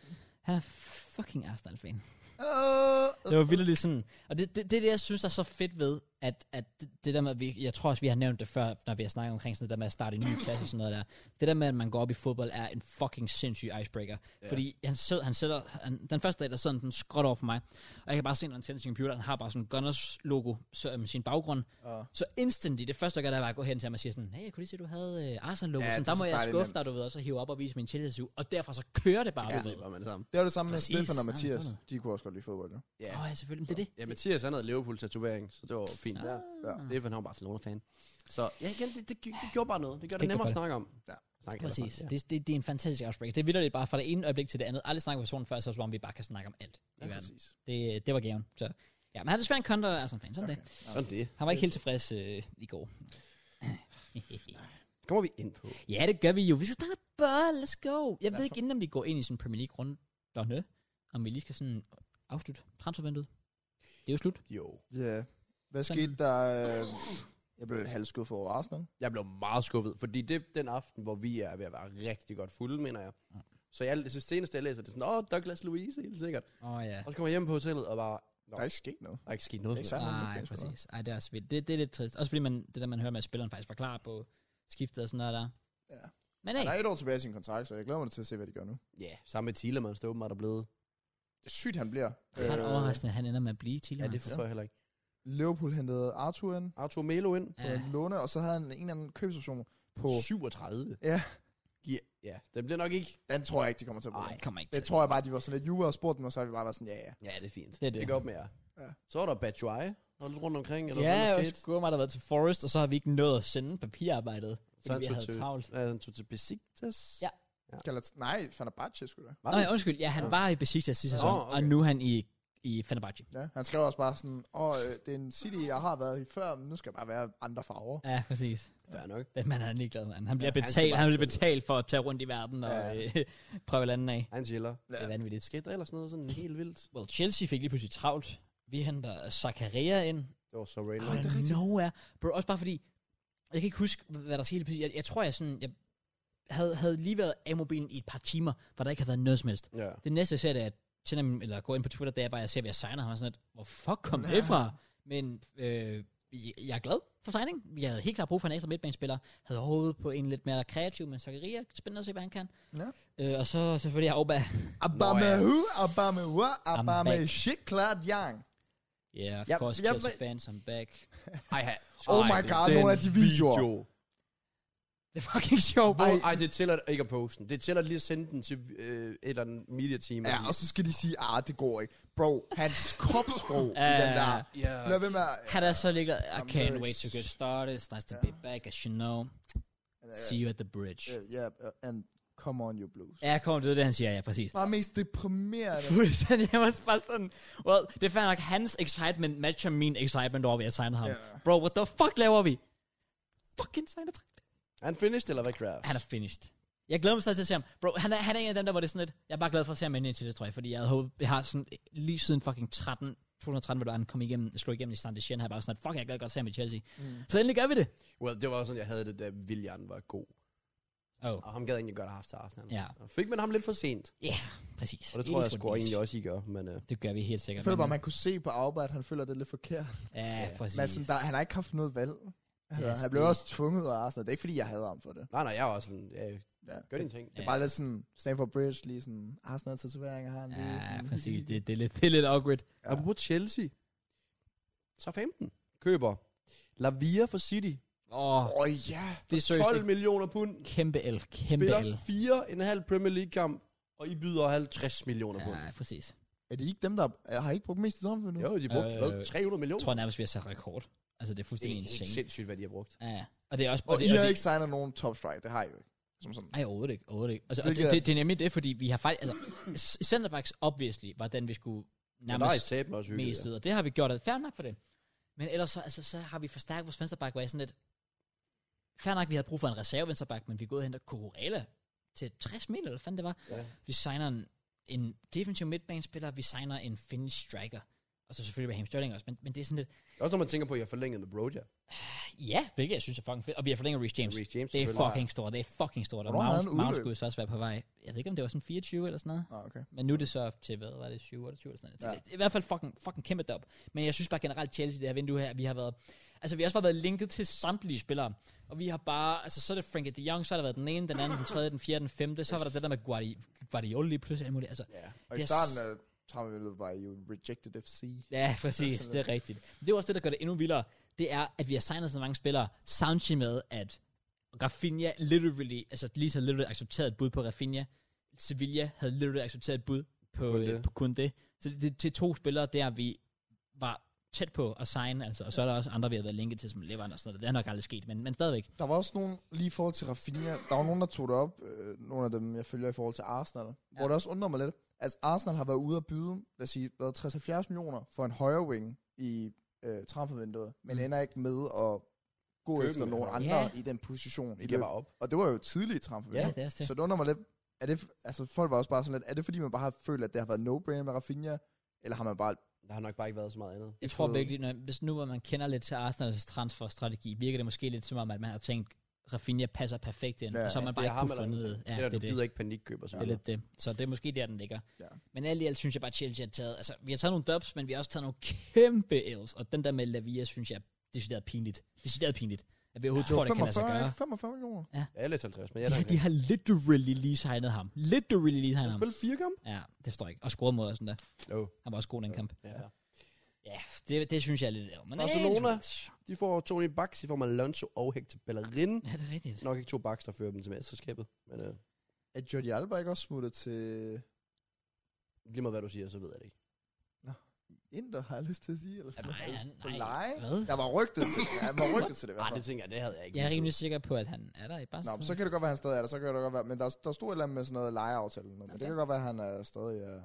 Speaker 1: Han er fucking Arsenal-fan.
Speaker 3: Øh,
Speaker 1: Det var vildt lige sådan. Og det, det, det, er det, jeg synes er så fedt ved, at, at det, det der med, at vi, jeg tror også, vi har nævnt det før, når vi har snakket omkring sådan det der med at starte en ny klasse og sådan noget der. Det der med, at man går op i fodbold, er en fucking sindssyg icebreaker. Ja. Fordi han, sidder, han sætter, han, den første dag, der sidder han den skråt over for mig, og jeg kan bare se, når han tænder sin computer, han har bare sådan en Gunners logo så, øh, med sin baggrund.
Speaker 3: Ja.
Speaker 1: Så instantly, det første, jeg gør, der er bare at gå hen til ham og sige sådan, hey, jeg kunne lige se, du havde øh, Arsenal logo,
Speaker 3: Ja,
Speaker 1: ja, sådan,
Speaker 3: det
Speaker 1: der
Speaker 3: er
Speaker 1: må
Speaker 3: så
Speaker 1: jeg
Speaker 3: dejligt
Speaker 1: skuffe dig,
Speaker 3: nemt.
Speaker 1: du ved, og så hive op og vise min tillidsliv. Og derfra så kører det bare,
Speaker 2: Ja,
Speaker 1: du ved. altså.
Speaker 2: det var med det samme.
Speaker 3: det var det samme med
Speaker 1: Præcis.
Speaker 3: Stefan og
Speaker 1: Ja,
Speaker 3: Mathias.
Speaker 1: sådan.
Speaker 3: De kunne også godt lide fodbold, jo.
Speaker 2: Ja.
Speaker 1: Åh, oh, ja, selvfølgelig, men det er det.
Speaker 2: Ja, Mathias han havde Liverpool-tatovering, så det var fint
Speaker 1: Ah.
Speaker 2: der.
Speaker 3: Ja.
Speaker 2: Stefan han var Barcelona-fan. Så ja, igen, det, det, det gjorde bare noget. Det gjorde det
Speaker 1: Ikke
Speaker 2: nemmere at
Speaker 1: for
Speaker 2: snakke om.
Speaker 3: Ja.
Speaker 2: Snakke
Speaker 1: Præcis.
Speaker 2: Ja.
Speaker 1: Ja. Det, det, det, er en fantastisk afspræk. Det vildt det bare fra det ene øjeblik til det andet. Aldrig snakke med personen før, så som om vi bare kan snakke om alt i
Speaker 2: Ja,
Speaker 1: verden.
Speaker 2: præcis.
Speaker 1: Det, det var gaven. Så. Ja, men han er desværre en konter af Arsenal-fan. Sådan okay. det.
Speaker 2: Sådan det.
Speaker 1: Han var ikke helt tilfreds øh, i går.
Speaker 2: Kommer vi ind på.
Speaker 1: ja, det gør vi jo. Vi skal starte bold. Let's go. Jeg ved ikke, inden om vi går ind i sådan en Premier League-runde, om vi lige skal sådan afslutte transfervinduet. Det er jo slut.
Speaker 2: Jo.
Speaker 3: Ja. Hvad
Speaker 1: Sådan.
Speaker 3: skete der? øh, Jeg blev lidt halvskuffet over Arsenal.
Speaker 2: Jeg blev meget skuffet, fordi det er den aften, hvor vi er ved at være rigtig godt fulde, mener jeg. Så jeg, det seneste, jeg læser, det er sådan, åh, oh, Douglas Louise, helt sikkert.
Speaker 1: Åh oh, ja.
Speaker 2: Og så kommer jeg hjem på hotellet og bare, Nå.
Speaker 3: Der er ikke sket noget.
Speaker 2: der er ikke sket noget.
Speaker 3: Ikke
Speaker 2: som helst."
Speaker 1: Nej,
Speaker 3: sandt? det er sgu da.
Speaker 1: præcis. Ej, det er også vildt. Det, det er lidt trist. Også fordi man, det der, man hører med, at spilleren faktisk var klar på skiftet og sådan noget der.
Speaker 3: Ja.
Speaker 1: Men
Speaker 3: Han
Speaker 1: hey,
Speaker 3: er et år tilbage i sin kontrakt, så jeg glæder mig til at se, hvad de gør nu.
Speaker 2: Ja, sammen med Thielemans, det er åbenbart er blevet.
Speaker 3: Det er sygt, han bliver. Øh,
Speaker 1: det er ret overraskende, at han ender med at blive
Speaker 2: Øh, Ja,
Speaker 1: tidligere.
Speaker 2: det forstår jeg heller ikke.
Speaker 3: Liverpool hentede Arthur ind
Speaker 2: Arthur Melo ind
Speaker 3: på ja. låne, og så havde han en eller anden købsoption på...
Speaker 2: på 37.
Speaker 3: Ja,
Speaker 2: Ja, ja. den bliver nok ikke.
Speaker 3: den tror jeg ikke, de kommer til at bruge.
Speaker 1: Nej, kommer ikke
Speaker 3: Det
Speaker 1: til.
Speaker 3: tror jeg bare, de var sådan lidt juve og spurgte dem, og så har de bare været sådan, ja, ja.
Speaker 2: Ja, det er fint.
Speaker 1: Det er det.
Speaker 2: Det går op med jer.
Speaker 3: Ja.
Speaker 2: Så er der Batshuayi. Holdes rundt omkring, eller
Speaker 1: ja,
Speaker 2: hvad der
Speaker 1: og
Speaker 2: skete.
Speaker 1: skurre mig, der har været til Forest, og så har vi ikke nået at sende papirarbejdet.
Speaker 2: Så
Speaker 1: Fordi
Speaker 2: han
Speaker 1: vi
Speaker 2: tog
Speaker 1: havde
Speaker 2: til,
Speaker 1: travlt.
Speaker 2: ja, han tog til Besiktas.
Speaker 1: Ja.
Speaker 3: Galatasaray. Nej, Fenerbahce skulle da.
Speaker 2: Var
Speaker 1: Nej,
Speaker 2: det?
Speaker 1: undskyld. Ja, han
Speaker 2: Nå.
Speaker 1: var i Besiktas sidste sæson,
Speaker 2: Nå, okay.
Speaker 1: og nu er han i, i Fenerbahce.
Speaker 3: Ja, han skrev også bare sådan, åh, oh, det er en city, jeg har været i før, men nu skal jeg bare være andre farver.
Speaker 1: Ja, præcis.
Speaker 2: Fair nok.
Speaker 1: Den mand er ligeglad, mand. Han bliver
Speaker 2: Ja, han skal
Speaker 1: betalt,
Speaker 2: bare
Speaker 1: han bliver
Speaker 2: spille.
Speaker 1: betalt for at tage rundt i verden og
Speaker 3: Ja.
Speaker 1: øh, prøve landet af.
Speaker 2: Han chiller.
Speaker 1: Det er vanvittigt.
Speaker 2: Skete der ellers noget sådan helt vildt?
Speaker 1: Well, Chelsea fik lige pludselig travlt. Vi henter Zakaria ind.
Speaker 2: Det var så random.
Speaker 1: Out of nowhere. Bro, også bare fordi, jeg kan ikke huske, hvad der skete. Jeg, jeg tror, jeg sådan, jeg havde, havde lige været af mobilen i et par timer, hvor der ikke havde været noget som helst.
Speaker 2: Ja.
Speaker 1: Det næste, jeg ser, det er, at tænder min, eller går ind på Twitter, det er bare, at jeg ser, at jeg signer ham, og sådan lidt, hvor fuck kom det fra? Men øh, jeg- jeg er glad for signing. Jeg havde helt klart brug for en ekstra midtbanespiller. Havde håbet på en lidt mere kreativ, men Zakaria, spændende at se, hvad han kan.
Speaker 3: Ja.
Speaker 1: Øh, og så selvfølgelig Auba.
Speaker 3: Abame
Speaker 2: Nå, ja.
Speaker 3: who, Abame what, Abame
Speaker 1: back.
Speaker 3: shit klart young.
Speaker 1: Ja, yeah, of
Speaker 2: Jeg-
Speaker 1: course,
Speaker 2: jeg-
Speaker 1: Chelsea fans, I'm back.
Speaker 2: Ej, ha.
Speaker 3: Oh my god, nogle af de videoer.
Speaker 2: Video.
Speaker 1: Det er fucking sjovt, bro.
Speaker 2: Ej.
Speaker 3: Ej.
Speaker 2: Ej, det tæller ikke at poste den. Det tæller lige at sende den til øh, et eller andet mediateam.
Speaker 3: Ja, og så skal de sige, ah, det går ikke. Bro, hans kropssprog i
Speaker 1: Ja,
Speaker 3: den
Speaker 1: ja,
Speaker 3: der.
Speaker 1: ja.
Speaker 2: ja.
Speaker 3: Lad være med at...
Speaker 1: Han er så ligger, I
Speaker 3: Jamen, det
Speaker 1: can't
Speaker 3: er
Speaker 2: øh,
Speaker 1: wait to
Speaker 3: ikke-
Speaker 1: get started. It's nice to be back, as you know. See you at the bridge.
Speaker 3: Ja, ja, ja, and come on, you blues.
Speaker 1: Ja, kom, det er det, han siger, ja, præcis.
Speaker 3: Bare mest deprimerende.
Speaker 1: Fuldstændig, jeg var også bare sådan, well, det er fair nok, hans excitement matcher min excitement over, at jeg signede ham.
Speaker 3: Ja.
Speaker 1: Bro, what the fuck laver vi? Fucking signer træk.
Speaker 2: Han finished, eller hvad, Kraft?
Speaker 1: Han er finished. Jeg glæder mig så til at se ham. Bro, han er, han er en af dem, der var det sådan lidt, jeg er bare glad for at se ham inde indtil det, tror jeg, fordi jeg havde håbet, jeg har sådan, lige siden fucking 13, 2013, hvor han kom igennem, slog igennem i San Dijon, har jeg bare sådan, at fuck, jeg gad godt se ham i Chelsea. Mm. Så endelig gør vi det.
Speaker 2: Well, det var også sådan, jeg havde det, da William var god.
Speaker 1: Oh,
Speaker 2: Og ham gad jeg egentlig godt have haft til aften.
Speaker 1: Ja.
Speaker 2: Så Fik man ham lidt for sent.
Speaker 1: ja, yeah, præcis.
Speaker 2: Og det tror
Speaker 1: It
Speaker 2: jeg
Speaker 1: is
Speaker 2: sgu
Speaker 1: what it is.
Speaker 2: egentlig også, I gør. Men øh,
Speaker 1: Det gør vi helt
Speaker 3: Jeg
Speaker 1: sikkert.
Speaker 3: føler
Speaker 1: men-
Speaker 3: bare, man kunne se på Auber, at han føler, det er lidt forkert.
Speaker 1: Ja, præcis.
Speaker 3: Men sådan, der, han har ikke haft noget valg. Altså,
Speaker 1: Yes,
Speaker 3: han blev
Speaker 1: det-
Speaker 3: også tvunget af Arsenal. Det er ikke, fordi jeg hader ham for det.
Speaker 2: nej, nej, jeg er også sådan, ja,
Speaker 3: Ja.
Speaker 2: gør
Speaker 3: det,
Speaker 2: din ting.
Speaker 3: det er bare lidt sådan, Stanford Bridge, lige sådan, Arsenal tatoveringer har han lige.
Speaker 1: Ja,
Speaker 3: sådan.
Speaker 1: præcis. Det, det, er lidt, det er lidt awkward.
Speaker 3: Ja.
Speaker 2: Ja. på Chelsea. Så 15 køber Lavia for City.
Speaker 1: Åh, oh,
Speaker 3: Åh oh, ja,
Speaker 1: det er seriøst
Speaker 2: 12 millioner pund.
Speaker 1: et kæmpe L. Kæmpe
Speaker 2: Spiller
Speaker 1: L.
Speaker 2: fire en halv Premier League kamp. Og I byder 50 millioner pund.
Speaker 1: Ja, præcis.
Speaker 3: er det ikke dem, der er- har I ikke brugt mest i sommerferien nu?
Speaker 2: Jo, de brugte
Speaker 1: Øh,
Speaker 2: hvad, 300
Speaker 1: Jeg
Speaker 2: millioner.
Speaker 1: tror nærmest, vi har sat rekord. Altså, det er
Speaker 2: det
Speaker 1: fuldstændig
Speaker 2: er helt
Speaker 1: insane.
Speaker 2: sindssygt, hvad de har brugt.
Speaker 1: Ja, og det er også...
Speaker 3: Og,
Speaker 1: det,
Speaker 3: I har
Speaker 1: det,
Speaker 3: ikke signet nogen top strike, det har I jo ikke. Som sådan.
Speaker 1: Nej, overhovedet ikke. Overhovedet ikke. Altså, og
Speaker 3: Hvilket
Speaker 1: det,
Speaker 3: er-
Speaker 1: det, det, er nemlig det, fordi vi har faktisk... Altså, s- centerbacks, obviously, var den, vi skulle
Speaker 2: Ja, der er
Speaker 1: nærmest
Speaker 2: i mig også hyggeligt.
Speaker 1: mest ud. Og det har vi gjort, og fair nok for det. Men ellers så, altså, så har vi forstærket vores venstreback, hvor jeg sådan lidt... Fair nok, vi havde brug for en reserve venstreback, men vi er gået og henter Kukurela til 60 mil, eller hvad fanden det var.
Speaker 2: Ja.
Speaker 1: Vi signer en, en defensiv midtbanespiller, vi signer en finnish striker. Og så selvfølgelig Raheem Sterling også, men, men det er sådan lidt,
Speaker 2: Også når man tænker på, at jeg forlængede med Broja.
Speaker 1: ja, hvilket jeg synes er fucking fedt. Og vi har forlænget Reece James.
Speaker 2: Reece James
Speaker 1: det er
Speaker 2: selvfølgelig.
Speaker 1: fucking stort, det er fucking stort. Og
Speaker 3: Hvornår havde
Speaker 1: Mount,
Speaker 3: han udløb?
Speaker 1: Mount skulle jo så også være på vej. Jeg ved ikke, om det var sådan 24 eller sådan noget.
Speaker 3: Ah, okay.
Speaker 1: Men nu er det så til, hvad var det, 7, 28 eller sådan noget.
Speaker 3: Ja.
Speaker 1: Det er i hvert fald fucking, fucking kæmpe op. Men jeg synes bare generelt, Chelsea, det her vindue her, vi har været... Altså, vi har også bare været linket til samtlige spillere. Og vi har bare... Altså, så er det Frankie de Jong, så har der været den ene, den anden, den tredje, den fjerde, den femte. Så var der det der med Guardi, Guardiola lige pludselig. alt muligt. Altså,
Speaker 2: Ja.
Speaker 3: Og i
Speaker 1: Yes.
Speaker 3: starten af Tammy var I jo Rejected FC.
Speaker 1: Ja, præcis.
Speaker 3: sådan
Speaker 1: Det er rigtigt. Det er også det, der gør det endnu vildere. Det er, at vi har signet så mange spillere, samtidig med, at Rafinha literally, altså lige så literally accepteret et bud på Rafinha. Sevilla havde literally accepteret et bud på,
Speaker 2: Koundé.
Speaker 1: øh, på Kunde. Så det, det, til to spillere, der vi var tæt på at signe, altså. Og så er der også andre, vi har været linket til, som Levant og sådan noget. Det er nok aldrig sket, men, men stadigvæk.
Speaker 3: Der var også nogen, lige i forhold til Rafinha, der var nogen, der tog det op, øh, nogle af dem, jeg følger i forhold til Arsenal, ja. hvor det også undrer mig lidt. Altså, Arsenal har været ude at byde, lad os sige, været 60-70 millioner for en højre wing i øh, transfervinduet, men
Speaker 1: Mm.
Speaker 3: ender ikke med at gå
Speaker 2: Købe
Speaker 3: efter
Speaker 2: dem,
Speaker 3: nogen
Speaker 1: eller
Speaker 3: andre
Speaker 1: hvad?
Speaker 3: i den position.
Speaker 2: Vi
Speaker 3: I
Speaker 2: giver
Speaker 3: løbet.
Speaker 2: bare op.
Speaker 3: Og det var jo tidligt i transfervinduet.
Speaker 1: Ja, det er også det.
Speaker 3: Så det undrer mig lidt, er det, altså folk var også bare sådan lidt, er det fordi man bare har følt, at det har været no-brainer med Rafinha, eller har man bare,
Speaker 2: Der har nok bare ikke været så meget andet.
Speaker 1: Jeg tror
Speaker 3: fået-
Speaker 1: virkelig, når, hvis nu hvor man kender lidt til Arsenals transferstrategi, virker det måske lidt som om, at man har tænkt, Rafinha passer perfekt ind,
Speaker 3: Ja,
Speaker 1: og så har man bare
Speaker 2: det
Speaker 1: ikke
Speaker 2: har
Speaker 1: kunne få
Speaker 2: man
Speaker 1: ned.
Speaker 2: Ja, det, der, du gider ikke panikkøber
Speaker 1: Det er
Speaker 2: sig.
Speaker 1: lidt det. Så det er måske der, den ligger.
Speaker 3: Ja.
Speaker 1: Men alt i alt synes jeg bare, at Chelsea har taget... Altså, vi har taget nogle dubs, men vi har også taget nogle kæmpe L's. Og den der med Lavia, synes jeg, er decideret pinligt. Decideret pinligt. At vi overhovedet tror, det kan lade sig
Speaker 3: 45,
Speaker 1: gøre.
Speaker 3: ikke? 45 millioner?
Speaker 2: Jeg er lidt 50, men jeg
Speaker 1: Ja, de har literally lige signet ham. Literally lige signet
Speaker 2: har
Speaker 1: ham.
Speaker 2: spillet fire kampe.
Speaker 1: Ja, det forstår jeg ikke. Og scoret mod og sådan der.
Speaker 2: Jo.
Speaker 1: Han var også god den kamp.
Speaker 2: Ja.
Speaker 1: Ja, det, det synes jeg er lidt ærgerligt. Men
Speaker 2: Barcelona.
Speaker 1: eh,
Speaker 2: De får Tony Bax, de får Malonso og Hector Bellerin.
Speaker 1: Ja, det er rigtigt.
Speaker 2: Nok ikke to Bax, der fører dem til mesterskabet. Men øh,
Speaker 3: Er Jordi Alba ikke også smuttet til...
Speaker 2: lige meget hvad du siger, så ved jeg det ikke.
Speaker 3: Inder, har jeg lyst til at sige. Eller sådan
Speaker 1: Nej,
Speaker 3: noget.
Speaker 1: han-
Speaker 3: På
Speaker 1: nej.
Speaker 3: leje?
Speaker 1: Hvad?
Speaker 3: Jeg var rygtet til det. Jeg var rygtet til det i
Speaker 2: Nej,
Speaker 3: hvert
Speaker 2: det
Speaker 3: fald.
Speaker 2: tænker jeg, det havde jeg ikke.
Speaker 1: Jeg er
Speaker 2: misset.
Speaker 1: rimelig sikker på, at han er der i
Speaker 3: Nå,
Speaker 1: Barcelona.
Speaker 3: men så kan det godt være, han stadig er der. Så kan det godt være, men der, der stod et eller andet med sådan noget lejeaftale. eller noget, Men
Speaker 1: Okay.
Speaker 3: det kan godt være, han er stadig...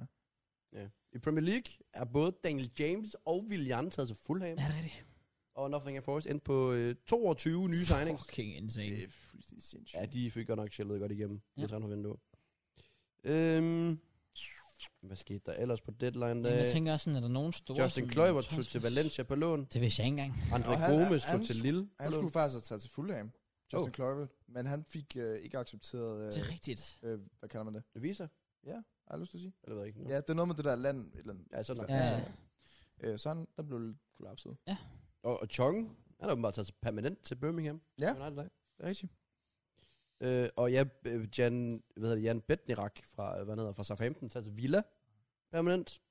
Speaker 3: Uh...
Speaker 2: I Premier League er både Daniel James og Willian taget til Fulham,
Speaker 1: Ja, det er rigtigt.
Speaker 2: og Nottingham Forest endte på øh, 22 nye signings.
Speaker 1: Fucking insane.
Speaker 3: Det er fuldstændig sindssygt.
Speaker 2: Ja, de fik godt nok sjældent godt igennem.
Speaker 1: Ja.
Speaker 2: Ja. Jeg træner vindue. Øhm, hvad skete der ellers på deadline?
Speaker 1: Jamen, jeg
Speaker 2: dag?
Speaker 1: tænker også sådan, er der nogen store...
Speaker 2: Øh, Justin
Speaker 1: sådan-
Speaker 2: Kluivert
Speaker 1: transfers?
Speaker 2: tog til Valencia på lån.
Speaker 1: Det vidste jeg ikke engang.
Speaker 2: Andre
Speaker 3: Og han-
Speaker 2: Gomes
Speaker 3: han
Speaker 2: tog til
Speaker 3: skulle-
Speaker 2: Lille på
Speaker 3: Han
Speaker 2: lån.
Speaker 3: skulle faktisk have taget til Fulham, Justin
Speaker 2: Oh.
Speaker 3: oh. Kluivert, men han fik øh, ikke accepteret, øh,
Speaker 1: Det er rigtigt.
Speaker 3: øh, hvad kalder man det?
Speaker 2: Det viser,
Speaker 3: Har jeg lyst til at sige?
Speaker 2: eller ved jeg ikke.
Speaker 3: Ja, det er noget med det der land, et eller andet.
Speaker 2: ja sådan
Speaker 3: Ja,
Speaker 2: nok.
Speaker 1: Ja, ja.
Speaker 3: altså. Øh, så han, der blev lidt kollapset.
Speaker 2: Og, og Chong, han er åbenbart taget permanent til Birmingham.
Speaker 3: Ja.
Speaker 2: United, ikke?
Speaker 3: Det er rigtigt.
Speaker 2: Øh, og ja, øh, Jan, hvad hedder det, Jan Betnirak fra, hvad han hedder, fra Southampton, tager til altså Villa permanent.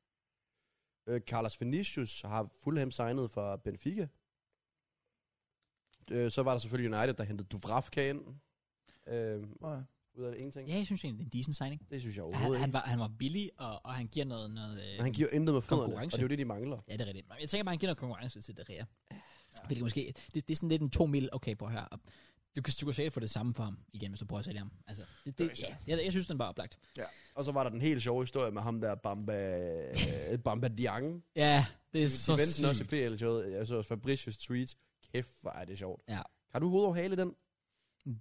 Speaker 2: Øh, Carlos Vinicius har Fulham signet fra Benfica. Øh, så var der selvfølgelig United, der hentede Dubravka ind. Øh,
Speaker 3: Nå ja.
Speaker 2: ud af det ingenting.
Speaker 1: ja, jeg synes egentlig, det er en decent signing.
Speaker 2: Det synes jeg
Speaker 1: Han,
Speaker 2: overhovedet
Speaker 1: han,
Speaker 2: ikke.
Speaker 1: var, han var billig, og, og han giver noget... noget øh,
Speaker 2: Men han giver jo intet med fødderne, og
Speaker 1: konkurrence.
Speaker 2: det er jo det, de mangler.
Speaker 1: Ja, det er rigtigt. Men Jeg tænker bare, at han giver noget konkurrence til Derea. Hvilket måske... Det, det, er sådan lidt en to mil, okay, på her. Og du kan, du kan sikkert få det samme for ham igen, hvis du prøver at sælge ham. Altså, det, det,
Speaker 3: Det er
Speaker 1: ja, jeg, jeg synes, den var oplagt.
Speaker 2: Og så var der den helt sjove historie med ham der Bamba, øh, Bamba Diang.
Speaker 1: Ja, det er
Speaker 2: De
Speaker 1: så
Speaker 2: vendte den også i
Speaker 1: sygt.
Speaker 2: pl showet Jeg så også altså Fabricius tweets. Kæft, hvor er det sjovt.
Speaker 1: Ja.
Speaker 2: Har du hovedet over hale i den?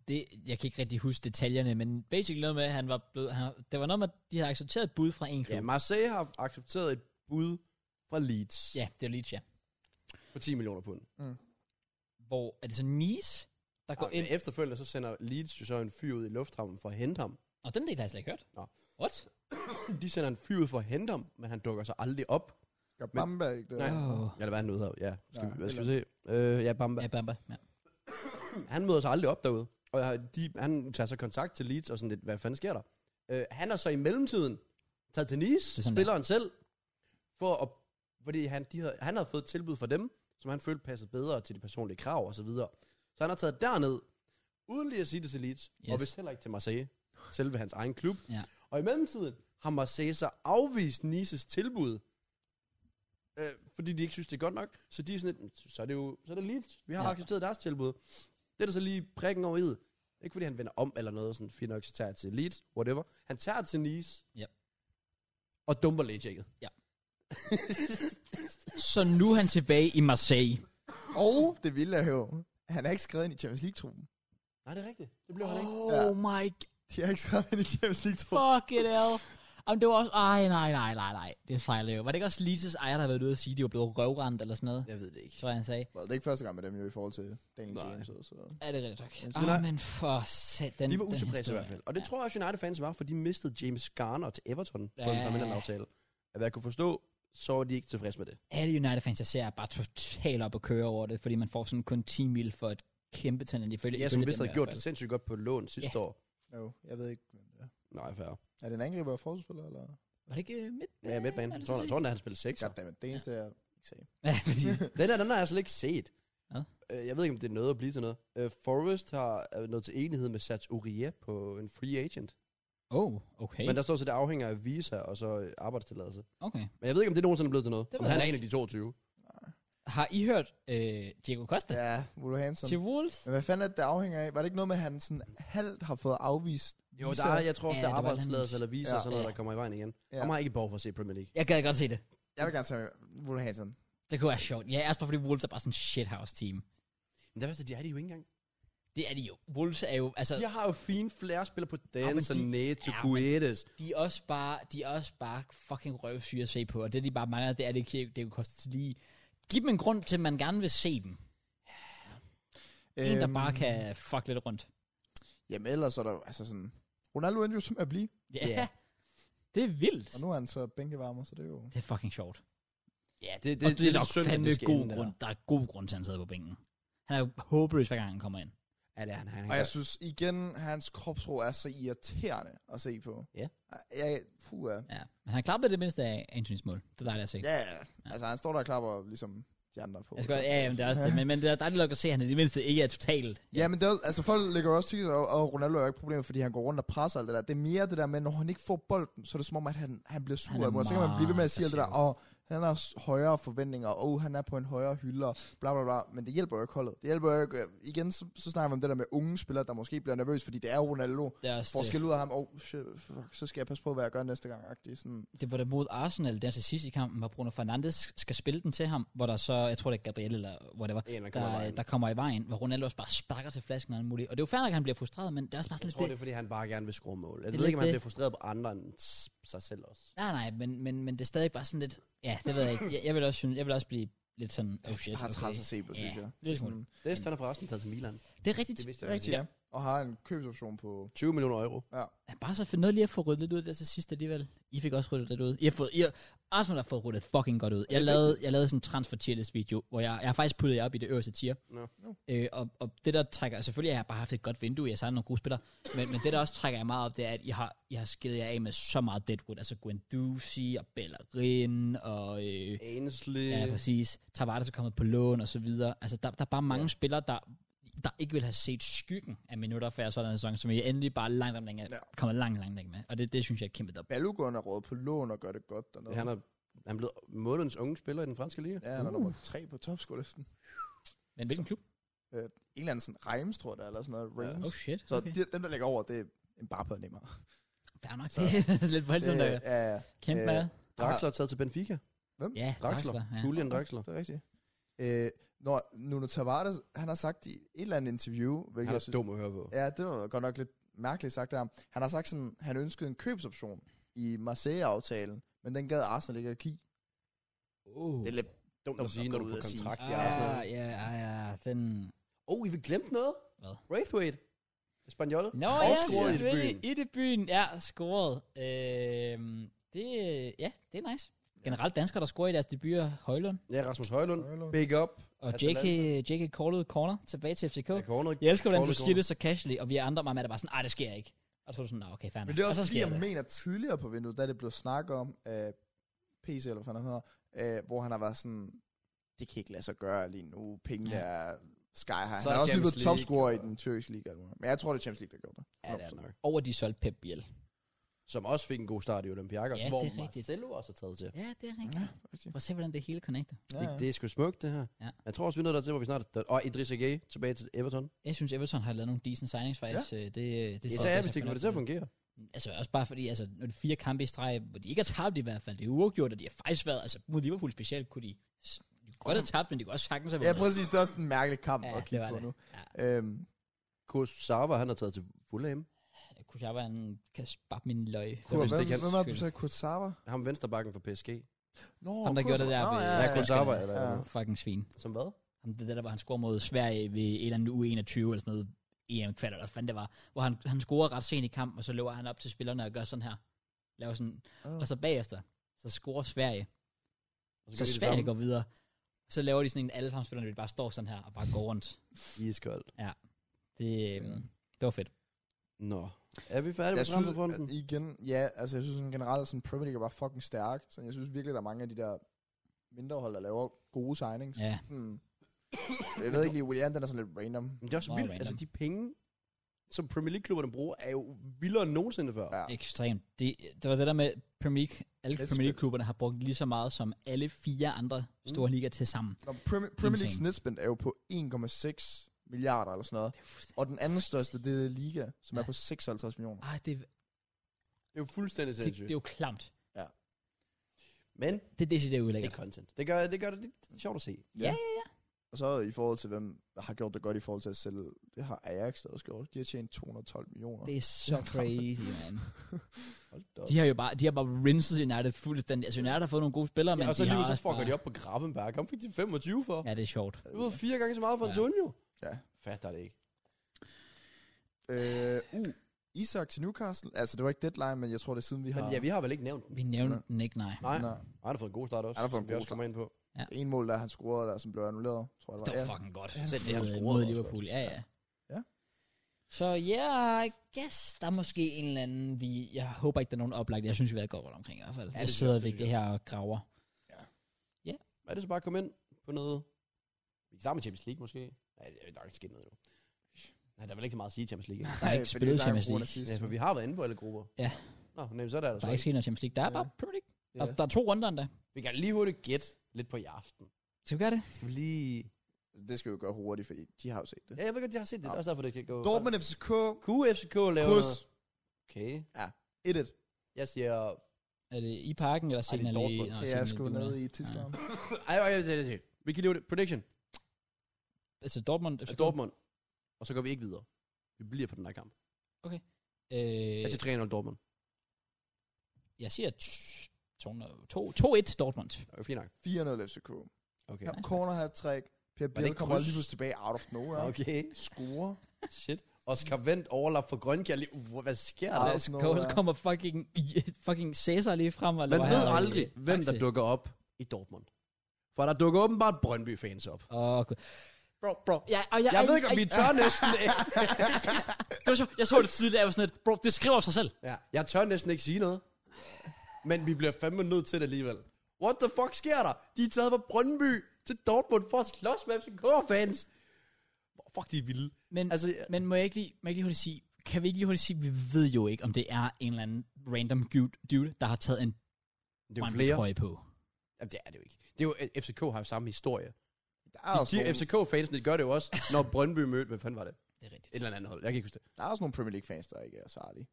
Speaker 1: Det, jeg kan ikke rigtig huske detaljerne, men basically noget med, at han var blevet... Han, det var noget med, at de havde accepteret et bud fra en klub.
Speaker 2: Ja, Marseille har accepteret et bud fra Leeds
Speaker 1: Ja, det var Leeds, ja.
Speaker 2: på 10 millioner pund.
Speaker 1: Hvor er det så Nice, der går
Speaker 2: Og
Speaker 1: ind?
Speaker 2: efterfølgende så sender Leeds jo så en fyr ud i lufthavnen for at hente ham.
Speaker 1: Og den del har jeg slet ikke hørt.
Speaker 2: Nå.
Speaker 1: What?
Speaker 2: De sender en fyr ud for at hente ham, men han dukker så aldrig op.
Speaker 3: Ja, Bamba, ikke det?
Speaker 2: Nej.
Speaker 1: Oh.
Speaker 2: Eller hvad han nu hedder. Ja, skal,
Speaker 3: Ja,
Speaker 2: ja, hvad skal vi se? Øh, ja, Bamba.
Speaker 1: Ja, Bamba. Ja.
Speaker 2: Han møder sig aldrig op derude. Og jeg har- de, han tager så kontakt til Leeds og sådan lidt, hvad fanden sker der? Øh, han er så i mellemtiden taget til
Speaker 1: er
Speaker 2: Nice,
Speaker 1: sådan,
Speaker 2: spilleren selv, for at, fordi han, de havde, han havde fået et tilbud fra dem, som han følte passede bedre til de personlige krav og så videre. Så han har taget derned, uden lige at sige det til Leeds, yes.
Speaker 1: Yes.
Speaker 2: og vist heller ikke til Marseille, selve hans egen klub.
Speaker 1: Ja.
Speaker 2: Og i mellemtiden har Marseille så afvist Nices tilbud, øh, fordi de ikke synes, det er godt nok. Så de er sådan lidt, så er det jo så er det Leeds. Vi har
Speaker 1: Ja.
Speaker 2: ja. accepteret deres tilbud. Det er da så lige prikken over i. Ikke fordi han vender om eller noget, sådan fint nok, så tager jeg til Leeds, whatever. Han tager til Nice.
Speaker 1: Ja.
Speaker 2: Og dumper lægechecket.
Speaker 1: Så nu er han tilbage i Marseille.
Speaker 3: Og det vilde er jo, han er ikke skrevet ind i Champions League-truppen.
Speaker 2: Nej, det er rigtigt. Det blev han ikke.
Speaker 1: Oh my god.
Speaker 3: De har ikke skrevet ind i Champions League-truppen.
Speaker 1: Fuck it hell. Jamen, det var også... Ej, nej, nej, nej, nej. Det er fejl, jo. Var det ikke også Lises ejer, der havde været ude at sige, at de var blevet røvrendt eller sådan noget?
Speaker 2: Jeg ved det ikke.
Speaker 1: Tror jeg, han sagde.
Speaker 3: Well, det er ikke første gang med dem jo i forhold til Daniel
Speaker 2: Nej.
Speaker 3: James. og Så.
Speaker 1: Ja, det er rigtigt nok.
Speaker 2: Men
Speaker 1: Åh,
Speaker 2: sådan er-
Speaker 1: oh, men for sat den
Speaker 2: De var
Speaker 1: den
Speaker 2: utilfredse i
Speaker 1: historie.
Speaker 2: hvert fald. Og det ja. tror jeg også United-fans var, for de mistede James Garner til Everton på en
Speaker 1: Ja.
Speaker 2: permanent aftale. At hvad jeg kunne forstå, så er de ikke tilfredse med det.
Speaker 1: Alle United-fans, jeg ser, er bare totalt op at køre over det, fordi man får sådan kun 10 mil for et kæmpe talent ifølge.
Speaker 2: Jeg
Speaker 1: ifølge
Speaker 2: som vist
Speaker 1: dem i
Speaker 2: havde
Speaker 1: hvert
Speaker 2: gjort
Speaker 1: fald.
Speaker 2: det sindssygt godt på lån sidste år.
Speaker 3: Jo, jeg ved ikke, hvem det er.
Speaker 2: Nej, fair.
Speaker 3: Er det en angriber og forsvarsspiller, eller?
Speaker 1: Var det ikke øh, midt?
Speaker 2: Ja, midtbanen. Jeg tror, jeg tror, at han spillede 6.
Speaker 3: Goddammit, det eneste er ikke se.
Speaker 1: Ja, fordi...
Speaker 2: Den der, den har jeg slet ikke set.
Speaker 1: Hvad?
Speaker 2: Øh, Jeg ved ikke, om det er noget at blive til noget. Øh, Forrest har er nået til enighed med Sats Uriah på en free agent.
Speaker 1: Oh, okay.
Speaker 2: Men der står så, det afhænger af visa og så øh, arbejdstilladelse.
Speaker 1: Okay.
Speaker 2: Men jeg ved ikke, om det nogensinde er blevet til noget.
Speaker 1: Det
Speaker 2: Det om
Speaker 1: ved
Speaker 2: han
Speaker 1: jeg
Speaker 2: er en af de 22.
Speaker 1: Har I hørt øh, Diego Costa? Ja.
Speaker 3: Ja, Wolverhampton.
Speaker 1: Til Wolves?
Speaker 3: Men hvad fanden er det, der afhænger af? Var det ikke noget med, at han sådan halvt har fået afvist?
Speaker 2: Jo, der
Speaker 3: visa?
Speaker 2: er, jeg tror også,
Speaker 1: Ja,
Speaker 2: ja, der er
Speaker 1: det var et eller andet.
Speaker 2: arbejdstilladelse eller visa
Speaker 3: Ja.
Speaker 2: og sådan noget,
Speaker 1: Ja.
Speaker 2: der kommer i vejen igen.
Speaker 3: Ja.
Speaker 2: Ja. Han har ikke behov for at se Premier League.
Speaker 1: Jeg gad godt se det.
Speaker 3: Jeg vil gerne sige Wolverhampton.
Speaker 1: Det kunne være sjovt. Ja, også bare fordi Wolves er bare sådan en shithouse-team.
Speaker 2: Men der er de er de jo ikke engang.
Speaker 1: Det er de jo. Wolves er jo, altså,
Speaker 2: De har jo fine flere-spillere på
Speaker 1: men
Speaker 2: Dance og
Speaker 1: de-
Speaker 2: Neto,
Speaker 1: Ja, men-
Speaker 2: Guedes.
Speaker 1: de er også bare, de er også bare fucking røvsyge at se på. Og det, de bare mangler, det er, det, det kunne koste lige... Giv dem en grund til, at man gerne vil se dem. En, der
Speaker 3: Øhm,
Speaker 1: bare kan fuck lidt rundt.
Speaker 3: Jamen ellers er der jo, altså sådan... Ronaldo endte jo som at blive,
Speaker 1: Ja.
Speaker 2: Ja.
Speaker 1: Yeah. Det er vildt.
Speaker 3: og nu er han så bænkevarmer, så det er jo...
Speaker 1: Det er fucking sjovt.
Speaker 2: Ja, det, det,
Speaker 1: Det, og det, det er
Speaker 2: lidt
Speaker 1: nok
Speaker 2: synd, at
Speaker 1: fandme
Speaker 2: det skal
Speaker 1: god
Speaker 2: ende der.
Speaker 1: grund. Der er god grund til, at han sidder på bænken. Han er jo håbløs, hver gang han kommer ind.
Speaker 2: Ja, det er han. han
Speaker 3: Og jeg synes igen, hans kropsro er så irriterende at se på.
Speaker 2: Ja.
Speaker 3: Jeg, puh, ja.
Speaker 1: Ja. Men han klappede det mindste af Anthony's mål. Det er dejligt at se.
Speaker 3: ja. Altså, han står der og klapper ligesom de andre på.
Speaker 1: Jeg skal, godt- Altså, ja, jamen, det er også det. Men, men det er dejligt nok at se, at han i det mindste ikke er totalt.
Speaker 3: Ja, men det er, altså folk lægger jo også tit, og, og Ronaldo er jo ikke problemet, fordi han går rundt og presser og alt det der. Det er mere det der med, når han ikke får bolden, så er det som om, at han, han bliver sur.
Speaker 1: Han er
Speaker 3: Han og så kan man blive ved med at sige alt det der, og han har s- højere forventninger, og oh, han er på en højere hylde, og bla bla bla, men det hjælper jo ikke holdet. Det hjælper jo ikke, øh, igen, så, så snakker vi om det der med unge spillere, der måske bliver nervøs, fordi det er Ronaldo.
Speaker 1: Det, er også øh,
Speaker 3: Får
Speaker 1: det,
Speaker 3: skæld ud af ham, oh, shit, fuck, så skal jeg passe på, hvad jeg gør næste gang. Agtig, sådan.
Speaker 1: det var det mod Arsenal, der til sidst i kampen, hvor Bruno Fernandes skal spille den til ham, hvor der så, jeg tror det er Gabriel eller whatever,
Speaker 2: En, der kommer
Speaker 1: der,
Speaker 2: vejen.
Speaker 1: der kommer i vejen, hvor Ronaldo også bare sparker til flasken og alt muligt. Og det er jo fair nok, at han bliver frustreret, men det er også bare sådan lidt...
Speaker 2: Jeg tror, det
Speaker 1: Altså, Det,
Speaker 2: er, fordi han bare gerne vil score mål. Jeg
Speaker 1: Det er
Speaker 2: ved ikke, om han
Speaker 1: lidt det.
Speaker 2: bliver frustreret på andre end s- sig selv også.
Speaker 1: nej, nej, men, men, men det er stadig bare sådan lidt... Ja, det ved jeg ikke. Jeg, jeg vil også, synes, jeg vil også blive lidt sådan... Oh shit,
Speaker 3: Jeg har træls
Speaker 1: okay.
Speaker 3: at se på, synes
Speaker 1: Ja,
Speaker 3: jeg.
Speaker 1: lidt
Speaker 3: Sådan,
Speaker 2: Det han er forresten taget til Milan.
Speaker 1: Det er rigtigt.
Speaker 2: Det vidste jeg
Speaker 3: Rigtig,
Speaker 2: ikke.
Speaker 3: ja. Og har en købsoption på...
Speaker 2: 20 millioner euro.
Speaker 1: Ja, bare så for noget lige at få ryddet lidt ud der til sidst alligevel. I fik også ryddet lidt ud. I har fået, I har, Arsenal har fået ryddet fucking godt ud. Jeg lavede, jeg lavede sådan en transfer tier list video, hvor jeg, jeg har faktisk puttet jer op i det øverste tier.
Speaker 2: Nå.
Speaker 3: Nå.
Speaker 1: Øh, og, og, det der trækker, selvfølgelig har jeg bare haft et godt vindue, jeg har nogle gode spillere, men, men det der også trækker jeg meget op, det er, at I har, I har skilt jer af med så meget Deadwood, altså Guendouzi og Bellerin og... Øh,
Speaker 2: Ainsley.
Speaker 1: Ja, præcis. Tavares er kommet på lån og så videre. Altså, der, der er bare mange
Speaker 2: Ja.
Speaker 1: ja. spillere, der, der ikke vil have set skyggen af minutter før sådan en sæson, som I endelig bare langt om længe er
Speaker 3: Ja.
Speaker 1: ja. kommet langt, langt længe med. Og det, det synes jeg er et kæmpe dub.
Speaker 3: Balogun er råd på lån og gør det godt dernede.
Speaker 2: Han er, han er blevet månedens unge spiller i den franske liga.
Speaker 3: Ja, han er
Speaker 1: Uh.
Speaker 3: nummer tre på topskolisten.
Speaker 1: Men hvilken klub?
Speaker 3: En eller anden sådan Reims, tror jeg, det er, eller sådan noget. Reims.
Speaker 1: Oh shit.
Speaker 3: Så
Speaker 1: Okay.
Speaker 3: de, dem, der ligger over, det er en bare på nemmere.
Speaker 1: Fair nok.
Speaker 3: så-
Speaker 1: Det er lidt voldsomt, der
Speaker 3: er,
Speaker 1: kæmpe
Speaker 3: øh,
Speaker 1: med.
Speaker 2: Draxler er taget til Benfica.
Speaker 1: Ja,
Speaker 2: Draxler.
Speaker 1: Draxler. Ja.
Speaker 2: Julian Draxler.
Speaker 3: det er rigtigt. Øh, når Nuno Tavares, han har sagt i et eller andet interview, hvilket
Speaker 2: Han
Speaker 3: jeg
Speaker 2: er
Speaker 3: synes,
Speaker 2: dum at høre på.
Speaker 3: ja, det var godt nok lidt mærkeligt sagt der. Han har sagt sådan, han ønskede en købsoption i Marseille-aftalen, men den gad Arsenal ikke at give.
Speaker 1: Oh.
Speaker 3: Det er lidt
Speaker 2: Dumt
Speaker 3: Dumt
Speaker 2: at sige,
Speaker 3: at
Speaker 2: når
Speaker 3: gå
Speaker 2: du
Speaker 3: ud
Speaker 2: får
Speaker 3: og sige.
Speaker 2: kontrakt i Arsenal.
Speaker 1: Ah, ja, ja, ja, den...
Speaker 2: Oh, I vil glemt noget?
Speaker 1: Hvad?
Speaker 2: Braithwaite. Espanyol.
Speaker 1: Nå,
Speaker 2: Og
Speaker 1: ja,
Speaker 2: scoret i
Speaker 1: selvfølgelig.
Speaker 2: debuten.
Speaker 1: I debuten, ja, scoret. Øhm, det, ja, det er nice. Generelt danskere, der scorer i deres debuter, Højlund.
Speaker 2: Ja, Rasmus Højlund. Big up.
Speaker 1: Og JK,
Speaker 2: Atalanta.
Speaker 1: JK called ud corner tilbage til FCK.
Speaker 2: Jeg kan ordne
Speaker 1: Jeg elsker, hvordan du
Speaker 2: Corner,
Speaker 1: siger
Speaker 2: corner.
Speaker 1: det så casually, og vi andre meget med, der bare sådan, nej, det sker ikke. Og så er du sådan, nå, okay, fair
Speaker 3: Men
Speaker 1: nok.
Speaker 3: det er
Speaker 1: Og
Speaker 3: også
Speaker 1: så
Speaker 3: fordi,
Speaker 1: sker
Speaker 3: jeg
Speaker 1: det.
Speaker 3: mener tidligere på vinduet, da det blev snakket om af PC, eller hvad fanden han hedder, øh, hvor han har været sådan, det kan ikke lade sig gøre lige nu, pengene
Speaker 1: Ja.
Speaker 3: ja. er sky high.
Speaker 2: Så
Speaker 3: han
Speaker 2: er
Speaker 3: er også lige
Speaker 2: Champions
Speaker 3: blevet topscorer i
Speaker 2: League, og-
Speaker 3: den tyrkiske liga. eller hvad. Men jeg tror, det er Champions League, der gjorde det.
Speaker 2: Ja, det er det nok.
Speaker 1: Over de solgte Pep Biel.
Speaker 2: Som også fik en god start i Olympiakos,
Speaker 1: Ja,
Speaker 2: hvor
Speaker 1: det er rigtigt.
Speaker 2: Marcelo også er taget til.
Speaker 1: Ja, det er
Speaker 3: Ja,
Speaker 1: rigtigt.
Speaker 3: rigtigt.
Speaker 1: Prøv at se, hvordan det hele connecter.
Speaker 3: Ja,
Speaker 2: Det,
Speaker 3: ja.
Speaker 2: det er sgu smukt, det her.
Speaker 1: Ja.
Speaker 2: Jeg tror også, vi er nødt til, hvor vi snart... Og Idris Ege tilbage til Everton.
Speaker 1: Jeg synes, Everton har lavet nogle decent signings, faktisk. Ja. Det, det,
Speaker 2: Det sagde jeg, hvis det ikke får det til at fungere.
Speaker 1: Altså også bare fordi, altså, når de fire kampe i streg, hvor de ikke har tabt i hvert fald, det er uafgjort, og de har faktisk været, altså mod Liverpool specielt, kunne de, s- de kunne godt have tabt, men de kunne også sagtens have
Speaker 3: ja,
Speaker 1: vundet.
Speaker 3: præcis. Det er også en mærkelig kamp
Speaker 1: Ja,
Speaker 3: ja, at
Speaker 1: det
Speaker 3: kigge
Speaker 1: var
Speaker 3: på
Speaker 1: det.
Speaker 3: nu. Øhm,
Speaker 2: Kursava, han er taget til Fulham.
Speaker 1: Kujawa, han kan spare min løg.
Speaker 2: var
Speaker 3: Kur,
Speaker 2: vist
Speaker 3: hvem,
Speaker 2: ikke han-
Speaker 3: hvem var det, du sagde? Kurzawa?
Speaker 2: Ham venstrebakken for PSG.
Speaker 3: Nå,
Speaker 1: Ham, der gjorde det der ved-
Speaker 3: Kurzawa. Nå, ja,
Speaker 2: Ja,
Speaker 1: ja,
Speaker 3: ja,
Speaker 1: ja.
Speaker 2: Kursava,
Speaker 3: ja.
Speaker 2: eller
Speaker 3: Ja.
Speaker 1: Fucking svin.
Speaker 2: Som hvad?
Speaker 1: Ham, det der, der, hvor han scorer mod Sverige ved et eller andet U21 eller sådan noget em kvart eller hvad fanden det var, hvor han, han scorer ret sent i kampen, og så løber han op til spillerne og gør sådan her. Laver sådan,
Speaker 3: Åh.
Speaker 1: og så bagefter, så scorer Sverige.
Speaker 2: Og
Speaker 1: Så,
Speaker 2: gør de det
Speaker 1: Sverige
Speaker 2: samme.
Speaker 1: går videre. Så laver de sådan en, alle sammen spillerne bare står sådan her og bare går rundt.
Speaker 2: Iskoldt.
Speaker 1: Det, øhm, det var fedt.
Speaker 2: Nå. Er vi færdige
Speaker 3: Jeg
Speaker 2: med
Speaker 3: synes,
Speaker 2: transferfonden?
Speaker 3: at igen, ja, altså jeg synes sådan generelt, sådan Premier League er bare fucking stærk. Så jeg synes virkelig, der er mange af de der mindre hold, der laver gode signings.
Speaker 1: Ja,
Speaker 3: Hmm. Jeg ved ikke lige, William, den er sådan lidt random.
Speaker 2: Men det er også
Speaker 1: Meget
Speaker 2: vildt. Altså,
Speaker 1: random.
Speaker 2: de penge, som Premier League-klubberne bruger, er jo vildere end nogensinde før.
Speaker 3: Ja.
Speaker 1: ekstremt. Det, det var det der med Premier League. Alle
Speaker 3: Lidt
Speaker 1: Premier League-klubberne har brugt lige så meget som alle fire andre
Speaker 2: Mm.
Speaker 1: store ligaer til sammen.
Speaker 3: Nå, Premier, Premier Leagues
Speaker 1: Ingenting.
Speaker 3: netspend er jo på 1,6 milliarder eller sådan noget. Og den anden største, det er Liga, som
Speaker 1: Ja.
Speaker 3: er på 56 millioner.
Speaker 1: Ej, det,
Speaker 2: Det er jo fuldstændig
Speaker 1: det, det,
Speaker 2: sindssygt.
Speaker 1: det er jo klamt.
Speaker 2: Men
Speaker 1: Det er decideret
Speaker 2: det er
Speaker 1: ulækkert.
Speaker 2: content. Det gør det, gør det lidt sjovt at se.
Speaker 1: Ja, ja,
Speaker 3: Og så i forhold til, hvem der har gjort det godt i forhold til at sælge, det har Ajax der også gjort. De har tjent 212 millioner.
Speaker 1: Det er så crazy, man.
Speaker 2: Hold da op.
Speaker 1: De har jo bare, de har bare rinset United fuldstændig. Altså United har fået nogle gode spillere, men
Speaker 2: Ja, og så
Speaker 1: de har
Speaker 2: lige så
Speaker 1: også
Speaker 2: fucker
Speaker 1: bare...
Speaker 2: de op på Gravenberg. Ham fik de 25 for.
Speaker 1: Ja, det er sjovt.
Speaker 2: Det var fire gange så meget for
Speaker 1: Ja.
Speaker 2: Antonio.
Speaker 3: Ja.
Speaker 2: Fatter det ikke.
Speaker 3: Øh, uh, Isak til Newcastle. Altså, det var ikke deadline, men jeg tror, det er siden, vi
Speaker 2: Men
Speaker 3: har...
Speaker 2: ja, vi har vel ikke nævnt den.
Speaker 1: Vi nævnte den ikke, nej.
Speaker 2: Nej.
Speaker 3: Nå,
Speaker 2: Han har fået en god start også.
Speaker 3: Han har fået en
Speaker 2: som vi
Speaker 3: god
Speaker 2: også kommer ind på.
Speaker 3: En mål, der han scorede der, som blev annulleret, tror jeg,
Speaker 1: Det
Speaker 3: det
Speaker 1: var
Speaker 3: var.
Speaker 1: fucking godt.
Speaker 2: Ja.
Speaker 1: Selv
Speaker 2: Ja, han
Speaker 1: det
Speaker 2: scorede
Speaker 1: mod
Speaker 2: også
Speaker 1: Liverpool, ja, ja.
Speaker 3: Ja.
Speaker 1: Så ja, yeah, I guess, der er måske en eller anden, vi, jeg håber ikke, der er nogen oplagt. Jeg synes, vi har været godt rundt omkring i hvert fald.
Speaker 2: det
Speaker 1: jeg
Speaker 2: synes
Speaker 1: sidder
Speaker 2: jeg, det
Speaker 1: ved
Speaker 2: synes
Speaker 1: det her og graver.
Speaker 2: Er det så bare at komme ind på noget... Vi kan starte med Champions League måske. Nej, der er ikke sket noget nu. Nej, der er vel ikke så meget at sige i Champions League.
Speaker 1: Der er ikke spillet Champions League.
Speaker 2: ja, for vi har været inde på alle grupper.
Speaker 1: Ja.
Speaker 2: Nå, nej, så er der altså
Speaker 1: Der er ikke
Speaker 2: ikke.
Speaker 1: sket noget Champions League. Der er
Speaker 3: Ja.
Speaker 1: bare Premier League. Der, der er to runder endda.
Speaker 2: Vi kan lige hurtigt gætte lidt på i aften.
Speaker 1: Skal vi gøre det?
Speaker 2: Skal vi lige...
Speaker 3: Det skal vi jo gøre hurtigt, fordi de har jo set det.
Speaker 2: Ja, jeg ved godt, jeg har set det. Det er også derfor, det kan gå...
Speaker 3: Dortmund FCK,
Speaker 2: Kunne FCK lave
Speaker 3: kryds,
Speaker 2: noget? Okay.
Speaker 3: 1-1.
Speaker 2: Jeg siger...
Speaker 1: Er det i parken, eller
Speaker 2: Ej, det er
Speaker 1: Signal i...
Speaker 2: Dortmund.
Speaker 1: Nå,
Speaker 3: Det er
Speaker 1: Signal
Speaker 3: sgu
Speaker 1: Iduna.
Speaker 3: nede i Tyskland.
Speaker 2: Ej, ej, ej, ej, ej. Vi kan leve det. Prediction.
Speaker 1: Altså Dortmund...
Speaker 2: Af
Speaker 1: FCK.
Speaker 2: Dortmund. Og så går vi ikke videre. Vi bliver på den der kamp.
Speaker 1: Øh,
Speaker 2: Jeg siger 3-0 Dortmund.
Speaker 1: jeg siger t- 200 to- 2-1 Dortmund.
Speaker 2: Okay, fint nok.
Speaker 3: 4-0 FCK.
Speaker 2: Okay.
Speaker 3: Ja, corner hat trick.
Speaker 2: Var
Speaker 3: Per
Speaker 2: det
Speaker 3: Biel
Speaker 2: ikke
Speaker 3: kommer
Speaker 2: kryds?
Speaker 3: lige pludselig tilbage out of nowhere. Okay.
Speaker 2: Okay.
Speaker 3: Scorer.
Speaker 2: Shit. Oscar Vendt overlap for Grønkjær. lige- Uh, Hvad sker der?
Speaker 3: Au.
Speaker 1: Let's go. Så kommer fucking, fucking Cæsar lige frem og
Speaker 2: Man
Speaker 1: laver øh,
Speaker 2: ved
Speaker 1: havoc i
Speaker 2: aldrig, hvem der
Speaker 1: Faxe.
Speaker 2: dukker op i Dortmund. For der dukker åbenbart Brøndby-fans op.
Speaker 1: Åh, gud. Bro, bro. Ja, og jeg,
Speaker 2: Jeg
Speaker 1: ej,
Speaker 2: ved ikke, om
Speaker 1: ej,
Speaker 2: vi tør næsten ikke.
Speaker 1: Det var sjovt. Jeg så det tidligere, jeg var sådan lidt, bro, det skriver sig selv.
Speaker 2: Ja, jeg tør næsten ikke sige noget. Men vi bliver fandme nødt til det alligevel. What the fuck sker der? De er taget fra Brøndby til Dortmund for at slås med FCK-fans. Hvor fuck de er vilde.
Speaker 1: Men, altså,
Speaker 2: Altså,
Speaker 1: men må jeg ikke lige, må jeg ikke lige hurtigt sige, kan vi ikke lige hurtigt sige, vi ved jo ikke, om det er en eller anden random dude, dude der har taget en
Speaker 2: det er jo flere.
Speaker 1: brandtrøje på.
Speaker 2: Jamen, det er det jo ikke. Det er jo, FCK har jo samme historie.
Speaker 3: Der er, også
Speaker 2: De, de
Speaker 3: nogle,
Speaker 2: FCK-fansene gør det jo også, når Brøndby mødte, hvad fanden var det? Et
Speaker 1: Det er rigtigt.
Speaker 2: eller andet hold. Jeg kan ikke huske det.
Speaker 3: der er også nogle Premier League fans, der ikke er særlige.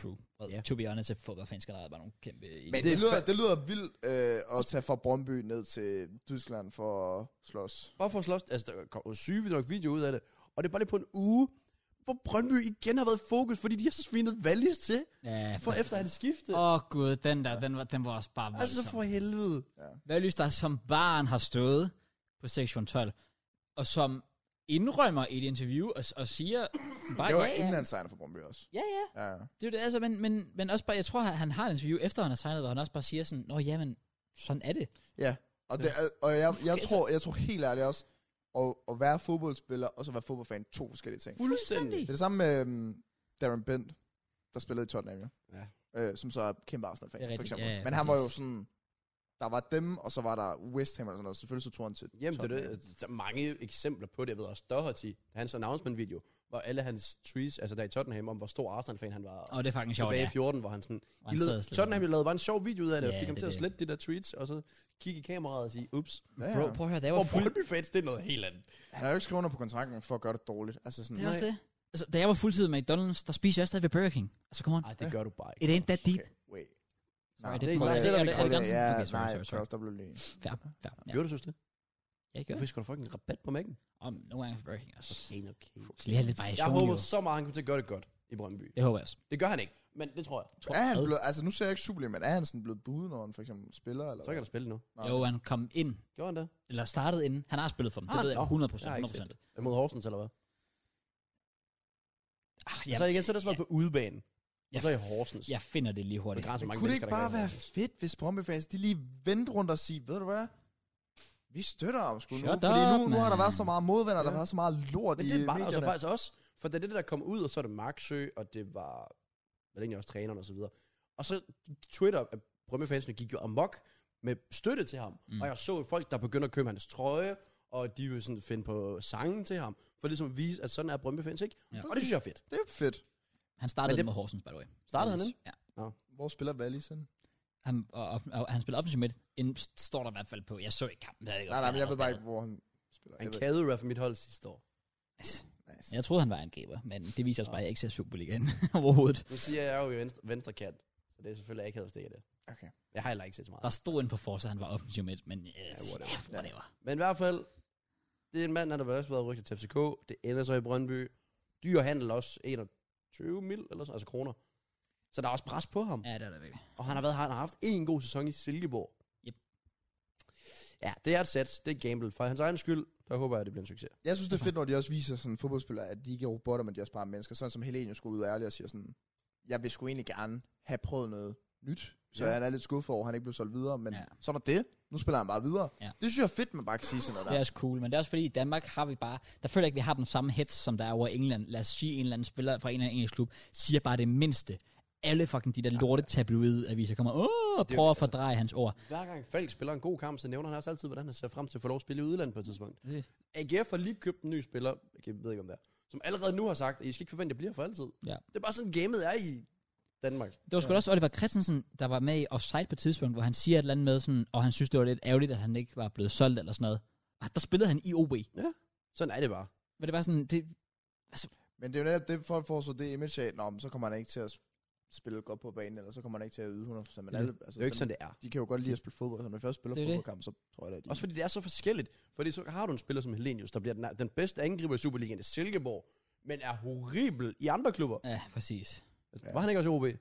Speaker 1: True. Well,
Speaker 2: Ja.
Speaker 1: yeah. To be honest, at fodboldfans skal der bare nogle kæmpe...
Speaker 3: Men
Speaker 1: Men
Speaker 3: det,
Speaker 2: er
Speaker 3: lyder,
Speaker 2: fa-
Speaker 3: det lyder vildt øh, at tage fra Brøndby ned til Tyskland for at slås.
Speaker 2: Bare for at slås. Altså, der kom jo syge nok video ud af det. Og det er bare lige på en uge, hvor Brøndby igen har været i fokus, fordi de har så svinet Valis til,
Speaker 1: ja,
Speaker 2: for efter han skiftede.
Speaker 1: Åh oh, gud, den der, den var, den var også bare
Speaker 2: Altså,
Speaker 1: voldsom.
Speaker 2: for helvede.
Speaker 1: Hvad lys der som barn har stået på sektion 12, og som indrømmer i et interview og, og siger... Bare,
Speaker 3: Det var
Speaker 1: ja,
Speaker 3: inden
Speaker 1: ja,
Speaker 3: han signer for Brøndby også.
Speaker 1: ja, ja,
Speaker 3: Ja.
Speaker 1: Det er jo det, altså, men, men, men også bare, jeg tror, han, han har et interview efter, han har signet, hvor han også bare siger sådan, Nå ja, men sådan er det.
Speaker 3: Ja, og, det er, og jeg, jeg,
Speaker 1: Okay, så-
Speaker 3: tror, jeg tror helt ærligt også, at, at være fodboldspiller og så være fodboldfan, to forskellige ting.
Speaker 2: Fuldstændig.
Speaker 3: Det er det samme med um, Darren Bent, der spillede i Tottenham, jo.
Speaker 2: Ja.
Speaker 3: Øh, som så er kæmpe Arsenal-fan,
Speaker 1: Det er
Speaker 3: for
Speaker 1: rigtigt,
Speaker 3: eksempel.
Speaker 1: ja, ja,
Speaker 3: Men han var jo
Speaker 1: præcis.
Speaker 3: sådan, der var dem, og så var der West Ham eller sådan noget. Selvfølgelig så tog han til
Speaker 2: Jamen, det er
Speaker 3: Tottenham.
Speaker 2: det. Der er mange eksempler på det. Jeg ved også, Doherty, hans announcement-video, hvor alle hans tweets, altså der i Tottenham, om hvor stor Arsenal-fan han var
Speaker 1: Og det er fucking sjovt,
Speaker 2: tilbage i
Speaker 1: ja.
Speaker 2: 14, hvor han sådan...
Speaker 1: han
Speaker 2: De
Speaker 1: sad
Speaker 2: led,
Speaker 1: og slet-
Speaker 2: Tottenham lavede bare en sjov video ud af det, og
Speaker 1: Ja,
Speaker 2: fik ham
Speaker 1: det
Speaker 2: til
Speaker 1: er
Speaker 2: at
Speaker 1: det.
Speaker 2: slette de der tweets, og så kigge i kameraet og sige, ups.
Speaker 3: Ja, ja.
Speaker 1: Bro, prøv at høre, det var
Speaker 2: Og
Speaker 1: fuld...
Speaker 2: Brøndby-fans, det er noget helt andet.
Speaker 3: Han har jo ikke skrevet under på kontrakten for at gøre det dårligt. Altså sådan,
Speaker 1: Det er også det. Altså, da jeg var fuldtid i McDonald's, der spiser jeg stadig ved Burger King. Altså, come on.
Speaker 2: Nej, det gør du bare
Speaker 1: It
Speaker 2: ikke.
Speaker 1: ain't that deep.
Speaker 3: okay, wait.
Speaker 1: Sorry,
Speaker 2: det er
Speaker 1: for-
Speaker 2: bare-
Speaker 1: er-
Speaker 2: sætter
Speaker 1: er-
Speaker 2: vi
Speaker 1: er- er-
Speaker 2: Carl
Speaker 1: er-
Speaker 3: Okay,
Speaker 1: grænsen?
Speaker 3: ja,
Speaker 1: Okay, sorry,
Speaker 3: nej,
Speaker 1: sorry, sorry.
Speaker 3: Cross, der blev lige.
Speaker 1: Fair, fair. Ja,
Speaker 2: Gjorde du synes det?
Speaker 1: jeg gør
Speaker 2: Hvorfor skal du fucking rabat på mækken?
Speaker 1: Om nogle gange for Burger King også.
Speaker 2: Okay, okay.
Speaker 1: Skal lige have lidt
Speaker 2: Jeg
Speaker 1: variation,
Speaker 2: håber
Speaker 1: jo.
Speaker 2: så meget, han kommer til at gøre det godt i Brøndby.
Speaker 1: Det håber jeg også.
Speaker 2: Det gør han ikke, men det tror jeg.
Speaker 1: Tror
Speaker 3: Er
Speaker 1: jeg.
Speaker 3: han blevet, altså nu ser jeg ikke Superliga, men er han sådan blevet budet, når han for eksempel spiller? Eller
Speaker 2: Så kan han spille nu.
Speaker 1: Jo, han kom ind,
Speaker 2: Gjorde han det?
Speaker 1: eller startede inden. Han har spillet for dem, det
Speaker 2: Ah,
Speaker 1: ved jeg
Speaker 2: nå.
Speaker 1: 100
Speaker 2: Jeg har ikke set
Speaker 1: 100
Speaker 2: det. Mod Horsens, eller hvad?
Speaker 1: Ah,
Speaker 2: Ja,
Speaker 1: jeg,
Speaker 2: så igen, så er det svaret på udebane.
Speaker 1: Ja.
Speaker 2: Og så i Horsens.
Speaker 1: jeg finder det lige
Speaker 2: Og det
Speaker 1: hurtigt.
Speaker 2: er så
Speaker 3: Men
Speaker 2: mange
Speaker 3: kunne det
Speaker 2: mennesker,
Speaker 3: ikke
Speaker 2: der
Speaker 3: bare
Speaker 2: gør
Speaker 3: være
Speaker 2: det.
Speaker 3: fedt, hvis Brøndby-fans de lige vendte rundt og sige, ved du hvad, vi støtter ham sgu nu,
Speaker 1: Shut
Speaker 3: fordi nu,
Speaker 1: up,
Speaker 3: nu har der været
Speaker 1: man."
Speaker 3: så meget modvind, og der
Speaker 2: Ja.
Speaker 3: har været så meget lort
Speaker 2: Men
Speaker 3: i
Speaker 2: det var der så
Speaker 3: medierne.
Speaker 2: faktisk også, for da det der kom ud, og så er det Marksø, og det var, hvad egentlig også træneren og så videre. Og så Twitter, at Brømme-fansene gik jo amok med støtte til ham.
Speaker 1: Mm.
Speaker 2: Mm. Og jeg så folk, der begyndte at købe hans trøje, og de ville sådan finde på sangen til ham, for ligesom at vise, at sådan er Brømme-fans ikke.
Speaker 1: Ja.
Speaker 2: Ja. Og det synes jeg er fedt.
Speaker 3: Det er fedt.
Speaker 1: Han startede
Speaker 2: Men det-
Speaker 1: med Horsens, by the way.
Speaker 2: Startede han
Speaker 1: Yes.
Speaker 2: den?
Speaker 1: Ja.
Speaker 3: Hvor spiller Valis henne?
Speaker 1: Han, og, og, og han spiller offensiv midt. En står der i hvert fald på. Jeg så ikke kampen. Jeg ved ikke,
Speaker 3: Nej,
Speaker 1: hvor
Speaker 3: nej, men jeg ved
Speaker 1: fanden
Speaker 3: bare
Speaker 1: han
Speaker 3: ikke, hvor han spiller.
Speaker 2: Han
Speaker 3: Jeg ved-
Speaker 2: kaldede for mit hold sidste år.
Speaker 1: spillede.
Speaker 3: Nice.
Speaker 1: Men Jeg troede, han var angriber, men det viser også bare, at jeg ikke ser Superligaen overhovedet.
Speaker 2: Nu siger jeg jo i venstre, venstre kant, så det er selvfølgelig ikke havde det.
Speaker 3: Okay.
Speaker 2: Jeg har heller ikke set så meget.
Speaker 1: Der stod en på Forza, han var offensiv midt, men yes, yeah,
Speaker 2: whatever.
Speaker 1: whatever. whatever.
Speaker 2: Men i hvert fald, det er en mand, han har været også været rygtet til FCK. Det ender så i Brøndby. Dyr handel også 21 mil, eller sådan, altså kroner. Så der er også pres på ham. Ja.
Speaker 1: Ja, det er det virkelig.
Speaker 2: Og han har, været, han har haft en god sæson i Silkeborg.
Speaker 1: Yep.
Speaker 2: Ja, det er et sæt. Det er gamble. For hans egen skyld, der håber jeg, at det bliver en succes.
Speaker 3: Jeg synes, det er fedt, når de også viser sådan fodboldspillere, at de ikke er robotter, men de er også bare mennesker. Sådan som Helene skulle ud og ærligt og siger sådan, jeg vil sgu egentlig gerne have prøvet noget nyt. Så
Speaker 2: Ja.
Speaker 3: ja. han er lidt skuffet over, at han ikke blev solgt videre, men
Speaker 1: Ja.
Speaker 3: ja. så er der det. Nu spiller han bare videre.
Speaker 1: Ja.
Speaker 3: Ja. Det synes jeg er fedt, man bare kan sige sådan noget
Speaker 1: Det er
Speaker 3: der.
Speaker 1: også cool, men det er også fordi, i Danmark har vi bare, der føler jeg ikke, vi har den samme hets, som der er over i England. Lad os sige, en eller anden spiller fra en eller anden engelsk klub, siger bare det mindste. Alle fucking de der lorte tabloidaviser kommer, åh, og
Speaker 2: Det er jo-
Speaker 1: prøver at fordreje hans ord.
Speaker 2: Hver gang Falk spiller en god kamp, så nævner han også altid, hvordan han ser frem til at få lov at spille i udlandet på et tidspunkt.
Speaker 1: Det-
Speaker 2: AGF har lige købt en ny spiller, jeg ved ikke om det er, som allerede nu har sagt, at I skal ikke forvente, at jeg bliver for altid.
Speaker 1: Ja.
Speaker 2: Det er bare sådan, gamet er i Danmark.
Speaker 1: Det var sgu da også Oliver Christensen, der var med i Offside på et tidspunkt, hvor han siger et eller andet med sådan, og han synes, det var lidt ærgerligt, at han ikke var blevet solgt eller sådan noget. Og der spillede han i OB.
Speaker 2: Sådan er det bare.
Speaker 1: Men det var sådan, det,
Speaker 3: Men det er jo netop det, folk får så det image af, at "Nå, men så kommer han ikke til at spille godt på banen, eller så kommer han ikke til at yde 100%. Men
Speaker 2: Ja.
Speaker 3: alle,
Speaker 2: Det
Speaker 3: altså,
Speaker 2: er jo ikke
Speaker 3: dem-
Speaker 2: sådan, det er.
Speaker 3: de kan jo godt lide at spille fodbold, så når de først spiller
Speaker 1: Det er det.
Speaker 3: fodboldkamp, så tror jeg da, at de...
Speaker 2: Også fordi det er så forskelligt. Fordi så har du en spiller som Helenius, der bliver den, den bedste angriber i Superligaen i Silkeborg, men er horribel i andre klubber.
Speaker 1: ja, præcis.
Speaker 2: Ja. Var han ikke også i OB?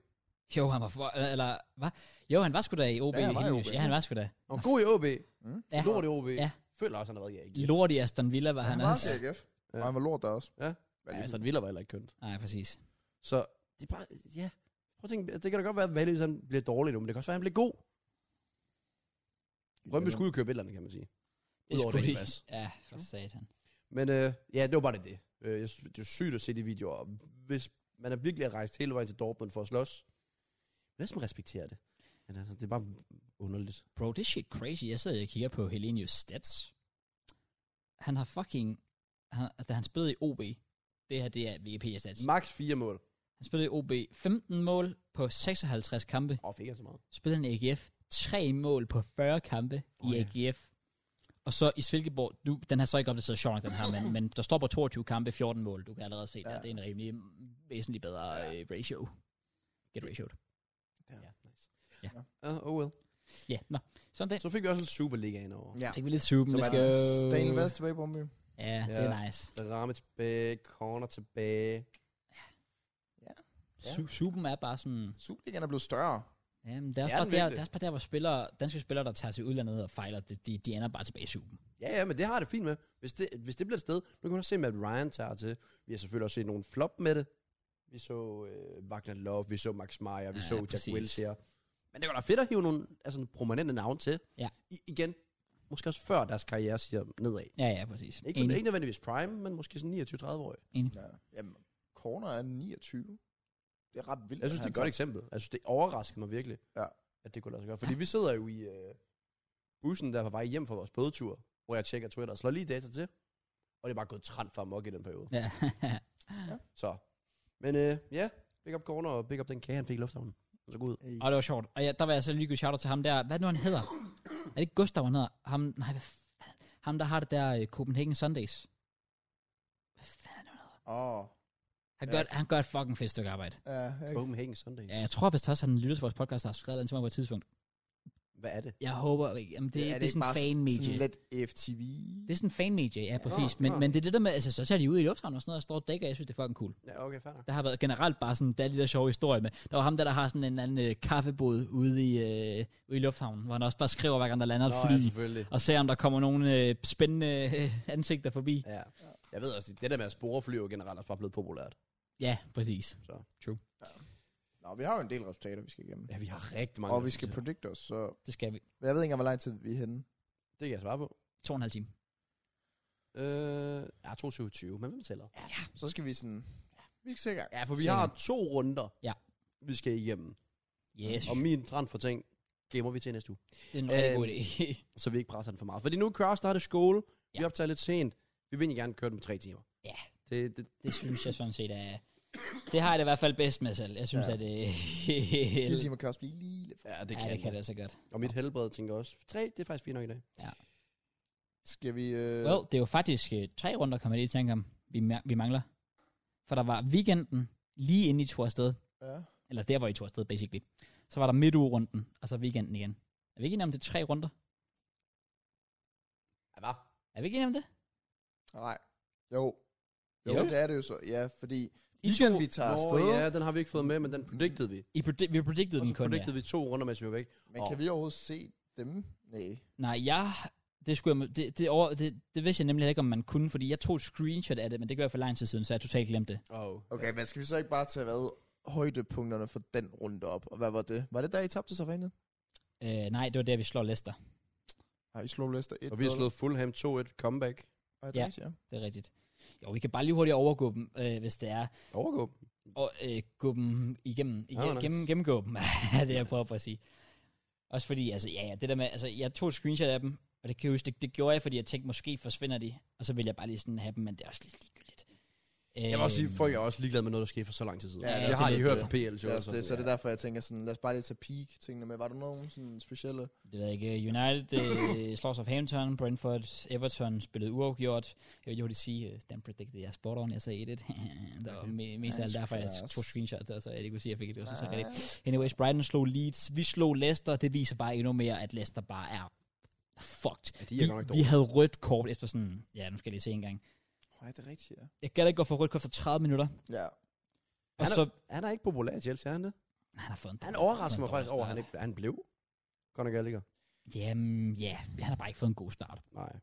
Speaker 1: Jo, han var for, eller, hvad? Jo, han var sgu da i OB.
Speaker 3: Ja, han var i
Speaker 1: Hellenius.
Speaker 3: OB.
Speaker 1: Ja, han var sgu da.
Speaker 2: Han var god i OB.
Speaker 3: Mm?
Speaker 1: Ja.
Speaker 2: Lort i OB.
Speaker 1: Ja.
Speaker 2: Føler også, han har været i AGF.
Speaker 1: Lort i Aston Villa var
Speaker 3: Han
Speaker 1: han
Speaker 3: var
Speaker 1: også.
Speaker 3: til AGF.
Speaker 2: Ja.
Speaker 3: Og han var lort der også.
Speaker 2: Ja.
Speaker 3: Men
Speaker 2: Ja,
Speaker 3: ligesom-
Speaker 2: altså, han ville var heller ikke kønt.
Speaker 1: Nej, præcis.
Speaker 2: Så det er bare, ja. Prøv at tænke, altså, det kan da godt være, at Valius han bliver dårlig nu, men det kan også være, at han bliver god. Rømpe skulle jo købe et eller andet, kan man sige. Udover
Speaker 1: skulle
Speaker 2: det,
Speaker 1: de-
Speaker 2: Mads.
Speaker 1: Ja, for satan.
Speaker 2: Men øh, ja, det var bare det. det. Øh, jeg synes, det er sygt at se de videoer. og Hvis man er virkelig har rejst hele vejen til Dortmund for at slås, næsten respekterer det. Men altså, det er bare underligt.
Speaker 1: Bro, det shit crazy. Jeg sidder og kigger på Helenius stats. Han har fucking... Han, da han spillede i OB, det her, det er VP stats.
Speaker 2: Max fire mål.
Speaker 1: Han spillede i OB 15 mål på 56 kampe.
Speaker 2: Åh, oh, fik han så meget.
Speaker 1: Spillede han i AGF 3 mål på 40 kampe i
Speaker 2: Åh, ja.
Speaker 1: AGF. Og så i Silkeborg, du, den har så ikke opdateret sjovt, nok, den her, men, men der står på 22 kampe, 14 mål. Du kan allerede se, ja.
Speaker 3: Ja.
Speaker 1: der, det er en rimelig væsentlig bedre ja. ratio. Get ratio.
Speaker 2: Ja, nice.
Speaker 1: Ja.
Speaker 2: Ja. Uh, oh well.
Speaker 1: Ja, nå. Sådan det.
Speaker 2: Så fik vi også en Superliga ind over.
Speaker 3: Ja.
Speaker 1: Fik vi lidt suppen,
Speaker 2: Så
Speaker 1: let's
Speaker 2: var
Speaker 1: go.
Speaker 2: der
Speaker 3: Daniel Vaz tilbage på Brøndby.
Speaker 1: Ja, det er
Speaker 2: Ja.
Speaker 1: nice.
Speaker 2: Ramme tilbage, corner tilbage. Ja.
Speaker 1: Su- Suppen er bare sådan...
Speaker 3: Superligaen er blevet større.
Speaker 1: Jamen, det er,
Speaker 2: Det
Speaker 1: også
Speaker 2: er
Speaker 1: bare
Speaker 2: den
Speaker 1: der,
Speaker 2: virkelig.
Speaker 1: det er også bare der, hvor spillere, danske spillere, der tager til udlandet og fejler, det- de, de ender bare tilbage i suppen.
Speaker 2: Ja, ja, men det har jeg det fint med. Hvis det, hvis det bliver et sted, nu kan man også se, at Ryan tager til. Vi har selvfølgelig også set nogle flop med det. Vi så øh, Wagner Love, vi så Max Meyer, vi
Speaker 1: Ja,
Speaker 2: ja, så Jack
Speaker 1: præcis.
Speaker 2: Wills her. Men det var da fedt at hive nogle altså, nogle prominente navn til.
Speaker 1: Ja.
Speaker 2: I, igen, måske også før deres karriere siger nedad.
Speaker 1: Ja, ja, præcis.
Speaker 2: Ikke,
Speaker 1: Enig.
Speaker 2: ikke nødvendigvis prime, men måske sådan 29-30-årige.
Speaker 3: Ja. Jamen, Corner er 29. Det er ret vildt.
Speaker 2: Jeg synes, det
Speaker 3: at
Speaker 2: er
Speaker 3: han
Speaker 2: et godt
Speaker 1: Altså-
Speaker 2: eksempel. Jeg synes, det overraskede mig virkelig,
Speaker 3: Ja.
Speaker 2: at det kunne lade sig gøre. Fordi vi sidder jo i øh, bussen, der var vej hjem fra vores bødetur, hvor jeg tjekker Twitter og slår lige data til. Og det er bare gået trændt for mok i den periode.
Speaker 1: Ja.
Speaker 2: Så. Men øh, ja, big up corner og big up den kage, han fik i lufthavnen. Og så god ud.
Speaker 1: og det var sjovt. Og ja, der var jeg så lige give shout til ham der. Hvad er det nu, han hedder? Er det ikke Gustav, han hedder? Ham, nej, hvad fanden? Ham, der har det der øh, Copenhagen Sundays. Hvad fanden er det, nu, han hedder?
Speaker 3: Åh.
Speaker 1: Han,
Speaker 3: Ja.
Speaker 1: gør, han gør et fucking fedt stykke arbejde.
Speaker 3: Ja, jeg-
Speaker 2: Copenhagen Sunday.
Speaker 1: Ja, jeg tror vist også, han lytter til vores podcast, der har skrevet den til mig på et tidspunkt.
Speaker 2: Hvad er det?
Speaker 1: Jeg håber, ikke- jamen, det, ja, det, det, er sådan
Speaker 3: ikke
Speaker 1: en
Speaker 3: bare
Speaker 1: fan-medie.
Speaker 3: Sådan lidt FTV.
Speaker 1: Det er sådan en fan-medie, ja, præcis.
Speaker 2: nå.
Speaker 1: men, men det er det der med, altså, så tager de ud i lufthavnen og sådan noget, og står og dækker, jeg synes, det er fucking cool.
Speaker 2: Ja, okay, fair nok.
Speaker 1: Der har været generelt bare sådan, der er de der sjove historier med. Der var ham der, der har sådan en eller anden øh, kaffebod ude i, øh, ude i lufthavnen, hvor han også bare skriver, hver gang der lander et
Speaker 2: Nå,
Speaker 1: fly,
Speaker 2: ja, selvfølgelig.
Speaker 1: og ser, om der kommer nogle øh, spændende øh, ansigter forbi.
Speaker 2: Ja. Jeg ved også, det der med at spore fly er jo generelt også bare blevet populært.
Speaker 1: Ja, præcis.
Speaker 2: Så.
Speaker 3: Nå, vi har jo en del resultater, vi skal igennem.
Speaker 2: Ja, vi har rigtig mange.
Speaker 3: Og vi skal
Speaker 2: resultater.
Speaker 3: predict os, så...
Speaker 1: Det skal vi.
Speaker 3: Jeg ved ikke engang, hvor lang tid vi er henne.
Speaker 2: Det kan jeg svare på.
Speaker 1: To og en halv time.
Speaker 2: Øh, ja, 22-20, men hvem tæller?
Speaker 3: Så skal vi sådan... Vi skal se i gang.
Speaker 2: Ja, for vi
Speaker 1: Sikkert.
Speaker 2: har to runder,
Speaker 1: Ja.
Speaker 2: vi skal igennem.
Speaker 1: Yes,
Speaker 2: Og min trend for ting gemmer vi til næste uge,
Speaker 1: det er en rigtig
Speaker 2: øhm,
Speaker 1: god idé.
Speaker 2: så vi ikke presser den for meget. Fordi nu er Kraus startet skole, ja.
Speaker 1: Ja.
Speaker 2: vi optager lidt sent. Vi vil egentlig gerne køre den på tre timer.
Speaker 1: Ja.
Speaker 2: Det, det,
Speaker 1: det synes jeg sådan set er... Det har jeg det i hvert fald bedst med selv. Jeg synes, ja.
Speaker 3: Ja.
Speaker 1: at det...
Speaker 3: Fire timer kan også blive lige lidt...
Speaker 2: ja, det
Speaker 1: det
Speaker 2: ja,
Speaker 1: ja,
Speaker 2: kan,
Speaker 1: det kan
Speaker 2: det.
Speaker 1: det så godt.
Speaker 2: Og mit helbred tænker jeg også. Tre, det er faktisk fint nok i dag.
Speaker 3: Skal vi... Øh...
Speaker 1: Well, det er jo faktisk øh, tre runder, kan man lige tænke om, vi, ma- vi mangler. For der var weekenden, lige inden I tog afsted,
Speaker 3: Ja.
Speaker 1: eller der, hvor I tog afsted, basically. Så var der midtugerunden, og så weekenden igen. Er vi ikke enige om det er tre runder?
Speaker 2: Ja, hva?
Speaker 1: Er vi ikke enige om det?
Speaker 3: Nej. Jo. Jo,
Speaker 1: Jo.
Speaker 3: jo, det er det jo så. Ja, fordi...
Speaker 1: I,
Speaker 3: Weekend, vi tager
Speaker 2: Nå,
Speaker 3: afsted.
Speaker 2: ja, den har vi ikke fået med, men den predicted vi.
Speaker 1: I predi- vi predicted
Speaker 2: Og
Speaker 1: den
Speaker 2: så
Speaker 1: kun, ja.
Speaker 2: predicted vi to runder, mens vi var væk.
Speaker 3: Men
Speaker 2: Åh.
Speaker 3: kan vi overhovedet se dem? Nej.
Speaker 1: Nej, jeg... Det, skulle jeg, det, det, over, det, det vidste jeg nemlig heller ikke, om man kunne, fordi jeg tog et screenshot af det, men det gør jeg for lang tid siden, så jeg totalt glemte det.
Speaker 2: Oh.
Speaker 3: Okay, men skal vi så ikke bare tage hvad højdepunkterne for den runde op? Og hvad var det? Var det der, I tabte så rent?
Speaker 1: Øh, nej, det var der, vi slår Leicester.
Speaker 3: Nej, I slog Leicester 1
Speaker 2: Og vi har slået Fulham 2-1 comeback.
Speaker 1: Ja.
Speaker 3: ja.
Speaker 1: Det er rigtigt. Jo, vi kan bare lige hurtigt overgå dem, øh, hvis det er.
Speaker 2: Overgå.
Speaker 1: og øh, gå dem igennem, igen,
Speaker 2: Ah, nice.
Speaker 1: gennem, gennemgå dem, er det jeg prøver på at sige. Også fordi, altså, ja, ja, det der med, altså, jeg tog et screenshot af dem, og det kan jeg huske, det, det gjorde jeg, fordi jeg tænkte, måske forsvinder de, og så ville jeg bare lige sådan have dem, men det er også lidt ligegyldigt. Øh,
Speaker 2: Jeg vil også sige, folk er også ligeglade med noget, der sker for så lang tid siden.
Speaker 3: Ja,
Speaker 2: Ja,
Speaker 3: det er
Speaker 2: det har
Speaker 3: også
Speaker 2: de
Speaker 3: lidt
Speaker 2: hørt
Speaker 3: det.
Speaker 2: på PL.
Speaker 3: Det er også det, så det er
Speaker 2: der.
Speaker 3: derfor, jeg tænker sådan, lad os bare lige tage peak-tingene med. Var der nogen sådan specielle?
Speaker 1: Det ved jeg ikke. United øh, slår Southampton, Brentford, Everton spillede uafgjort. Jeg vil jo lige sige, uh, den predicted jeg spot on, jeg sagde 1 Der var me- mest af alt derfor, jeg
Speaker 3: Nice
Speaker 1: tog screenshots, altså jeg ikke kunne sige, at jeg fik det, det var så, så rigtigt.
Speaker 3: Ah.
Speaker 1: Anyways, Brighton slog Leeds. Vi slog Leicester. Det viser bare endnu mere, at Leicester bare er fucked.
Speaker 2: Ja, de er godt nok
Speaker 1: vi, vi
Speaker 2: dårlige.
Speaker 1: havde rødt kort efter sådan... Ja, nu skal jeg lige se en gang.
Speaker 3: Åh, er det rigtigt, ja.
Speaker 1: Jeg gad da ikke gå for rødt kort for 30 minutter.
Speaker 3: Ja,
Speaker 1: Og
Speaker 2: Han
Speaker 1: så...
Speaker 2: Han er ikke populær i Chelsea, er han det?
Speaker 1: Han har fået en
Speaker 2: Han
Speaker 1: dårlig-
Speaker 2: overrasker
Speaker 1: fået en
Speaker 2: mig
Speaker 1: dårlig
Speaker 2: faktisk over, at
Speaker 1: start.
Speaker 2: han, ikke, han blev. Godt nok ligger.
Speaker 1: Jamen, ja. Han har bare ikke fået en god start.
Speaker 2: Nej.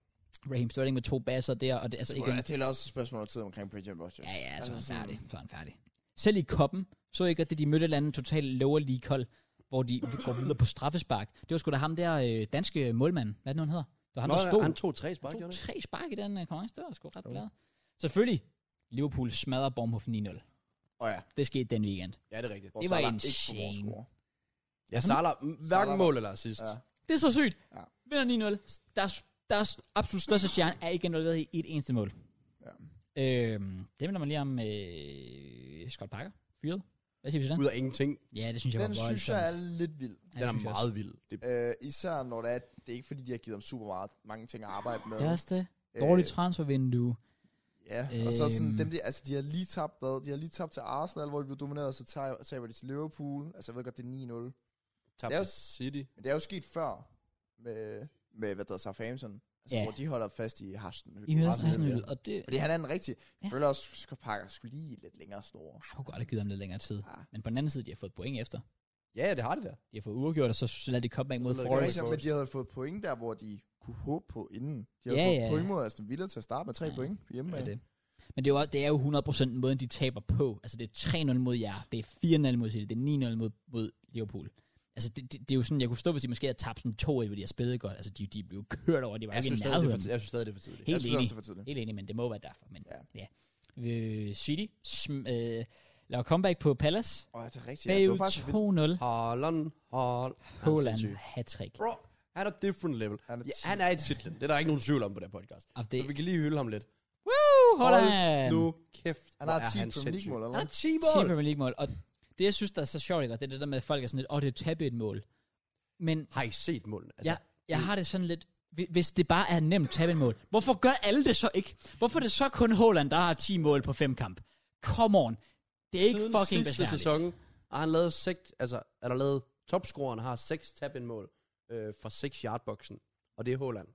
Speaker 1: Raheem Sterling med to basser der, og det, altså
Speaker 3: det,
Speaker 1: igen...
Speaker 3: er det er også et spørgsmål om tid omkring Bridget Rogers. Altså
Speaker 1: Ja, ja, så er han
Speaker 2: Altså,
Speaker 3: sådan-
Speaker 1: færdig. Så er han færdig. Selv i koppen, så ikke, at det de mødte et eller andet totalt lower league hold, hvor de går videre på straffespark. Det var sgu da ham der øh, danske målmand. Hvad er det nu, han hedder? Det var ham,
Speaker 2: Nå,
Speaker 1: der stod.
Speaker 2: han tog tre spark,
Speaker 1: to,
Speaker 2: gjorde han
Speaker 1: tre spark i den uh, konkurrence. Det var sgu ret blad. Selvfølgelig, Liverpool smadrer Bornhof 9-0.
Speaker 3: Åh ja,
Speaker 1: Det skete den weekend.
Speaker 2: ikke? Ja, det er rigtigt.
Speaker 3: Hvor
Speaker 1: Det var
Speaker 3: Salah
Speaker 1: en
Speaker 3: ikke formår at
Speaker 1: shame.
Speaker 3: score.
Speaker 2: Ja, Salah, m- hverken
Speaker 3: Salah var-
Speaker 2: mål eller assist.
Speaker 3: Ja.
Speaker 1: Det er så sygt.
Speaker 3: Ja.
Speaker 1: Ja. Vinder 9-0. Deres, deres absolut største stjerne er ikke involveret i et eneste mål.
Speaker 3: Ja.
Speaker 1: Øhm, det minder man lige om øh, Scott Parker. Fyret. Hvad siger vi til det?
Speaker 2: Ud af ingenting.
Speaker 1: Ja, det synes jeg
Speaker 3: Den
Speaker 1: var
Speaker 3: synes jeg er lidt vild.
Speaker 1: Ja,
Speaker 2: Den
Speaker 1: det
Speaker 2: er
Speaker 1: synes jeg
Speaker 2: meget vild. Det,
Speaker 3: Øh, især når det er, det er ikke fordi, de har givet ham super meget, mange ting at arbejde med.
Speaker 1: også. Det er også det.
Speaker 3: Øh,
Speaker 1: Dårligt transfervindue.
Speaker 3: Ja, og så sådan
Speaker 1: Øhm.
Speaker 3: dem, de, altså de har lige tabt, hvad? De har lige tabt til Arsenal, hvor de blev domineret, og så tager- taber de til Liverpool. Altså jeg ved godt, det er 9-0.
Speaker 2: tabte
Speaker 3: det er
Speaker 2: til City.
Speaker 3: Men det er jo sket før med, med hvad der Southampton. Altså,
Speaker 1: Ja.
Speaker 3: ja. hvor de holder fast i Hasten.
Speaker 1: I Midtjylland har sådan og det...
Speaker 3: Fordi han er den rigtige.
Speaker 1: Ja.
Speaker 3: Jeg føler også, at Scott Parker skulle lige lidt længere snore.
Speaker 1: Jeg kunne Ah, godt have givet ham lidt længere tid.
Speaker 3: Ah.
Speaker 1: Men på den anden side, de har fået point efter.
Speaker 2: Ja, ja, det har det der.
Speaker 1: De har fået uafgjort, og så lader de komme bag mod
Speaker 2: Så lader de
Speaker 3: Det er
Speaker 2: komme
Speaker 1: Forest.
Speaker 2: bag.
Speaker 3: rigtigt, men de havde fået point der, hvor de kunne håbe på inden. De havde
Speaker 1: Ja,
Speaker 3: ja, fået
Speaker 1: ja.
Speaker 3: ja. point mod Aston Villa til at starte med tre
Speaker 1: Ja.
Speaker 3: ja. point øh, på hjemmebane.
Speaker 1: Ja,
Speaker 3: Ja,
Speaker 1: det. Men det er, jo, også- det er jo 100% måden, de taber på. Altså, det er 3-0 mod jer, det er 4-0 mod City, det er 9-0 mod, mod Liverpool. Altså, det, det, det, er jo sådan, jeg kunne forstå, hvis de måske havde tabt sådan 2-1, hvor de har spillet godt. Altså, de, de blev kørt over, de var
Speaker 2: Jeg
Speaker 1: ikke
Speaker 2: synes,
Speaker 1: i
Speaker 2: stadig, det er
Speaker 1: nærheden.
Speaker 2: for, ti- jeg synes stadig, det er for tidligt.
Speaker 1: Helt
Speaker 3: jeg synes også,
Speaker 1: enig.
Speaker 3: det er for tidligt.
Speaker 1: Helt enig, men det må være derfor. Men,
Speaker 3: Ja.
Speaker 1: ja. ja. Øh, City sm- øh, laver comeback på Palace.
Speaker 3: Åh, det er rigtigt. Ja, det
Speaker 1: Bagud
Speaker 3: var faktisk vildt.
Speaker 1: 2-0.
Speaker 2: Haaland, Haaland. Han er
Speaker 1: Haaland
Speaker 2: sindssyg.
Speaker 1: hat-trick.
Speaker 2: Bro, han er different level.
Speaker 3: Han er
Speaker 2: Ja, han er i titlen. Det er der ikke nogen tvivl om på det her podcast.
Speaker 1: Og
Speaker 2: Så vi
Speaker 1: det Uh,
Speaker 2: kan lige hylde ham lidt.
Speaker 1: Woo, Haaland!
Speaker 2: Hold nu kæft,
Speaker 3: Han
Speaker 2: hvor
Speaker 3: har
Speaker 2: er
Speaker 3: 10 Premier
Speaker 2: sindssyg.
Speaker 3: League-mål, eller
Speaker 2: Han har 10
Speaker 1: 10
Speaker 2: mål.
Speaker 1: Premier League-mål. Og det, jeg synes, der er så sjovt, ikke? Og det er det der med, at folk er sådan lidt, åh, oh, det er tabe et mål. Men
Speaker 2: Har I set målene?
Speaker 1: Altså, jeg, jeg har det sådan lidt, hvi- hvis det bare er nemt tab en mål, hvorfor gør alle det så ikke? Hvorfor er det så kun Holland, der har 10 mål på 5 kamp? Come on. Det er ikke
Speaker 2: Siden
Speaker 1: fucking
Speaker 2: sidste
Speaker 1: besværligt.
Speaker 2: sæson har han lavet seks, altså han har lavet topscoreren har seks tap mål øh, fra 6 yardboksen, og det er Holland.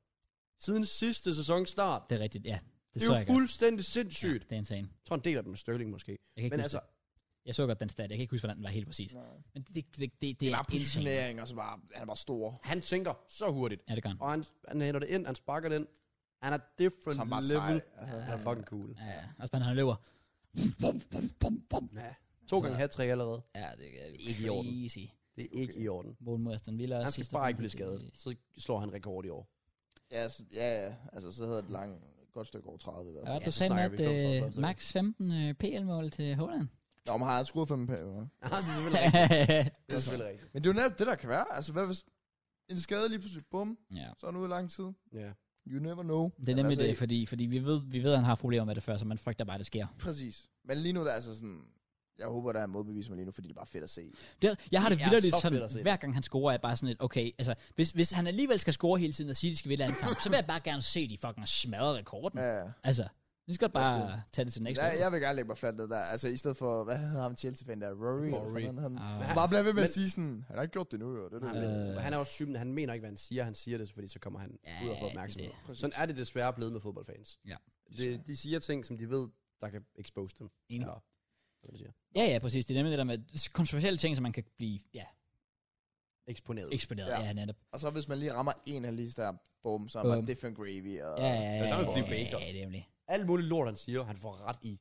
Speaker 2: Siden sidste sæson start. Det,
Speaker 1: Det er rigtigt, ja. Det,
Speaker 2: det
Speaker 1: så
Speaker 2: er
Speaker 1: jeg
Speaker 2: jo fuldstændig
Speaker 1: Ja,
Speaker 2: sindssygt.
Speaker 1: det er insane.
Speaker 2: Jeg tror, en del af dem er Sterling måske.
Speaker 1: Jeg kan ikke
Speaker 2: Men
Speaker 1: huske
Speaker 2: altså,
Speaker 1: det. Jeg så godt den stat. Jeg kan ikke huske, hvordan den var helt præcis.
Speaker 3: Nej.
Speaker 1: Men det, det, det, det, det
Speaker 3: Det
Speaker 1: er
Speaker 3: var
Speaker 1: insane.
Speaker 3: positionering, og så var han var stor.
Speaker 2: han tænker så hurtigt.
Speaker 1: Er det godt?
Speaker 2: Og han, han hænder det ind, han sparker den. Han er different
Speaker 3: Så han bare sej.
Speaker 2: level.
Speaker 3: Altså,
Speaker 2: Han er fucking cool.
Speaker 1: Ja, ja. også bare, når han løber.
Speaker 2: Ja. To gange hat allerede.
Speaker 1: Ja, det er
Speaker 2: Ikke i orden.
Speaker 1: Easy.
Speaker 2: Det er ikke i orden.
Speaker 1: Mål mod Aston Villa.
Speaker 2: Han skal
Speaker 1: sidste
Speaker 2: bare
Speaker 1: runde,
Speaker 2: ikke blive
Speaker 1: det-
Speaker 2: skadet. Så slår han rekord i år.
Speaker 3: Ja, så, ja, ja. Altså, så hedder det langt. et Godt stykke over 30 i hvert
Speaker 1: Ja,
Speaker 3: fald.
Speaker 1: du
Speaker 2: så
Speaker 1: sagde med,
Speaker 2: snakker
Speaker 1: at
Speaker 2: vi 35,
Speaker 1: øh,
Speaker 2: så er det.
Speaker 1: max 15 øh, PL-mål til Holland.
Speaker 3: Nå, men har han skruet 15 pære?
Speaker 2: Ja, det er selvfølgelig rigtigt. Det er selvfølgelig rigtigt.
Speaker 3: Men det er jo netop det, der kan være. Altså, hvad hvis en skade lige pludselig, bum,
Speaker 1: ja.
Speaker 3: så er han ude i lang tid.
Speaker 2: Ja.
Speaker 3: You never know.
Speaker 1: Det er nemlig
Speaker 3: altså,
Speaker 1: det, fordi, fordi vi, ved, vi ved, at han har haft problemer med det før, så man frygter bare, at det sker.
Speaker 3: Præcis. Men lige nu, der er altså sådan... Jeg håber, der er en modbevis mig lige nu, fordi det er bare fedt at se.
Speaker 1: Det, jeg har det,
Speaker 2: Det
Speaker 1: det
Speaker 2: er
Speaker 1: vildt
Speaker 2: så fedt
Speaker 1: sådan,
Speaker 2: at se.
Speaker 1: hver gang han scorer, er jeg bare sådan lidt, okay, altså, hvis, hvis han alligevel skal score hele tiden og sige, at de skal vinde anden kamp, så vil jeg bare gerne se, at de fucking smadrer rekorden.
Speaker 3: Ja, ja.
Speaker 1: Altså, vi skal godt
Speaker 3: Også
Speaker 1: bare tage det til næste
Speaker 3: Ja, jeg vil gerne lægge mig fladt ned der. Altså i stedet for, hvad hedder ham Chelsea-fan der? Rory? eller
Speaker 2: Rory.
Speaker 3: hvad fanden Han,
Speaker 1: Ah.
Speaker 3: han, så bare blive ved med at
Speaker 2: Men-
Speaker 3: sige sådan, han har ikke gjort det nu, jo. Det, er det,
Speaker 2: Nej,
Speaker 3: det.
Speaker 2: men øh, han er jo syg, han mener ikke, hvad han siger. Han siger det, fordi så kommer han
Speaker 1: Ja,
Speaker 2: ja, ud og
Speaker 1: det er
Speaker 2: får opmærksomhed.
Speaker 1: det.
Speaker 2: Det. Sådan er det desværre blevet med fodboldfans.
Speaker 1: Ja.
Speaker 2: Det, de siger ting, som de ved, der kan expose dem.
Speaker 1: Enig.
Speaker 2: Eller, hvad man siger.
Speaker 1: Ja, ja, præcis. Det er nemlig det der med kontroversielle ting, som man kan blive ja,
Speaker 2: Eksponeret.
Speaker 1: eksponeret. Ja,
Speaker 3: Ja.
Speaker 1: ja netop.
Speaker 3: Og så hvis man lige rammer en af lige der, bum, så er man
Speaker 1: Bum.
Speaker 3: different gravy. Og,
Speaker 1: Ja, ja, ja.
Speaker 2: Det er samme med Phil
Speaker 1: ja,
Speaker 2: Baker.
Speaker 1: ja, det er nemlig.
Speaker 2: Alt muligt lort, han siger, han får ret i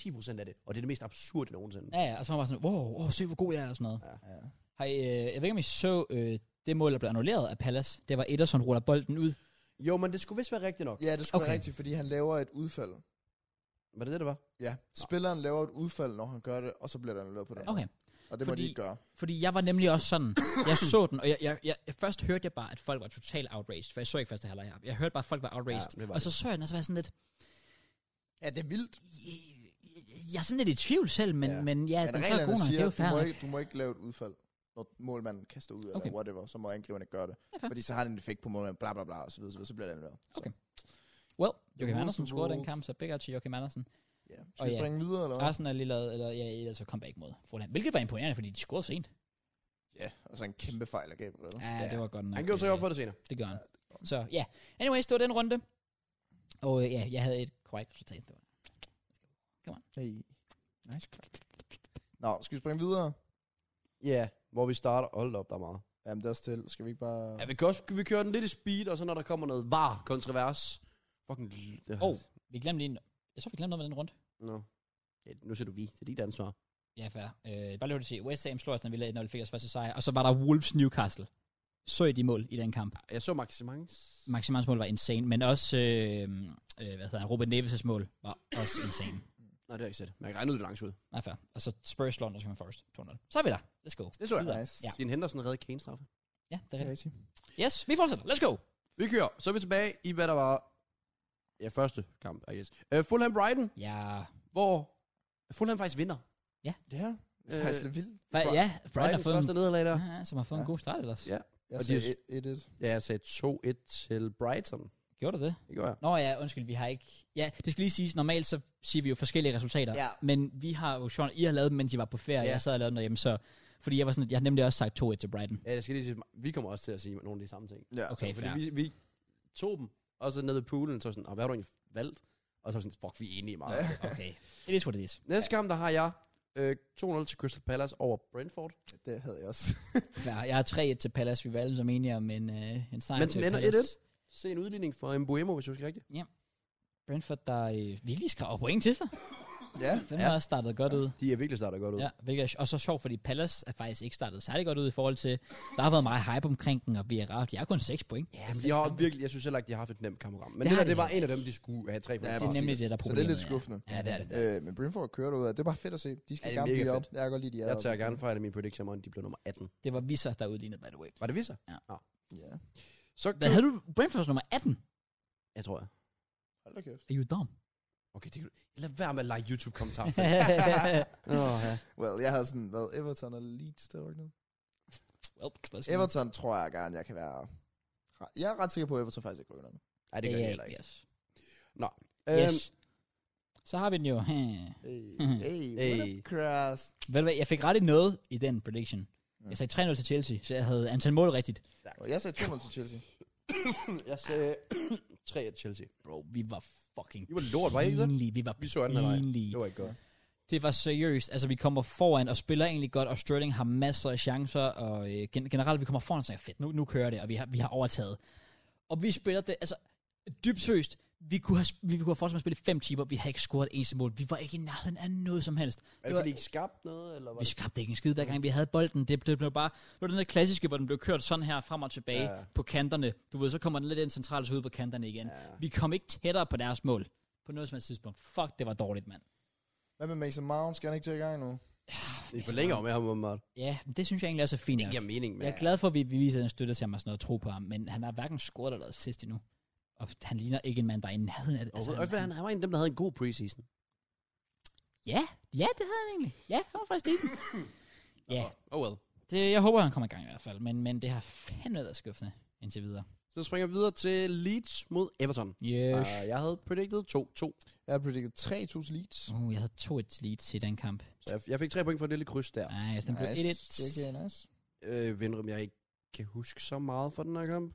Speaker 2: 10% af det. Og det er det mest absurde nogensinde.
Speaker 1: Ja, ja, og så var man bare sådan, wow, oh, se hvor god jeg er, og sådan noget.
Speaker 3: ja.
Speaker 1: Har I, øh, jeg ved ikke, om I så øh, det mål, der blev annulleret af Palace. Det var Ederson ruller bolden ud.
Speaker 2: Jo, men det skulle vist være rigtigt nok.
Speaker 3: ja, det skulle okay.
Speaker 1: Okay.
Speaker 3: være rigtigt, fordi han laver et udfald.
Speaker 2: Var det det, det var?
Speaker 3: Ja, spilleren laver et udfald, når han gør det, og så bliver der annulleret på den.
Speaker 1: Okay.
Speaker 3: Og det må
Speaker 1: Fordi-
Speaker 3: de ikke gøre.
Speaker 1: Fordi jeg var nemlig også sådan, jeg så den, og jeg, jeg, jeg, jeg først hørte jeg bare, at folk var totalt outraged, for jeg så ikke første halvleg. Jeg hørte bare, at folk var outraged.
Speaker 2: Ja, det
Speaker 1: Ja,
Speaker 2: var
Speaker 1: og så så jeg den, og så var jeg sådan lidt,
Speaker 3: Ja, det er vildt.
Speaker 1: "Yeah, jeg er sådan lidt i tvivl selv, men, ja.
Speaker 3: Ja.
Speaker 1: men ja,
Speaker 3: Ja,
Speaker 1: den
Speaker 3: men
Speaker 1: tror jeg er
Speaker 3: reglerne
Speaker 1: god nok, det er
Speaker 3: siger,
Speaker 1: jo
Speaker 3: at du,
Speaker 1: fair
Speaker 3: må
Speaker 1: nok.
Speaker 3: ikke, du må ikke lave et udfald, når målmanden kaster ud, okay.
Speaker 1: Okay.
Speaker 3: eller whatever, så må angriberne gøre det.
Speaker 1: Ja, fair.
Speaker 3: Fordi så har det en effekt på målmanden, bla bla bla, og så videre, så, videre, så bliver det annulleret. Så,
Speaker 1: Okay. Well, Joachim
Speaker 3: rules,
Speaker 1: Andersen
Speaker 3: the
Speaker 1: scorede den
Speaker 3: rules.
Speaker 1: kamp, så big out til Joachim Andersen.
Speaker 3: Ja. Skal
Speaker 1: Og
Speaker 3: vi
Speaker 1: ja.
Speaker 3: springe videre, eller hvad?
Speaker 1: Arsenal lige lavede, eller ja, altså comeback mod Fulham. Hvilket var imponerende, fordi de scorede sent.
Speaker 3: Ja, og så Altså en kæmpe fejl af Gabriel.
Speaker 1: Ja, ja, det var godt nok.
Speaker 2: Han gjorde sig
Speaker 1: øh,
Speaker 2: op for det senere.
Speaker 1: Det gør han. Så ja. Yeah. Anyways, det var den runde. Og øh, ja, jeg havde et korrekt resultat. Det var.
Speaker 3: Hey. Nice. Nå, skal vi springe videre?
Speaker 2: Ja, yeah, hvor vi starter. Hold da op, der er meget.
Speaker 3: Jamen, der er stille. Skal vi ikke bare...
Speaker 2: Ja, vi kan også vi kører den lidt i speed, og så når der kommer noget var kontrovers. Fucking... l- Det
Speaker 1: Oh. Vi glemte lige, jeg tror, vi glemte noget med den runde.
Speaker 2: No. Ja, nu siger du vi. Det er dit ansvar.
Speaker 1: Ja, fair. Øh, bare lige at sige, West Ham slår Aston Villa 1-0, fik deres første sejr. Og så var der Wolves Newcastle. Så i de mål i den kamp.
Speaker 2: Jeg så Maximans.
Speaker 1: Maximans mål var insane, men også, øh, øh, hvad hedder han, Ruben Neves' mål var også insane.
Speaker 2: Nej, det har jeg ikke set. Men jeg regnede ud det langs ud.
Speaker 1: Nej, fair. Og så Spurs London, så Forest 2-0. Så er vi der. Let's go.
Speaker 2: Det så jeg.
Speaker 3: Nice.
Speaker 1: Ja.
Speaker 2: Din Henderson redde Kane straffe.
Speaker 1: Ja, det er
Speaker 3: Det er
Speaker 1: rigtigt.
Speaker 3: rigtigt.
Speaker 1: Yes, vi fortsætter. Let's go.
Speaker 2: Vi kører. Så er vi tilbage i, hvad der var... Ja, første kamp, I guess. Uh, Fulham Brighton,
Speaker 1: Ja,
Speaker 2: hvor Fulham faktisk vinder.
Speaker 3: Ja, det er
Speaker 2: Øh,
Speaker 3: faktisk lidt vildt.
Speaker 1: Hva,
Speaker 2: Bri-
Speaker 1: ja, Brighton har fået
Speaker 2: første
Speaker 1: en,
Speaker 2: nederlag der.
Speaker 1: ja, som har fået ja. en god start ellers. Ja.
Speaker 2: Ja.
Speaker 3: Jeg
Speaker 2: og
Speaker 3: sagde
Speaker 2: de-
Speaker 3: 1-1.
Speaker 2: Ja, jeg sagde 2-1 til Brighton.
Speaker 1: Gjorde du det?
Speaker 2: Det gør jeg.
Speaker 1: Nå ja, undskyld, vi har ikke... Ja, det skal lige siges, normalt så siger vi jo forskellige resultater.
Speaker 3: Ja.
Speaker 1: Men vi har jo sjovt, I har lavet dem, mens I var på ferie, ja.
Speaker 2: Ja.
Speaker 1: jeg sad og lavede dem derhjemme, så... Fordi jeg var sådan, jeg har nemlig også sagt 2-1 til Brighton.
Speaker 2: Ja, jeg skal lige sige, vi kommer også til at sige nogle af de samme ting.
Speaker 3: Ja,
Speaker 1: Okay,
Speaker 2: Fordi
Speaker 1: fair.
Speaker 2: vi, vi tog dem, og så ned i poolen, så var sådan, "Åh, hvad har du egentlig valgt? Og så var sådan, fuck, vi er enige i meget. Ja.
Speaker 1: Okay. It is what it is.
Speaker 2: Næste kamp, der har jeg øh, 2-0 til Crystal Palace over Brentford.
Speaker 3: det havde jeg også.
Speaker 1: Fair. Jeg har 3-1 til Palace, vi var alle som enige om en, øh, en sejr
Speaker 2: Men
Speaker 1: til
Speaker 2: den ender
Speaker 1: Palace.
Speaker 2: 1-1. Se en udligning for Mbuemo, hvis jeg husker rigtigt.
Speaker 1: Brentford, der øh, virkelig skraver point til sig.
Speaker 3: ja.
Speaker 1: Den ja. har startet godt ud.
Speaker 2: De er virkelig startet godt ud.
Speaker 1: Ja, hvilket er, og så sjovt, fordi Palace er faktisk ikke startet særlig godt ud i forhold til, der har været meget hype omkring den, og vi er rart. De har kun 6 point. Altså,
Speaker 2: Ja, men
Speaker 1: Seks
Speaker 2: de har
Speaker 1: kampe.
Speaker 2: virkelig, jeg synes heller ikke, de har haft et nemt kampprogram. Men
Speaker 1: Det
Speaker 2: det, det,
Speaker 1: har
Speaker 2: her,
Speaker 1: de
Speaker 2: det var
Speaker 1: ikke.
Speaker 2: en af dem, de skulle have tre point.
Speaker 3: Ja,
Speaker 2: Ja,
Speaker 1: Det er
Speaker 3: præcis.
Speaker 1: nemlig det, der er
Speaker 3: Så det er
Speaker 1: problemet.
Speaker 3: lidt skuffende.
Speaker 1: Ja, ja det er det.
Speaker 3: Øh, men Brentford kører ud af. Det er bare fedt at se. De skal
Speaker 2: Ja, det er
Speaker 3: gerne
Speaker 2: mega
Speaker 3: blive op.
Speaker 2: fedt.
Speaker 3: Jeg kan godt lide, de er
Speaker 2: jeg
Speaker 3: oppe.
Speaker 2: tager gerne fejl af min prediction om, at de blev nummer 18.
Speaker 1: Det var Visser, der udlignede, by the way.
Speaker 2: Var det Visser?
Speaker 3: Ja.
Speaker 2: Så
Speaker 1: Hvad havde du? Brentford nummer 18?
Speaker 2: Jeg tror jeg.
Speaker 3: Hold da kæft.
Speaker 1: Are you dumb?
Speaker 2: Okay, det kan du... Lad være med at like YouTube-kommentarer. Fred.
Speaker 1: well,
Speaker 2: Åh, ja.
Speaker 3: Well, jeg havde sådan været Everton og Leeds, der var ikke noget.
Speaker 1: let's go.
Speaker 3: Everton tror jeg gerne, jeg kan være... Jeg er ret sikker på, at Everton faktisk ikke rykker noget.
Speaker 2: Ej, det gør
Speaker 1: er
Speaker 2: jeg heller ikke.
Speaker 1: Yes.
Speaker 2: Nå.
Speaker 1: yes.
Speaker 2: Øhm,
Speaker 1: Så har vi den jo. Hmm.
Speaker 3: Hey,
Speaker 1: Mhm.
Speaker 3: hey,
Speaker 2: Hey.
Speaker 3: what up, Kras?
Speaker 1: Ved du hvad, jeg fik ret i noget i den prediction.
Speaker 3: Mm.
Speaker 1: Jeg sagde 3-0 til Chelsea, så jeg havde antal mål rigtigt.
Speaker 3: Og jeg sagde 2-0 til Chelsea.
Speaker 2: Jeg sagde 3 af Chelsea.
Speaker 1: Bro, vi var fucking
Speaker 2: I var lort, var I ikke det?
Speaker 1: pinlige. Vi var
Speaker 2: Vi så anden halvleg.
Speaker 1: pinlige.
Speaker 2: Det var ikke godt.
Speaker 1: Det var seriøst. Altså, vi kommer foran og spiller egentlig godt, og Sterling har masser af chancer, og øh, gen- generelt, vi kommer foran og tænker, fedt, nu, nu kører det, og vi har, vi har overtaget. Og vi spiller det, altså, dybt seriøst, vi kunne have, sp- vi kunne have fortsat med at spille fem timer, vi havde ikke scoret et eneste mål. Vi var ikke i nærheden af noget som helst.
Speaker 2: Er det
Speaker 1: var-
Speaker 2: fordi, I ikke skabte noget, eller var
Speaker 1: Vi
Speaker 2: det?
Speaker 1: skabte ikke en skid, hver gang vi havde bolden. Det, det blev bare, det var den der klassiske, hvor den blev kørt sådan her frem og tilbage ja.
Speaker 2: Ja.
Speaker 1: på kanterne. Du ved, så kommer den lidt ind centralt, så ud på kanterne igen. Ja. Vi kom ikke tættere på deres mål på noget som helst tidspunkt. Fuck, det var dårligt, mand.
Speaker 3: Hvad med Mason Mount? Skal han ikke til i gang nu?
Speaker 2: I forlænger jo med ham, åbenbart.
Speaker 1: Ja, men det synes jeg egentlig også er fint.
Speaker 2: Det
Speaker 1: nok.
Speaker 2: giver mening, men...
Speaker 1: Jeg er glad for, at vi vi viser den støtte til ham og sådan noget tro på ham, men han har hverken scoret eller lavet sidst endnu. Og han ligner ikke en mand, der er i nærheden af det.
Speaker 2: Og altså, han, han var en af dem, der havde en god preseason.
Speaker 1: ja, ja, det havde han egentlig. Ja, han var faktisk decent. ja,
Speaker 2: Oh well.
Speaker 1: det, jeg håber, han kommer i gang i hvert fald, men, men det har fandme været skuffende indtil videre.
Speaker 2: Så springer vi videre til Leeds mod Everton.
Speaker 1: Yes.
Speaker 2: Uh, jeg havde predicted 2-2.
Speaker 3: Jeg har predicted 3.000 Leeds.
Speaker 1: Uh, jeg havde to et leads i den kamp.
Speaker 2: Så jeg, jeg fik tre point for det lille kryds der.
Speaker 1: Nej, altså, den blev 1-1.
Speaker 3: Det er okay, nice.
Speaker 2: Øh, Vindrum, jeg ikke kan huske så meget fra den her kamp.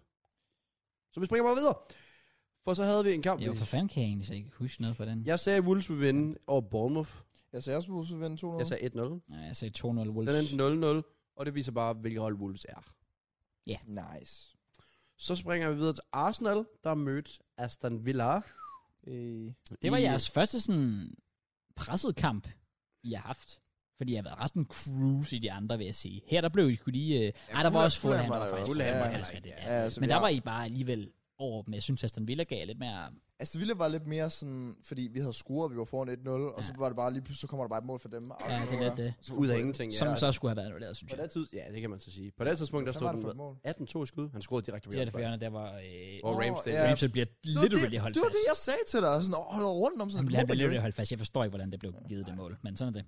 Speaker 2: Så vi springer bare videre. For så havde vi en kamp.
Speaker 1: Jo, for fanden kan jeg egentlig så ikke huske noget for den.
Speaker 2: Jeg sagde, at Wolves vil vinde over Bournemouth.
Speaker 3: Jeg sagde også, at Wolves vil vinde 2-0.
Speaker 2: Jeg sagde 1-0. Den
Speaker 1: Nej, jeg sagde 2-0 Wolves.
Speaker 2: endte 0-0, og det viser bare, hvilket hold Wolves er.
Speaker 3: Nice.
Speaker 2: Så springer vi videre til Arsenal, der mødte Aston Villa.
Speaker 3: Øh,
Speaker 1: Det var
Speaker 2: i-
Speaker 1: jeres første sådan presset kamp, I har haft. Fordi jeg har været resten cruise i de andre, vil jeg sige. Her der blev I sgu lige... Øh, ja, ej, der var
Speaker 3: Fulham-
Speaker 1: også Fulham,
Speaker 3: Fulham var
Speaker 1: der
Speaker 3: der
Speaker 1: faktisk.
Speaker 3: også.
Speaker 1: Fulham
Speaker 3: Ja,
Speaker 1: var
Speaker 3: ja,
Speaker 1: faktisk
Speaker 2: ja.
Speaker 1: rigtigt,
Speaker 3: ja,
Speaker 1: ja.
Speaker 3: altså,
Speaker 1: Men
Speaker 3: vi
Speaker 1: der
Speaker 3: har-
Speaker 1: var I bare alligevel over dem. Jeg synes, Aston Villa gav lidt mere...
Speaker 3: Aston Villa var lidt mere sådan, fordi vi havde scoret, vi var foran 1-0, og så var det bare lige pludselig, så kommer der bare et mål for dem.
Speaker 1: Ja, det er lidt det.
Speaker 2: Så ud af ingenting, ja.
Speaker 1: Som så skulle have været annulleret, synes
Speaker 2: På
Speaker 1: jeg.
Speaker 2: det tids, ja, det kan man så sige. På det tidspunkt, der
Speaker 3: Hvad
Speaker 2: stod
Speaker 3: var det for et
Speaker 2: den
Speaker 3: mål?
Speaker 2: 18-2 i skud. Han scorede direkte på
Speaker 1: Det er det for
Speaker 2: hjørnet.
Speaker 1: hjørnet, der var... Øh,
Speaker 2: Og
Speaker 3: Nå,
Speaker 2: Ramsdale.
Speaker 3: ja.
Speaker 2: Ja.
Speaker 1: Ramsey bliver
Speaker 3: Det var
Speaker 1: literally
Speaker 3: det,
Speaker 1: holdt
Speaker 3: det var
Speaker 1: fast.
Speaker 3: det, jeg sagde til dig. Sådan, åh, hold rundt om sådan
Speaker 1: Han
Speaker 3: et
Speaker 1: bliver, han bliver
Speaker 3: mål.
Speaker 1: literally holdt fast. Jeg forstår ikke, hvordan det blev givet det mål, men sådan er det.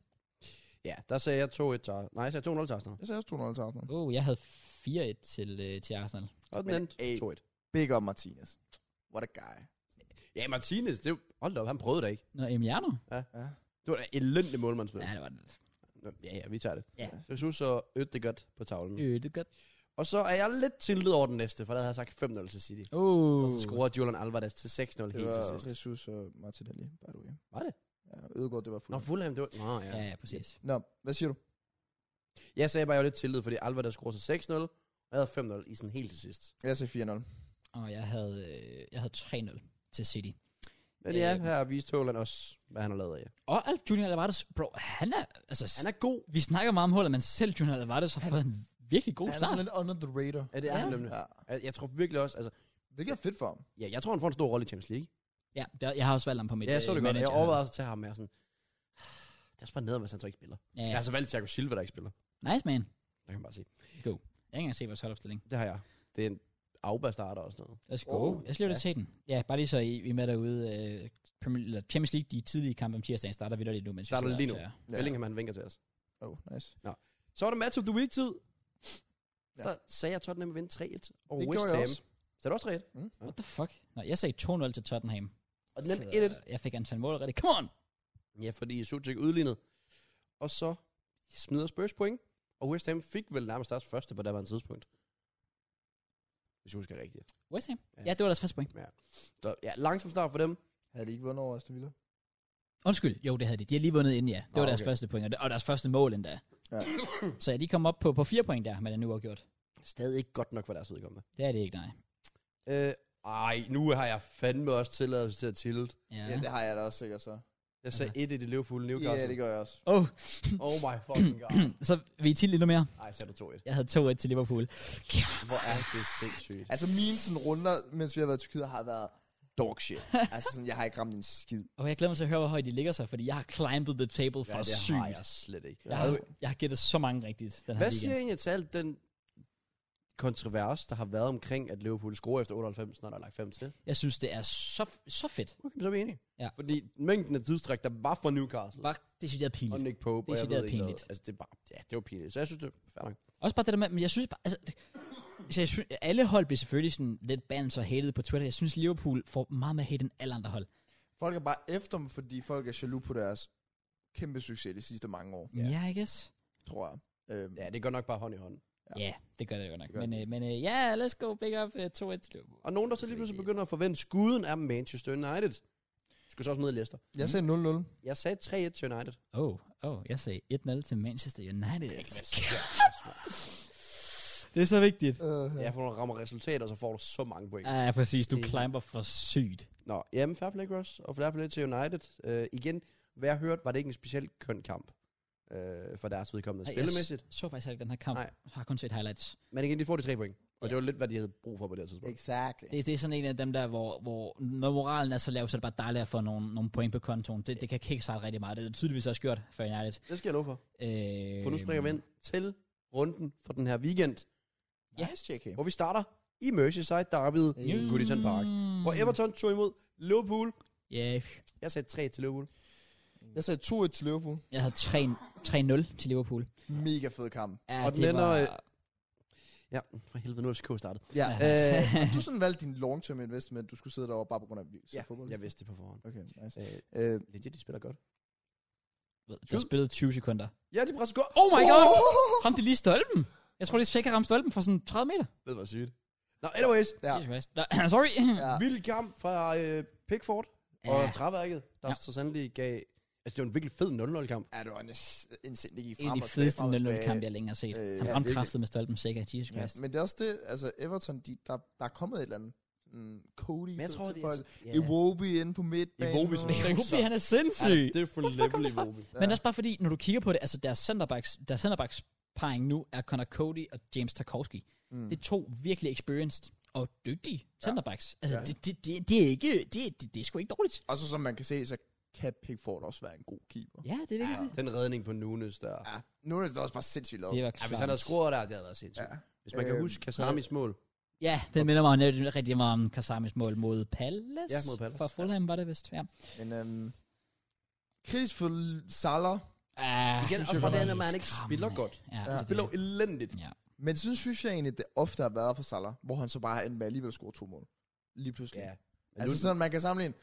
Speaker 2: ja, der sagde jeg 2-1 til Arsenal. Nej, jeg sagde 2-0 til Arsenal.
Speaker 3: Jeg sagde også 200 til Arsenal.
Speaker 1: Oh, jeg havde 4-1 til, øh, til Arsenal.
Speaker 2: Og den
Speaker 3: Men,
Speaker 2: endte
Speaker 3: øh,
Speaker 2: 2-1.
Speaker 3: Big up Martinez. What a guy.
Speaker 2: Ja, Martinez, det, hold da op, han prøvede det ikke.
Speaker 1: Nå, Emiliano?
Speaker 3: Ja.
Speaker 2: Det var da elendig målmandsspil.
Speaker 1: Ja,
Speaker 2: Ja.
Speaker 1: det var det.
Speaker 2: ja, ja, vi tager det.
Speaker 1: Ja.
Speaker 2: Jesus og Øttegaard på
Speaker 3: Mm.
Speaker 2: tavlen.
Speaker 1: Øh, det er godt.
Speaker 2: Og så er jeg lidt tiltet over den næste, for der havde jeg sagt 5-0 til City.
Speaker 1: Oh.
Speaker 2: Og så scorer Julian Alvarez til 6-0 helt
Speaker 3: Uh. Det
Speaker 2: til
Speaker 3: var
Speaker 2: sidst.
Speaker 3: Jesus og Martinelli, by the way.
Speaker 2: Var det?
Speaker 3: Ja, Ødegaard, det var
Speaker 2: Nå,
Speaker 3: fuldt.
Speaker 2: Fulham, det var... Nå, ja.
Speaker 1: Ja,
Speaker 2: ja.
Speaker 1: ja, præcis.
Speaker 3: Nå, hvad siger du?
Speaker 2: Jeg sagde bare, at jeg var lidt tiltet, fordi Alvarez scorer til 6-0, og jeg havde 5-0 i sådan helt til sidst.
Speaker 3: Jeg siger 4-0.
Speaker 1: Og jeg havde, øh, jeg havde 3-0 til City.
Speaker 2: Men ja,
Speaker 1: Øh.
Speaker 2: her har vist Håland også, hvad han har lavet af.
Speaker 1: Og Alf Junior Alvarez, bro, han er... Altså,
Speaker 2: Han er god.
Speaker 1: Vi snakker meget om holdet, men selv Junior Alvarez har fået en virkelig god
Speaker 3: Han er
Speaker 1: start.
Speaker 3: sådan lidt under the radar.
Speaker 2: Ja, det er
Speaker 1: Ja.
Speaker 2: ja. han nemlig.
Speaker 3: Ja.
Speaker 2: Jeg- Jeg tror virkelig også, altså,
Speaker 3: Hvilket er fedt for ham.
Speaker 2: ja, jeg tror, han får en stor rolle i Champions League.
Speaker 1: Ja, der, jeg har også valgt ham på mit
Speaker 2: ja, jeg så
Speaker 1: øh,
Speaker 2: det godt. Jeg
Speaker 1: managerhold.
Speaker 2: overvejede også til ham, og jeg er sådan, "Ah, det er også bare ned, hvis han så ikke spiller. Ja.
Speaker 1: Ja,
Speaker 2: Jeg
Speaker 1: ja.
Speaker 2: har så valgt Thiago Silva, der ikke spiller.
Speaker 1: Nice, man.
Speaker 2: Der kan man bare sige.
Speaker 1: Jeg kan ikke engang se vores holdopstilling.
Speaker 2: Det har jeg. Det er en Auba starter og sådan noget.
Speaker 1: Let's go.
Speaker 3: Oh,
Speaker 1: Oh, jeg slipper ja. til den. Ja, bare lige så I, I er med derude. Øh, Premier, eller Champions League, de tidlige kampe om tirsdagen, starter vi der lige nu. Mens vi
Speaker 2: Starter
Speaker 1: sidder
Speaker 2: lige
Speaker 1: og
Speaker 2: nu.
Speaker 1: optager.
Speaker 2: Ja. Bellingham, han vinker til os.
Speaker 3: Oh, nice.
Speaker 2: Så var der match of the week tid.
Speaker 3: Ja.
Speaker 2: Ja. Der sagde jeg Tottenham at vinde 3-1 over
Speaker 3: Det
Speaker 2: West
Speaker 3: gjorde jeg
Speaker 2: Ham.
Speaker 3: også.
Speaker 2: Sagde du også 3-1?
Speaker 1: What the fuck? Nå, jeg sagde 2-0 til Tottenham.
Speaker 2: Og den endte
Speaker 1: Så
Speaker 2: 1-1.
Speaker 1: Jeg fik Anton Måler rigtig. Come on!
Speaker 2: Ja, fordi Suchek udlignede. Og så smider Spurs point. Og West Ham fik vel nærmest deres første på daværende tidspunkt. Hvis jeg husker rigtigt.
Speaker 1: West Ham? Ja.
Speaker 2: Ja.
Speaker 1: ja, det var deres første point.
Speaker 2: Så ja, langsom start for dem.
Speaker 3: Havde de ikke vundet over Aston Villa?
Speaker 1: Undskyld, jo, det havde de. De har lige vundet inden, ja. Det
Speaker 2: Nå,
Speaker 1: var deres
Speaker 2: okay.
Speaker 1: første point, og, det, og deres første mål endda.
Speaker 3: Ja.
Speaker 1: Så ja, de kom op på, på fire point der, med den uafgjort.
Speaker 2: Stadig ikke godt nok for deres vedkommende.
Speaker 1: Det er det ikke, nej.
Speaker 2: Øh, ej, nu har jeg fandme også tilladelse til at tilt.
Speaker 1: Ja.
Speaker 3: Ja. ja, det har jeg da også sikkert så.
Speaker 2: Jeg sagde 1-1 i Liverpool
Speaker 3: Ja,
Speaker 2: Newcastle.
Speaker 3: yeah, det gør jeg også.
Speaker 1: Oh,
Speaker 2: Oh my fucking god.
Speaker 1: så vi er til endnu mere.
Speaker 2: Ej, sagde du 2-1.
Speaker 1: Jeg havde 2-1 til Liverpool.
Speaker 2: Hvor er det sindssygt.
Speaker 3: Altså mine sådan runder, mens vi har været i Tyrkiet, har været dog shit. altså sådan, jeg har ikke ramt en skid.
Speaker 1: Og jeg glæder mig til at høre, hvor højt de ligger sig, fordi jeg har climbed the table
Speaker 2: Ja,
Speaker 1: for
Speaker 2: det har
Speaker 1: sygt.
Speaker 2: jeg slet ikke.
Speaker 1: Jeg har, jeg har gættet så mange rigtigt den her
Speaker 2: Hvad
Speaker 1: weekend.
Speaker 2: siger I egentlig til alt den kontrovers, der har været omkring, at Liverpool scorer efter 98, når der er lagt 5 til?
Speaker 1: Jeg synes, det er så, så fedt.
Speaker 2: Okay, så er vi enige.
Speaker 1: Ja.
Speaker 2: Fordi mængden af tidsstræk, der var fra Newcastle,
Speaker 1: Bare, det synes jeg er
Speaker 2: og
Speaker 1: pinligt.
Speaker 2: Nick Pope,
Speaker 1: Det
Speaker 2: og jeg
Speaker 1: decideret
Speaker 2: ved ikke
Speaker 1: pinligt.
Speaker 2: hvad. Altså, det var, ja, det var pinligt. Så jeg synes, det er fair nok.
Speaker 1: Også bare det der med, men jeg synes bare, altså, det, så jeg synes, alle hold bliver selvfølgelig sådan lidt bands og hated på Twitter. Jeg synes, Liverpool får meget mere hate end alle andre hold.
Speaker 3: Folk er bare efter dem, fordi folk er jaloux på deres kæmpe succes de sidste mange år,
Speaker 1: Ja,
Speaker 2: Ja.
Speaker 1: yeah, I guess.
Speaker 3: tror jeg. Øhm,
Speaker 2: Ja, det går nok bare hånd i hånd.
Speaker 1: Ja, yeah, det gør det godt nok.
Speaker 3: Det gør
Speaker 1: Men, øh, men øh, ja, yeah, let's go big up øh, 2-1 til Liverpool.
Speaker 2: Og nogen, der så lige pludselig begynder at forvente skuden af Manchester United. Skulle så også med i Leicester.
Speaker 3: Jeg sagde 0-0.
Speaker 2: Jeg sagde 3-1 til United.
Speaker 1: Oh, oh, jeg sagde 1-0 til Manchester United. Det er så vigtigt.
Speaker 3: Øh,
Speaker 2: Ja, for når du rammer resultater, så får du så mange point.
Speaker 1: Ja, ah, præcis. Du
Speaker 2: Det-
Speaker 1: climber for sygt.
Speaker 2: Nå, jamen fair play, Gross, og fair play til United. Øh, igen, hvad jeg hørte, var det ikke en specielt køn kamp øh, for deres vedkommende
Speaker 1: Ej,
Speaker 2: Ej,
Speaker 1: jeg
Speaker 2: spillemæssigt.
Speaker 1: s- så faktisk ikke den her kamp.
Speaker 2: Nej.
Speaker 1: Jeg har kun set highlights.
Speaker 2: Men igen, de får de tre point.
Speaker 1: Ja.
Speaker 2: Og det var lidt, hvad de havde brug for på det her tidspunkt.
Speaker 3: Exactly.
Speaker 1: Det, det er sådan en af dem der, hvor, hvor når moralen er så lav, så er det bare dejligt at få nogle, nogle point på kontoen. Det, det kan kickstarte rigtig meget. Det er det tydeligvis også gjort for United.
Speaker 2: Det skal jeg love for.
Speaker 1: Øh,
Speaker 2: For nu springer vi ind til runden for den her weekend,
Speaker 1: Ja.
Speaker 3: Nice, JK.
Speaker 2: hvor vi starter i Merseyside derbyet i
Speaker 3: Mm.
Speaker 2: Goodison Park. Hvor Everton tog imod Liverpool.
Speaker 1: Ja,
Speaker 2: Jeg sagde 3 til Liverpool.
Speaker 3: Jeg sagde 2-1 til Liverpool.
Speaker 1: jeg havde 3 3-0 til Liverpool.
Speaker 3: Mega fed kamp.
Speaker 1: Ja,
Speaker 2: Og
Speaker 1: det
Speaker 2: den ender,
Speaker 1: var-
Speaker 2: øh, Ja, for helvede, nu er FCK startet.
Speaker 3: Ja.
Speaker 1: Ja.
Speaker 3: Øh, har du sådan valgt din long-term investment, du skulle sidde derovre bare på grund af at vi ser
Speaker 2: Ja,
Speaker 3: fodbold?
Speaker 2: jeg vidste det på forhånd.
Speaker 3: Okay, nice.
Speaker 2: Øh,
Speaker 3: Øh,
Speaker 2: legit, de spiller godt.
Speaker 1: der spillede 20 sekunder.
Speaker 2: Ja, de presser godt.
Speaker 1: Oh my god!
Speaker 3: Oh!
Speaker 1: Ramte lige stolpen? Jeg tror, de sikkert ramte stolpen for sådan 30 meter.
Speaker 2: Det var sygt. Nå, anyways.
Speaker 3: Ja.
Speaker 1: Jesus Christ. Nå, Sorry.
Speaker 3: Ja.
Speaker 2: Vild kamp fra øh, Pickford
Speaker 1: Ja.
Speaker 2: og træværket, der
Speaker 1: Ja.
Speaker 2: ja. så sandelig gav... Altså, det var en virkelig fed 0-0-kamp.
Speaker 3: Ja, det var en, en sind, det gik
Speaker 1: En af
Speaker 3: frem
Speaker 1: de
Speaker 3: og tilbage,
Speaker 1: fedeste
Speaker 3: frem og
Speaker 1: 0-0
Speaker 3: tilbage.
Speaker 1: kamp, jeg længere har set.
Speaker 3: Øh,
Speaker 1: Han ramte
Speaker 3: ja, virkelig.
Speaker 1: kraftet med stolpen sikkert. Jesus
Speaker 3: Ja,
Speaker 1: Christ.
Speaker 3: men det er også det, altså Everton, de, der, der er kommet et eller andet. Mm, Cody,
Speaker 2: Men jeg tror, det er... Ja.
Speaker 3: Iwobi inde på midtbanen.
Speaker 2: Iwobi som seks.
Speaker 1: Rubi, han er
Speaker 2: Ja,
Speaker 1: sindssyg.
Speaker 2: det er for level i Vobe.
Speaker 3: Ja.
Speaker 1: Men også bare fordi, når du kigger på det, altså deres centerbacks, deres centerbacks parring nu er Connor Cody og James Tarkowski. Mm.
Speaker 3: Mm.
Speaker 1: Det er to virkelig experienced og dygtige centerbacks. Altså,
Speaker 2: Ja.
Speaker 1: det, det, det, det, er ikke, det, det, det er sgu ikke dårligt.
Speaker 3: Og så som man kan se, så kan Pickford også være en god keeper.
Speaker 1: Ja, det er virkelig det.
Speaker 2: Den redning på Nunes der. Ja,
Speaker 3: Ja. Nu er det også bare sindssygt lavet.
Speaker 1: Det var
Speaker 2: ja
Speaker 1: klart.
Speaker 2: hvis han havde scoret der, det havde været sindssygt. Ja.
Speaker 3: Ja.
Speaker 2: Hvis man kan
Speaker 3: Øhm,
Speaker 2: huske Kasamis mål.
Speaker 1: Ja, det minder mig om netop rigtig meget om Kasamis mål mod Palace.
Speaker 2: Ja, mod Palace.
Speaker 1: For Fulham var det vist, ja.
Speaker 3: Men øhm, kritisk for Salah,
Speaker 1: Ah,
Speaker 2: Igen,
Speaker 1: synes
Speaker 2: også
Speaker 1: jeg
Speaker 2: bare
Speaker 1: godt nok,
Speaker 2: det her med, at han ikke
Speaker 1: skam,
Speaker 2: spiller
Speaker 1: mand.
Speaker 2: godt.
Speaker 1: Ja,
Speaker 3: Han
Speaker 1: det er
Speaker 2: Han spiller jo
Speaker 1: Altså, det.
Speaker 2: elendigt.
Speaker 1: Ja.
Speaker 3: men sådan synes jeg egentlig, det ofte har været for Salah, hvor han så bare endte med alligevel at score to mål. Lige pludselig.
Speaker 2: Ja. Men
Speaker 3: Altså
Speaker 2: nu-
Speaker 3: sådan, man kan sammenligne.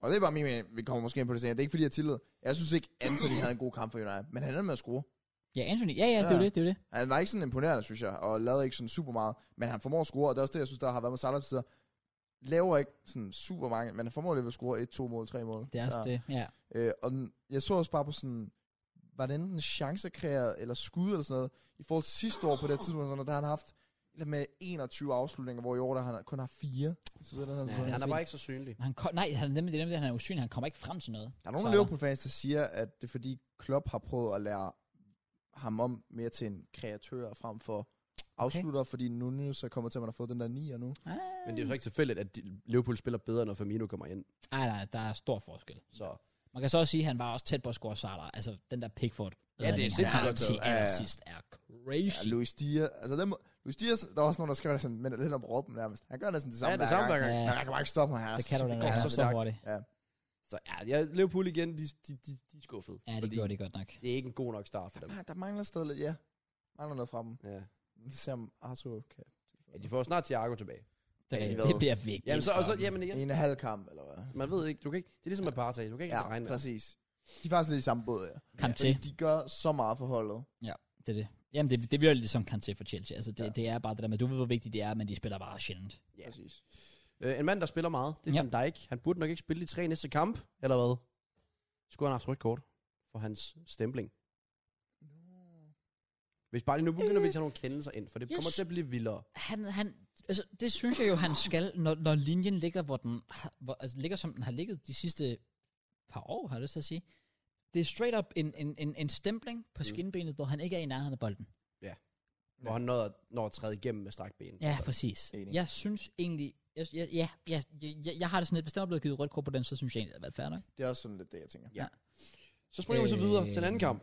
Speaker 3: Og det er bare min mening. Vi kommer måske ind på det senere. Det er ikke fordi, jeg tillid. Jeg synes ikke, Anthony havde en god kamp for United. Men han endte med at score.
Speaker 1: ja, Anthony. Ja, ja, det er jo
Speaker 3: Ja.
Speaker 1: det, det er jo det.
Speaker 3: Han var ikke sådan imponerende, synes jeg. Og lavede ikke sådan super meget. Men han formår at score. Og det er også det, jeg synes, der har været med Salah til tider. Laver ikke sådan super mange. Men han formår alligevel at score 1, 2 mål, 3 mål.
Speaker 1: Det er også
Speaker 3: Så,
Speaker 1: det, ja.
Speaker 3: Øh, og den, jeg så også bare på sådan... Var det enten chancer kreeret, eller skud, eller sådan noget. I forhold til sidste år på det her tidspunkt, sådan, noget, der har han haft et eller andet med 21 afslutninger, hvor i år der har han kun har fire. Så det, der, der, der,
Speaker 1: Ja,
Speaker 2: Han er
Speaker 1: altså,
Speaker 2: bare ikke så synlig.
Speaker 1: Han kom, nej, han er nemlig, det er nemlig, det, han er usynlig. Han kommer ikke frem til noget.
Speaker 3: Der er nogle
Speaker 1: Så-
Speaker 3: af Liverpool-fans, der siger, at det er fordi Klopp har prøvet at lære ham om mere til en kreatør frem for afslutter, fordi Nunez så kommer til, at man har fået den der 9 nu.
Speaker 1: Ah.
Speaker 2: Men det er jo så ikke tilfældigt, at de- Liverpool spiller bedre, når Firmino kommer ind.
Speaker 1: Ej, nej, der er stor forskel.
Speaker 2: Så
Speaker 1: Man kan så også sige, at han var også tæt på at score Salah. Altså, den der Pickford.
Speaker 2: Ja, det er sindssygt
Speaker 1: godt.
Speaker 2: godt
Speaker 1: til
Speaker 2: taget.
Speaker 3: Ja, ja.
Speaker 1: allersidst er
Speaker 3: Ja,
Speaker 1: crazy. Ja,
Speaker 3: Luis Diaz, altså den, må- Luis Diaz, der er også nogen, der skriver det sådan, men lidt om Robben nærmest. Han gør næsten det samme
Speaker 2: Ja, det samme hver gang.
Speaker 1: Ja.
Speaker 3: Men man kan bare ikke stoppe ham. Han er
Speaker 1: det kan du da,
Speaker 3: så-
Speaker 1: når
Speaker 3: går
Speaker 1: han
Speaker 3: så
Speaker 1: er så
Speaker 3: stærkt.
Speaker 1: hurtigt.
Speaker 3: Ja.
Speaker 2: Så ja, ja, Liverpool igen, de, de, de, de er skuffede.
Speaker 1: Ja, det
Speaker 2: Fordi
Speaker 1: gjorde det godt nok.
Speaker 2: Det er ikke en god nok start for dem.
Speaker 3: Ah, Der mangler stadig lidt, ja. Mangler noget fra dem.
Speaker 2: Ja.
Speaker 3: Vi ser, om Arthur kan.
Speaker 2: ja de får snart Thiago tilbage.
Speaker 1: Det,
Speaker 3: Ja, I
Speaker 1: det,
Speaker 3: ved.
Speaker 1: det bliver vigtigt.
Speaker 2: Jamen, så, og så,
Speaker 1: for dem.
Speaker 2: jamen igen,
Speaker 3: En og halv kamp, eller hvad?
Speaker 2: man ved ikke, du kan ikke, det er ligesom med Partey, du kan ikke
Speaker 3: Ja,
Speaker 2: ja, regne med.
Speaker 3: præcis. De er faktisk lidt i samme båd, ja.
Speaker 1: Kanté,
Speaker 3: Fordi de gør så meget for holdet.
Speaker 1: det er det. Jamen, det, det bliver ligesom Kanté for Chelsea. Altså, det, ja.
Speaker 3: Ja.
Speaker 1: det er bare det der med, du ved, hvor vigtigt det er, men de spiller bare sjældent.
Speaker 2: Ja.
Speaker 3: Præcis.
Speaker 2: Øh, en mand, der spiller meget, det er
Speaker 1: Ja.
Speaker 2: ja. Van Dijk. Han burde nok ikke spille de tre næste kamp, eller hvad? Skulle han have haft rødt kort for hans stempling. Hvis bare lige nu begynder vi at tage nogle kendelser ind, for det
Speaker 1: Jeg
Speaker 2: kommer til at blive vildere.
Speaker 1: han, han, altså, det synes jeg jo, han skal, når, når linjen ligger, hvor den, har- hvor, altså, ligger, som den har ligget de sidste par år, har jeg lyst til at sige. Det er straight up en, en, en, en stempling på skinbenet, hvor han ikke er i nærheden af bolden.
Speaker 2: Hvor han når, når at træde igennem med strakt ben.
Speaker 1: Ja, præcis.
Speaker 3: Enig.
Speaker 1: Jeg synes egentlig, jeg, jeg, ja, jeg, jeg, jeg har det sådan lidt, hvis der var blevet givet rødt kort på den, så synes jeg egentlig, det var færdigt. nok.
Speaker 3: Det er også sådan lidt det, jeg tænker.
Speaker 2: Så springer vi så videre til en anden
Speaker 1: Øh,
Speaker 2: kamp,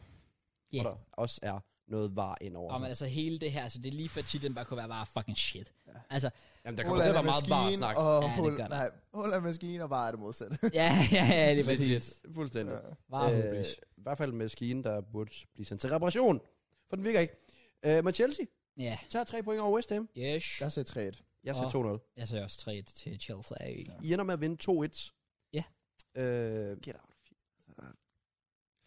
Speaker 1: Ja.
Speaker 2: hvor der også er noget var indover.
Speaker 1: Og men
Speaker 2: Oh,
Speaker 1: altså hele det her, altså det er lige for tit, den bare kunne være bare fucking shit. Altså,
Speaker 2: Jamen, der kommer til at være meget var snak.
Speaker 3: Og
Speaker 1: Ja,
Speaker 3: ja,
Speaker 1: det
Speaker 3: hul,
Speaker 1: gør der.
Speaker 3: nej, hul af maskinen og bare er det modsatte.
Speaker 1: ja, ja, ja, det er præcis.
Speaker 2: Fuldstændig.
Speaker 3: Ja.
Speaker 1: Var
Speaker 2: Øh, I hvert fald med skien, der burde blive sendt til reparation. For den virker ikke. Øh, men Chelsea
Speaker 1: Ja,
Speaker 2: tager tre point over West Ham.
Speaker 1: yes.
Speaker 3: Jeg sagde 3-1.
Speaker 2: Jeg sagde
Speaker 1: Åh.
Speaker 2: 2-0.
Speaker 1: Jeg sagde også 3 til Chelsea.
Speaker 2: I ender med at vinde 2-1.
Speaker 1: Ja.
Speaker 2: Øh,
Speaker 3: Get out of here.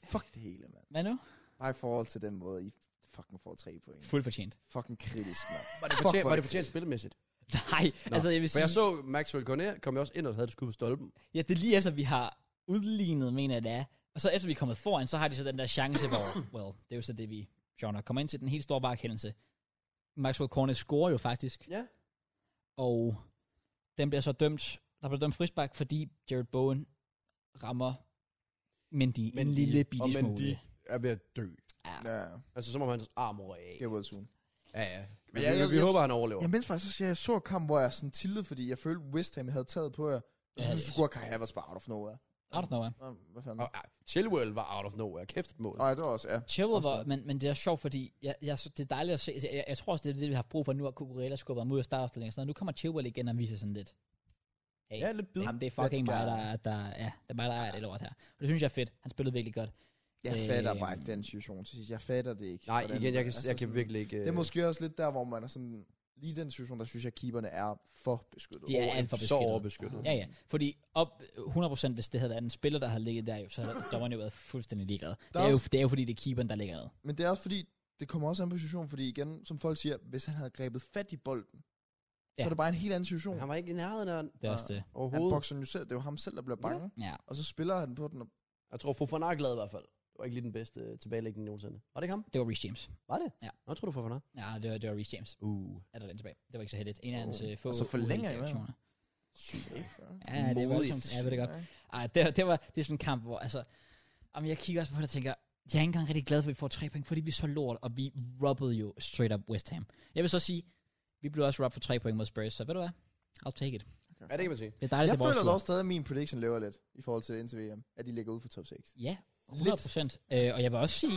Speaker 3: Fuck det hele, mand.
Speaker 1: Hvad nu?
Speaker 3: Bare i forhold til den måde, I fucking får 3 point.
Speaker 1: Fuldt fortjent.
Speaker 3: Fucking kritisk, mand.
Speaker 2: var det
Speaker 3: Fuck,
Speaker 2: fortjent, var
Speaker 3: hvor er
Speaker 2: det
Speaker 3: det
Speaker 2: fortjent spillemæssigt?
Speaker 1: Nej,
Speaker 2: Nå,
Speaker 1: altså jeg vil
Speaker 2: For
Speaker 1: sige...
Speaker 2: jeg så Maxwell Cornet, kom jo også ind og havde det skud på stolpen.
Speaker 1: Ja, det er lige efter, vi har udlignet, mener jeg det er. Og så efter vi er kommet foran, så har de så den der chance, hvor, well, det er jo så det, vi sjovt nok kommer ind til, den helt store bakkendelse. Maxwell Cornet scorer jo faktisk,
Speaker 2: Ja.
Speaker 1: og den bliver så dømt, der bliver dømt frisbak, fordi Jared Bowen rammer Mendy en
Speaker 2: Mendy.
Speaker 1: lille bitte
Speaker 2: Og
Speaker 1: smule.
Speaker 2: Mendy er ved at dø.
Speaker 3: Ja, ja.
Speaker 2: Altså, så må hans arm røg af.
Speaker 3: det er World Soon.
Speaker 2: Ja, ja. Men
Speaker 3: Men
Speaker 2: vi,
Speaker 3: jeg- jeg-
Speaker 2: vi
Speaker 3: jeg-
Speaker 2: håber, han overlever.
Speaker 3: Jeg mindst faktisk også, at jeg så en kamp, hvor jeg sådan tillede, fordi jeg følte, West Ham havde taget på jer. Og så
Speaker 1: Ja,
Speaker 3: ja,
Speaker 1: det-
Speaker 3: skulle Kai Havertz bare out of nowhere.
Speaker 1: I don't know, ja.
Speaker 3: Nå, Hvad fanden?
Speaker 2: Og, ja, Chilwell var out of nowhere. Kæft et mål.
Speaker 3: Nej, det var også, ja.
Speaker 1: Chilwell
Speaker 3: Også
Speaker 1: var, men, men det er sjovt, fordi jeg, jeg, det er dejligt at se. Altså, Jeg, jeg tror også, det er det, vi har brug for nu, at Kukurella skubber ham ud af startopstillingen. og sådan noget. Nu kommer Chilwell igen og viser sådan lidt. Hey,
Speaker 2: Ja, lidt bid.
Speaker 1: Jamen, det er fucking
Speaker 3: Lidt
Speaker 1: mig, der,
Speaker 3: gar-
Speaker 1: er- der, ja, det er mig, der er det lort her. Og det synes jeg er fedt. Han spillede virkelig godt.
Speaker 3: Jeg
Speaker 1: Øhm.
Speaker 3: fatter bare ikke den situation til sidst. Jeg fatter det ikke.
Speaker 2: Nej,
Speaker 3: hvordan-
Speaker 2: igen, jeg kan,
Speaker 3: altså
Speaker 2: jeg kan
Speaker 3: sådan-
Speaker 2: virkelig ikke... øh,
Speaker 3: Det er
Speaker 1: øh,
Speaker 3: måske også lidt der, hvor man er sådan... Lige den situation, der synes jeg, keeperne er for beskyttet.
Speaker 1: De er alt for
Speaker 2: Så
Speaker 1: beskyttet.
Speaker 2: overbeskyttet.
Speaker 1: Ja, ja. Fordi op 100%, hvis det havde været en spiller, der havde ligget der, jo, så havde dommerne jo været fuldstændig ligeglad. Det er, jo, det er jo fordi, det er keeperen, der ligger ned.
Speaker 3: Men det er også fordi, det kommer også an på situationen, fordi igen, som folk siger, hvis han havde grebet fat i bolden, ja.
Speaker 1: Ja.
Speaker 3: så er det bare en helt anden situation.
Speaker 2: Han var ikke i nærheden af
Speaker 1: Det er også det.
Speaker 3: Han
Speaker 2: overhovedet.
Speaker 3: bokser den jo selv, det er jo ham selv, der bliver bange, ja.
Speaker 1: Ja.
Speaker 3: og så spiller han på den. Og
Speaker 2: Jeg tror, Fofana er glad i hvert fald. Det var ikke lige den bedste øh, tilbagelægning nogensinde. Var det ikke ham?
Speaker 1: Det var Reece James.
Speaker 2: Var det?
Speaker 1: Ja.
Speaker 2: Nå, jeg tror du Fofana.
Speaker 1: Ja, det var, det var Reece James.
Speaker 2: Uh.
Speaker 1: Er der den tilbage? Det var ikke så heldigt. En af
Speaker 3: Oh.
Speaker 1: hans uh, få
Speaker 3: Og så forlænger
Speaker 1: uheldige
Speaker 3: I, hvad?
Speaker 1: aktioner.
Speaker 2: Sygt.
Speaker 1: Ja, det er
Speaker 2: Modigt.
Speaker 1: voldsomt. Ja, jeg ved det godt. Ej, det, det, var, det er sådan en kamp, hvor altså, jamen, jeg kigger også på det og tænker, jeg er ikke engang rigtig glad for, at vi får tre point, fordi vi er så lort, og vi rubbede jo straight up West Ham. Jeg vil så sige, vi blev også rubbed for tre point mod Spurs, så ved du hvad? I'll take it.
Speaker 2: Ja, det kan man sige.
Speaker 1: Det er dejligt,
Speaker 3: Jeg
Speaker 1: det er vores
Speaker 3: føler
Speaker 1: tur.
Speaker 3: dog stadig, at min prediction lever lidt i forhold til indtil VM, at de ligger ude for top 6.
Speaker 1: Ja, 100 procent. Øh, og jeg vil også sige,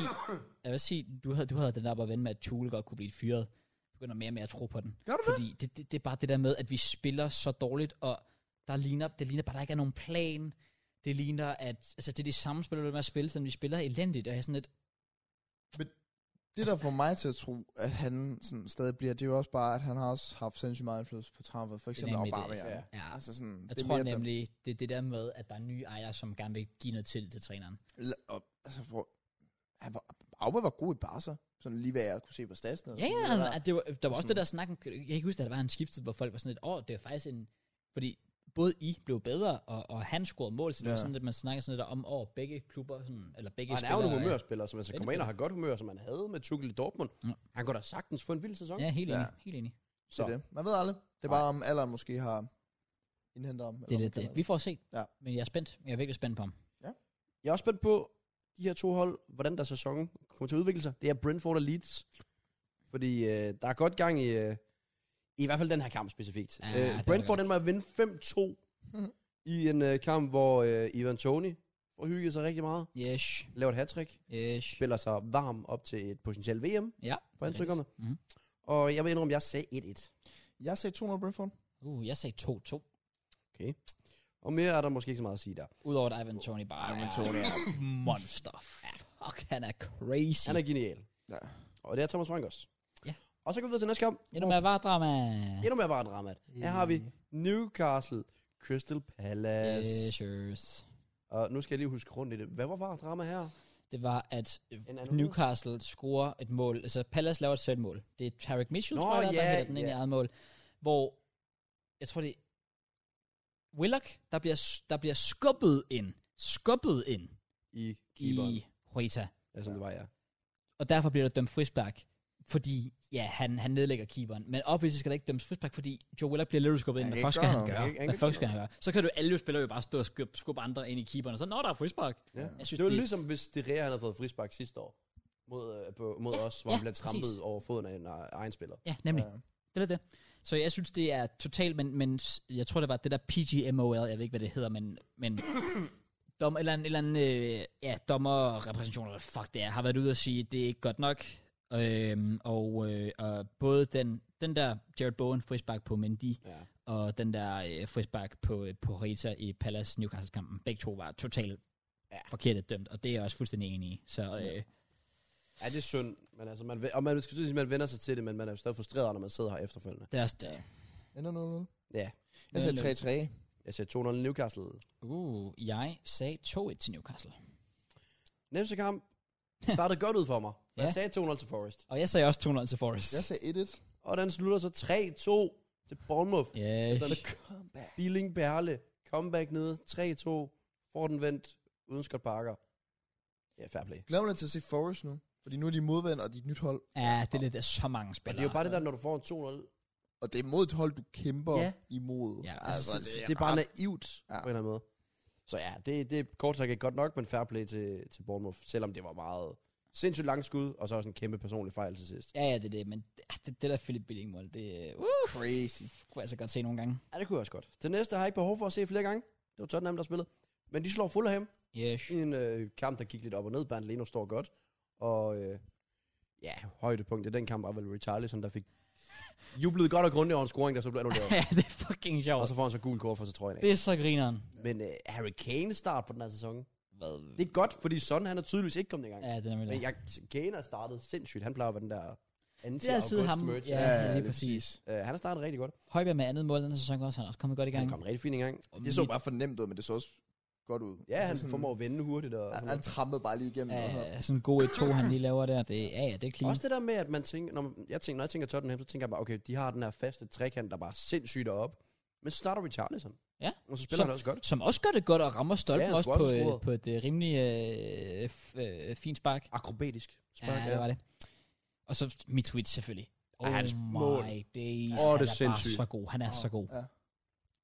Speaker 1: jeg vil sige du, havde, du havde den der bare vende med, at Tule godt kunne blive fyret. Jeg begynder mere og mere at tro på den.
Speaker 3: Gør du det?
Speaker 1: Fordi det, det, det er bare det der med, at vi spiller så dårligt, og der ligner, det ligner bare, at der ikke er nogen plan. Det ligner, at altså, det er de samme spillere, med at spille, som vi spiller elendigt. Og jeg er sådan lidt,
Speaker 3: Det, der får mig til at tro, at han sådan stadig bliver, det er jo også bare, at han har også haft sindssygt meget indflydelse på transfer. For eksempel
Speaker 1: nemlig det,
Speaker 3: Aubameyang.
Speaker 2: ja.
Speaker 1: ja,
Speaker 3: Altså sådan,
Speaker 1: jeg
Speaker 3: det er
Speaker 1: tror
Speaker 3: mere dem.
Speaker 1: nemlig, det er det der med, at der er nye ejere, som gerne vil give noget til til træneren.
Speaker 3: La- Og, altså, hvor, han var, Auba var god i Barca. Sådan lige hvad jeg kunne se på statsen. og
Speaker 1: Ja,
Speaker 3: sådan
Speaker 1: ja,
Speaker 3: noget
Speaker 1: han,
Speaker 3: der.
Speaker 1: at det var, der var også
Speaker 3: sådan-
Speaker 1: det der snak, om- jeg kan ikke huske, at der var en skiftet, hvor folk var sådan lidt, åh, det er faktisk en, fordi både I blev bedre, og, og han scorede mål, så det ja. var
Speaker 3: Ja.
Speaker 1: sådan lidt, man snakker sådan lidt om, åh, begge klubber, sådan, eller begge
Speaker 2: Og han er jo en
Speaker 1: spillere
Speaker 2: humørspiller, som altså kommer ind og har godt humør, som han havde med Tuchel i Dortmund.
Speaker 1: Ja.
Speaker 2: Han kunne da sagtens få en vild sæson.
Speaker 1: Ja, helt enig,
Speaker 3: Ja.
Speaker 1: ja. helt enig.
Speaker 3: Det
Speaker 2: Så
Speaker 3: er det. Man ved aldrig. Det er bare, om alderen måske har indhentet ham.
Speaker 1: Det
Speaker 3: eller
Speaker 1: er
Speaker 3: hvad
Speaker 1: det,
Speaker 3: man
Speaker 1: det.
Speaker 3: kalder
Speaker 1: Vi får set,
Speaker 3: Ja.
Speaker 1: men jeg er spændt, jeg er virkelig spændt på ham.
Speaker 2: jeg er også spændt på de her to hold, hvordan der sæsonen kommer til at udvikle sig. Det er Brentford og Leeds. Fordi øh, der er godt gang i, øh, i hvert fald den her kamp specifikt.
Speaker 1: Ja, det er
Speaker 2: Ja, øh,
Speaker 1: der
Speaker 2: Brentford
Speaker 1: godt.
Speaker 2: den må vinde 5-2
Speaker 3: Mhm.
Speaker 2: i en øh, kamp, hvor øh, Ivan Toni får hygget sig rigtig meget.
Speaker 1: Yes,
Speaker 2: Laver et hattrick,
Speaker 1: yes.
Speaker 2: Spiller sig varm op til et potentielt VM,
Speaker 1: Ja,
Speaker 2: på hans vedkommende.
Speaker 1: Mhm.
Speaker 2: Og jeg vil indrømme, at jeg sagde 1-1.
Speaker 3: det. Jeg sagde 2-0 Brentford.
Speaker 1: Uh, jeg sagde 2-2.
Speaker 2: Og mere er der måske ikke så meget at sige der.
Speaker 1: Udover at Ivan Tony bare
Speaker 3: Ivan Toney
Speaker 1: er monster. Fuck, han er crazy.
Speaker 2: Han er genial.
Speaker 3: Ja.
Speaker 2: Og det er Thomas Frank også.
Speaker 1: Ja.
Speaker 2: Og så går vi videre til næste kamp.
Speaker 1: Endnu
Speaker 2: hvor-
Speaker 1: mere var drama.
Speaker 2: endnu mere bare drama. Her har vi Newcastle, Crystal Palace.
Speaker 1: Yes, yes.
Speaker 2: Og nu skal jeg lige huske rundt i det. Hvad var var drama her?
Speaker 1: det var, at øh,
Speaker 2: anden
Speaker 1: Newcastle scorer et mål. Altså, Palace laver et selvmål. Det er Tarek Mitchell,
Speaker 2: Nå,
Speaker 1: tror jeg, der,
Speaker 2: ja,
Speaker 1: der hætter den ind i
Speaker 2: ja.
Speaker 1: eget mål. Hvor, jeg tror det er Willock, der bliver, s- der bliver skubbet ind, skubbet ind
Speaker 2: I keeperen.
Speaker 1: i Huita.
Speaker 2: Ja, som det var, ja.
Speaker 1: Og derfor bliver der dømt frispark, fordi ja, han, han nedlægger keeperen. Men obviously skal der ikke dømt frispark, fordi Joe Willock bliver lidt skubbet ind.
Speaker 3: Han
Speaker 1: Hvad
Speaker 3: kan
Speaker 1: fuck
Speaker 3: ikke
Speaker 1: skal han
Speaker 3: gøre noget.
Speaker 2: Han
Speaker 1: gøre?
Speaker 2: kan ikke- han
Speaker 1: Hvad
Speaker 2: kan
Speaker 1: fuck
Speaker 2: ikke
Speaker 1: skal han gøre? Så kan du alle jo spillere jo bare stå og skubbe, skubbe andre ind i keeperen, og så når der er frispark.
Speaker 2: ja.
Speaker 1: Jeg synes,
Speaker 2: det var
Speaker 1: det-
Speaker 2: ligesom, hvis De Rea, han havde fået frispark sidste år mod, øh, på, mod os, hvor
Speaker 1: ja,
Speaker 2: han blev trampet
Speaker 1: præcis.
Speaker 2: over foden af en øh, egen spiller.
Speaker 1: Ja, nemlig.
Speaker 3: Ja.
Speaker 1: Det er det. Så jeg synes, det er totalt, men, men s- jeg tror, det var det der PGMOL, jeg ved ikke, hvad det hedder, men, men dom, eller en, eller en øh, ja, dommerrepræsentation, eller fuck det er, har været ude og sige, det er ikke godt nok. Øhm, og, øh, og både den, den der Jared Bowen frisbak på Mendy,
Speaker 2: Ja.
Speaker 1: og den der øh, frisbak på, øh, på Rita i Palace Newcastle-kampen, begge to var totalt
Speaker 2: Ja.
Speaker 1: ja. forkert dømt, og det er jeg også fuldstændig enig i. Så øh,
Speaker 2: ja, det er synd. Men altså, man, og man, skal sige, man vender sig til det, men man er jo stadig frustreret, når man sidder her efterfølgende.
Speaker 1: det er også øh, det.
Speaker 3: Ender 0-0.
Speaker 2: Ja,
Speaker 3: Jeg sagde 3-3.
Speaker 2: jeg ser 2-0 Newcastle.
Speaker 1: Uh, jeg sagde 2-1 til Newcastle.
Speaker 2: Næste kamp startede godt ud for mig. Jeg
Speaker 1: Ja.
Speaker 2: sagde 2-0 til Forest.
Speaker 1: Og jeg sagde også 2-0 til Forest.
Speaker 3: Jeg sagde 1-1.
Speaker 2: Og den slutter så 3-2 til Bournemouth.
Speaker 1: Yes.
Speaker 2: Efter en
Speaker 3: Comeback.
Speaker 2: Billing Perle, comeback nede, 3-2, får den vendt, uden Scott Parker. Ja, fair play.
Speaker 3: Glæder mig lidt til at se Forest nu. Fordi nu er de modvand, og de er et nyt hold.
Speaker 1: Ja, det er lidt der er så mange
Speaker 2: Og
Speaker 1: spillere.
Speaker 2: det er jo bare det der, når du får en 2-0.
Speaker 3: Og det er mod et hold, du kæmper
Speaker 2: Ja.
Speaker 3: ja. imod.
Speaker 1: Ja.
Speaker 2: Altså, det, det, er bare naivt, ja.
Speaker 3: Ja.
Speaker 2: på en eller anden måde. Så ja, det, det er kort sagt ikke godt nok, men fair play til, til Bournemouth, selvom det var meget sindssygt langt skud, og så også en kæmpe personlig fejl til sidst.
Speaker 1: Ja, ja, det er det, men det, ah, det, det der Philip Billing mål, det øh, uh,
Speaker 3: crazy.
Speaker 1: kunne jeg altså godt se nogle gange.
Speaker 2: Ja, det kunne jeg også godt. Det næste har jeg ikke behov for at se flere gange. Det var Tottenham, der spillede. Men de slår Fulham
Speaker 1: Yes.
Speaker 2: i en øh, kamp, der gik lidt op og ned. Bernd Leno står godt. Og øh, ja, højdepunkt i den kamp var vel Richarlison, der fik jublet godt og grundigt over en scoring, der så blev annulleret.
Speaker 1: ja, det er fucking sjovt.
Speaker 2: og så får han så gul kort for sig trøjen af.
Speaker 1: Det er så grineren.
Speaker 2: Men øh, Harry Kane start på den her sæson.
Speaker 1: Hvad?
Speaker 2: Det er godt, fordi sådan han er tydeligvis ikke kommet i gang.
Speaker 1: Ja, det er nemlig
Speaker 2: Men
Speaker 1: det.
Speaker 2: jeg, Kane er startet sindssygt. Han plejer at være den der anden
Speaker 1: Det er altid ham.
Speaker 2: merch.
Speaker 1: Ja,
Speaker 2: Ja.
Speaker 1: ja, lige præcis.
Speaker 2: Øh, han har startet rigtig godt.
Speaker 1: Højbjerg med andet mål den her sæson også, han er også kommet godt i gang.
Speaker 2: Han kom rigtig fint i gang.
Speaker 1: Og
Speaker 3: Det så
Speaker 1: mit-
Speaker 3: bare fornemt ud, men det så også godt ud.
Speaker 2: Ja, han
Speaker 3: sådan-
Speaker 2: formår at vende hurtigt. Og,
Speaker 3: Han, han trampede bare lige igennem.
Speaker 1: Ja,
Speaker 3: Ja,
Speaker 1: ja, øh, sådan en god 1-2, han lige laver der. Det, ja, ja, det er clean.
Speaker 2: Også det der med, at man tænker, når, man- jeg tænker, når jeg tænker Tottenham, så tænker jeg bare, okay, de har den her faste trekant, der bare er sindssygt op. Men så starter Richarlison.
Speaker 1: Ja.
Speaker 2: Og så spiller
Speaker 1: Så-
Speaker 2: han også godt.
Speaker 1: Som også gør det godt og rammer
Speaker 2: Ja,
Speaker 1: stolpen
Speaker 2: han
Speaker 1: også
Speaker 2: skulle
Speaker 1: på,
Speaker 2: også have
Speaker 1: øh,
Speaker 2: scoret.
Speaker 1: på et øh, rimelig øh, f- øh, fint spark.
Speaker 2: Akrobatisk.
Speaker 1: Ja,
Speaker 2: Spark,
Speaker 1: det var det. Og så mit tweet selvfølgelig.
Speaker 2: Ej,
Speaker 1: Oh
Speaker 2: hans
Speaker 1: my
Speaker 2: mål.
Speaker 1: days.
Speaker 2: Åh,
Speaker 1: han
Speaker 2: det er
Speaker 1: er
Speaker 2: sindssygt.
Speaker 1: bare så god. Han er så god.
Speaker 3: Ja.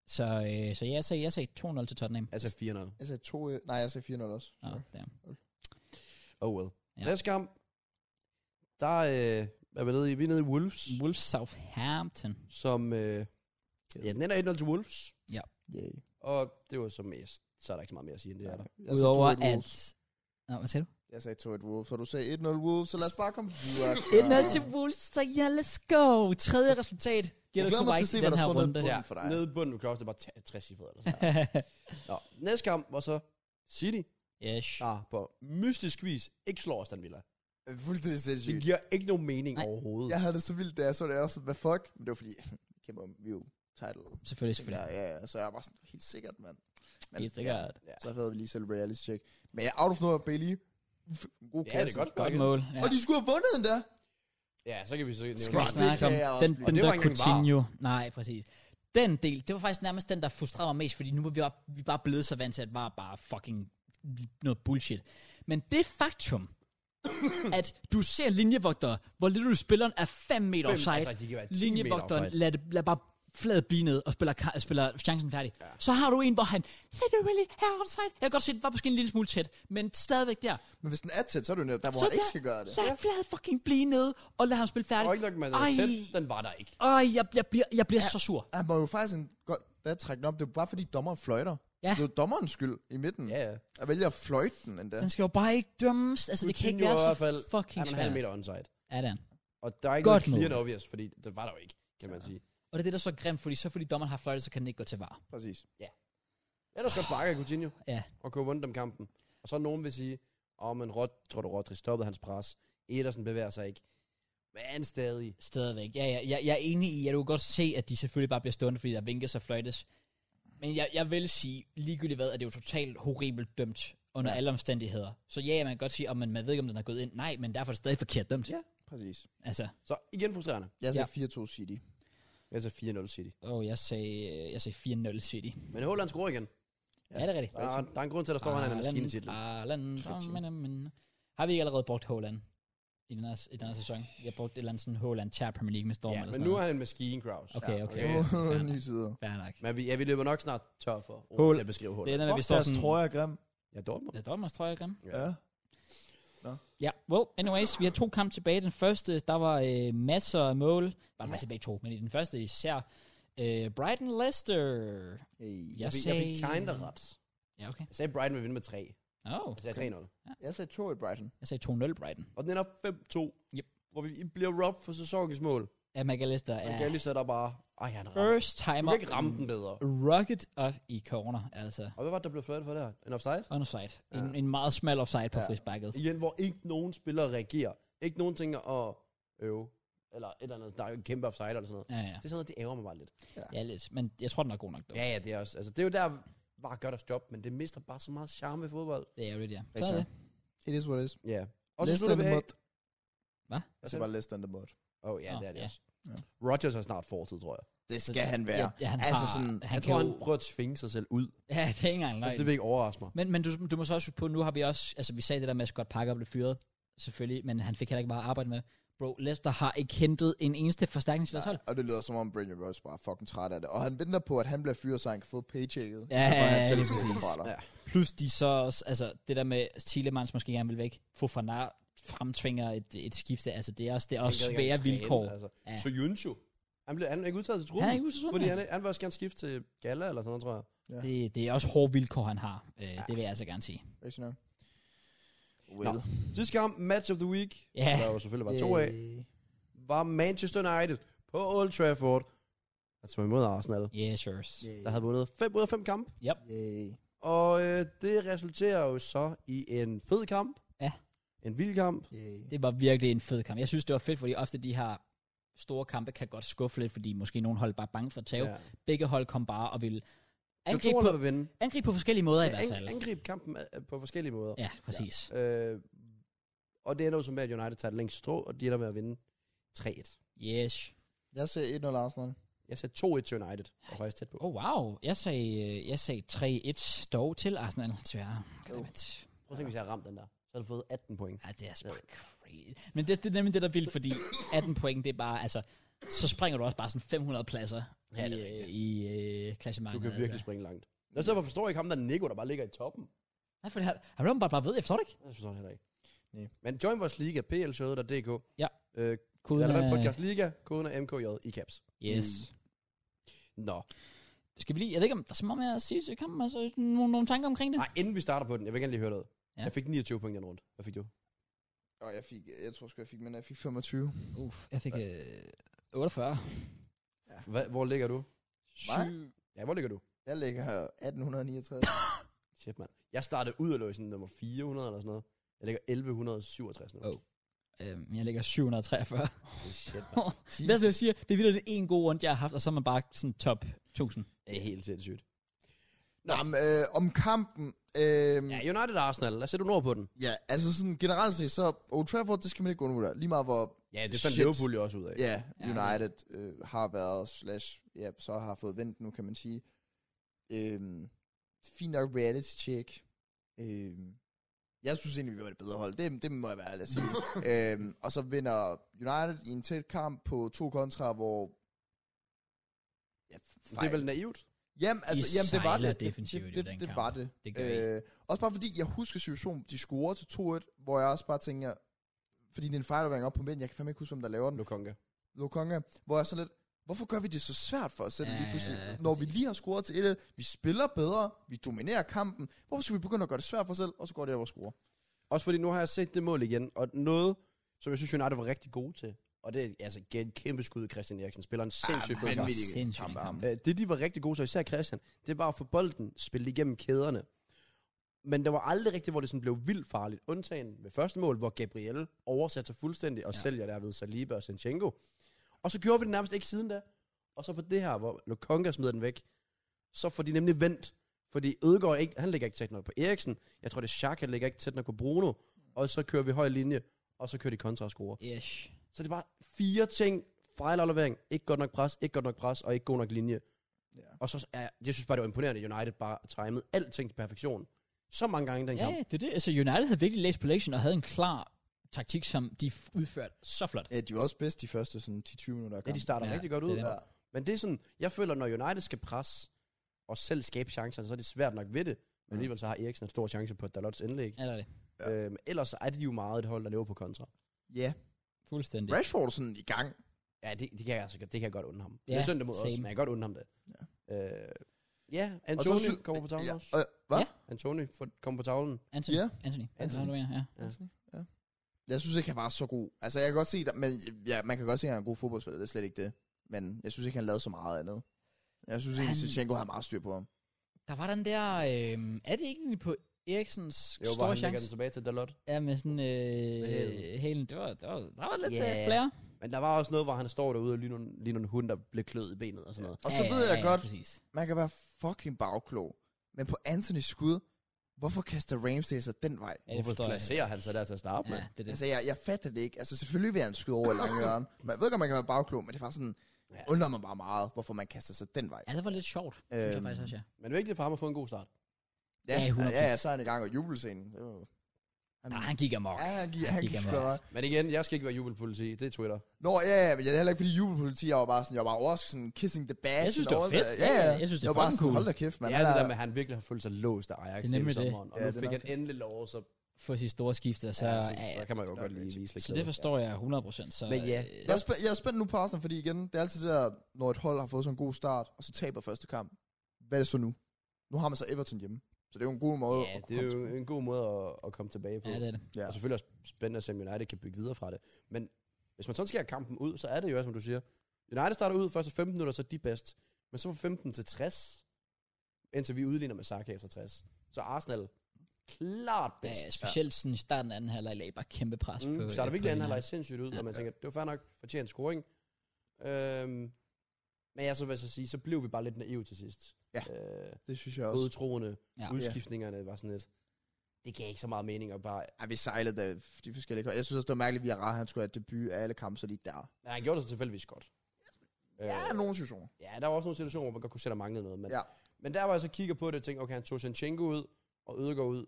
Speaker 1: Så, øh, så jeg sagde, jeg sagde 2-0 til Tottenham.
Speaker 2: Altså 4-0.
Speaker 3: Jeg sagde 2 Nej, jeg sagde 4-0 også.
Speaker 1: Nå,
Speaker 3: Sorry.
Speaker 1: der.
Speaker 2: Oh well.
Speaker 1: Ja.
Speaker 2: Ja. Næste kamp, der øh, er vi nede i, vi er nede i Wolves,
Speaker 1: Wolves Southampton.
Speaker 2: som øh, Ja, den ender 1-0 til Wolves.
Speaker 3: Yay.
Speaker 2: Og det var så mest. Så er der ikke så meget mere at sige end det. Ja. Der.
Speaker 3: Jeg sagde
Speaker 1: Udover
Speaker 3: 2-1
Speaker 1: at...
Speaker 3: Wolves.
Speaker 1: Nå, hvad siger du?
Speaker 3: Jeg sagde 2-1 Wolves, så du sagde 1-0 Wolves, så lad os bare komme videre.
Speaker 1: 1-0 til Wolves, så ja, let's go. Tredje resultat.
Speaker 3: Jeg
Speaker 1: Gælder
Speaker 3: glæder mig til at
Speaker 1: korrekt
Speaker 3: se,
Speaker 1: i
Speaker 3: hvad
Speaker 1: den
Speaker 3: der
Speaker 1: her
Speaker 3: står nede
Speaker 1: runde.
Speaker 3: på
Speaker 1: Ja.
Speaker 3: den for dig.
Speaker 2: Nede i bunden, du kan også, det er bare 60 cifre eller sådan noget. Nå, næste kamp var så City,
Speaker 1: yes.
Speaker 2: der på mystisk vis ikke slår Aston Villa.
Speaker 3: Det er Fuldstændig
Speaker 2: Det
Speaker 3: sindssygt.
Speaker 2: giver ikke nogen mening
Speaker 1: Nej.
Speaker 2: overhovedet.
Speaker 3: Jeg havde det så vildt, da jeg så det, jeg var sådan, hvad fuck? Men det var fordi, vi kæmper om, vi er jo title.
Speaker 1: Selvfølgelig, selvfølgelig.
Speaker 3: Ja, ja, ja, så jeg var bare sådan, helt sikkert, mand. Men,
Speaker 1: Helt sikkert.
Speaker 2: Ja.
Speaker 3: Så havde vi lige selv reality check. Men jeg out of nowhere, Bailey. F- God
Speaker 2: Ja,
Speaker 3: kasse.
Speaker 2: det er altså godt.
Speaker 1: Godt
Speaker 2: Okay.
Speaker 1: mål. Ja.
Speaker 3: Og de skulle have vundet den der.
Speaker 2: Ja, så kan vi så
Speaker 1: skal
Speaker 2: nævne
Speaker 1: vi ikke
Speaker 3: Nå,
Speaker 1: snakke
Speaker 3: det kan
Speaker 1: om.
Speaker 3: jeg også
Speaker 1: Den,
Speaker 3: blive-
Speaker 1: den
Speaker 2: Det
Speaker 1: der
Speaker 2: var ikke engang
Speaker 1: Coutinho. Nej, præcis. Den del, det var faktisk nærmest den, der frustrerede mig mest, fordi nu var vi bare, vi bare blevet så vant til, at var bare fucking noget bullshit. Men det faktum, at du ser linjevogter, hvor lidt du spilleren er 5 meter
Speaker 2: Fem-
Speaker 1: offside,
Speaker 2: altså, de kan være 10 meter
Speaker 1: linjevogteren
Speaker 2: offside.
Speaker 1: lader, det- lader bare flad binet og spiller, ka- spiller chancen færdig. Ja. Så har du en, hvor han literally her offside. Jeg kan godt se, det var måske en lille smule tæt, men stadigvæk der.
Speaker 3: Men hvis den er tæt, så er det jo netop der, hvor
Speaker 1: Så
Speaker 3: han ikke
Speaker 1: lad-
Speaker 3: skal gøre det.
Speaker 1: Lad flad fucking blive nede, og lad ham spille
Speaker 2: Det
Speaker 1: færdig.
Speaker 2: var ikke nok, man er
Speaker 1: Ej.
Speaker 2: tæt. Den var der ikke.
Speaker 1: Øj, jeg, jeg bliver, jeg bliver ja. så sur.
Speaker 3: Han var jo faktisk en godt der trække den op. Det var bare fordi dommeren fløjter.
Speaker 1: Ja.
Speaker 3: Det var dommerens skyld i midten.
Speaker 2: Ja, ja.
Speaker 3: Jeg vælger at fløjte den endda.
Speaker 1: Den skal jo bare ikke dømmes. Altså, det kan ikke
Speaker 2: Coutinho er i
Speaker 1: være
Speaker 2: hvert
Speaker 1: så
Speaker 2: fald-
Speaker 1: fucking
Speaker 2: Han er en halv
Speaker 1: svært.
Speaker 2: meter onside.
Speaker 1: Er den.
Speaker 2: Og der er ikke
Speaker 1: Godt
Speaker 2: noget clear and obvious, fordi det var der jo ikke, kan man sige.
Speaker 1: Og det er det, der er så grimt, fordi så fordi dommeren har fløjtet, så kan den ikke gå til var.
Speaker 3: Præcis.
Speaker 2: Ellers godt sparke Coutinho
Speaker 1: Ja.
Speaker 2: og kunne have vundet dem kampen. Og så er nogen vil sige, åh, oh, men Rod, tror du, Rodri stoppede hans pres. Ederson bevæger sig ikke. Men stadig.
Speaker 1: Stadigvæk. Ja, ja, jeg, jeg er enig i, at du kan godt se, at de selvfølgelig bare bliver stående, fordi der vinkes og fløjtes. Men jeg, jeg vil sige, ligegyldigt hvad, at det er jo totalt horribelt dømt under ja. alle omstændigheder. Så ja, man kan godt sige, at man, man ved ikke, om den er gået ind. Nej, men derfor er det stadig forkert dømt.
Speaker 2: Ja.
Speaker 3: Præcis.
Speaker 1: Altså,
Speaker 2: Så igen frustrerende.
Speaker 3: Jeg sagde 4-2 City.
Speaker 2: Jeg så 4-0 City.
Speaker 1: åh, jeg sagde, jeg sagde 4-0 City.
Speaker 2: Men Håland scorer igen.
Speaker 1: Ja. Er det rigtigt?
Speaker 2: Der er, Ah, der er en grund til, at der står, at han er en maskine til
Speaker 1: Haaland, Haaland, men- Har vi ikke allerede brugt Haaland i den her, i den her sæson? Vi har brugt et eller andet sådan Haaland tager Premier League med Storm
Speaker 2: Ja,
Speaker 1: eller
Speaker 2: men
Speaker 1: sådan
Speaker 2: nu er
Speaker 1: noget.
Speaker 2: han en maskine, Kraus.
Speaker 1: Okay,
Speaker 3: Ja,
Speaker 1: okay.
Speaker 2: okay.
Speaker 1: Fair nok.
Speaker 3: Nye tider.
Speaker 1: Fair nok.
Speaker 2: Men vi, ja, vi løber nok snart tør for
Speaker 1: Hul.
Speaker 2: ord til at beskrive
Speaker 1: Det
Speaker 2: hullet.
Speaker 1: ender med, at vi
Speaker 3: Fuck,
Speaker 1: står
Speaker 3: deres
Speaker 1: sådan...
Speaker 3: trøje er grim.
Speaker 2: Ja, Dortmund.
Speaker 1: Ja, Dortmunds trøje igen.
Speaker 3: Ja.
Speaker 1: Ja, well, anyways, vi har to kampe tilbage. Den første, der var øh, masser af mål. Var der masser tilbage to, men i den første især øh, Brighton Leicester.
Speaker 3: Hey.
Speaker 1: Jeg
Speaker 2: Jeg, fik, jeg
Speaker 1: sagde...
Speaker 2: fik kinda ret.
Speaker 1: Ja, okay.
Speaker 2: Jeg sagde, Brighton vil vinde med 3.
Speaker 1: Oh,
Speaker 2: Jeg sagde 3-0.
Speaker 3: Jeg sagde 2 i Brighton.
Speaker 1: jeg sagde 2-0 Brighton.
Speaker 2: Og den ender 5-2.
Speaker 1: Yep.
Speaker 2: Hvor vi bliver robbed for sæsonens mål.
Speaker 1: Ja, Øh, McAllister
Speaker 2: Ja.
Speaker 1: er
Speaker 2: Og Gally der bare, ej, han rammer.
Speaker 1: first
Speaker 2: Du
Speaker 1: timer.
Speaker 2: kan ikke ramme den bedre.
Speaker 1: Rocket op i corner, altså.
Speaker 2: Og hvad var det, der blev fløjtet for der? En offside?
Speaker 1: Underside. En, en meget smal offside på ja.
Speaker 3: Ja.
Speaker 1: frisbakket.
Speaker 2: Igen, hvor ikke nogen spiller reagerer. Ikke nogen tænker at øve. Eller et eller andet. Der er jo en kæmpe offside eller sådan noget.
Speaker 1: Ja, ja.
Speaker 2: Det er sådan noget, det ærger mig bare lidt.
Speaker 1: Ja, lidt. Men jeg tror, den er god nok, dog. Ja.
Speaker 2: Ja, ja, det er også. Altså, det er jo der, bare gør deres job, men det mister bare så meget charme ved fodbold.
Speaker 1: Det er ærgerligt, ja. Så
Speaker 2: Ikke
Speaker 1: er det.
Speaker 3: It is what it is.
Speaker 2: Ja. Og så
Speaker 3: Leicester
Speaker 2: slutter
Speaker 3: in
Speaker 2: vi
Speaker 3: the
Speaker 2: af.
Speaker 3: mud.
Speaker 1: Hvad?
Speaker 3: Jeg sagde bare Leicester in the mud.
Speaker 2: Åh, oh, ja,
Speaker 1: Nå,
Speaker 2: det er det
Speaker 1: ja.
Speaker 2: også.
Speaker 3: Ja.
Speaker 2: Rodgers er snart fortid, tror jeg.
Speaker 3: Det skal han være.
Speaker 1: Ja, ja han
Speaker 3: altså
Speaker 1: har,
Speaker 3: sådan,
Speaker 1: han
Speaker 2: Jeg
Speaker 1: kan
Speaker 2: tror,
Speaker 1: jo,
Speaker 2: han prøver at tvinge sig selv ud.
Speaker 1: Ja, det er ikke engang løgn.
Speaker 2: Altså, det vil ikke overraske mig.
Speaker 1: Men, men du, du må så også huske på, nu har vi også... Altså, vi sagde det der med, at Scott Parker blev fyret, selvfølgelig, men han fik heller ikke meget at arbejde med. Bro, Leicester har ikke hentet en eneste forstærkning til deres hold.
Speaker 3: Nej, og det lyder som om Brendan Rose bare er fucking træt af det. Og han venter på, at han bliver fyret, så han kan få paychecket.
Speaker 1: Ja,
Speaker 3: så får han
Speaker 1: ja,
Speaker 3: selv
Speaker 1: lige
Speaker 3: sine
Speaker 1: præcis.
Speaker 3: kontrakter.
Speaker 2: Ja.
Speaker 1: Plus de så også... Altså, det der med Thielemans måske gerne vil væk. Fofana fremtvinger et, et skifte. Altså, det er også, det er
Speaker 2: Han
Speaker 1: også
Speaker 2: gad
Speaker 1: svære
Speaker 2: ikke engang altså.
Speaker 1: vilkår.
Speaker 2: træne, Altså.
Speaker 1: Ja.
Speaker 2: Ja. Så Juncho, han blev han er ikke udtaget til truppen.
Speaker 1: Han er ikke usundt.
Speaker 2: fordi han, han vil også gerne skifte til Gala eller sådan noget, tror jeg.
Speaker 1: Det, det er også hårde vilkår, han har. Øh, Det vil jeg altså gerne sige.
Speaker 3: Hvis you know. Well.
Speaker 2: Nå, Sidste kamp, match of the week,
Speaker 1: Ja.
Speaker 2: der jo selvfølgelig var to af,
Speaker 3: Øh,
Speaker 2: var Manchester United på Old Trafford. Jeg tog imod Arsenal,
Speaker 1: Yeah, sure.
Speaker 3: yeah,
Speaker 2: der havde vundet 5 ud af 5 kampe.
Speaker 3: yeah.
Speaker 2: Og øh, det resulterer jo så i en fed kamp.
Speaker 1: Ja.
Speaker 2: En vild kamp.
Speaker 3: Yeah.
Speaker 1: Det var virkelig en fed kamp. Jeg synes, det var fedt, fordi ofte de her store kampe kan godt skuffe lidt, fordi måske nogle hold bare er bange for at tabe. Ja. Begge hold kom bare og ville
Speaker 2: Angribe
Speaker 1: angribe
Speaker 2: på,
Speaker 1: på,
Speaker 2: at vinde.
Speaker 1: angribe på forskellige måder ja, i
Speaker 2: Ja,
Speaker 1: hvert
Speaker 2: ang-
Speaker 1: fald.
Speaker 2: angribe kampen øh, på forskellige måder.
Speaker 1: Ja, præcis. Ja.
Speaker 2: Øh, og det ender jo så med, at United tager det længste strå, og de ender med at vinde 3-1.
Speaker 1: Yes.
Speaker 3: Jeg ser 1-0 Arsenal.
Speaker 2: Jeg sagde 2-1 til United. Jeg var faktisk tæt på.
Speaker 1: Oh, wow. Jeg sagde, øh, jeg sagde 3-1 dog til Arsenal, desværre. Goddammit.
Speaker 2: Prøv at tænke, hvis jeg har ramt den der. Så har du fået 18 point.
Speaker 1: Ja, det er sgu crazy. Men det, det er nemlig det, der er vildt, fordi 18 point, det er bare, altså, så springer du også bare sådan 500 pladser
Speaker 2: Ja,
Speaker 1: i,
Speaker 2: det er
Speaker 1: øh,
Speaker 2: rigtigt.
Speaker 1: i øh, klassementet.
Speaker 2: Du kan virkelig
Speaker 1: altså.
Speaker 2: springe langt. Jeg så forstår jeg ikke ham der Nico, der bare ligger i toppen.
Speaker 1: Nej, for det har, har du bare, bare ved, jeg forstår det ikke.
Speaker 2: Jeg forstår det heller ikke.
Speaker 3: Nej.
Speaker 2: Men join vores liga, PL-showet der DK.
Speaker 1: Ja.
Speaker 2: Øh,
Speaker 1: Koden
Speaker 2: relevant
Speaker 1: er-
Speaker 2: podcast liga, koden er MKJ i caps.
Speaker 1: Yes.
Speaker 3: Mm.
Speaker 2: Nå.
Speaker 1: Skal vi lige, jeg ved ikke, om der er så meget mere at sige til kampen, altså nogle, nogle tanker omkring det?
Speaker 2: Nej, inden vi starter på den, jeg vil gerne lige høre noget.
Speaker 1: Ja.
Speaker 2: Ja. Jeg fik 29 point den rundt. Hvad fik du?
Speaker 3: Og jeg fik, jeg tror sgu, jeg fik, men jeg fik 25.
Speaker 1: Uff, jeg fik øh, 48.
Speaker 2: Hvad, hvor ligger du?
Speaker 3: Mig?
Speaker 1: Syv.
Speaker 2: Ja, hvor ligger du?
Speaker 3: Jeg ligger her 1869.
Speaker 2: Shit, mand. Jeg startede ud og lå i sådan nummer 400 eller sådan noget. Jeg ligger 1167 nu.
Speaker 1: Oh. Øhm, jeg ligger 743.
Speaker 2: Det er shit, mand.
Speaker 1: Det er, som jeg siger, det er vildt, det er en god runde, jeg har haft, og så er man bare sådan top 1000.
Speaker 2: Det er helt sindssygt.
Speaker 3: Nå, men, øh, om kampen. Øh,
Speaker 2: Ja,
Speaker 3: ja.
Speaker 2: United og Arsenal. Lad os sætte nogle ord på den.
Speaker 3: ja, altså sådan generelt set, så Old Trafford, det skal man ikke undervurdere. Lige meget hvor
Speaker 2: Ja, det fandt
Speaker 3: Shit.
Speaker 2: Liverpool jo også ud af.
Speaker 3: ja,
Speaker 1: Ja,
Speaker 3: United øh, har været, slash, ja, så har fået vendt nu, kan man sige. Øhm, fint nok reality check. Øhm, jeg synes egentlig, vi var det bedre hold. Det, det må jeg være ærlig at sige. øhm, og så vinder United i en tæt kamp på to kontra, hvor... Ja,
Speaker 2: Det er vel naivt?
Speaker 3: Jamen, altså,
Speaker 1: De
Speaker 3: jamen, det var
Speaker 1: sejler
Speaker 3: det. Det, det,
Speaker 1: defensivt i
Speaker 3: det, det,
Speaker 1: den
Speaker 3: det
Speaker 1: kamp.
Speaker 3: var det.
Speaker 1: Det gør I.
Speaker 3: øh, også bare fordi, jeg husker situationen, de scorer til 2-1, hvor jeg også bare tænker, fordi det er en fejlafværing op på midten, jeg kan fandme ikke huske, om der laver den.
Speaker 2: Lukonga.
Speaker 3: Lokonga, hvor jeg er sådan lidt, hvorfor gør vi det så svært for os selv
Speaker 1: Ja,
Speaker 3: ja, lige pludselig?
Speaker 1: ja,
Speaker 3: Ja,
Speaker 1: ja,
Speaker 3: ja, når vi
Speaker 1: præcis.
Speaker 3: lige har scoret til 1-1, vi spiller bedre, vi dominerer kampen, hvorfor skal vi begynde at gøre det svært for os selv, og så går det over at score?
Speaker 2: Også fordi nu har jeg set det mål igen, og noget, som jeg synes, United var rigtig gode til, og det er altså igen et kæmpe skud i Christian Eriksen, spiller en sindssyg
Speaker 3: Ah,
Speaker 2: fed kamp.
Speaker 3: vanvittig
Speaker 1: Sindssygt
Speaker 3: kamp af ham.
Speaker 1: kamp.
Speaker 2: Øh, Det, de var rigtig gode til, især Christian, det var at få bolden spillet igennem kæderne. Men der var aldrig rigtigt, hvor det sådan blev vildt farligt. Undtagen ved første mål, hvor Gabriel oversatte sig fuldstændig og
Speaker 1: Ja.
Speaker 2: ja. sælger derved Saliba og Sinchenko. Og så gjorde vi det nærmest ikke siden da. Og så på det her, hvor Lokonga smider den væk, så får de nemlig vendt. Fordi Ødegaard, er ikke, han ligger ikke tæt nok på Eriksen. Jeg tror, det er Schack, han ligger ikke tæt nok på Bruno. Og så kører vi høj linje, og så kører de kontra og scorer.
Speaker 1: Ish.
Speaker 2: Så det er bare fire ting. Fejlaflevering, ikke godt nok pres, ikke godt nok pres, og ikke god nok linje.
Speaker 3: Ja.
Speaker 2: Og så, ja, jeg synes bare, det var imponerende, at United bare timede alting til perfektion. Så mange gange i den
Speaker 1: Ja,
Speaker 2: kamp.
Speaker 1: ja, det er det. Altså, United havde virkelig læst på lektien og havde en klar taktik, som de f- udførte så flot.
Speaker 3: Ja, de var også bedst de første sådan 10-20 minutter
Speaker 2: Ja,
Speaker 3: af
Speaker 2: de
Speaker 3: kampen.
Speaker 2: starter
Speaker 1: Ja,
Speaker 2: ja, rigtig godt
Speaker 1: det
Speaker 2: ud.
Speaker 1: er det.
Speaker 2: Det
Speaker 3: Ja,
Speaker 2: Men det er sådan, jeg føler, når United skal presse og selv skabe chancer, så er det svært nok ved det. Men
Speaker 3: Mm.
Speaker 2: alligevel så har Eriksen en stor chance på Dalots indlæg.
Speaker 1: Ja, det er det.
Speaker 2: Ja. Øhm, ellers er det jo meget et hold, der lever på kontra.
Speaker 3: ja.
Speaker 1: Fuldstændig.
Speaker 3: Rashford er sådan i gang.
Speaker 2: Ja, det, det, kan jeg, altså, det kan jeg godt undre ham.
Speaker 1: Ja,
Speaker 2: Ja, det er synd imod os,
Speaker 1: same.
Speaker 2: men jeg kan godt undre ham det. Ja, øh, ja
Speaker 3: Og så
Speaker 2: Antonio
Speaker 3: sy-
Speaker 2: kommer på tavlen
Speaker 3: ja,
Speaker 2: også.
Speaker 3: øh, hvad?
Speaker 1: Ja.
Speaker 3: Ja.
Speaker 2: Antonio får- kommer på tavlen.
Speaker 1: Anthony.
Speaker 3: Ja.
Speaker 1: Anthony.
Speaker 2: Anthony.
Speaker 1: Anthony. Ja.
Speaker 3: ja. Jeg synes ikke, han var så god. Altså, jeg kan godt se, der, men ja, man kan godt se, at han er en god fodboldspiller, det er slet ikke det. Men jeg synes ikke, han lavede så meget andet. Jeg synes ikke, at
Speaker 1: Han-
Speaker 3: Sitchenko havde meget styr på ham.
Speaker 1: Der var den der... Øh, er det ikke egentlig på Eriksens
Speaker 2: Jo, hvor
Speaker 1: store
Speaker 2: han lægger
Speaker 1: chance?
Speaker 2: den tilbage til Dalot.
Speaker 1: Ja, med sådan... Øh,
Speaker 2: hælen.
Speaker 1: hælen. Det var, der, var, der var lidt øh, yeah.
Speaker 2: Ja.
Speaker 1: flere.
Speaker 2: Men der var også noget, hvor han står derude og ligner, ligner en hund, der blev kløet i benet og sådan noget.
Speaker 3: Og så ved jeg godt,
Speaker 1: præcis.
Speaker 3: man kan være fucking bagklog. Men på Anthonys skud, hvorfor kaster Ramsdale sig den vej?
Speaker 1: Ja, det forstår jeg.
Speaker 2: placerer han sig der til at starte med?
Speaker 1: Ja, det er det.
Speaker 3: Altså, jeg, jeg fatter det ikke. Altså, selvfølgelig vil han skyde over i lange hjørne. Man ved godt, man kan være bagklog, men det var sådan,
Speaker 2: Ja.
Speaker 3: undrer mig bare meget, hvorfor man kaster sig den vej.
Speaker 1: Ja, det var lidt sjovt. Øhm, synes jeg faktisk også, ja.
Speaker 2: Men det er vigtigt for ham at få en god start.
Speaker 1: Ja,
Speaker 3: ja,
Speaker 1: 100%.
Speaker 3: ja, ja, så er han i gang, og jubelscenen. det var jo- Han,
Speaker 1: Nej, han gik amok.
Speaker 3: ja, han gik, han
Speaker 1: gik
Speaker 3: gik sgu
Speaker 1: amok.
Speaker 3: meget.
Speaker 2: Men igen, jeg skal ikke være jubelpoliti. Det er Twitter.
Speaker 3: Nå, ja, ja, men jeg er heller ikke, fordi jubelpoliti, jeg var bare sådan, jeg var bare overrasket, sådan kissing the badge.
Speaker 1: Jeg synes, det var
Speaker 3: og all
Speaker 1: fedt.
Speaker 3: that.
Speaker 1: Ja,
Speaker 3: Ja,
Speaker 1: ja,
Speaker 3: ja,
Speaker 1: jeg synes, det er
Speaker 3: var bare
Speaker 1: fucking
Speaker 3: sådan,
Speaker 1: cool.
Speaker 3: hold da kæft,
Speaker 2: Men
Speaker 3: man.
Speaker 2: det er det der med, at han virkelig har følt sig låst af Ajax
Speaker 1: Det er
Speaker 2: hele
Speaker 1: nemlig det.
Speaker 2: sommeren. Og
Speaker 3: Ja,
Speaker 2: nu
Speaker 3: det er
Speaker 2: fik
Speaker 3: nok
Speaker 2: han endelig lov, så,
Speaker 1: Få sit store skifte, og så...
Speaker 2: så, ja, så,
Speaker 1: ja,
Speaker 2: så, kan man jo
Speaker 3: det er
Speaker 2: godt
Speaker 3: nok
Speaker 2: lige
Speaker 3: rigtigt.
Speaker 2: vise lidt
Speaker 1: Så det
Speaker 2: klæder.
Speaker 1: forstår jeg 100%. Så,
Speaker 2: Men ja.
Speaker 1: øh,
Speaker 3: Jeg er, spæ- jeg er spændt nu på Arsenal, fordi igen, det er altid det der, når et hold har fået sådan en god start, og så taber første kamp. Hvad er det så nu? Nu har man så Everton hjemme. Så det er jo Altså, en god måde
Speaker 2: Ja, det
Speaker 3: at komme
Speaker 2: er jo
Speaker 3: tilbage.
Speaker 2: en god måde at, at komme tilbage på.
Speaker 1: ja, det er det.
Speaker 3: Ja.
Speaker 2: Og selvfølgelig også spændende at se, om United kan bygge videre fra det. Men hvis man sådan skærer kampen ud, så er det jo også, som du siger. United starter ud første 15 minutter, så er de bedst. Men så fra 15 til 60, indtil vi udligner med Saka efter 60. Så Arsenal klart
Speaker 1: Ja,
Speaker 2: bedst.
Speaker 1: specielt sådan i starten af anden halvleg lagde bare kæmpe pres
Speaker 2: Mm,
Speaker 1: på...
Speaker 2: på, starter virkelig anden halvleg
Speaker 1: halvleg.
Speaker 2: sindssygt ud,
Speaker 1: Ja.
Speaker 2: ja, og man tænker, det var fair nok, fortjent scoring. Øhm, men ja, så vil jeg så sige, så blev vi bare lidt naive til sidst.
Speaker 3: Ja.
Speaker 2: Øh,
Speaker 3: Det synes jeg også.
Speaker 2: Udtroende,
Speaker 1: Ja.
Speaker 2: ja. udskiftningerne var sådan lidt, det gav ikke så meget mening, og bare,
Speaker 3: Ej, vi sejlede da de forskellige Jeg synes også, det var mærkeligt, at Villarreal, han skulle have debut af alle kampe, så lige der.
Speaker 2: nej, han gjorde det så tilfældigvis godt.
Speaker 3: Ja, nogle situationer.
Speaker 2: ja, der var også nogle situationer, hvor man godt kunne se, at der manglede noget. Men,
Speaker 3: Ja.
Speaker 2: men der var jeg så kigger på det og tænkte, okay, han tog Sinchenko ud, og Ødegaard ud.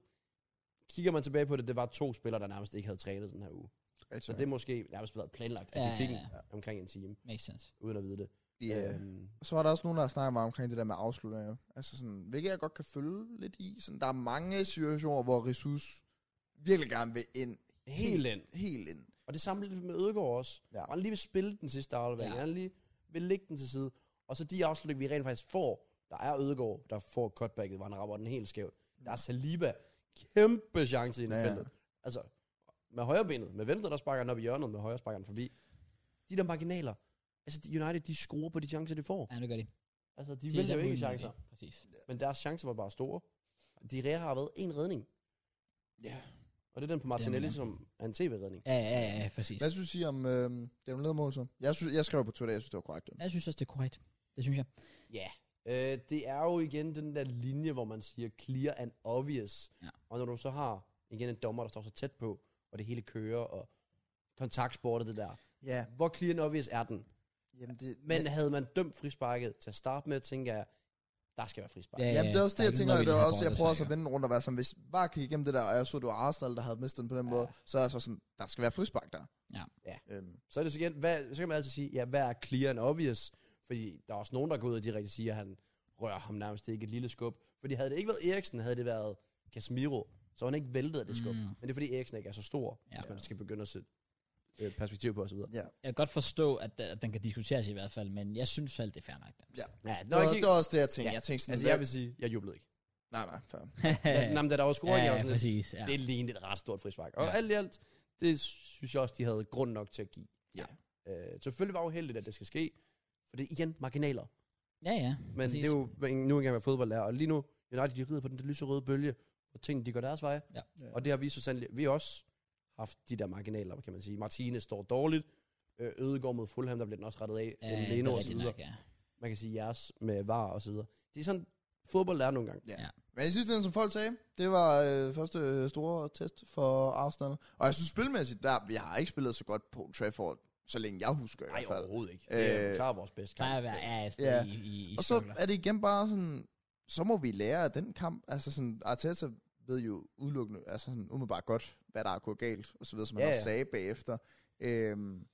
Speaker 2: Kigger man tilbage på det, det var to spillere, der nærmest ikke havde trænet den her uge.
Speaker 3: Altså,
Speaker 2: Så det er måske nærmest været planlagt, at
Speaker 1: Ja,
Speaker 2: de fik
Speaker 1: ja,
Speaker 2: ja,
Speaker 1: ja.
Speaker 2: omkring en time,
Speaker 1: Makes sense.
Speaker 2: uden at vide det.
Speaker 3: Yeah.
Speaker 2: Øhm,
Speaker 3: Så var der også nogen, der snakkede meget omkring det der med afslutninger. Altså sådan, hvilket jeg godt kan følge lidt i. Sådan, der er mange situationer, hvor Jesus virkelig gerne vil ind.
Speaker 2: helt ind.
Speaker 3: Helt ind.
Speaker 2: Og det samme lidt med Ødegaard også.
Speaker 3: Ja.
Speaker 2: Ja. Og han lige vil spille den sidste aflevering.
Speaker 1: Ja.
Speaker 2: Ja. Han lige vil lægge den til side. Og så de afslutninger, vi rent faktisk får, der er Ødegaard, der får cutbacket, hvor han rammer den helt skævt. Der er Saliba, kæmpe chance i
Speaker 3: Ja, ja.
Speaker 2: ja. feltet. Altså, med højre benet, med venstre, der sparker han op i hjørnet, med højre sparker han forbi. De der marginaler, altså de- United, de skruer på de chancer, de får.
Speaker 1: Ja, det gør de.
Speaker 2: Altså, de,
Speaker 1: De
Speaker 2: de
Speaker 1: er
Speaker 2: vælger jo
Speaker 1: der
Speaker 2: ikke
Speaker 1: uden-
Speaker 2: chancer.
Speaker 1: ja, Præcis.
Speaker 2: Men deres chancer var bare store. De Rea har været en redning,
Speaker 3: Ja.
Speaker 2: og det er den
Speaker 1: Det
Speaker 2: på
Speaker 1: er
Speaker 2: Martinelli,
Speaker 1: den, ja.
Speaker 2: som er en tv-redning.
Speaker 1: Ja, ja, ja, ja præcis.
Speaker 3: Hvad synes I om øh, det er mål så? Jeg, synes, jeg skrev på Twitter, jeg synes, det var korrekt.
Speaker 1: Jeg synes også, det er korrekt. Det synes jeg.
Speaker 2: Øh, det er jo igen den der linje, hvor man siger clear and obvious.
Speaker 1: Ja.
Speaker 2: Og når du så har igen en dommer, der står så tæt på, og det hele kører, og kontaktsport og det der.
Speaker 3: Ja,
Speaker 2: Hvor clear and obvious er den?
Speaker 3: jamen det...
Speaker 2: Men havde man dømt frisparket til at starte med, tænker jeg, der skal være frispark.
Speaker 1: Ja, ja,
Speaker 3: Jamen, det er også
Speaker 1: der
Speaker 3: det, jeg
Speaker 1: ikke
Speaker 3: tænker,
Speaker 1: noget
Speaker 3: og
Speaker 1: ved
Speaker 3: det
Speaker 1: det
Speaker 3: var
Speaker 1: her
Speaker 3: også, jeg
Speaker 1: forhold,
Speaker 3: prøver
Speaker 1: der
Speaker 3: også at
Speaker 1: sælger.
Speaker 3: vende rundt, og være sådan, hvis bare kigge igennem det der, og jeg så, du var Arsenal, der havde mistet den på den
Speaker 2: Ja.
Speaker 3: måde, så er jeg så sådan, der skal være frispark der.
Speaker 1: Ja.
Speaker 2: Ja.
Speaker 3: Øhm,
Speaker 2: Så, er det så, igen, hvad, så kan man altid sige, ja, hvad er clear and obvious? Fordi der er også nogen, der går ud og direkte siger, at han rører ham nærmest ikke et lille skub. Fordi havde det ikke været Eriksen, havde det været Casemiro, så var han ikke væltet af det skub.
Speaker 1: Mm.
Speaker 2: Men det er fordi Eriksen ikke er så stor,
Speaker 1: Ja.
Speaker 2: ja. hvis man skal begynde at sætte øh, perspektiv på osv.
Speaker 3: ja.
Speaker 1: Jeg kan godt forstå, at, øh, at den kan diskuteres i hvert fald, men jeg synes selv, det er fair nok. det.
Speaker 2: Ja,
Speaker 3: Det var, det var også det, jeg tænkte.
Speaker 2: Ja.
Speaker 3: Jeg tænkte sådan,
Speaker 2: altså jeg vil sige, jeg jublede ikke.
Speaker 3: nej, nej, fair.
Speaker 2: Ja. Jamen, da der var
Speaker 1: ja,
Speaker 2: scoring, ja, jeg var
Speaker 1: ja,
Speaker 2: sådan, lidt,
Speaker 1: præcis. Ja.
Speaker 2: det lignede et ret stort frispark. Og
Speaker 1: Ja.
Speaker 2: ja. alt i alt, det synes jeg også, de havde grund nok til at give.
Speaker 1: Ja.
Speaker 2: Øh, selvfølgelig var det uheldigt, at det skal ske. For det er igen marginaler.
Speaker 1: Ja, ja.
Speaker 2: Men
Speaker 1: Præcis.
Speaker 2: det er jo hvad en- nu engang, hvad fodbold er. Og lige nu, United, de rider på den der lyserøde bølge, og tingene, de går deres vej.
Speaker 3: Ja.
Speaker 2: Og det har vi så sandelig, vi har også haft de der marginaler, kan man sige. Martine står dårligt. Øh, Ødegaard mod Fulham, der blev den også rettet af.
Speaker 1: Ja,
Speaker 2: Ja,
Speaker 1: det
Speaker 2: Leno
Speaker 1: er
Speaker 2: og så
Speaker 1: rigtigt
Speaker 2: videre.
Speaker 1: nok, ja.
Speaker 2: Man kan sige jeres med var og så videre. Det er sådan, fodbold er nogle gange.
Speaker 3: Men i sidste ende, som folk sagde, det var øh, første øh, store test for Arsenal. Og jeg synes spilmæssigt, der, vi har ikke spillet så godt på Trafford, så længe jeg husker i
Speaker 2: Nej,
Speaker 3: hvert fald.
Speaker 2: overhovedet ikke. Det er
Speaker 3: Øh,
Speaker 2: klart vores bedste
Speaker 1: Plejer
Speaker 2: kamp.
Speaker 1: at være ja,
Speaker 3: Ja.
Speaker 1: i, i, i
Speaker 3: Og så
Speaker 1: cirkler.
Speaker 3: er det igen bare sådan, så må vi lære af den kamp. Altså sådan, Arteta ved jo udelukkende, altså sådan umiddelbart godt, hvad der er gået galt, og så videre, som han
Speaker 2: Ja,
Speaker 3: også
Speaker 2: ja.
Speaker 3: sagde bagefter. Øhm,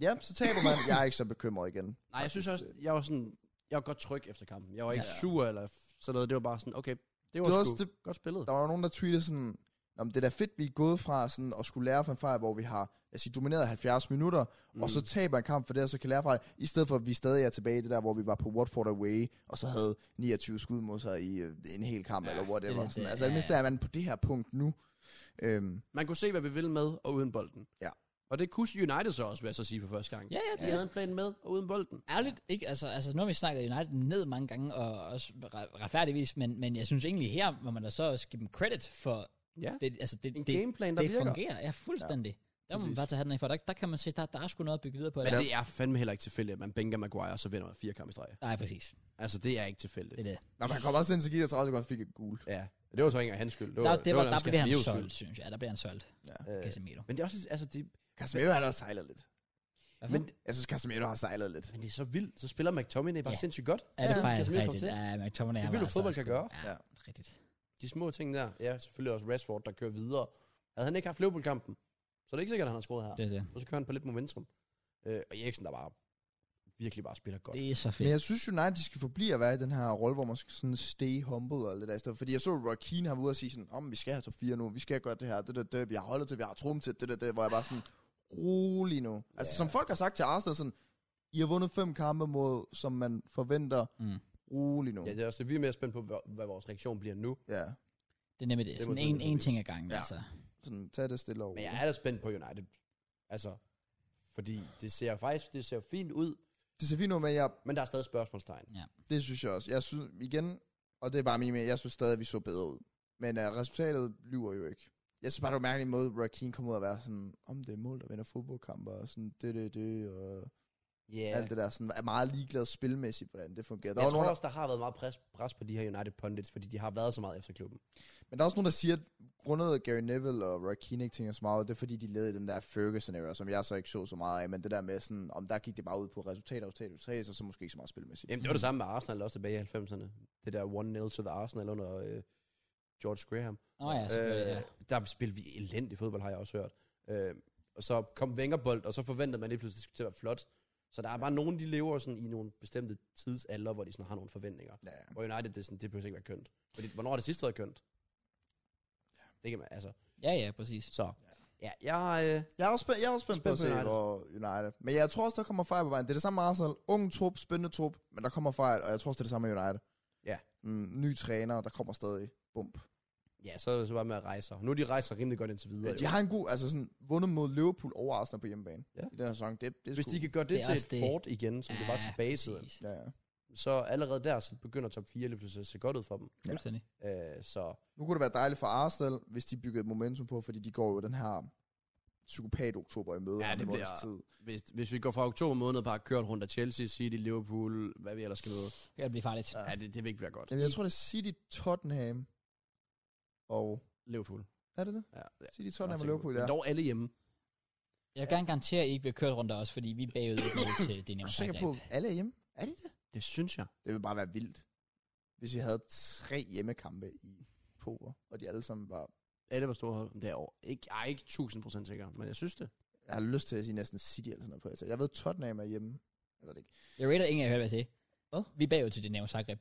Speaker 3: ja, så taber man. Jeg er ikke så bekymret igen.
Speaker 2: Nej, jeg synes også, jeg var sådan, jeg var godt tryg efter kampen. Jeg var ikke
Speaker 1: Ja.
Speaker 2: ja. sur eller f- sådan noget. Det var bare sådan, okay, det var,
Speaker 3: Det
Speaker 2: det
Speaker 3: var
Speaker 2: sgu
Speaker 3: også
Speaker 2: det, godt spillet.
Speaker 3: Der var jo nogen, der tweetede sådan, Nå, men det er da fedt, vi er gået fra sådan, at skulle lære fra en fejl, hvor vi har lad os sige, domineret 70 minutter, mm. og så taber en kamp for det, og så kan lære fra det, i stedet for, at vi stadig er tilbage i det der, hvor vi var på Watford away, og så havde 29 skud mod sig i øh, en hel kamp, ja, eller
Speaker 1: det er
Speaker 3: whatever. Det,
Speaker 1: lidt
Speaker 3: det, sådan.
Speaker 1: det,
Speaker 3: Altså, ja,
Speaker 1: ja,
Speaker 3: mindst
Speaker 1: ja.
Speaker 3: er man på det her punkt nu. Øhm,
Speaker 2: Man kunne se, hvad vi ville med og uden bolden.
Speaker 3: Ja.
Speaker 2: Og det kunne United så også, vil jeg så sige, på første gang.
Speaker 1: Ja, ja,
Speaker 2: De
Speaker 1: det er
Speaker 2: havde en plan med og uden bolden.
Speaker 1: ærligt ikke, altså, altså nu har vi snakket United ned mange gange, og også re- retfærdigvis, men, men jeg synes egentlig her, hvor man da så også give dem credit for,
Speaker 2: Ja.
Speaker 1: det, altså det,
Speaker 2: En
Speaker 1: det,
Speaker 2: gameplan, der
Speaker 1: det
Speaker 2: virker.
Speaker 1: fungerer, ja, fuldstændig. Ja, der må man
Speaker 3: præcis.
Speaker 1: bare tage hatten af for, der, der kan man se, der, der er sgu noget at bygge videre på.
Speaker 2: Men
Speaker 1: der.
Speaker 2: det er fandme heller ikke tilfældigt, at man bænker Maguire, og så vinder man fire kampe i streg.
Speaker 1: Nej, præcis.
Speaker 2: Altså, det er ikke
Speaker 1: Det
Speaker 2: tilfældigt.
Speaker 1: er det.
Speaker 3: når man kommer også ind til Gita 30 sekunder, fik et gul.
Speaker 2: Ja. Det var så ikke engang hans skyld. Det
Speaker 1: der,
Speaker 2: var,
Speaker 1: det var, der
Speaker 2: nærmest
Speaker 1: blev han
Speaker 2: Casemiros
Speaker 1: solgt, synes jeg. Der blev han solgt,
Speaker 2: skyld. Øh,
Speaker 1: Casemiro.
Speaker 2: Men det er også, altså, det,
Speaker 3: Casemiro han har også sejlet lidt.
Speaker 1: Hvad
Speaker 3: Men jeg synes, Casemiro har sejlet lidt.
Speaker 2: men det er så vildt. Så spiller McTominay bare
Speaker 1: Ja.
Speaker 2: ja. sindssygt godt.
Speaker 1: er det
Speaker 2: siden
Speaker 1: faktisk
Speaker 2: Casemiro kom
Speaker 1: rigtigt?
Speaker 2: til.
Speaker 1: Ja, men Thomas
Speaker 2: Det er vildt, hvad fodbold kan gøre.
Speaker 1: Ja,
Speaker 3: Ja.
Speaker 1: rigtigt.
Speaker 2: De små ting der. Ja, selvfølgelig også Rashford, der kører videre. Havde han ikke haft Liverpool-kampen, så er det ikke sikkert, at han har scoret her.
Speaker 1: Det er det.
Speaker 2: Og så kører han på lidt momentum. Øh, og Eriksen, der bare virkelig bare spiller godt.
Speaker 1: Det er så
Speaker 3: Men
Speaker 1: fedt.
Speaker 3: jeg synes United skal forblive at være i den her rolle, hvor man skal sådan stay humble og alt det der. i stedet for. Fordi jeg så Roy Keane har været ude og sige sådan, om vi skal have top 4 nu, vi skal gøre det her, det der, det, vi har holdet til, vi har trum til, det der, det, hvor jeg bare sådan, rolig nu. Altså
Speaker 2: Ja.
Speaker 3: som folk har sagt til Arsenal, sådan, I har vundet fem kampe mod, som man forventer,
Speaker 1: Mm.
Speaker 3: rolig nu.
Speaker 2: Ja,
Speaker 3: Ja.
Speaker 2: det er også det. Vi er mere spændt på, hvad, hvad vores reaktion bliver nu.
Speaker 3: ja.
Speaker 1: Det er nemlig det.
Speaker 2: Det må
Speaker 1: Sådan en,
Speaker 2: selvfølgelig
Speaker 1: en
Speaker 2: vise.
Speaker 1: ting ad gangen,
Speaker 3: Ja.
Speaker 1: altså.
Speaker 3: Sådan, tag det stille og
Speaker 2: Men
Speaker 3: roligt.
Speaker 2: jeg er da spændt på United. Altså, fordi det ser faktisk det ser fint ud,
Speaker 3: Det ser fint ud, men jeg,
Speaker 2: men der er stadig spørgsmålstegn.
Speaker 3: det synes jeg også. Jeg synes igen, og det er bare min mening, jeg synes stadig, at vi så bedre ud. Men uh, resultatet lyver jo ikke. Jeg synes bare, det var mærkeligt måde, Roy Keane kom ud og være sådan, om det er mål, der vinder fodboldkampe, og sådan, det, det, det, og
Speaker 2: Ja,
Speaker 3: ja. alt det der sådan, er meget ligeglad spilmæssigt, hvordan det fungerer. Der er
Speaker 2: jeg
Speaker 3: også
Speaker 2: tror
Speaker 3: nogen, der,
Speaker 2: også, der har været meget pres, pres på de her United pundits, fordi de har været så meget efter klubben.
Speaker 3: men der er også nogen, der siger, at grundet Gary Neville og Roy Keane ikke tænker så meget, det er fordi, de led i den der Ferguson-era, som jeg så ikke så så meget af, men det der med sådan, om der gik det bare ud på resultater, resultater, resultater, så, så måske ikke så meget spilmæssigt.
Speaker 2: Jamen, det var det samme med Arsenal også tilbage i 90'erne. Det der 1-0 til the Arsenal under øh, George Graham. Øh,
Speaker 1: Nå ja, selvfølgelig, ja.
Speaker 2: Der spillede vi elendig fodbold, har jeg også hørt. Øh, og så kom Wengerbold, og så forventede man lige pludselig, at det skulle til at være flot. Så der er bare nogen, de lever sådan i nogle bestemte tidsalder, hvor de sådan har nogle forventninger.
Speaker 3: Ja, ja.
Speaker 2: Hvor United, det, er sådan, det behøver ikke være kønt. Fordi, hvornår har det sidst været kønt? Det kan man, altså.
Speaker 1: Ja, ja, præcis.
Speaker 2: Så, Ja, jeg, øh,
Speaker 3: Jeg er også spændt, jeg er også spændt,
Speaker 2: Spændt
Speaker 3: på at
Speaker 2: på
Speaker 3: se,
Speaker 2: United.
Speaker 3: hvor United. Men jeg tror også, der kommer fejl på vejen. Det er det samme med Arsenal. Ung trup, spændende trup, men der kommer fejl, og jeg tror også, det er det samme med United.
Speaker 2: Ja.
Speaker 3: Mm, ny træner, der kommer stadig bump.
Speaker 2: ja, så er det så bare med at rejse sig. Nu er de rejser rimelig godt indtil videre.
Speaker 3: Ja,
Speaker 2: jo.
Speaker 3: de har en god, altså sådan, vundet mod Liverpool over Arsenal på hjemmebane
Speaker 2: Ja.
Speaker 3: ja. i den her sæson. Det, det er
Speaker 2: Hvis
Speaker 3: sgu-
Speaker 2: de kan gøre det,
Speaker 1: Det er
Speaker 2: til
Speaker 1: også
Speaker 2: et
Speaker 1: det.
Speaker 2: fort igen, som det var tilbage i tiden,
Speaker 1: præcis.
Speaker 3: Ja, ja.
Speaker 2: så allerede der så begynder top 4 lige pludselig at se godt ud for dem.
Speaker 3: Ja.
Speaker 1: Fuldstændig.
Speaker 2: Øh, så
Speaker 3: Nu kunne det være dejligt for Arsenal, hvis de byggede momentum på, fordi de går jo den her psykopat oktober i møde.
Speaker 2: Ja,
Speaker 3: om en
Speaker 2: det
Speaker 3: måneds
Speaker 2: bliver-
Speaker 3: Tid.
Speaker 2: hvis, hvis vi går fra oktober måned og bare har kørt rundt af Chelsea, City, Liverpool, hvad vi ellers skal møde,
Speaker 1: Det kan blive farligt.
Speaker 3: Ja.
Speaker 2: ja, det, det vil ikke være godt.
Speaker 3: Jamen, jeg tror, det er City, Tottenham og...
Speaker 2: Liverpool.
Speaker 3: Er det det?
Speaker 2: Ja, ja.
Speaker 3: City, Tottenham og Liverpool, ja.
Speaker 2: Men dog alle hjemme.
Speaker 1: Jeg kan gerne garantere, at I ikke bliver kørt rundt af os, fordi vi er bagud et mål til det
Speaker 3: Er du
Speaker 1: nemme
Speaker 3: sikker på, at alle er hjemme? Er de det?
Speaker 2: Det synes jeg.
Speaker 3: Det ville bare være vildt, hvis vi havde tre hjemmekampe i oktober, og de alle sammen var...
Speaker 2: Alle var store hold. Det er over. Ikke, jeg er ikke 1000% sikker, men jeg synes det.
Speaker 3: Jeg har lyst til at sige næsten City eller sådan noget på. Altså, jeg ved, Tottenham er hjemme. Jeg ved det ikke.
Speaker 1: Jeg rater ingen af jer, hvad jeg siger.
Speaker 3: Hvad?
Speaker 1: Vi er bagud til det nemme Zagreb.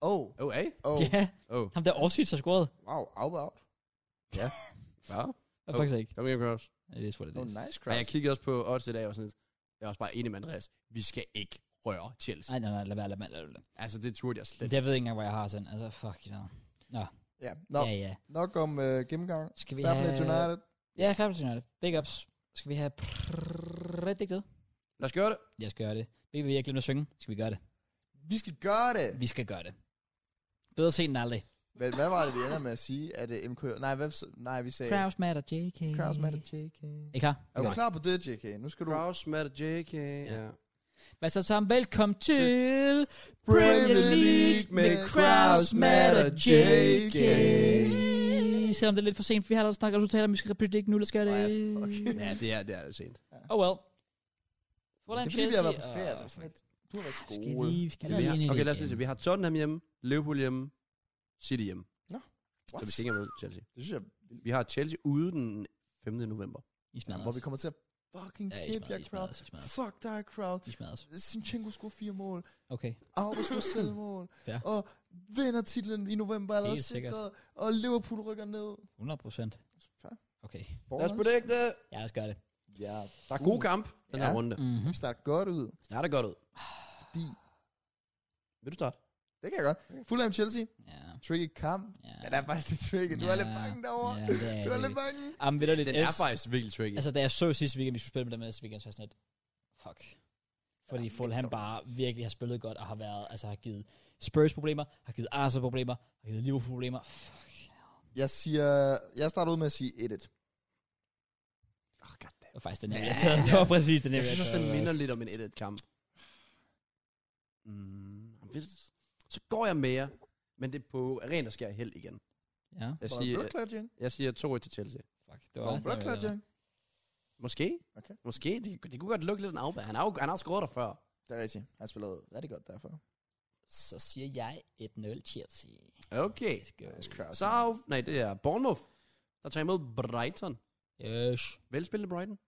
Speaker 3: Oh,
Speaker 2: Oh, hey.
Speaker 3: oh,
Speaker 1: Ja,
Speaker 2: Oh.
Speaker 1: ham der Aarhus har scoret.
Speaker 3: wow, out, out.
Speaker 2: Ja.
Speaker 1: Jeg faktisk ikke.
Speaker 2: Kom igen, Kraus.
Speaker 1: Det er sgu det.
Speaker 3: Oh, nice
Speaker 2: Og jeg
Speaker 3: crowd.
Speaker 2: kiggede også på odds i dag, og sådan lidt. Jeg er også bare enig med Andreas. Vi skal ikke røre Chelsea.
Speaker 1: Nej, nej, nej, lad være, lad være, lad være.
Speaker 2: Altså, det turde jeg slet
Speaker 1: Det jeg ved ikke engang, hvor jeg har sådan. Altså, fuck, you know.
Speaker 3: Ja, nå,
Speaker 1: Ja, ja.
Speaker 3: nok om øh, gennemgang.
Speaker 1: Skal vi
Speaker 3: Fair play to
Speaker 1: have...
Speaker 3: United.
Speaker 1: Ja, Fairplay United. Big ups. Skal vi have predicted?
Speaker 2: Lad os gøre det.
Speaker 1: Lad os gøre det. Vi vil virkelig at synge. Skal vi gøre det?
Speaker 3: Vi skal gøre det.
Speaker 1: Vi skal gøre det. Bedre sent end aldrig.
Speaker 3: Men hvad var det, vi ender med at sige? Er det MK... Nej, hvad... Nej, vi sagde...
Speaker 1: Kraus matter, JK.
Speaker 3: Øh. Kraus matter JK.
Speaker 1: Er I klar?
Speaker 3: Er du
Speaker 1: Godt.
Speaker 3: klar på det, JK? Nu skal du...
Speaker 2: Kraus, Matt og JK. Ja.
Speaker 1: Hvad så sammen? Velkommen til
Speaker 3: Premier League med Kraus, Matt og JK.
Speaker 1: Selvom det er lidt for sent, for vi har allerede snakket resultater, men vi skal predict nu. Lad os gøre det.
Speaker 3: Ej, fuck.
Speaker 2: Ja, det er det, er det sent.
Speaker 1: Oh well.
Speaker 3: Det
Speaker 1: Hvordan
Speaker 3: er fordi, vi har været på ferie, så sådan lidt... Du har været i
Speaker 1: Skal
Speaker 3: skole.
Speaker 1: lige, skal
Speaker 3: Ja,
Speaker 1: lige
Speaker 3: ja.
Speaker 1: ind i
Speaker 2: Okay,
Speaker 1: det
Speaker 2: lad os lige
Speaker 1: igen.
Speaker 2: se. Vi har Tottenham hjemme, Liverpool hjemme, City hjemme. Så
Speaker 3: What?
Speaker 2: vi skal ikke have med Chelsea.
Speaker 3: Det synes jeg
Speaker 2: Vi har Chelsea ude den 5. november.
Speaker 1: I
Speaker 3: Ja,
Speaker 1: smadrer
Speaker 3: hvor
Speaker 1: os.
Speaker 3: vi kommer til at fucking
Speaker 1: Ja, I
Speaker 3: kæmpe
Speaker 1: smadrer,
Speaker 3: jer
Speaker 1: I
Speaker 3: crowd.
Speaker 1: smadrer, I smadrer.
Speaker 3: Fuck dig, crowd.
Speaker 1: I smadrer os.
Speaker 3: Sinchenko scorede fire mål.
Speaker 1: Okay.
Speaker 3: Arbe scorede selvmål.
Speaker 1: Fair.
Speaker 3: Og vinder titlen i november allerede
Speaker 1: Helt sikkert.
Speaker 3: sikret. Og Liverpool rykker ned.
Speaker 1: 100 procent.
Speaker 3: Fair.
Speaker 1: Okay.
Speaker 2: Lad os predict det.
Speaker 1: Ja, lad os gøre det.
Speaker 3: Ja,
Speaker 2: Der er god kamp, den her
Speaker 3: Ja.
Speaker 2: runde.
Speaker 1: Mm-hmm.
Speaker 3: Vi starter godt ud,
Speaker 2: Starter godt ud.
Speaker 3: fordi...
Speaker 2: Vil du starte?
Speaker 3: Det kan jeg godt. Fulham Chelsea.
Speaker 1: Ja,
Speaker 3: Tricky kamp.
Speaker 1: ja.
Speaker 3: Ja, der er faktisk lidt tricky. Du er lidt bange derovre.
Speaker 1: Ja, det er
Speaker 3: Du er lidt
Speaker 1: lidt...
Speaker 3: bange.
Speaker 1: Jamen, ved du lidt
Speaker 2: Den er
Speaker 1: S.
Speaker 2: faktisk virkelig tricky.
Speaker 1: Altså, da jeg så sidste weekend, vi skulle spille med dem næste weekend, så var jeg sådan lidt, fuck. Fordi
Speaker 3: Ja,
Speaker 1: Fulham
Speaker 3: lidt
Speaker 1: bare
Speaker 3: dårligt.
Speaker 1: virkelig har spillet godt, og har været, altså har givet Spurs problemer, har givet Arsenal problemer, har givet Liverpool problemer. Fuck.
Speaker 3: Jeg siger... Jeg starter ud med at sige 1-1.
Speaker 2: Oh, God damn.
Speaker 1: Det var faktisk den nemme, jeg tager. Det var præcis den
Speaker 2: Jeg
Speaker 1: nemme,
Speaker 2: synes også, den
Speaker 1: tager.
Speaker 2: minder lidt om en 1 kamp. Mm, hvis- så går jeg mere, men det er på ren og skær held igen.
Speaker 1: Ja,
Speaker 2: Jeg
Speaker 3: Var
Speaker 2: siger,
Speaker 3: du klar, Jan?
Speaker 2: jeg siger 2-1 til Chelsea.
Speaker 1: fuck. Det var
Speaker 3: Var
Speaker 1: også den,
Speaker 3: du
Speaker 1: jeg
Speaker 3: klar,
Speaker 1: ville have.
Speaker 3: Jan?
Speaker 2: Måske.
Speaker 3: Okay.
Speaker 2: Måske. Det, det kunne godt lukke lidt en afbær. Han har jo han har scoret der før.
Speaker 3: Det er rigtigt. Han spillede rigtig godt derfor.
Speaker 1: Så siger jeg 1-0 Chelsea.
Speaker 2: Okay.
Speaker 1: Let's go.
Speaker 3: Nice crowd.
Speaker 2: Så, nej, det er Bournemouth, der tager imod Brighton.
Speaker 1: Yes.
Speaker 2: Velspillende Brighton.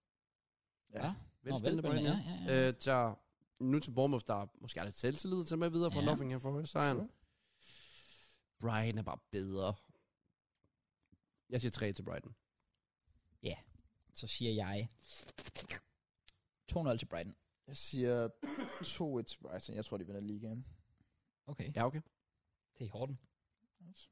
Speaker 3: Ja.
Speaker 2: Velspillende
Speaker 1: Nå,
Speaker 2: Brighton,
Speaker 1: velspillende,
Speaker 2: ja.
Speaker 1: ja, ja, ja.
Speaker 2: Øh, tager nu til Bournemouth, der måske er lidt selvtillid til med videre fra
Speaker 1: Ja.
Speaker 2: ja. Nottingham for sejren. Brighton er bare bedre. Jeg siger 3 til Brighton.
Speaker 1: Så siger jeg 2-0 til Brighton.
Speaker 3: Jeg siger 2-1 til Brighton. Jeg tror, de vinder ligaen.
Speaker 1: Okay.
Speaker 2: Ja, okay.
Speaker 1: Det er Horten.
Speaker 3: Nice.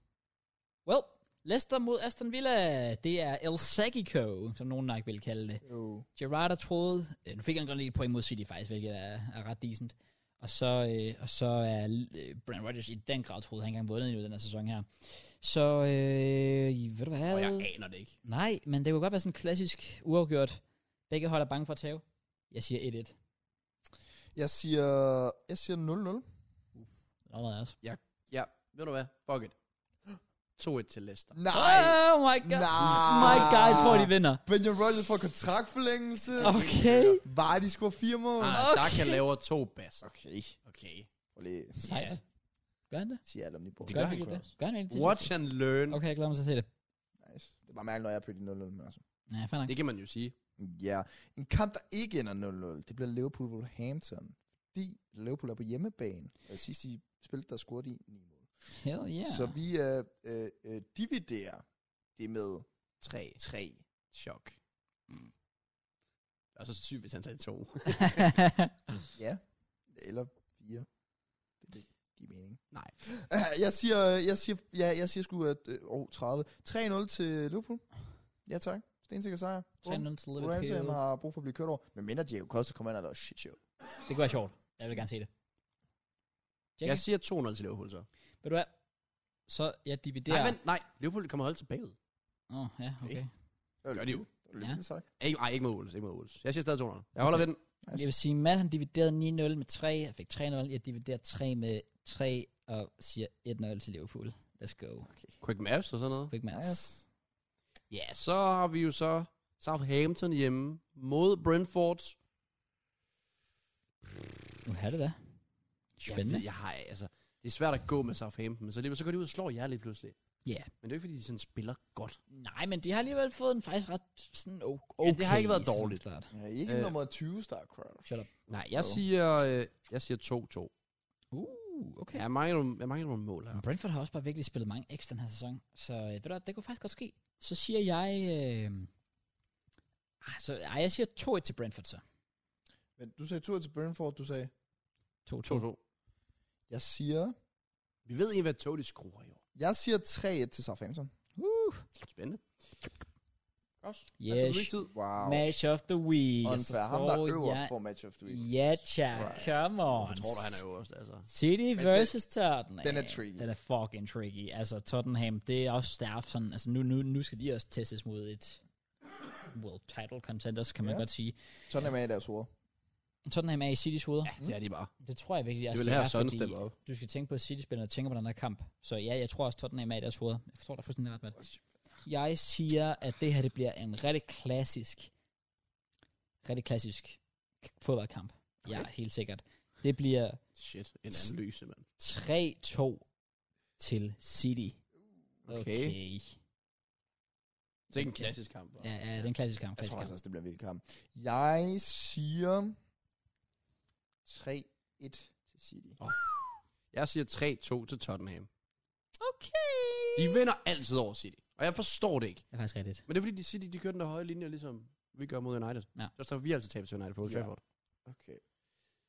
Speaker 1: Well, Leicester mod Aston Villa. Det er El Sagico, som nogen nok vil kalde det.
Speaker 3: Jo.
Speaker 1: Gerrard er troet. Øh, nu fik han godt lige et point mod City faktisk, hvilket er, er ret decent. Og så, øh, og så er øh, Brand Rodgers i den grad troet, han ikke engang vundet endnu den her sæson her. Så, øh, ved du hvad?
Speaker 2: Og jeg aner det ikke.
Speaker 1: Nej, men det kunne godt være sådan en klassisk uafgjort. Begge hold er bange for at tage. Jeg siger 1-1.
Speaker 3: Jeg siger, jeg siger 0-0.
Speaker 1: Nå, noget også.
Speaker 2: Ja, ved du hvad? Fuck it. 2-1 til Leicester.
Speaker 1: Oh my god.
Speaker 3: Nej.
Speaker 1: My guy tror, de vinder.
Speaker 3: Benjamin Rodgers får kontraktforlængelse.
Speaker 1: Ah. Okay.
Speaker 3: Var de scorer fire mål?
Speaker 2: Ah,
Speaker 1: Mm, Okay.
Speaker 2: der kan lave to basser.
Speaker 3: Okay.
Speaker 2: Okay.
Speaker 3: Prøv lige at
Speaker 1: Sejt.
Speaker 2: Ja.
Speaker 1: Gør han det?
Speaker 3: sige alt om de bor.
Speaker 2: Det
Speaker 1: Gør
Speaker 2: gør
Speaker 1: han
Speaker 2: han,
Speaker 1: ikke det?
Speaker 2: Kraus.
Speaker 1: Gør han ikke det?
Speaker 2: Watch and learn.
Speaker 1: Okay, jeg glæder mig til at se det.
Speaker 3: Nice. Det er bare mærkeligt, når jeg er pretty 0-0. Men altså.
Speaker 1: Ja, fair nok.
Speaker 2: Det kan man jo sige.
Speaker 3: Ja. En kamp, der ikke ender 0-0, det bliver Liverpool-Wolverhampton. Fordi Liverpool er på hjemmebane. Og sidst de spillede, der scorede de 9 mål.
Speaker 1: Hell yeah.
Speaker 3: Så vi øh, øh, øh, dividerer det med
Speaker 2: 3.
Speaker 3: 3.
Speaker 2: Chok. Og så syg, hvis han tager to.
Speaker 3: Ja. Eller fire. Det vil give mening.
Speaker 2: Nej.
Speaker 3: Øh, Jeg siger, jeg siger, ja, jeg siger sgu, at øh, oh, 30. 3-0 til Liverpool. Ja tak. Stensikker sejr. Bum.
Speaker 1: 3-0 til
Speaker 3: Ramsey han
Speaker 1: Liverpool.
Speaker 3: har brug for at blive kørt over. Men mindre Diego Costa kommer ind og laver shit show.
Speaker 1: Det kunne være sjovt. Jeg vil gerne se det. Jekke,
Speaker 2: Jeg siger 2-0 til Liverpool så.
Speaker 1: ved du hvad? Så jeg dividerer...
Speaker 2: Nej, vent, nej. Liverpool kommer holde tilbage.
Speaker 1: Åh, oh, ja, okay.
Speaker 3: Det
Speaker 2: Gør de jo.
Speaker 3: Ja. Sagt.
Speaker 2: Ikke, nej, ikke mod Wolves. Ikke mod Wolves. Jeg siger stadig 2-0. Jeg holder
Speaker 1: Okay.
Speaker 2: ved den.
Speaker 1: Jeg vil sige, mand han dividerede 9-0 med 3. Jeg fik 3-0. Jeg dividerer 3 med 3 og siger 1-0 til Liverpool. Let's go.
Speaker 2: Quick Maps og sådan noget.
Speaker 1: Quick maths.
Speaker 3: Nice.
Speaker 2: Ja, så har vi jo så Southampton hjemme mod Brentford.
Speaker 1: Nu har det da. Spændende.
Speaker 2: Jeg, ved- jeg har, altså, det er svært at gå med Southampton, men så, alligevel- så går de ud og slår jer lige pludselig.
Speaker 1: Ja.
Speaker 2: Men det er jo ikke, fordi de sådan spiller godt.
Speaker 1: Nej, men de har alligevel fået en faktisk ret sådan o- okay.
Speaker 2: Ja, det har ikke været
Speaker 1: sådan
Speaker 2: dårligt.
Speaker 1: Start.
Speaker 3: Ja, ikke
Speaker 2: Øh.
Speaker 3: øh. nummer 20 Star Crawler.
Speaker 1: Shut up.
Speaker 2: Nej, jeg
Speaker 3: Jo.
Speaker 2: siger, øh, jeg siger 2-2.
Speaker 1: Uh, okay.
Speaker 2: Jeg mangler, nogle- jeg mangler nogle mål her.
Speaker 1: Men Brentford har også bare virkelig spillet mange X den her sæson. Så øh, ved du, hvad, det kunne faktisk godt ske. Så siger jeg... Øh, ah, så, ej, jeg siger 2-1 til Brentford så.
Speaker 3: Men du sagde tur til Brentford, du sagde,
Speaker 1: 2-2.
Speaker 2: 2-2.
Speaker 3: jeg siger,
Speaker 2: Vi ved ikke, hvad tog de skruer jo.
Speaker 3: jeg siger 3-1 til Southampton.
Speaker 1: Uh,
Speaker 2: Spændende. Også.
Speaker 1: yes.
Speaker 2: tid.
Speaker 3: Wow.
Speaker 1: Match of the week. Og så
Speaker 3: Unfair. Ham, der
Speaker 1: får
Speaker 3: øverst
Speaker 1: jeg-
Speaker 3: får match of the week.
Speaker 1: Ja, tja.
Speaker 3: Right.
Speaker 1: Come on.
Speaker 2: Jeg tror du, han er øverst, altså.
Speaker 1: City
Speaker 3: det-
Speaker 1: versus Tottenham.
Speaker 3: den er tricky.
Speaker 1: Den er fucking tricky. Altså, Tottenham, det er også stærkt sådan. Altså, nu, nu, nu skal de også testes mod et world title contenders, kan man
Speaker 3: Ja.
Speaker 1: godt sige.
Speaker 3: Sådan er med i deres hoved.
Speaker 1: Tottenham er i Citys hoveder.
Speaker 2: Ja, det er de bare.
Speaker 1: Det tror jeg virkelig,
Speaker 2: De
Speaker 1: altså,
Speaker 2: vil have
Speaker 1: er,
Speaker 2: sådan
Speaker 1: fordi
Speaker 2: steppet op.
Speaker 1: Du skal tænke på, at City-spillerne tænker på den her kamp. Så ja, jeg tror også, Tottenham er i deres hoveder. Jeg forstår dig fuldstændig ret, Matt. Jeg siger, at det her det bliver en rigtig klassisk, rigtig klassisk k- fodboldkamp. Ja,
Speaker 2: Okay.
Speaker 1: helt sikkert. Det bliver
Speaker 2: Shit, en analyse, mand.
Speaker 1: 3-2 til City.
Speaker 2: Okay.
Speaker 1: okay.
Speaker 2: Det er ikke en klassisk kamp. hva'?
Speaker 1: Ja, ja, det er en klassisk kamp.
Speaker 3: Jeg tror
Speaker 1: Klassisk kamp.
Speaker 3: altså også, det bliver en vild kamp. Jeg siger 3-1 til City.
Speaker 2: Jeg siger 3-2 til Tottenham.
Speaker 1: Okay.
Speaker 2: De vinder altid over City. Og jeg forstår det ikke.
Speaker 1: Det er faktisk rigtigt.
Speaker 2: Men det er fordi, de City, de kører den der høje linje, ligesom vi gør mod United.
Speaker 1: Ja.
Speaker 2: Så står vi altid tabt til United på Old
Speaker 3: Ja.
Speaker 2: Trafford.
Speaker 3: Okay.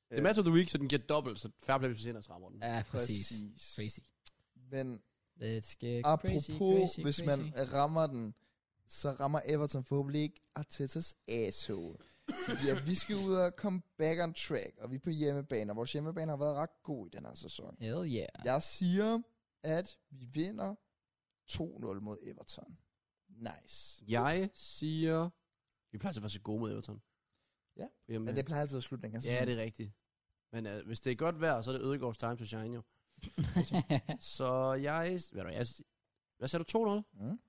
Speaker 2: Det er match of the week, så den giver dobbelt, så færre bliver vi for senere rammer den.
Speaker 1: Ja, præcis.
Speaker 3: Præcis.
Speaker 1: Crazy.
Speaker 3: Men
Speaker 1: Let's get
Speaker 3: apropos,
Speaker 1: crazy, crazy,
Speaker 3: hvis
Speaker 1: crazy.
Speaker 3: man rammer den, så rammer Everton forhåbentlig ikke Artetas asshole. Fordi at vi skal ud og komme back on track, og vi er på hjemmebane, og vores hjemmebane har været ret god i den her sæson.
Speaker 1: Hell yeah.
Speaker 3: Jeg siger, at vi vinder 2-0 mod Everton. Nice.
Speaker 2: Jeg siger... Vi plejer altid at være så gode mod Everton.
Speaker 3: Ja.
Speaker 2: Jamen,
Speaker 3: Men det plejer altid at slutte den
Speaker 2: ja, det er rigtigt. Men øh, hvis det er godt vejr, så er det Ødegaards time to shine jo. Så jeg... Hvad, er det, jeg hvad sagde du? 2-0?
Speaker 3: Mm.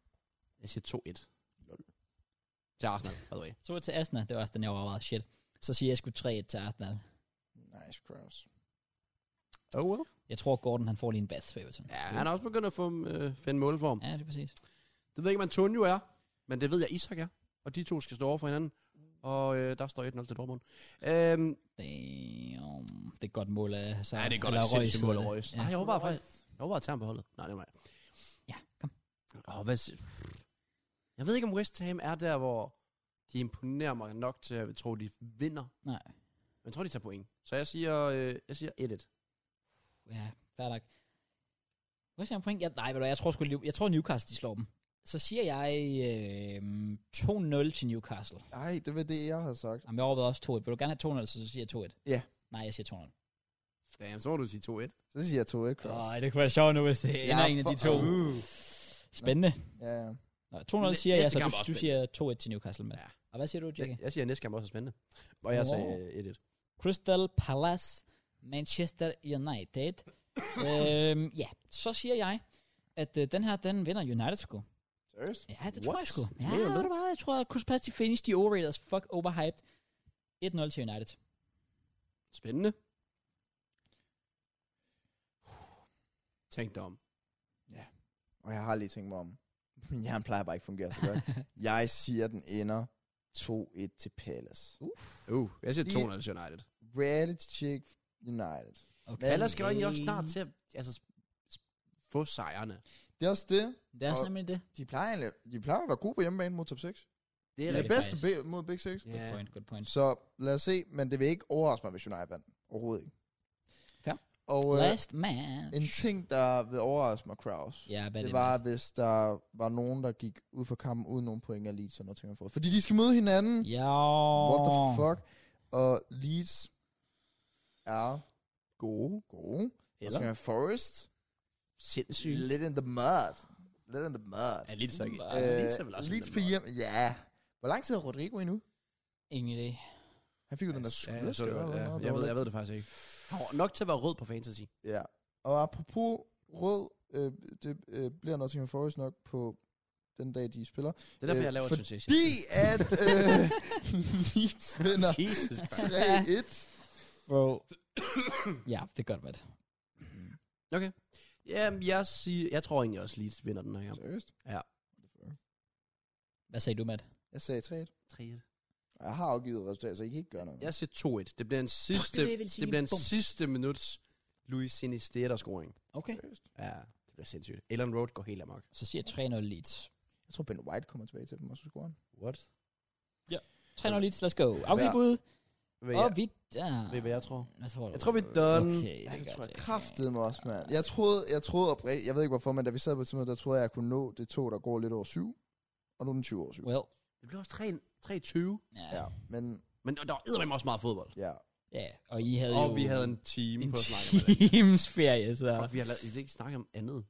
Speaker 2: Jeg siger 2-1. Lol. Til Arsenal, by the way.
Speaker 1: Så til Arsenal, det var også den, jeg overvejede. Shit. Så siger jeg sgu 3-1 til Arsenal.
Speaker 3: Nice, Kraus.
Speaker 2: Oh well.
Speaker 1: Jeg tror, Gordon han får lige en bats for Everton.
Speaker 2: Ja, han er også begyndt at få, øh, finde målform.
Speaker 1: Ja, det er præcis.
Speaker 2: Det ved jeg ikke, man Tonjo er, men det ved jeg, Isak er. Og de to skal stå over for hinanden. Og øh, der står 1-0 til Dortmund. Øhm,
Speaker 1: Damn. Det er et godt mål af Hazard.
Speaker 2: ja, det er godt,
Speaker 1: Eller
Speaker 2: at
Speaker 1: Reus
Speaker 2: sindssygt mål af
Speaker 1: hedder det.
Speaker 2: Røjs.
Speaker 1: Ja.
Speaker 2: Nej, jeg overvejer faktisk, jeg overvejer at tage ham på holdet. Nej, det var mig.
Speaker 1: ja, kom.
Speaker 2: Åh, hvad si- Jeg ved ikke, om West Ham er der, hvor de imponerer mig nok til, at jeg tror, de vinder.
Speaker 1: Nej.
Speaker 2: Men jeg tror, de tager point. Så jeg siger, øh, jeg siger 1-1.
Speaker 1: Ja, fair nok. Hvad siger jeg point? Ja, nej, ved du, hvad, jeg tror, sgu, Liv- jeg tror Newcastle de slår dem. Så siger jeg øh, 2-0 til Newcastle.
Speaker 3: Ej, det var det, jeg havde sagt.
Speaker 1: Jamen, jeg overvejede også 2-1. Vil du gerne have 2-0, så siger jeg 2-1.
Speaker 3: Ja.
Speaker 1: Nej, jeg siger 2-0.
Speaker 2: Damn, så må du sige 2-1.
Speaker 3: Så siger jeg 2-1, Kraus.
Speaker 1: det kunne være sjovt nu, hvis det
Speaker 3: ender en af de to.
Speaker 2: Uh.
Speaker 1: Spændende.
Speaker 3: Ja, ja.
Speaker 1: Nå, 2-0
Speaker 2: Næ-
Speaker 1: siger jeg,
Speaker 2: næste
Speaker 1: så
Speaker 2: kamp
Speaker 1: du,
Speaker 2: er også
Speaker 1: du siger 2-1 til Newcastle med.
Speaker 2: Ja.
Speaker 1: Ja. Og hvad siger du, Jake?
Speaker 2: Jeg, jeg siger, at næste kamp også er spændende. Og jeg
Speaker 1: Wow.
Speaker 2: sagde øh, 1-1.
Speaker 1: Crystal Palace, Manchester United. øhm, ja, så siger jeg, at øh, den her, den vinder United sgu.
Speaker 3: Seriøst?
Speaker 1: Ja, det tror
Speaker 2: What?
Speaker 1: jeg sgu. Ja,
Speaker 2: mener du?
Speaker 1: ved du hvad, jeg tror, at Crystal Palace, de finish, de er overrated, as fuck overhyped. 1-0 til United.
Speaker 2: Spændende. Tænk dig om.
Speaker 3: Og jeg har lige tænkt mig om. Min hjerne plejer bare ikke at fungere så godt. jeg siger, den ender 2-1 til Palace.
Speaker 2: Uh, jeg siger
Speaker 3: Lige-
Speaker 2: 200 til United.
Speaker 3: Reality check United.
Speaker 1: Okay.
Speaker 3: Men
Speaker 2: Ellers skal jo egentlig også snart til at altså, s- få sejrene.
Speaker 3: Det er også det.
Speaker 1: Det er også
Speaker 3: Og-
Speaker 1: nemlig det.
Speaker 3: De plejer, egentlig- de plejer at være gode på hjemmebane mod top 6.
Speaker 2: Det er
Speaker 1: Ja,
Speaker 3: Det,
Speaker 2: rigtigt.
Speaker 3: det bedste
Speaker 1: faktisk.
Speaker 3: be- mod Big Six.
Speaker 1: Good
Speaker 2: Ja.
Speaker 1: point, good point.
Speaker 3: Så lad os se, men det vil ikke overraske mig, hvis United vandt. Overhovedet ikke.
Speaker 1: Fair.
Speaker 3: Og øh,
Speaker 1: Last match.
Speaker 3: en ting, der vil overraske mig, Kraus,
Speaker 1: Ja, hvad er
Speaker 3: det
Speaker 1: det?
Speaker 3: var, hvis der var nogen, der gik ud for kampen uden nogen point af Leeds og Nottingham Forest. Fordi de skal møde hinanden.
Speaker 1: Ja.
Speaker 3: What the fuck? Og Leeds er gode. Gode.
Speaker 2: Eller?
Speaker 3: Nottingham Forest.
Speaker 2: Sindssygt.
Speaker 3: Lidt in the mud. Lidt in the mud.
Speaker 2: Ja, Leeds er ikke.
Speaker 1: Var-
Speaker 2: Øh,
Speaker 3: Øh,
Speaker 2: Leeds er vel også
Speaker 3: Leeds
Speaker 2: lidt
Speaker 3: på
Speaker 2: mud.
Speaker 3: hjem. Ja. Hvor lang tid har Rodrigo endnu?
Speaker 1: Ingen idé.
Speaker 3: Han fik jo den der
Speaker 2: Ja, jeg, så
Speaker 3: skulderskade.
Speaker 2: det godt,
Speaker 3: eller
Speaker 2: ja.
Speaker 3: noget, der
Speaker 2: jeg,
Speaker 3: var
Speaker 2: ved,
Speaker 3: lidt-
Speaker 2: jeg ved det faktisk ikke. Han var nok til at være rød på fantasy.
Speaker 3: Ja. Og apropos rød, øh, det øh, bliver Nottingham Forest nok på den dag, de spiller.
Speaker 2: Det er derfor,
Speaker 3: Øh,
Speaker 2: jeg laver
Speaker 3: for-
Speaker 2: et sensation.
Speaker 3: Fordi at øh, Leeds vinder
Speaker 2: Jesus Christ.
Speaker 3: 3-1.
Speaker 1: Bro. ja, det er godt, hvad.
Speaker 2: Okay. Jamen, jeg, siger, jeg tror egentlig også, Leeds vinder den her kamp.
Speaker 3: Seriøst?
Speaker 2: Ja.
Speaker 1: Hvad sagde du, Matt?
Speaker 3: Jeg sagde 3-1.
Speaker 2: 3-1.
Speaker 3: Og Jeg har afgivet resultat, så I kan ikke gøre noget.
Speaker 2: Jeg siger 2-1. Det bliver en sidste,
Speaker 1: vil jeg vel sige.
Speaker 2: det bliver en
Speaker 1: Bums.
Speaker 2: sidste minuts Luis Sinistera scoring.
Speaker 1: Okay.
Speaker 3: Seriøst?
Speaker 2: Ja, det bliver sindssygt. Ellen Road går helt amok.
Speaker 1: Så siger jeg 3-0 Leeds.
Speaker 3: Jeg tror, Ben White kommer tilbage til dem, og så scorer han.
Speaker 2: What?
Speaker 1: 3-0 Leeds, let's go. Afgiv bud.
Speaker 2: Hvad,
Speaker 1: Og
Speaker 2: jeg,
Speaker 1: vi... Ja.
Speaker 2: ved I, hvad jeg tror?
Speaker 1: Hvad tror du?
Speaker 2: Jeg tror, vi er done.
Speaker 1: Okay,
Speaker 3: Ja,
Speaker 1: det
Speaker 3: det tror jeg
Speaker 1: kraftet.
Speaker 3: kraftede mig også, mand. Jeg troede, jeg troede oprigtigt, jeg ved ikke hvorfor, men da vi sad på et tidspunkt, der troede jeg, jeg kunne nå det to, der går lidt over syv. Og nu er den 20 over syv.
Speaker 1: Well,
Speaker 2: Det bliver også 3, 3-20.
Speaker 1: ja.
Speaker 3: Ja, men
Speaker 2: Men der var mig også meget fodbold.
Speaker 3: ja.
Speaker 1: ja. Og I havde
Speaker 2: Og
Speaker 1: jo...
Speaker 2: vi havde en time
Speaker 1: en
Speaker 2: på at snakke om det.
Speaker 1: times ferie, så...
Speaker 2: Fuck, vi har lavet, vi har ikke snakket om andet.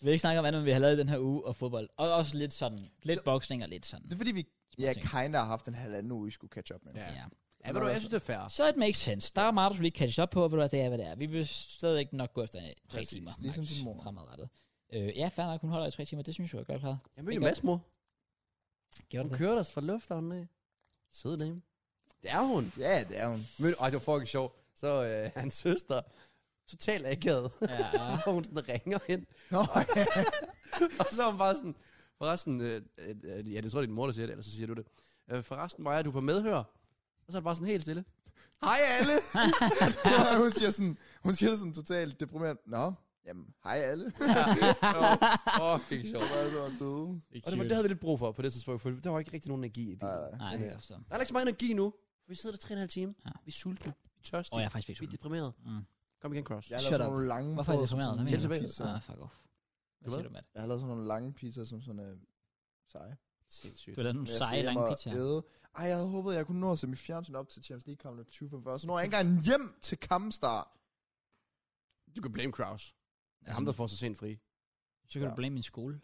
Speaker 1: Vi vil ikke snakke om andet, end vi har lavet i den her uge, og fodbold. Og også lidt sådan... Lidt boksning og lidt sådan.
Speaker 3: Det er fordi, vi ja, kinda har haft en halvanden uge, I skulle catch up med.
Speaker 2: Ja.
Speaker 1: Ja.
Speaker 2: Ja, ved du, jeg synes, det er fair.
Speaker 1: Så it makes sense. Der er meget, du lige catch up på, og ved du hvad, det er, hvad det er. Vi vil stadigvæk nok gå efter øh, tre
Speaker 3: Præcis,
Speaker 1: timer.
Speaker 3: ligesom
Speaker 1: max,
Speaker 3: din mor.
Speaker 1: Fremadrettet. Øh, ja, fair nok, hun holder i tre timer. Det synes jeg, jeg er godt klar.
Speaker 2: Jeg
Speaker 1: Det
Speaker 2: mødte
Speaker 1: gør
Speaker 2: Mads mor.
Speaker 1: Gjorde
Speaker 2: Hun
Speaker 1: det.
Speaker 2: kørte os fra lufthavnen af. Søde dame. Det er hun.
Speaker 3: Ja, det er hun.
Speaker 2: Men, ej, det var fucking sjovt. Så øh, hans søster, totalt akavet.
Speaker 1: Ja, ja.
Speaker 2: Og hun sådan ringer ind.
Speaker 3: Nå, ja.
Speaker 2: Og så er hun bare sådan, forresten, øh, øh, øh, ja, det tror jeg, det er din mor, der siger det, eller så siger du det. Øh, forresten, Maja, du er på medhør. Og så er det bare sådan helt stille.
Speaker 3: hej alle! hun siger sådan, hun siger det sådan totalt deprimerende. Nå, jamen, hej alle.
Speaker 2: Åh, fucking
Speaker 3: Så
Speaker 2: sjovt.
Speaker 3: var jeg så døde.
Speaker 2: Og det, var, det havde vi lidt brug for på det tidspunkt, for der var ikke rigtig nogen energi i bilen.
Speaker 3: Nej,
Speaker 1: Nej,
Speaker 3: men,
Speaker 1: det
Speaker 3: øh,
Speaker 1: er altså- så.
Speaker 2: Der er ikke så meget energi nu. Vi sidder der 3,5 timer.
Speaker 1: Ja.
Speaker 2: Vi er sultne. Vi er tørstige.
Speaker 1: Åh, jeg er faktisk ikke
Speaker 2: vi er
Speaker 1: sulten.
Speaker 2: deprimerede.
Speaker 1: Mm.
Speaker 2: Kom igen, Cross.
Speaker 3: Jeg har
Speaker 1: Shut
Speaker 3: lavet sådan
Speaker 1: up.
Speaker 3: nogle lange
Speaker 1: Hvorfor er
Speaker 3: brød
Speaker 1: det
Speaker 3: som
Speaker 1: deprimeret?
Speaker 3: sådan
Speaker 1: Hvad
Speaker 2: Til
Speaker 1: mener
Speaker 2: tilbage.
Speaker 1: du?
Speaker 3: pizza.
Speaker 1: Ah, fuck off. Hvad
Speaker 2: Hvad?
Speaker 1: siger du, Matt?
Speaker 3: Jeg har lavet sådan nogle lange pizzaer som sådan øh, seje.
Speaker 2: Sindssygt.
Speaker 1: Du har lavet
Speaker 3: Men
Speaker 1: nogle
Speaker 3: jeg skal
Speaker 1: seje
Speaker 3: hjem
Speaker 1: lange
Speaker 3: og
Speaker 1: pizzaer.
Speaker 3: æde. Ej, jeg havde håbet, at jeg kunne nå at se mit fjernsyn op til Champions League-kampen 2045. Så når jeg ikke engang hjem til kampstart.
Speaker 2: Du kan blame Kraus. Det er ham, der får sig sent fri.
Speaker 1: Så kan du
Speaker 3: Ja.
Speaker 1: blame min skole.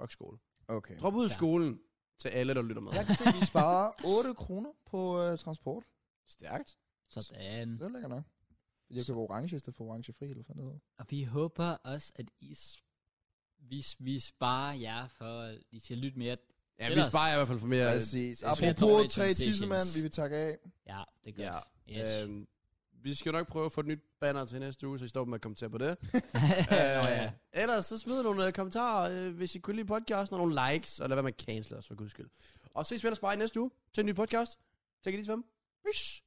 Speaker 2: Fuck skole.
Speaker 3: Okay.
Speaker 2: Drop ud af
Speaker 1: Ja.
Speaker 2: skolen til alle, der lytter med.
Speaker 3: Jeg kan se, at vi sparer 8 kroner på øh, transport.
Speaker 2: Stærkt.
Speaker 1: Sådan.
Speaker 3: Det er lækkert nok. Fordi Jeg køber orange i stedet for orange fri, eller hvad fanden det hedder.
Speaker 1: Og vi håber også, at I s- vi, vi sparer jer for, at I skal lytte mere.
Speaker 2: Ja, vi
Speaker 1: Ellers-
Speaker 2: sparer i hvert fald for mere.
Speaker 3: Præcis.
Speaker 1: jeg synes, jeg tror, det
Speaker 3: Apropos
Speaker 1: er
Speaker 3: tre
Speaker 1: transitions.
Speaker 3: tissemand, vi vil takke af.
Speaker 1: Ja, det gør
Speaker 2: Ja.
Speaker 1: ja. Yes.
Speaker 3: Øh,
Speaker 2: Øhm, vi skal jo nok prøve at få et nyt banner til næste uge, så I stopper med at kommentere på det.
Speaker 1: Nå, ja.
Speaker 2: øh, ellers så smid nogle øh, kommentarer, øh, hvis I kunne lide podcasten, og nogle likes, og lad være med at cancel os, for guds skyld. Og ses vi ellers bare i næste uge til en ny podcast. Tak i lige til Peace.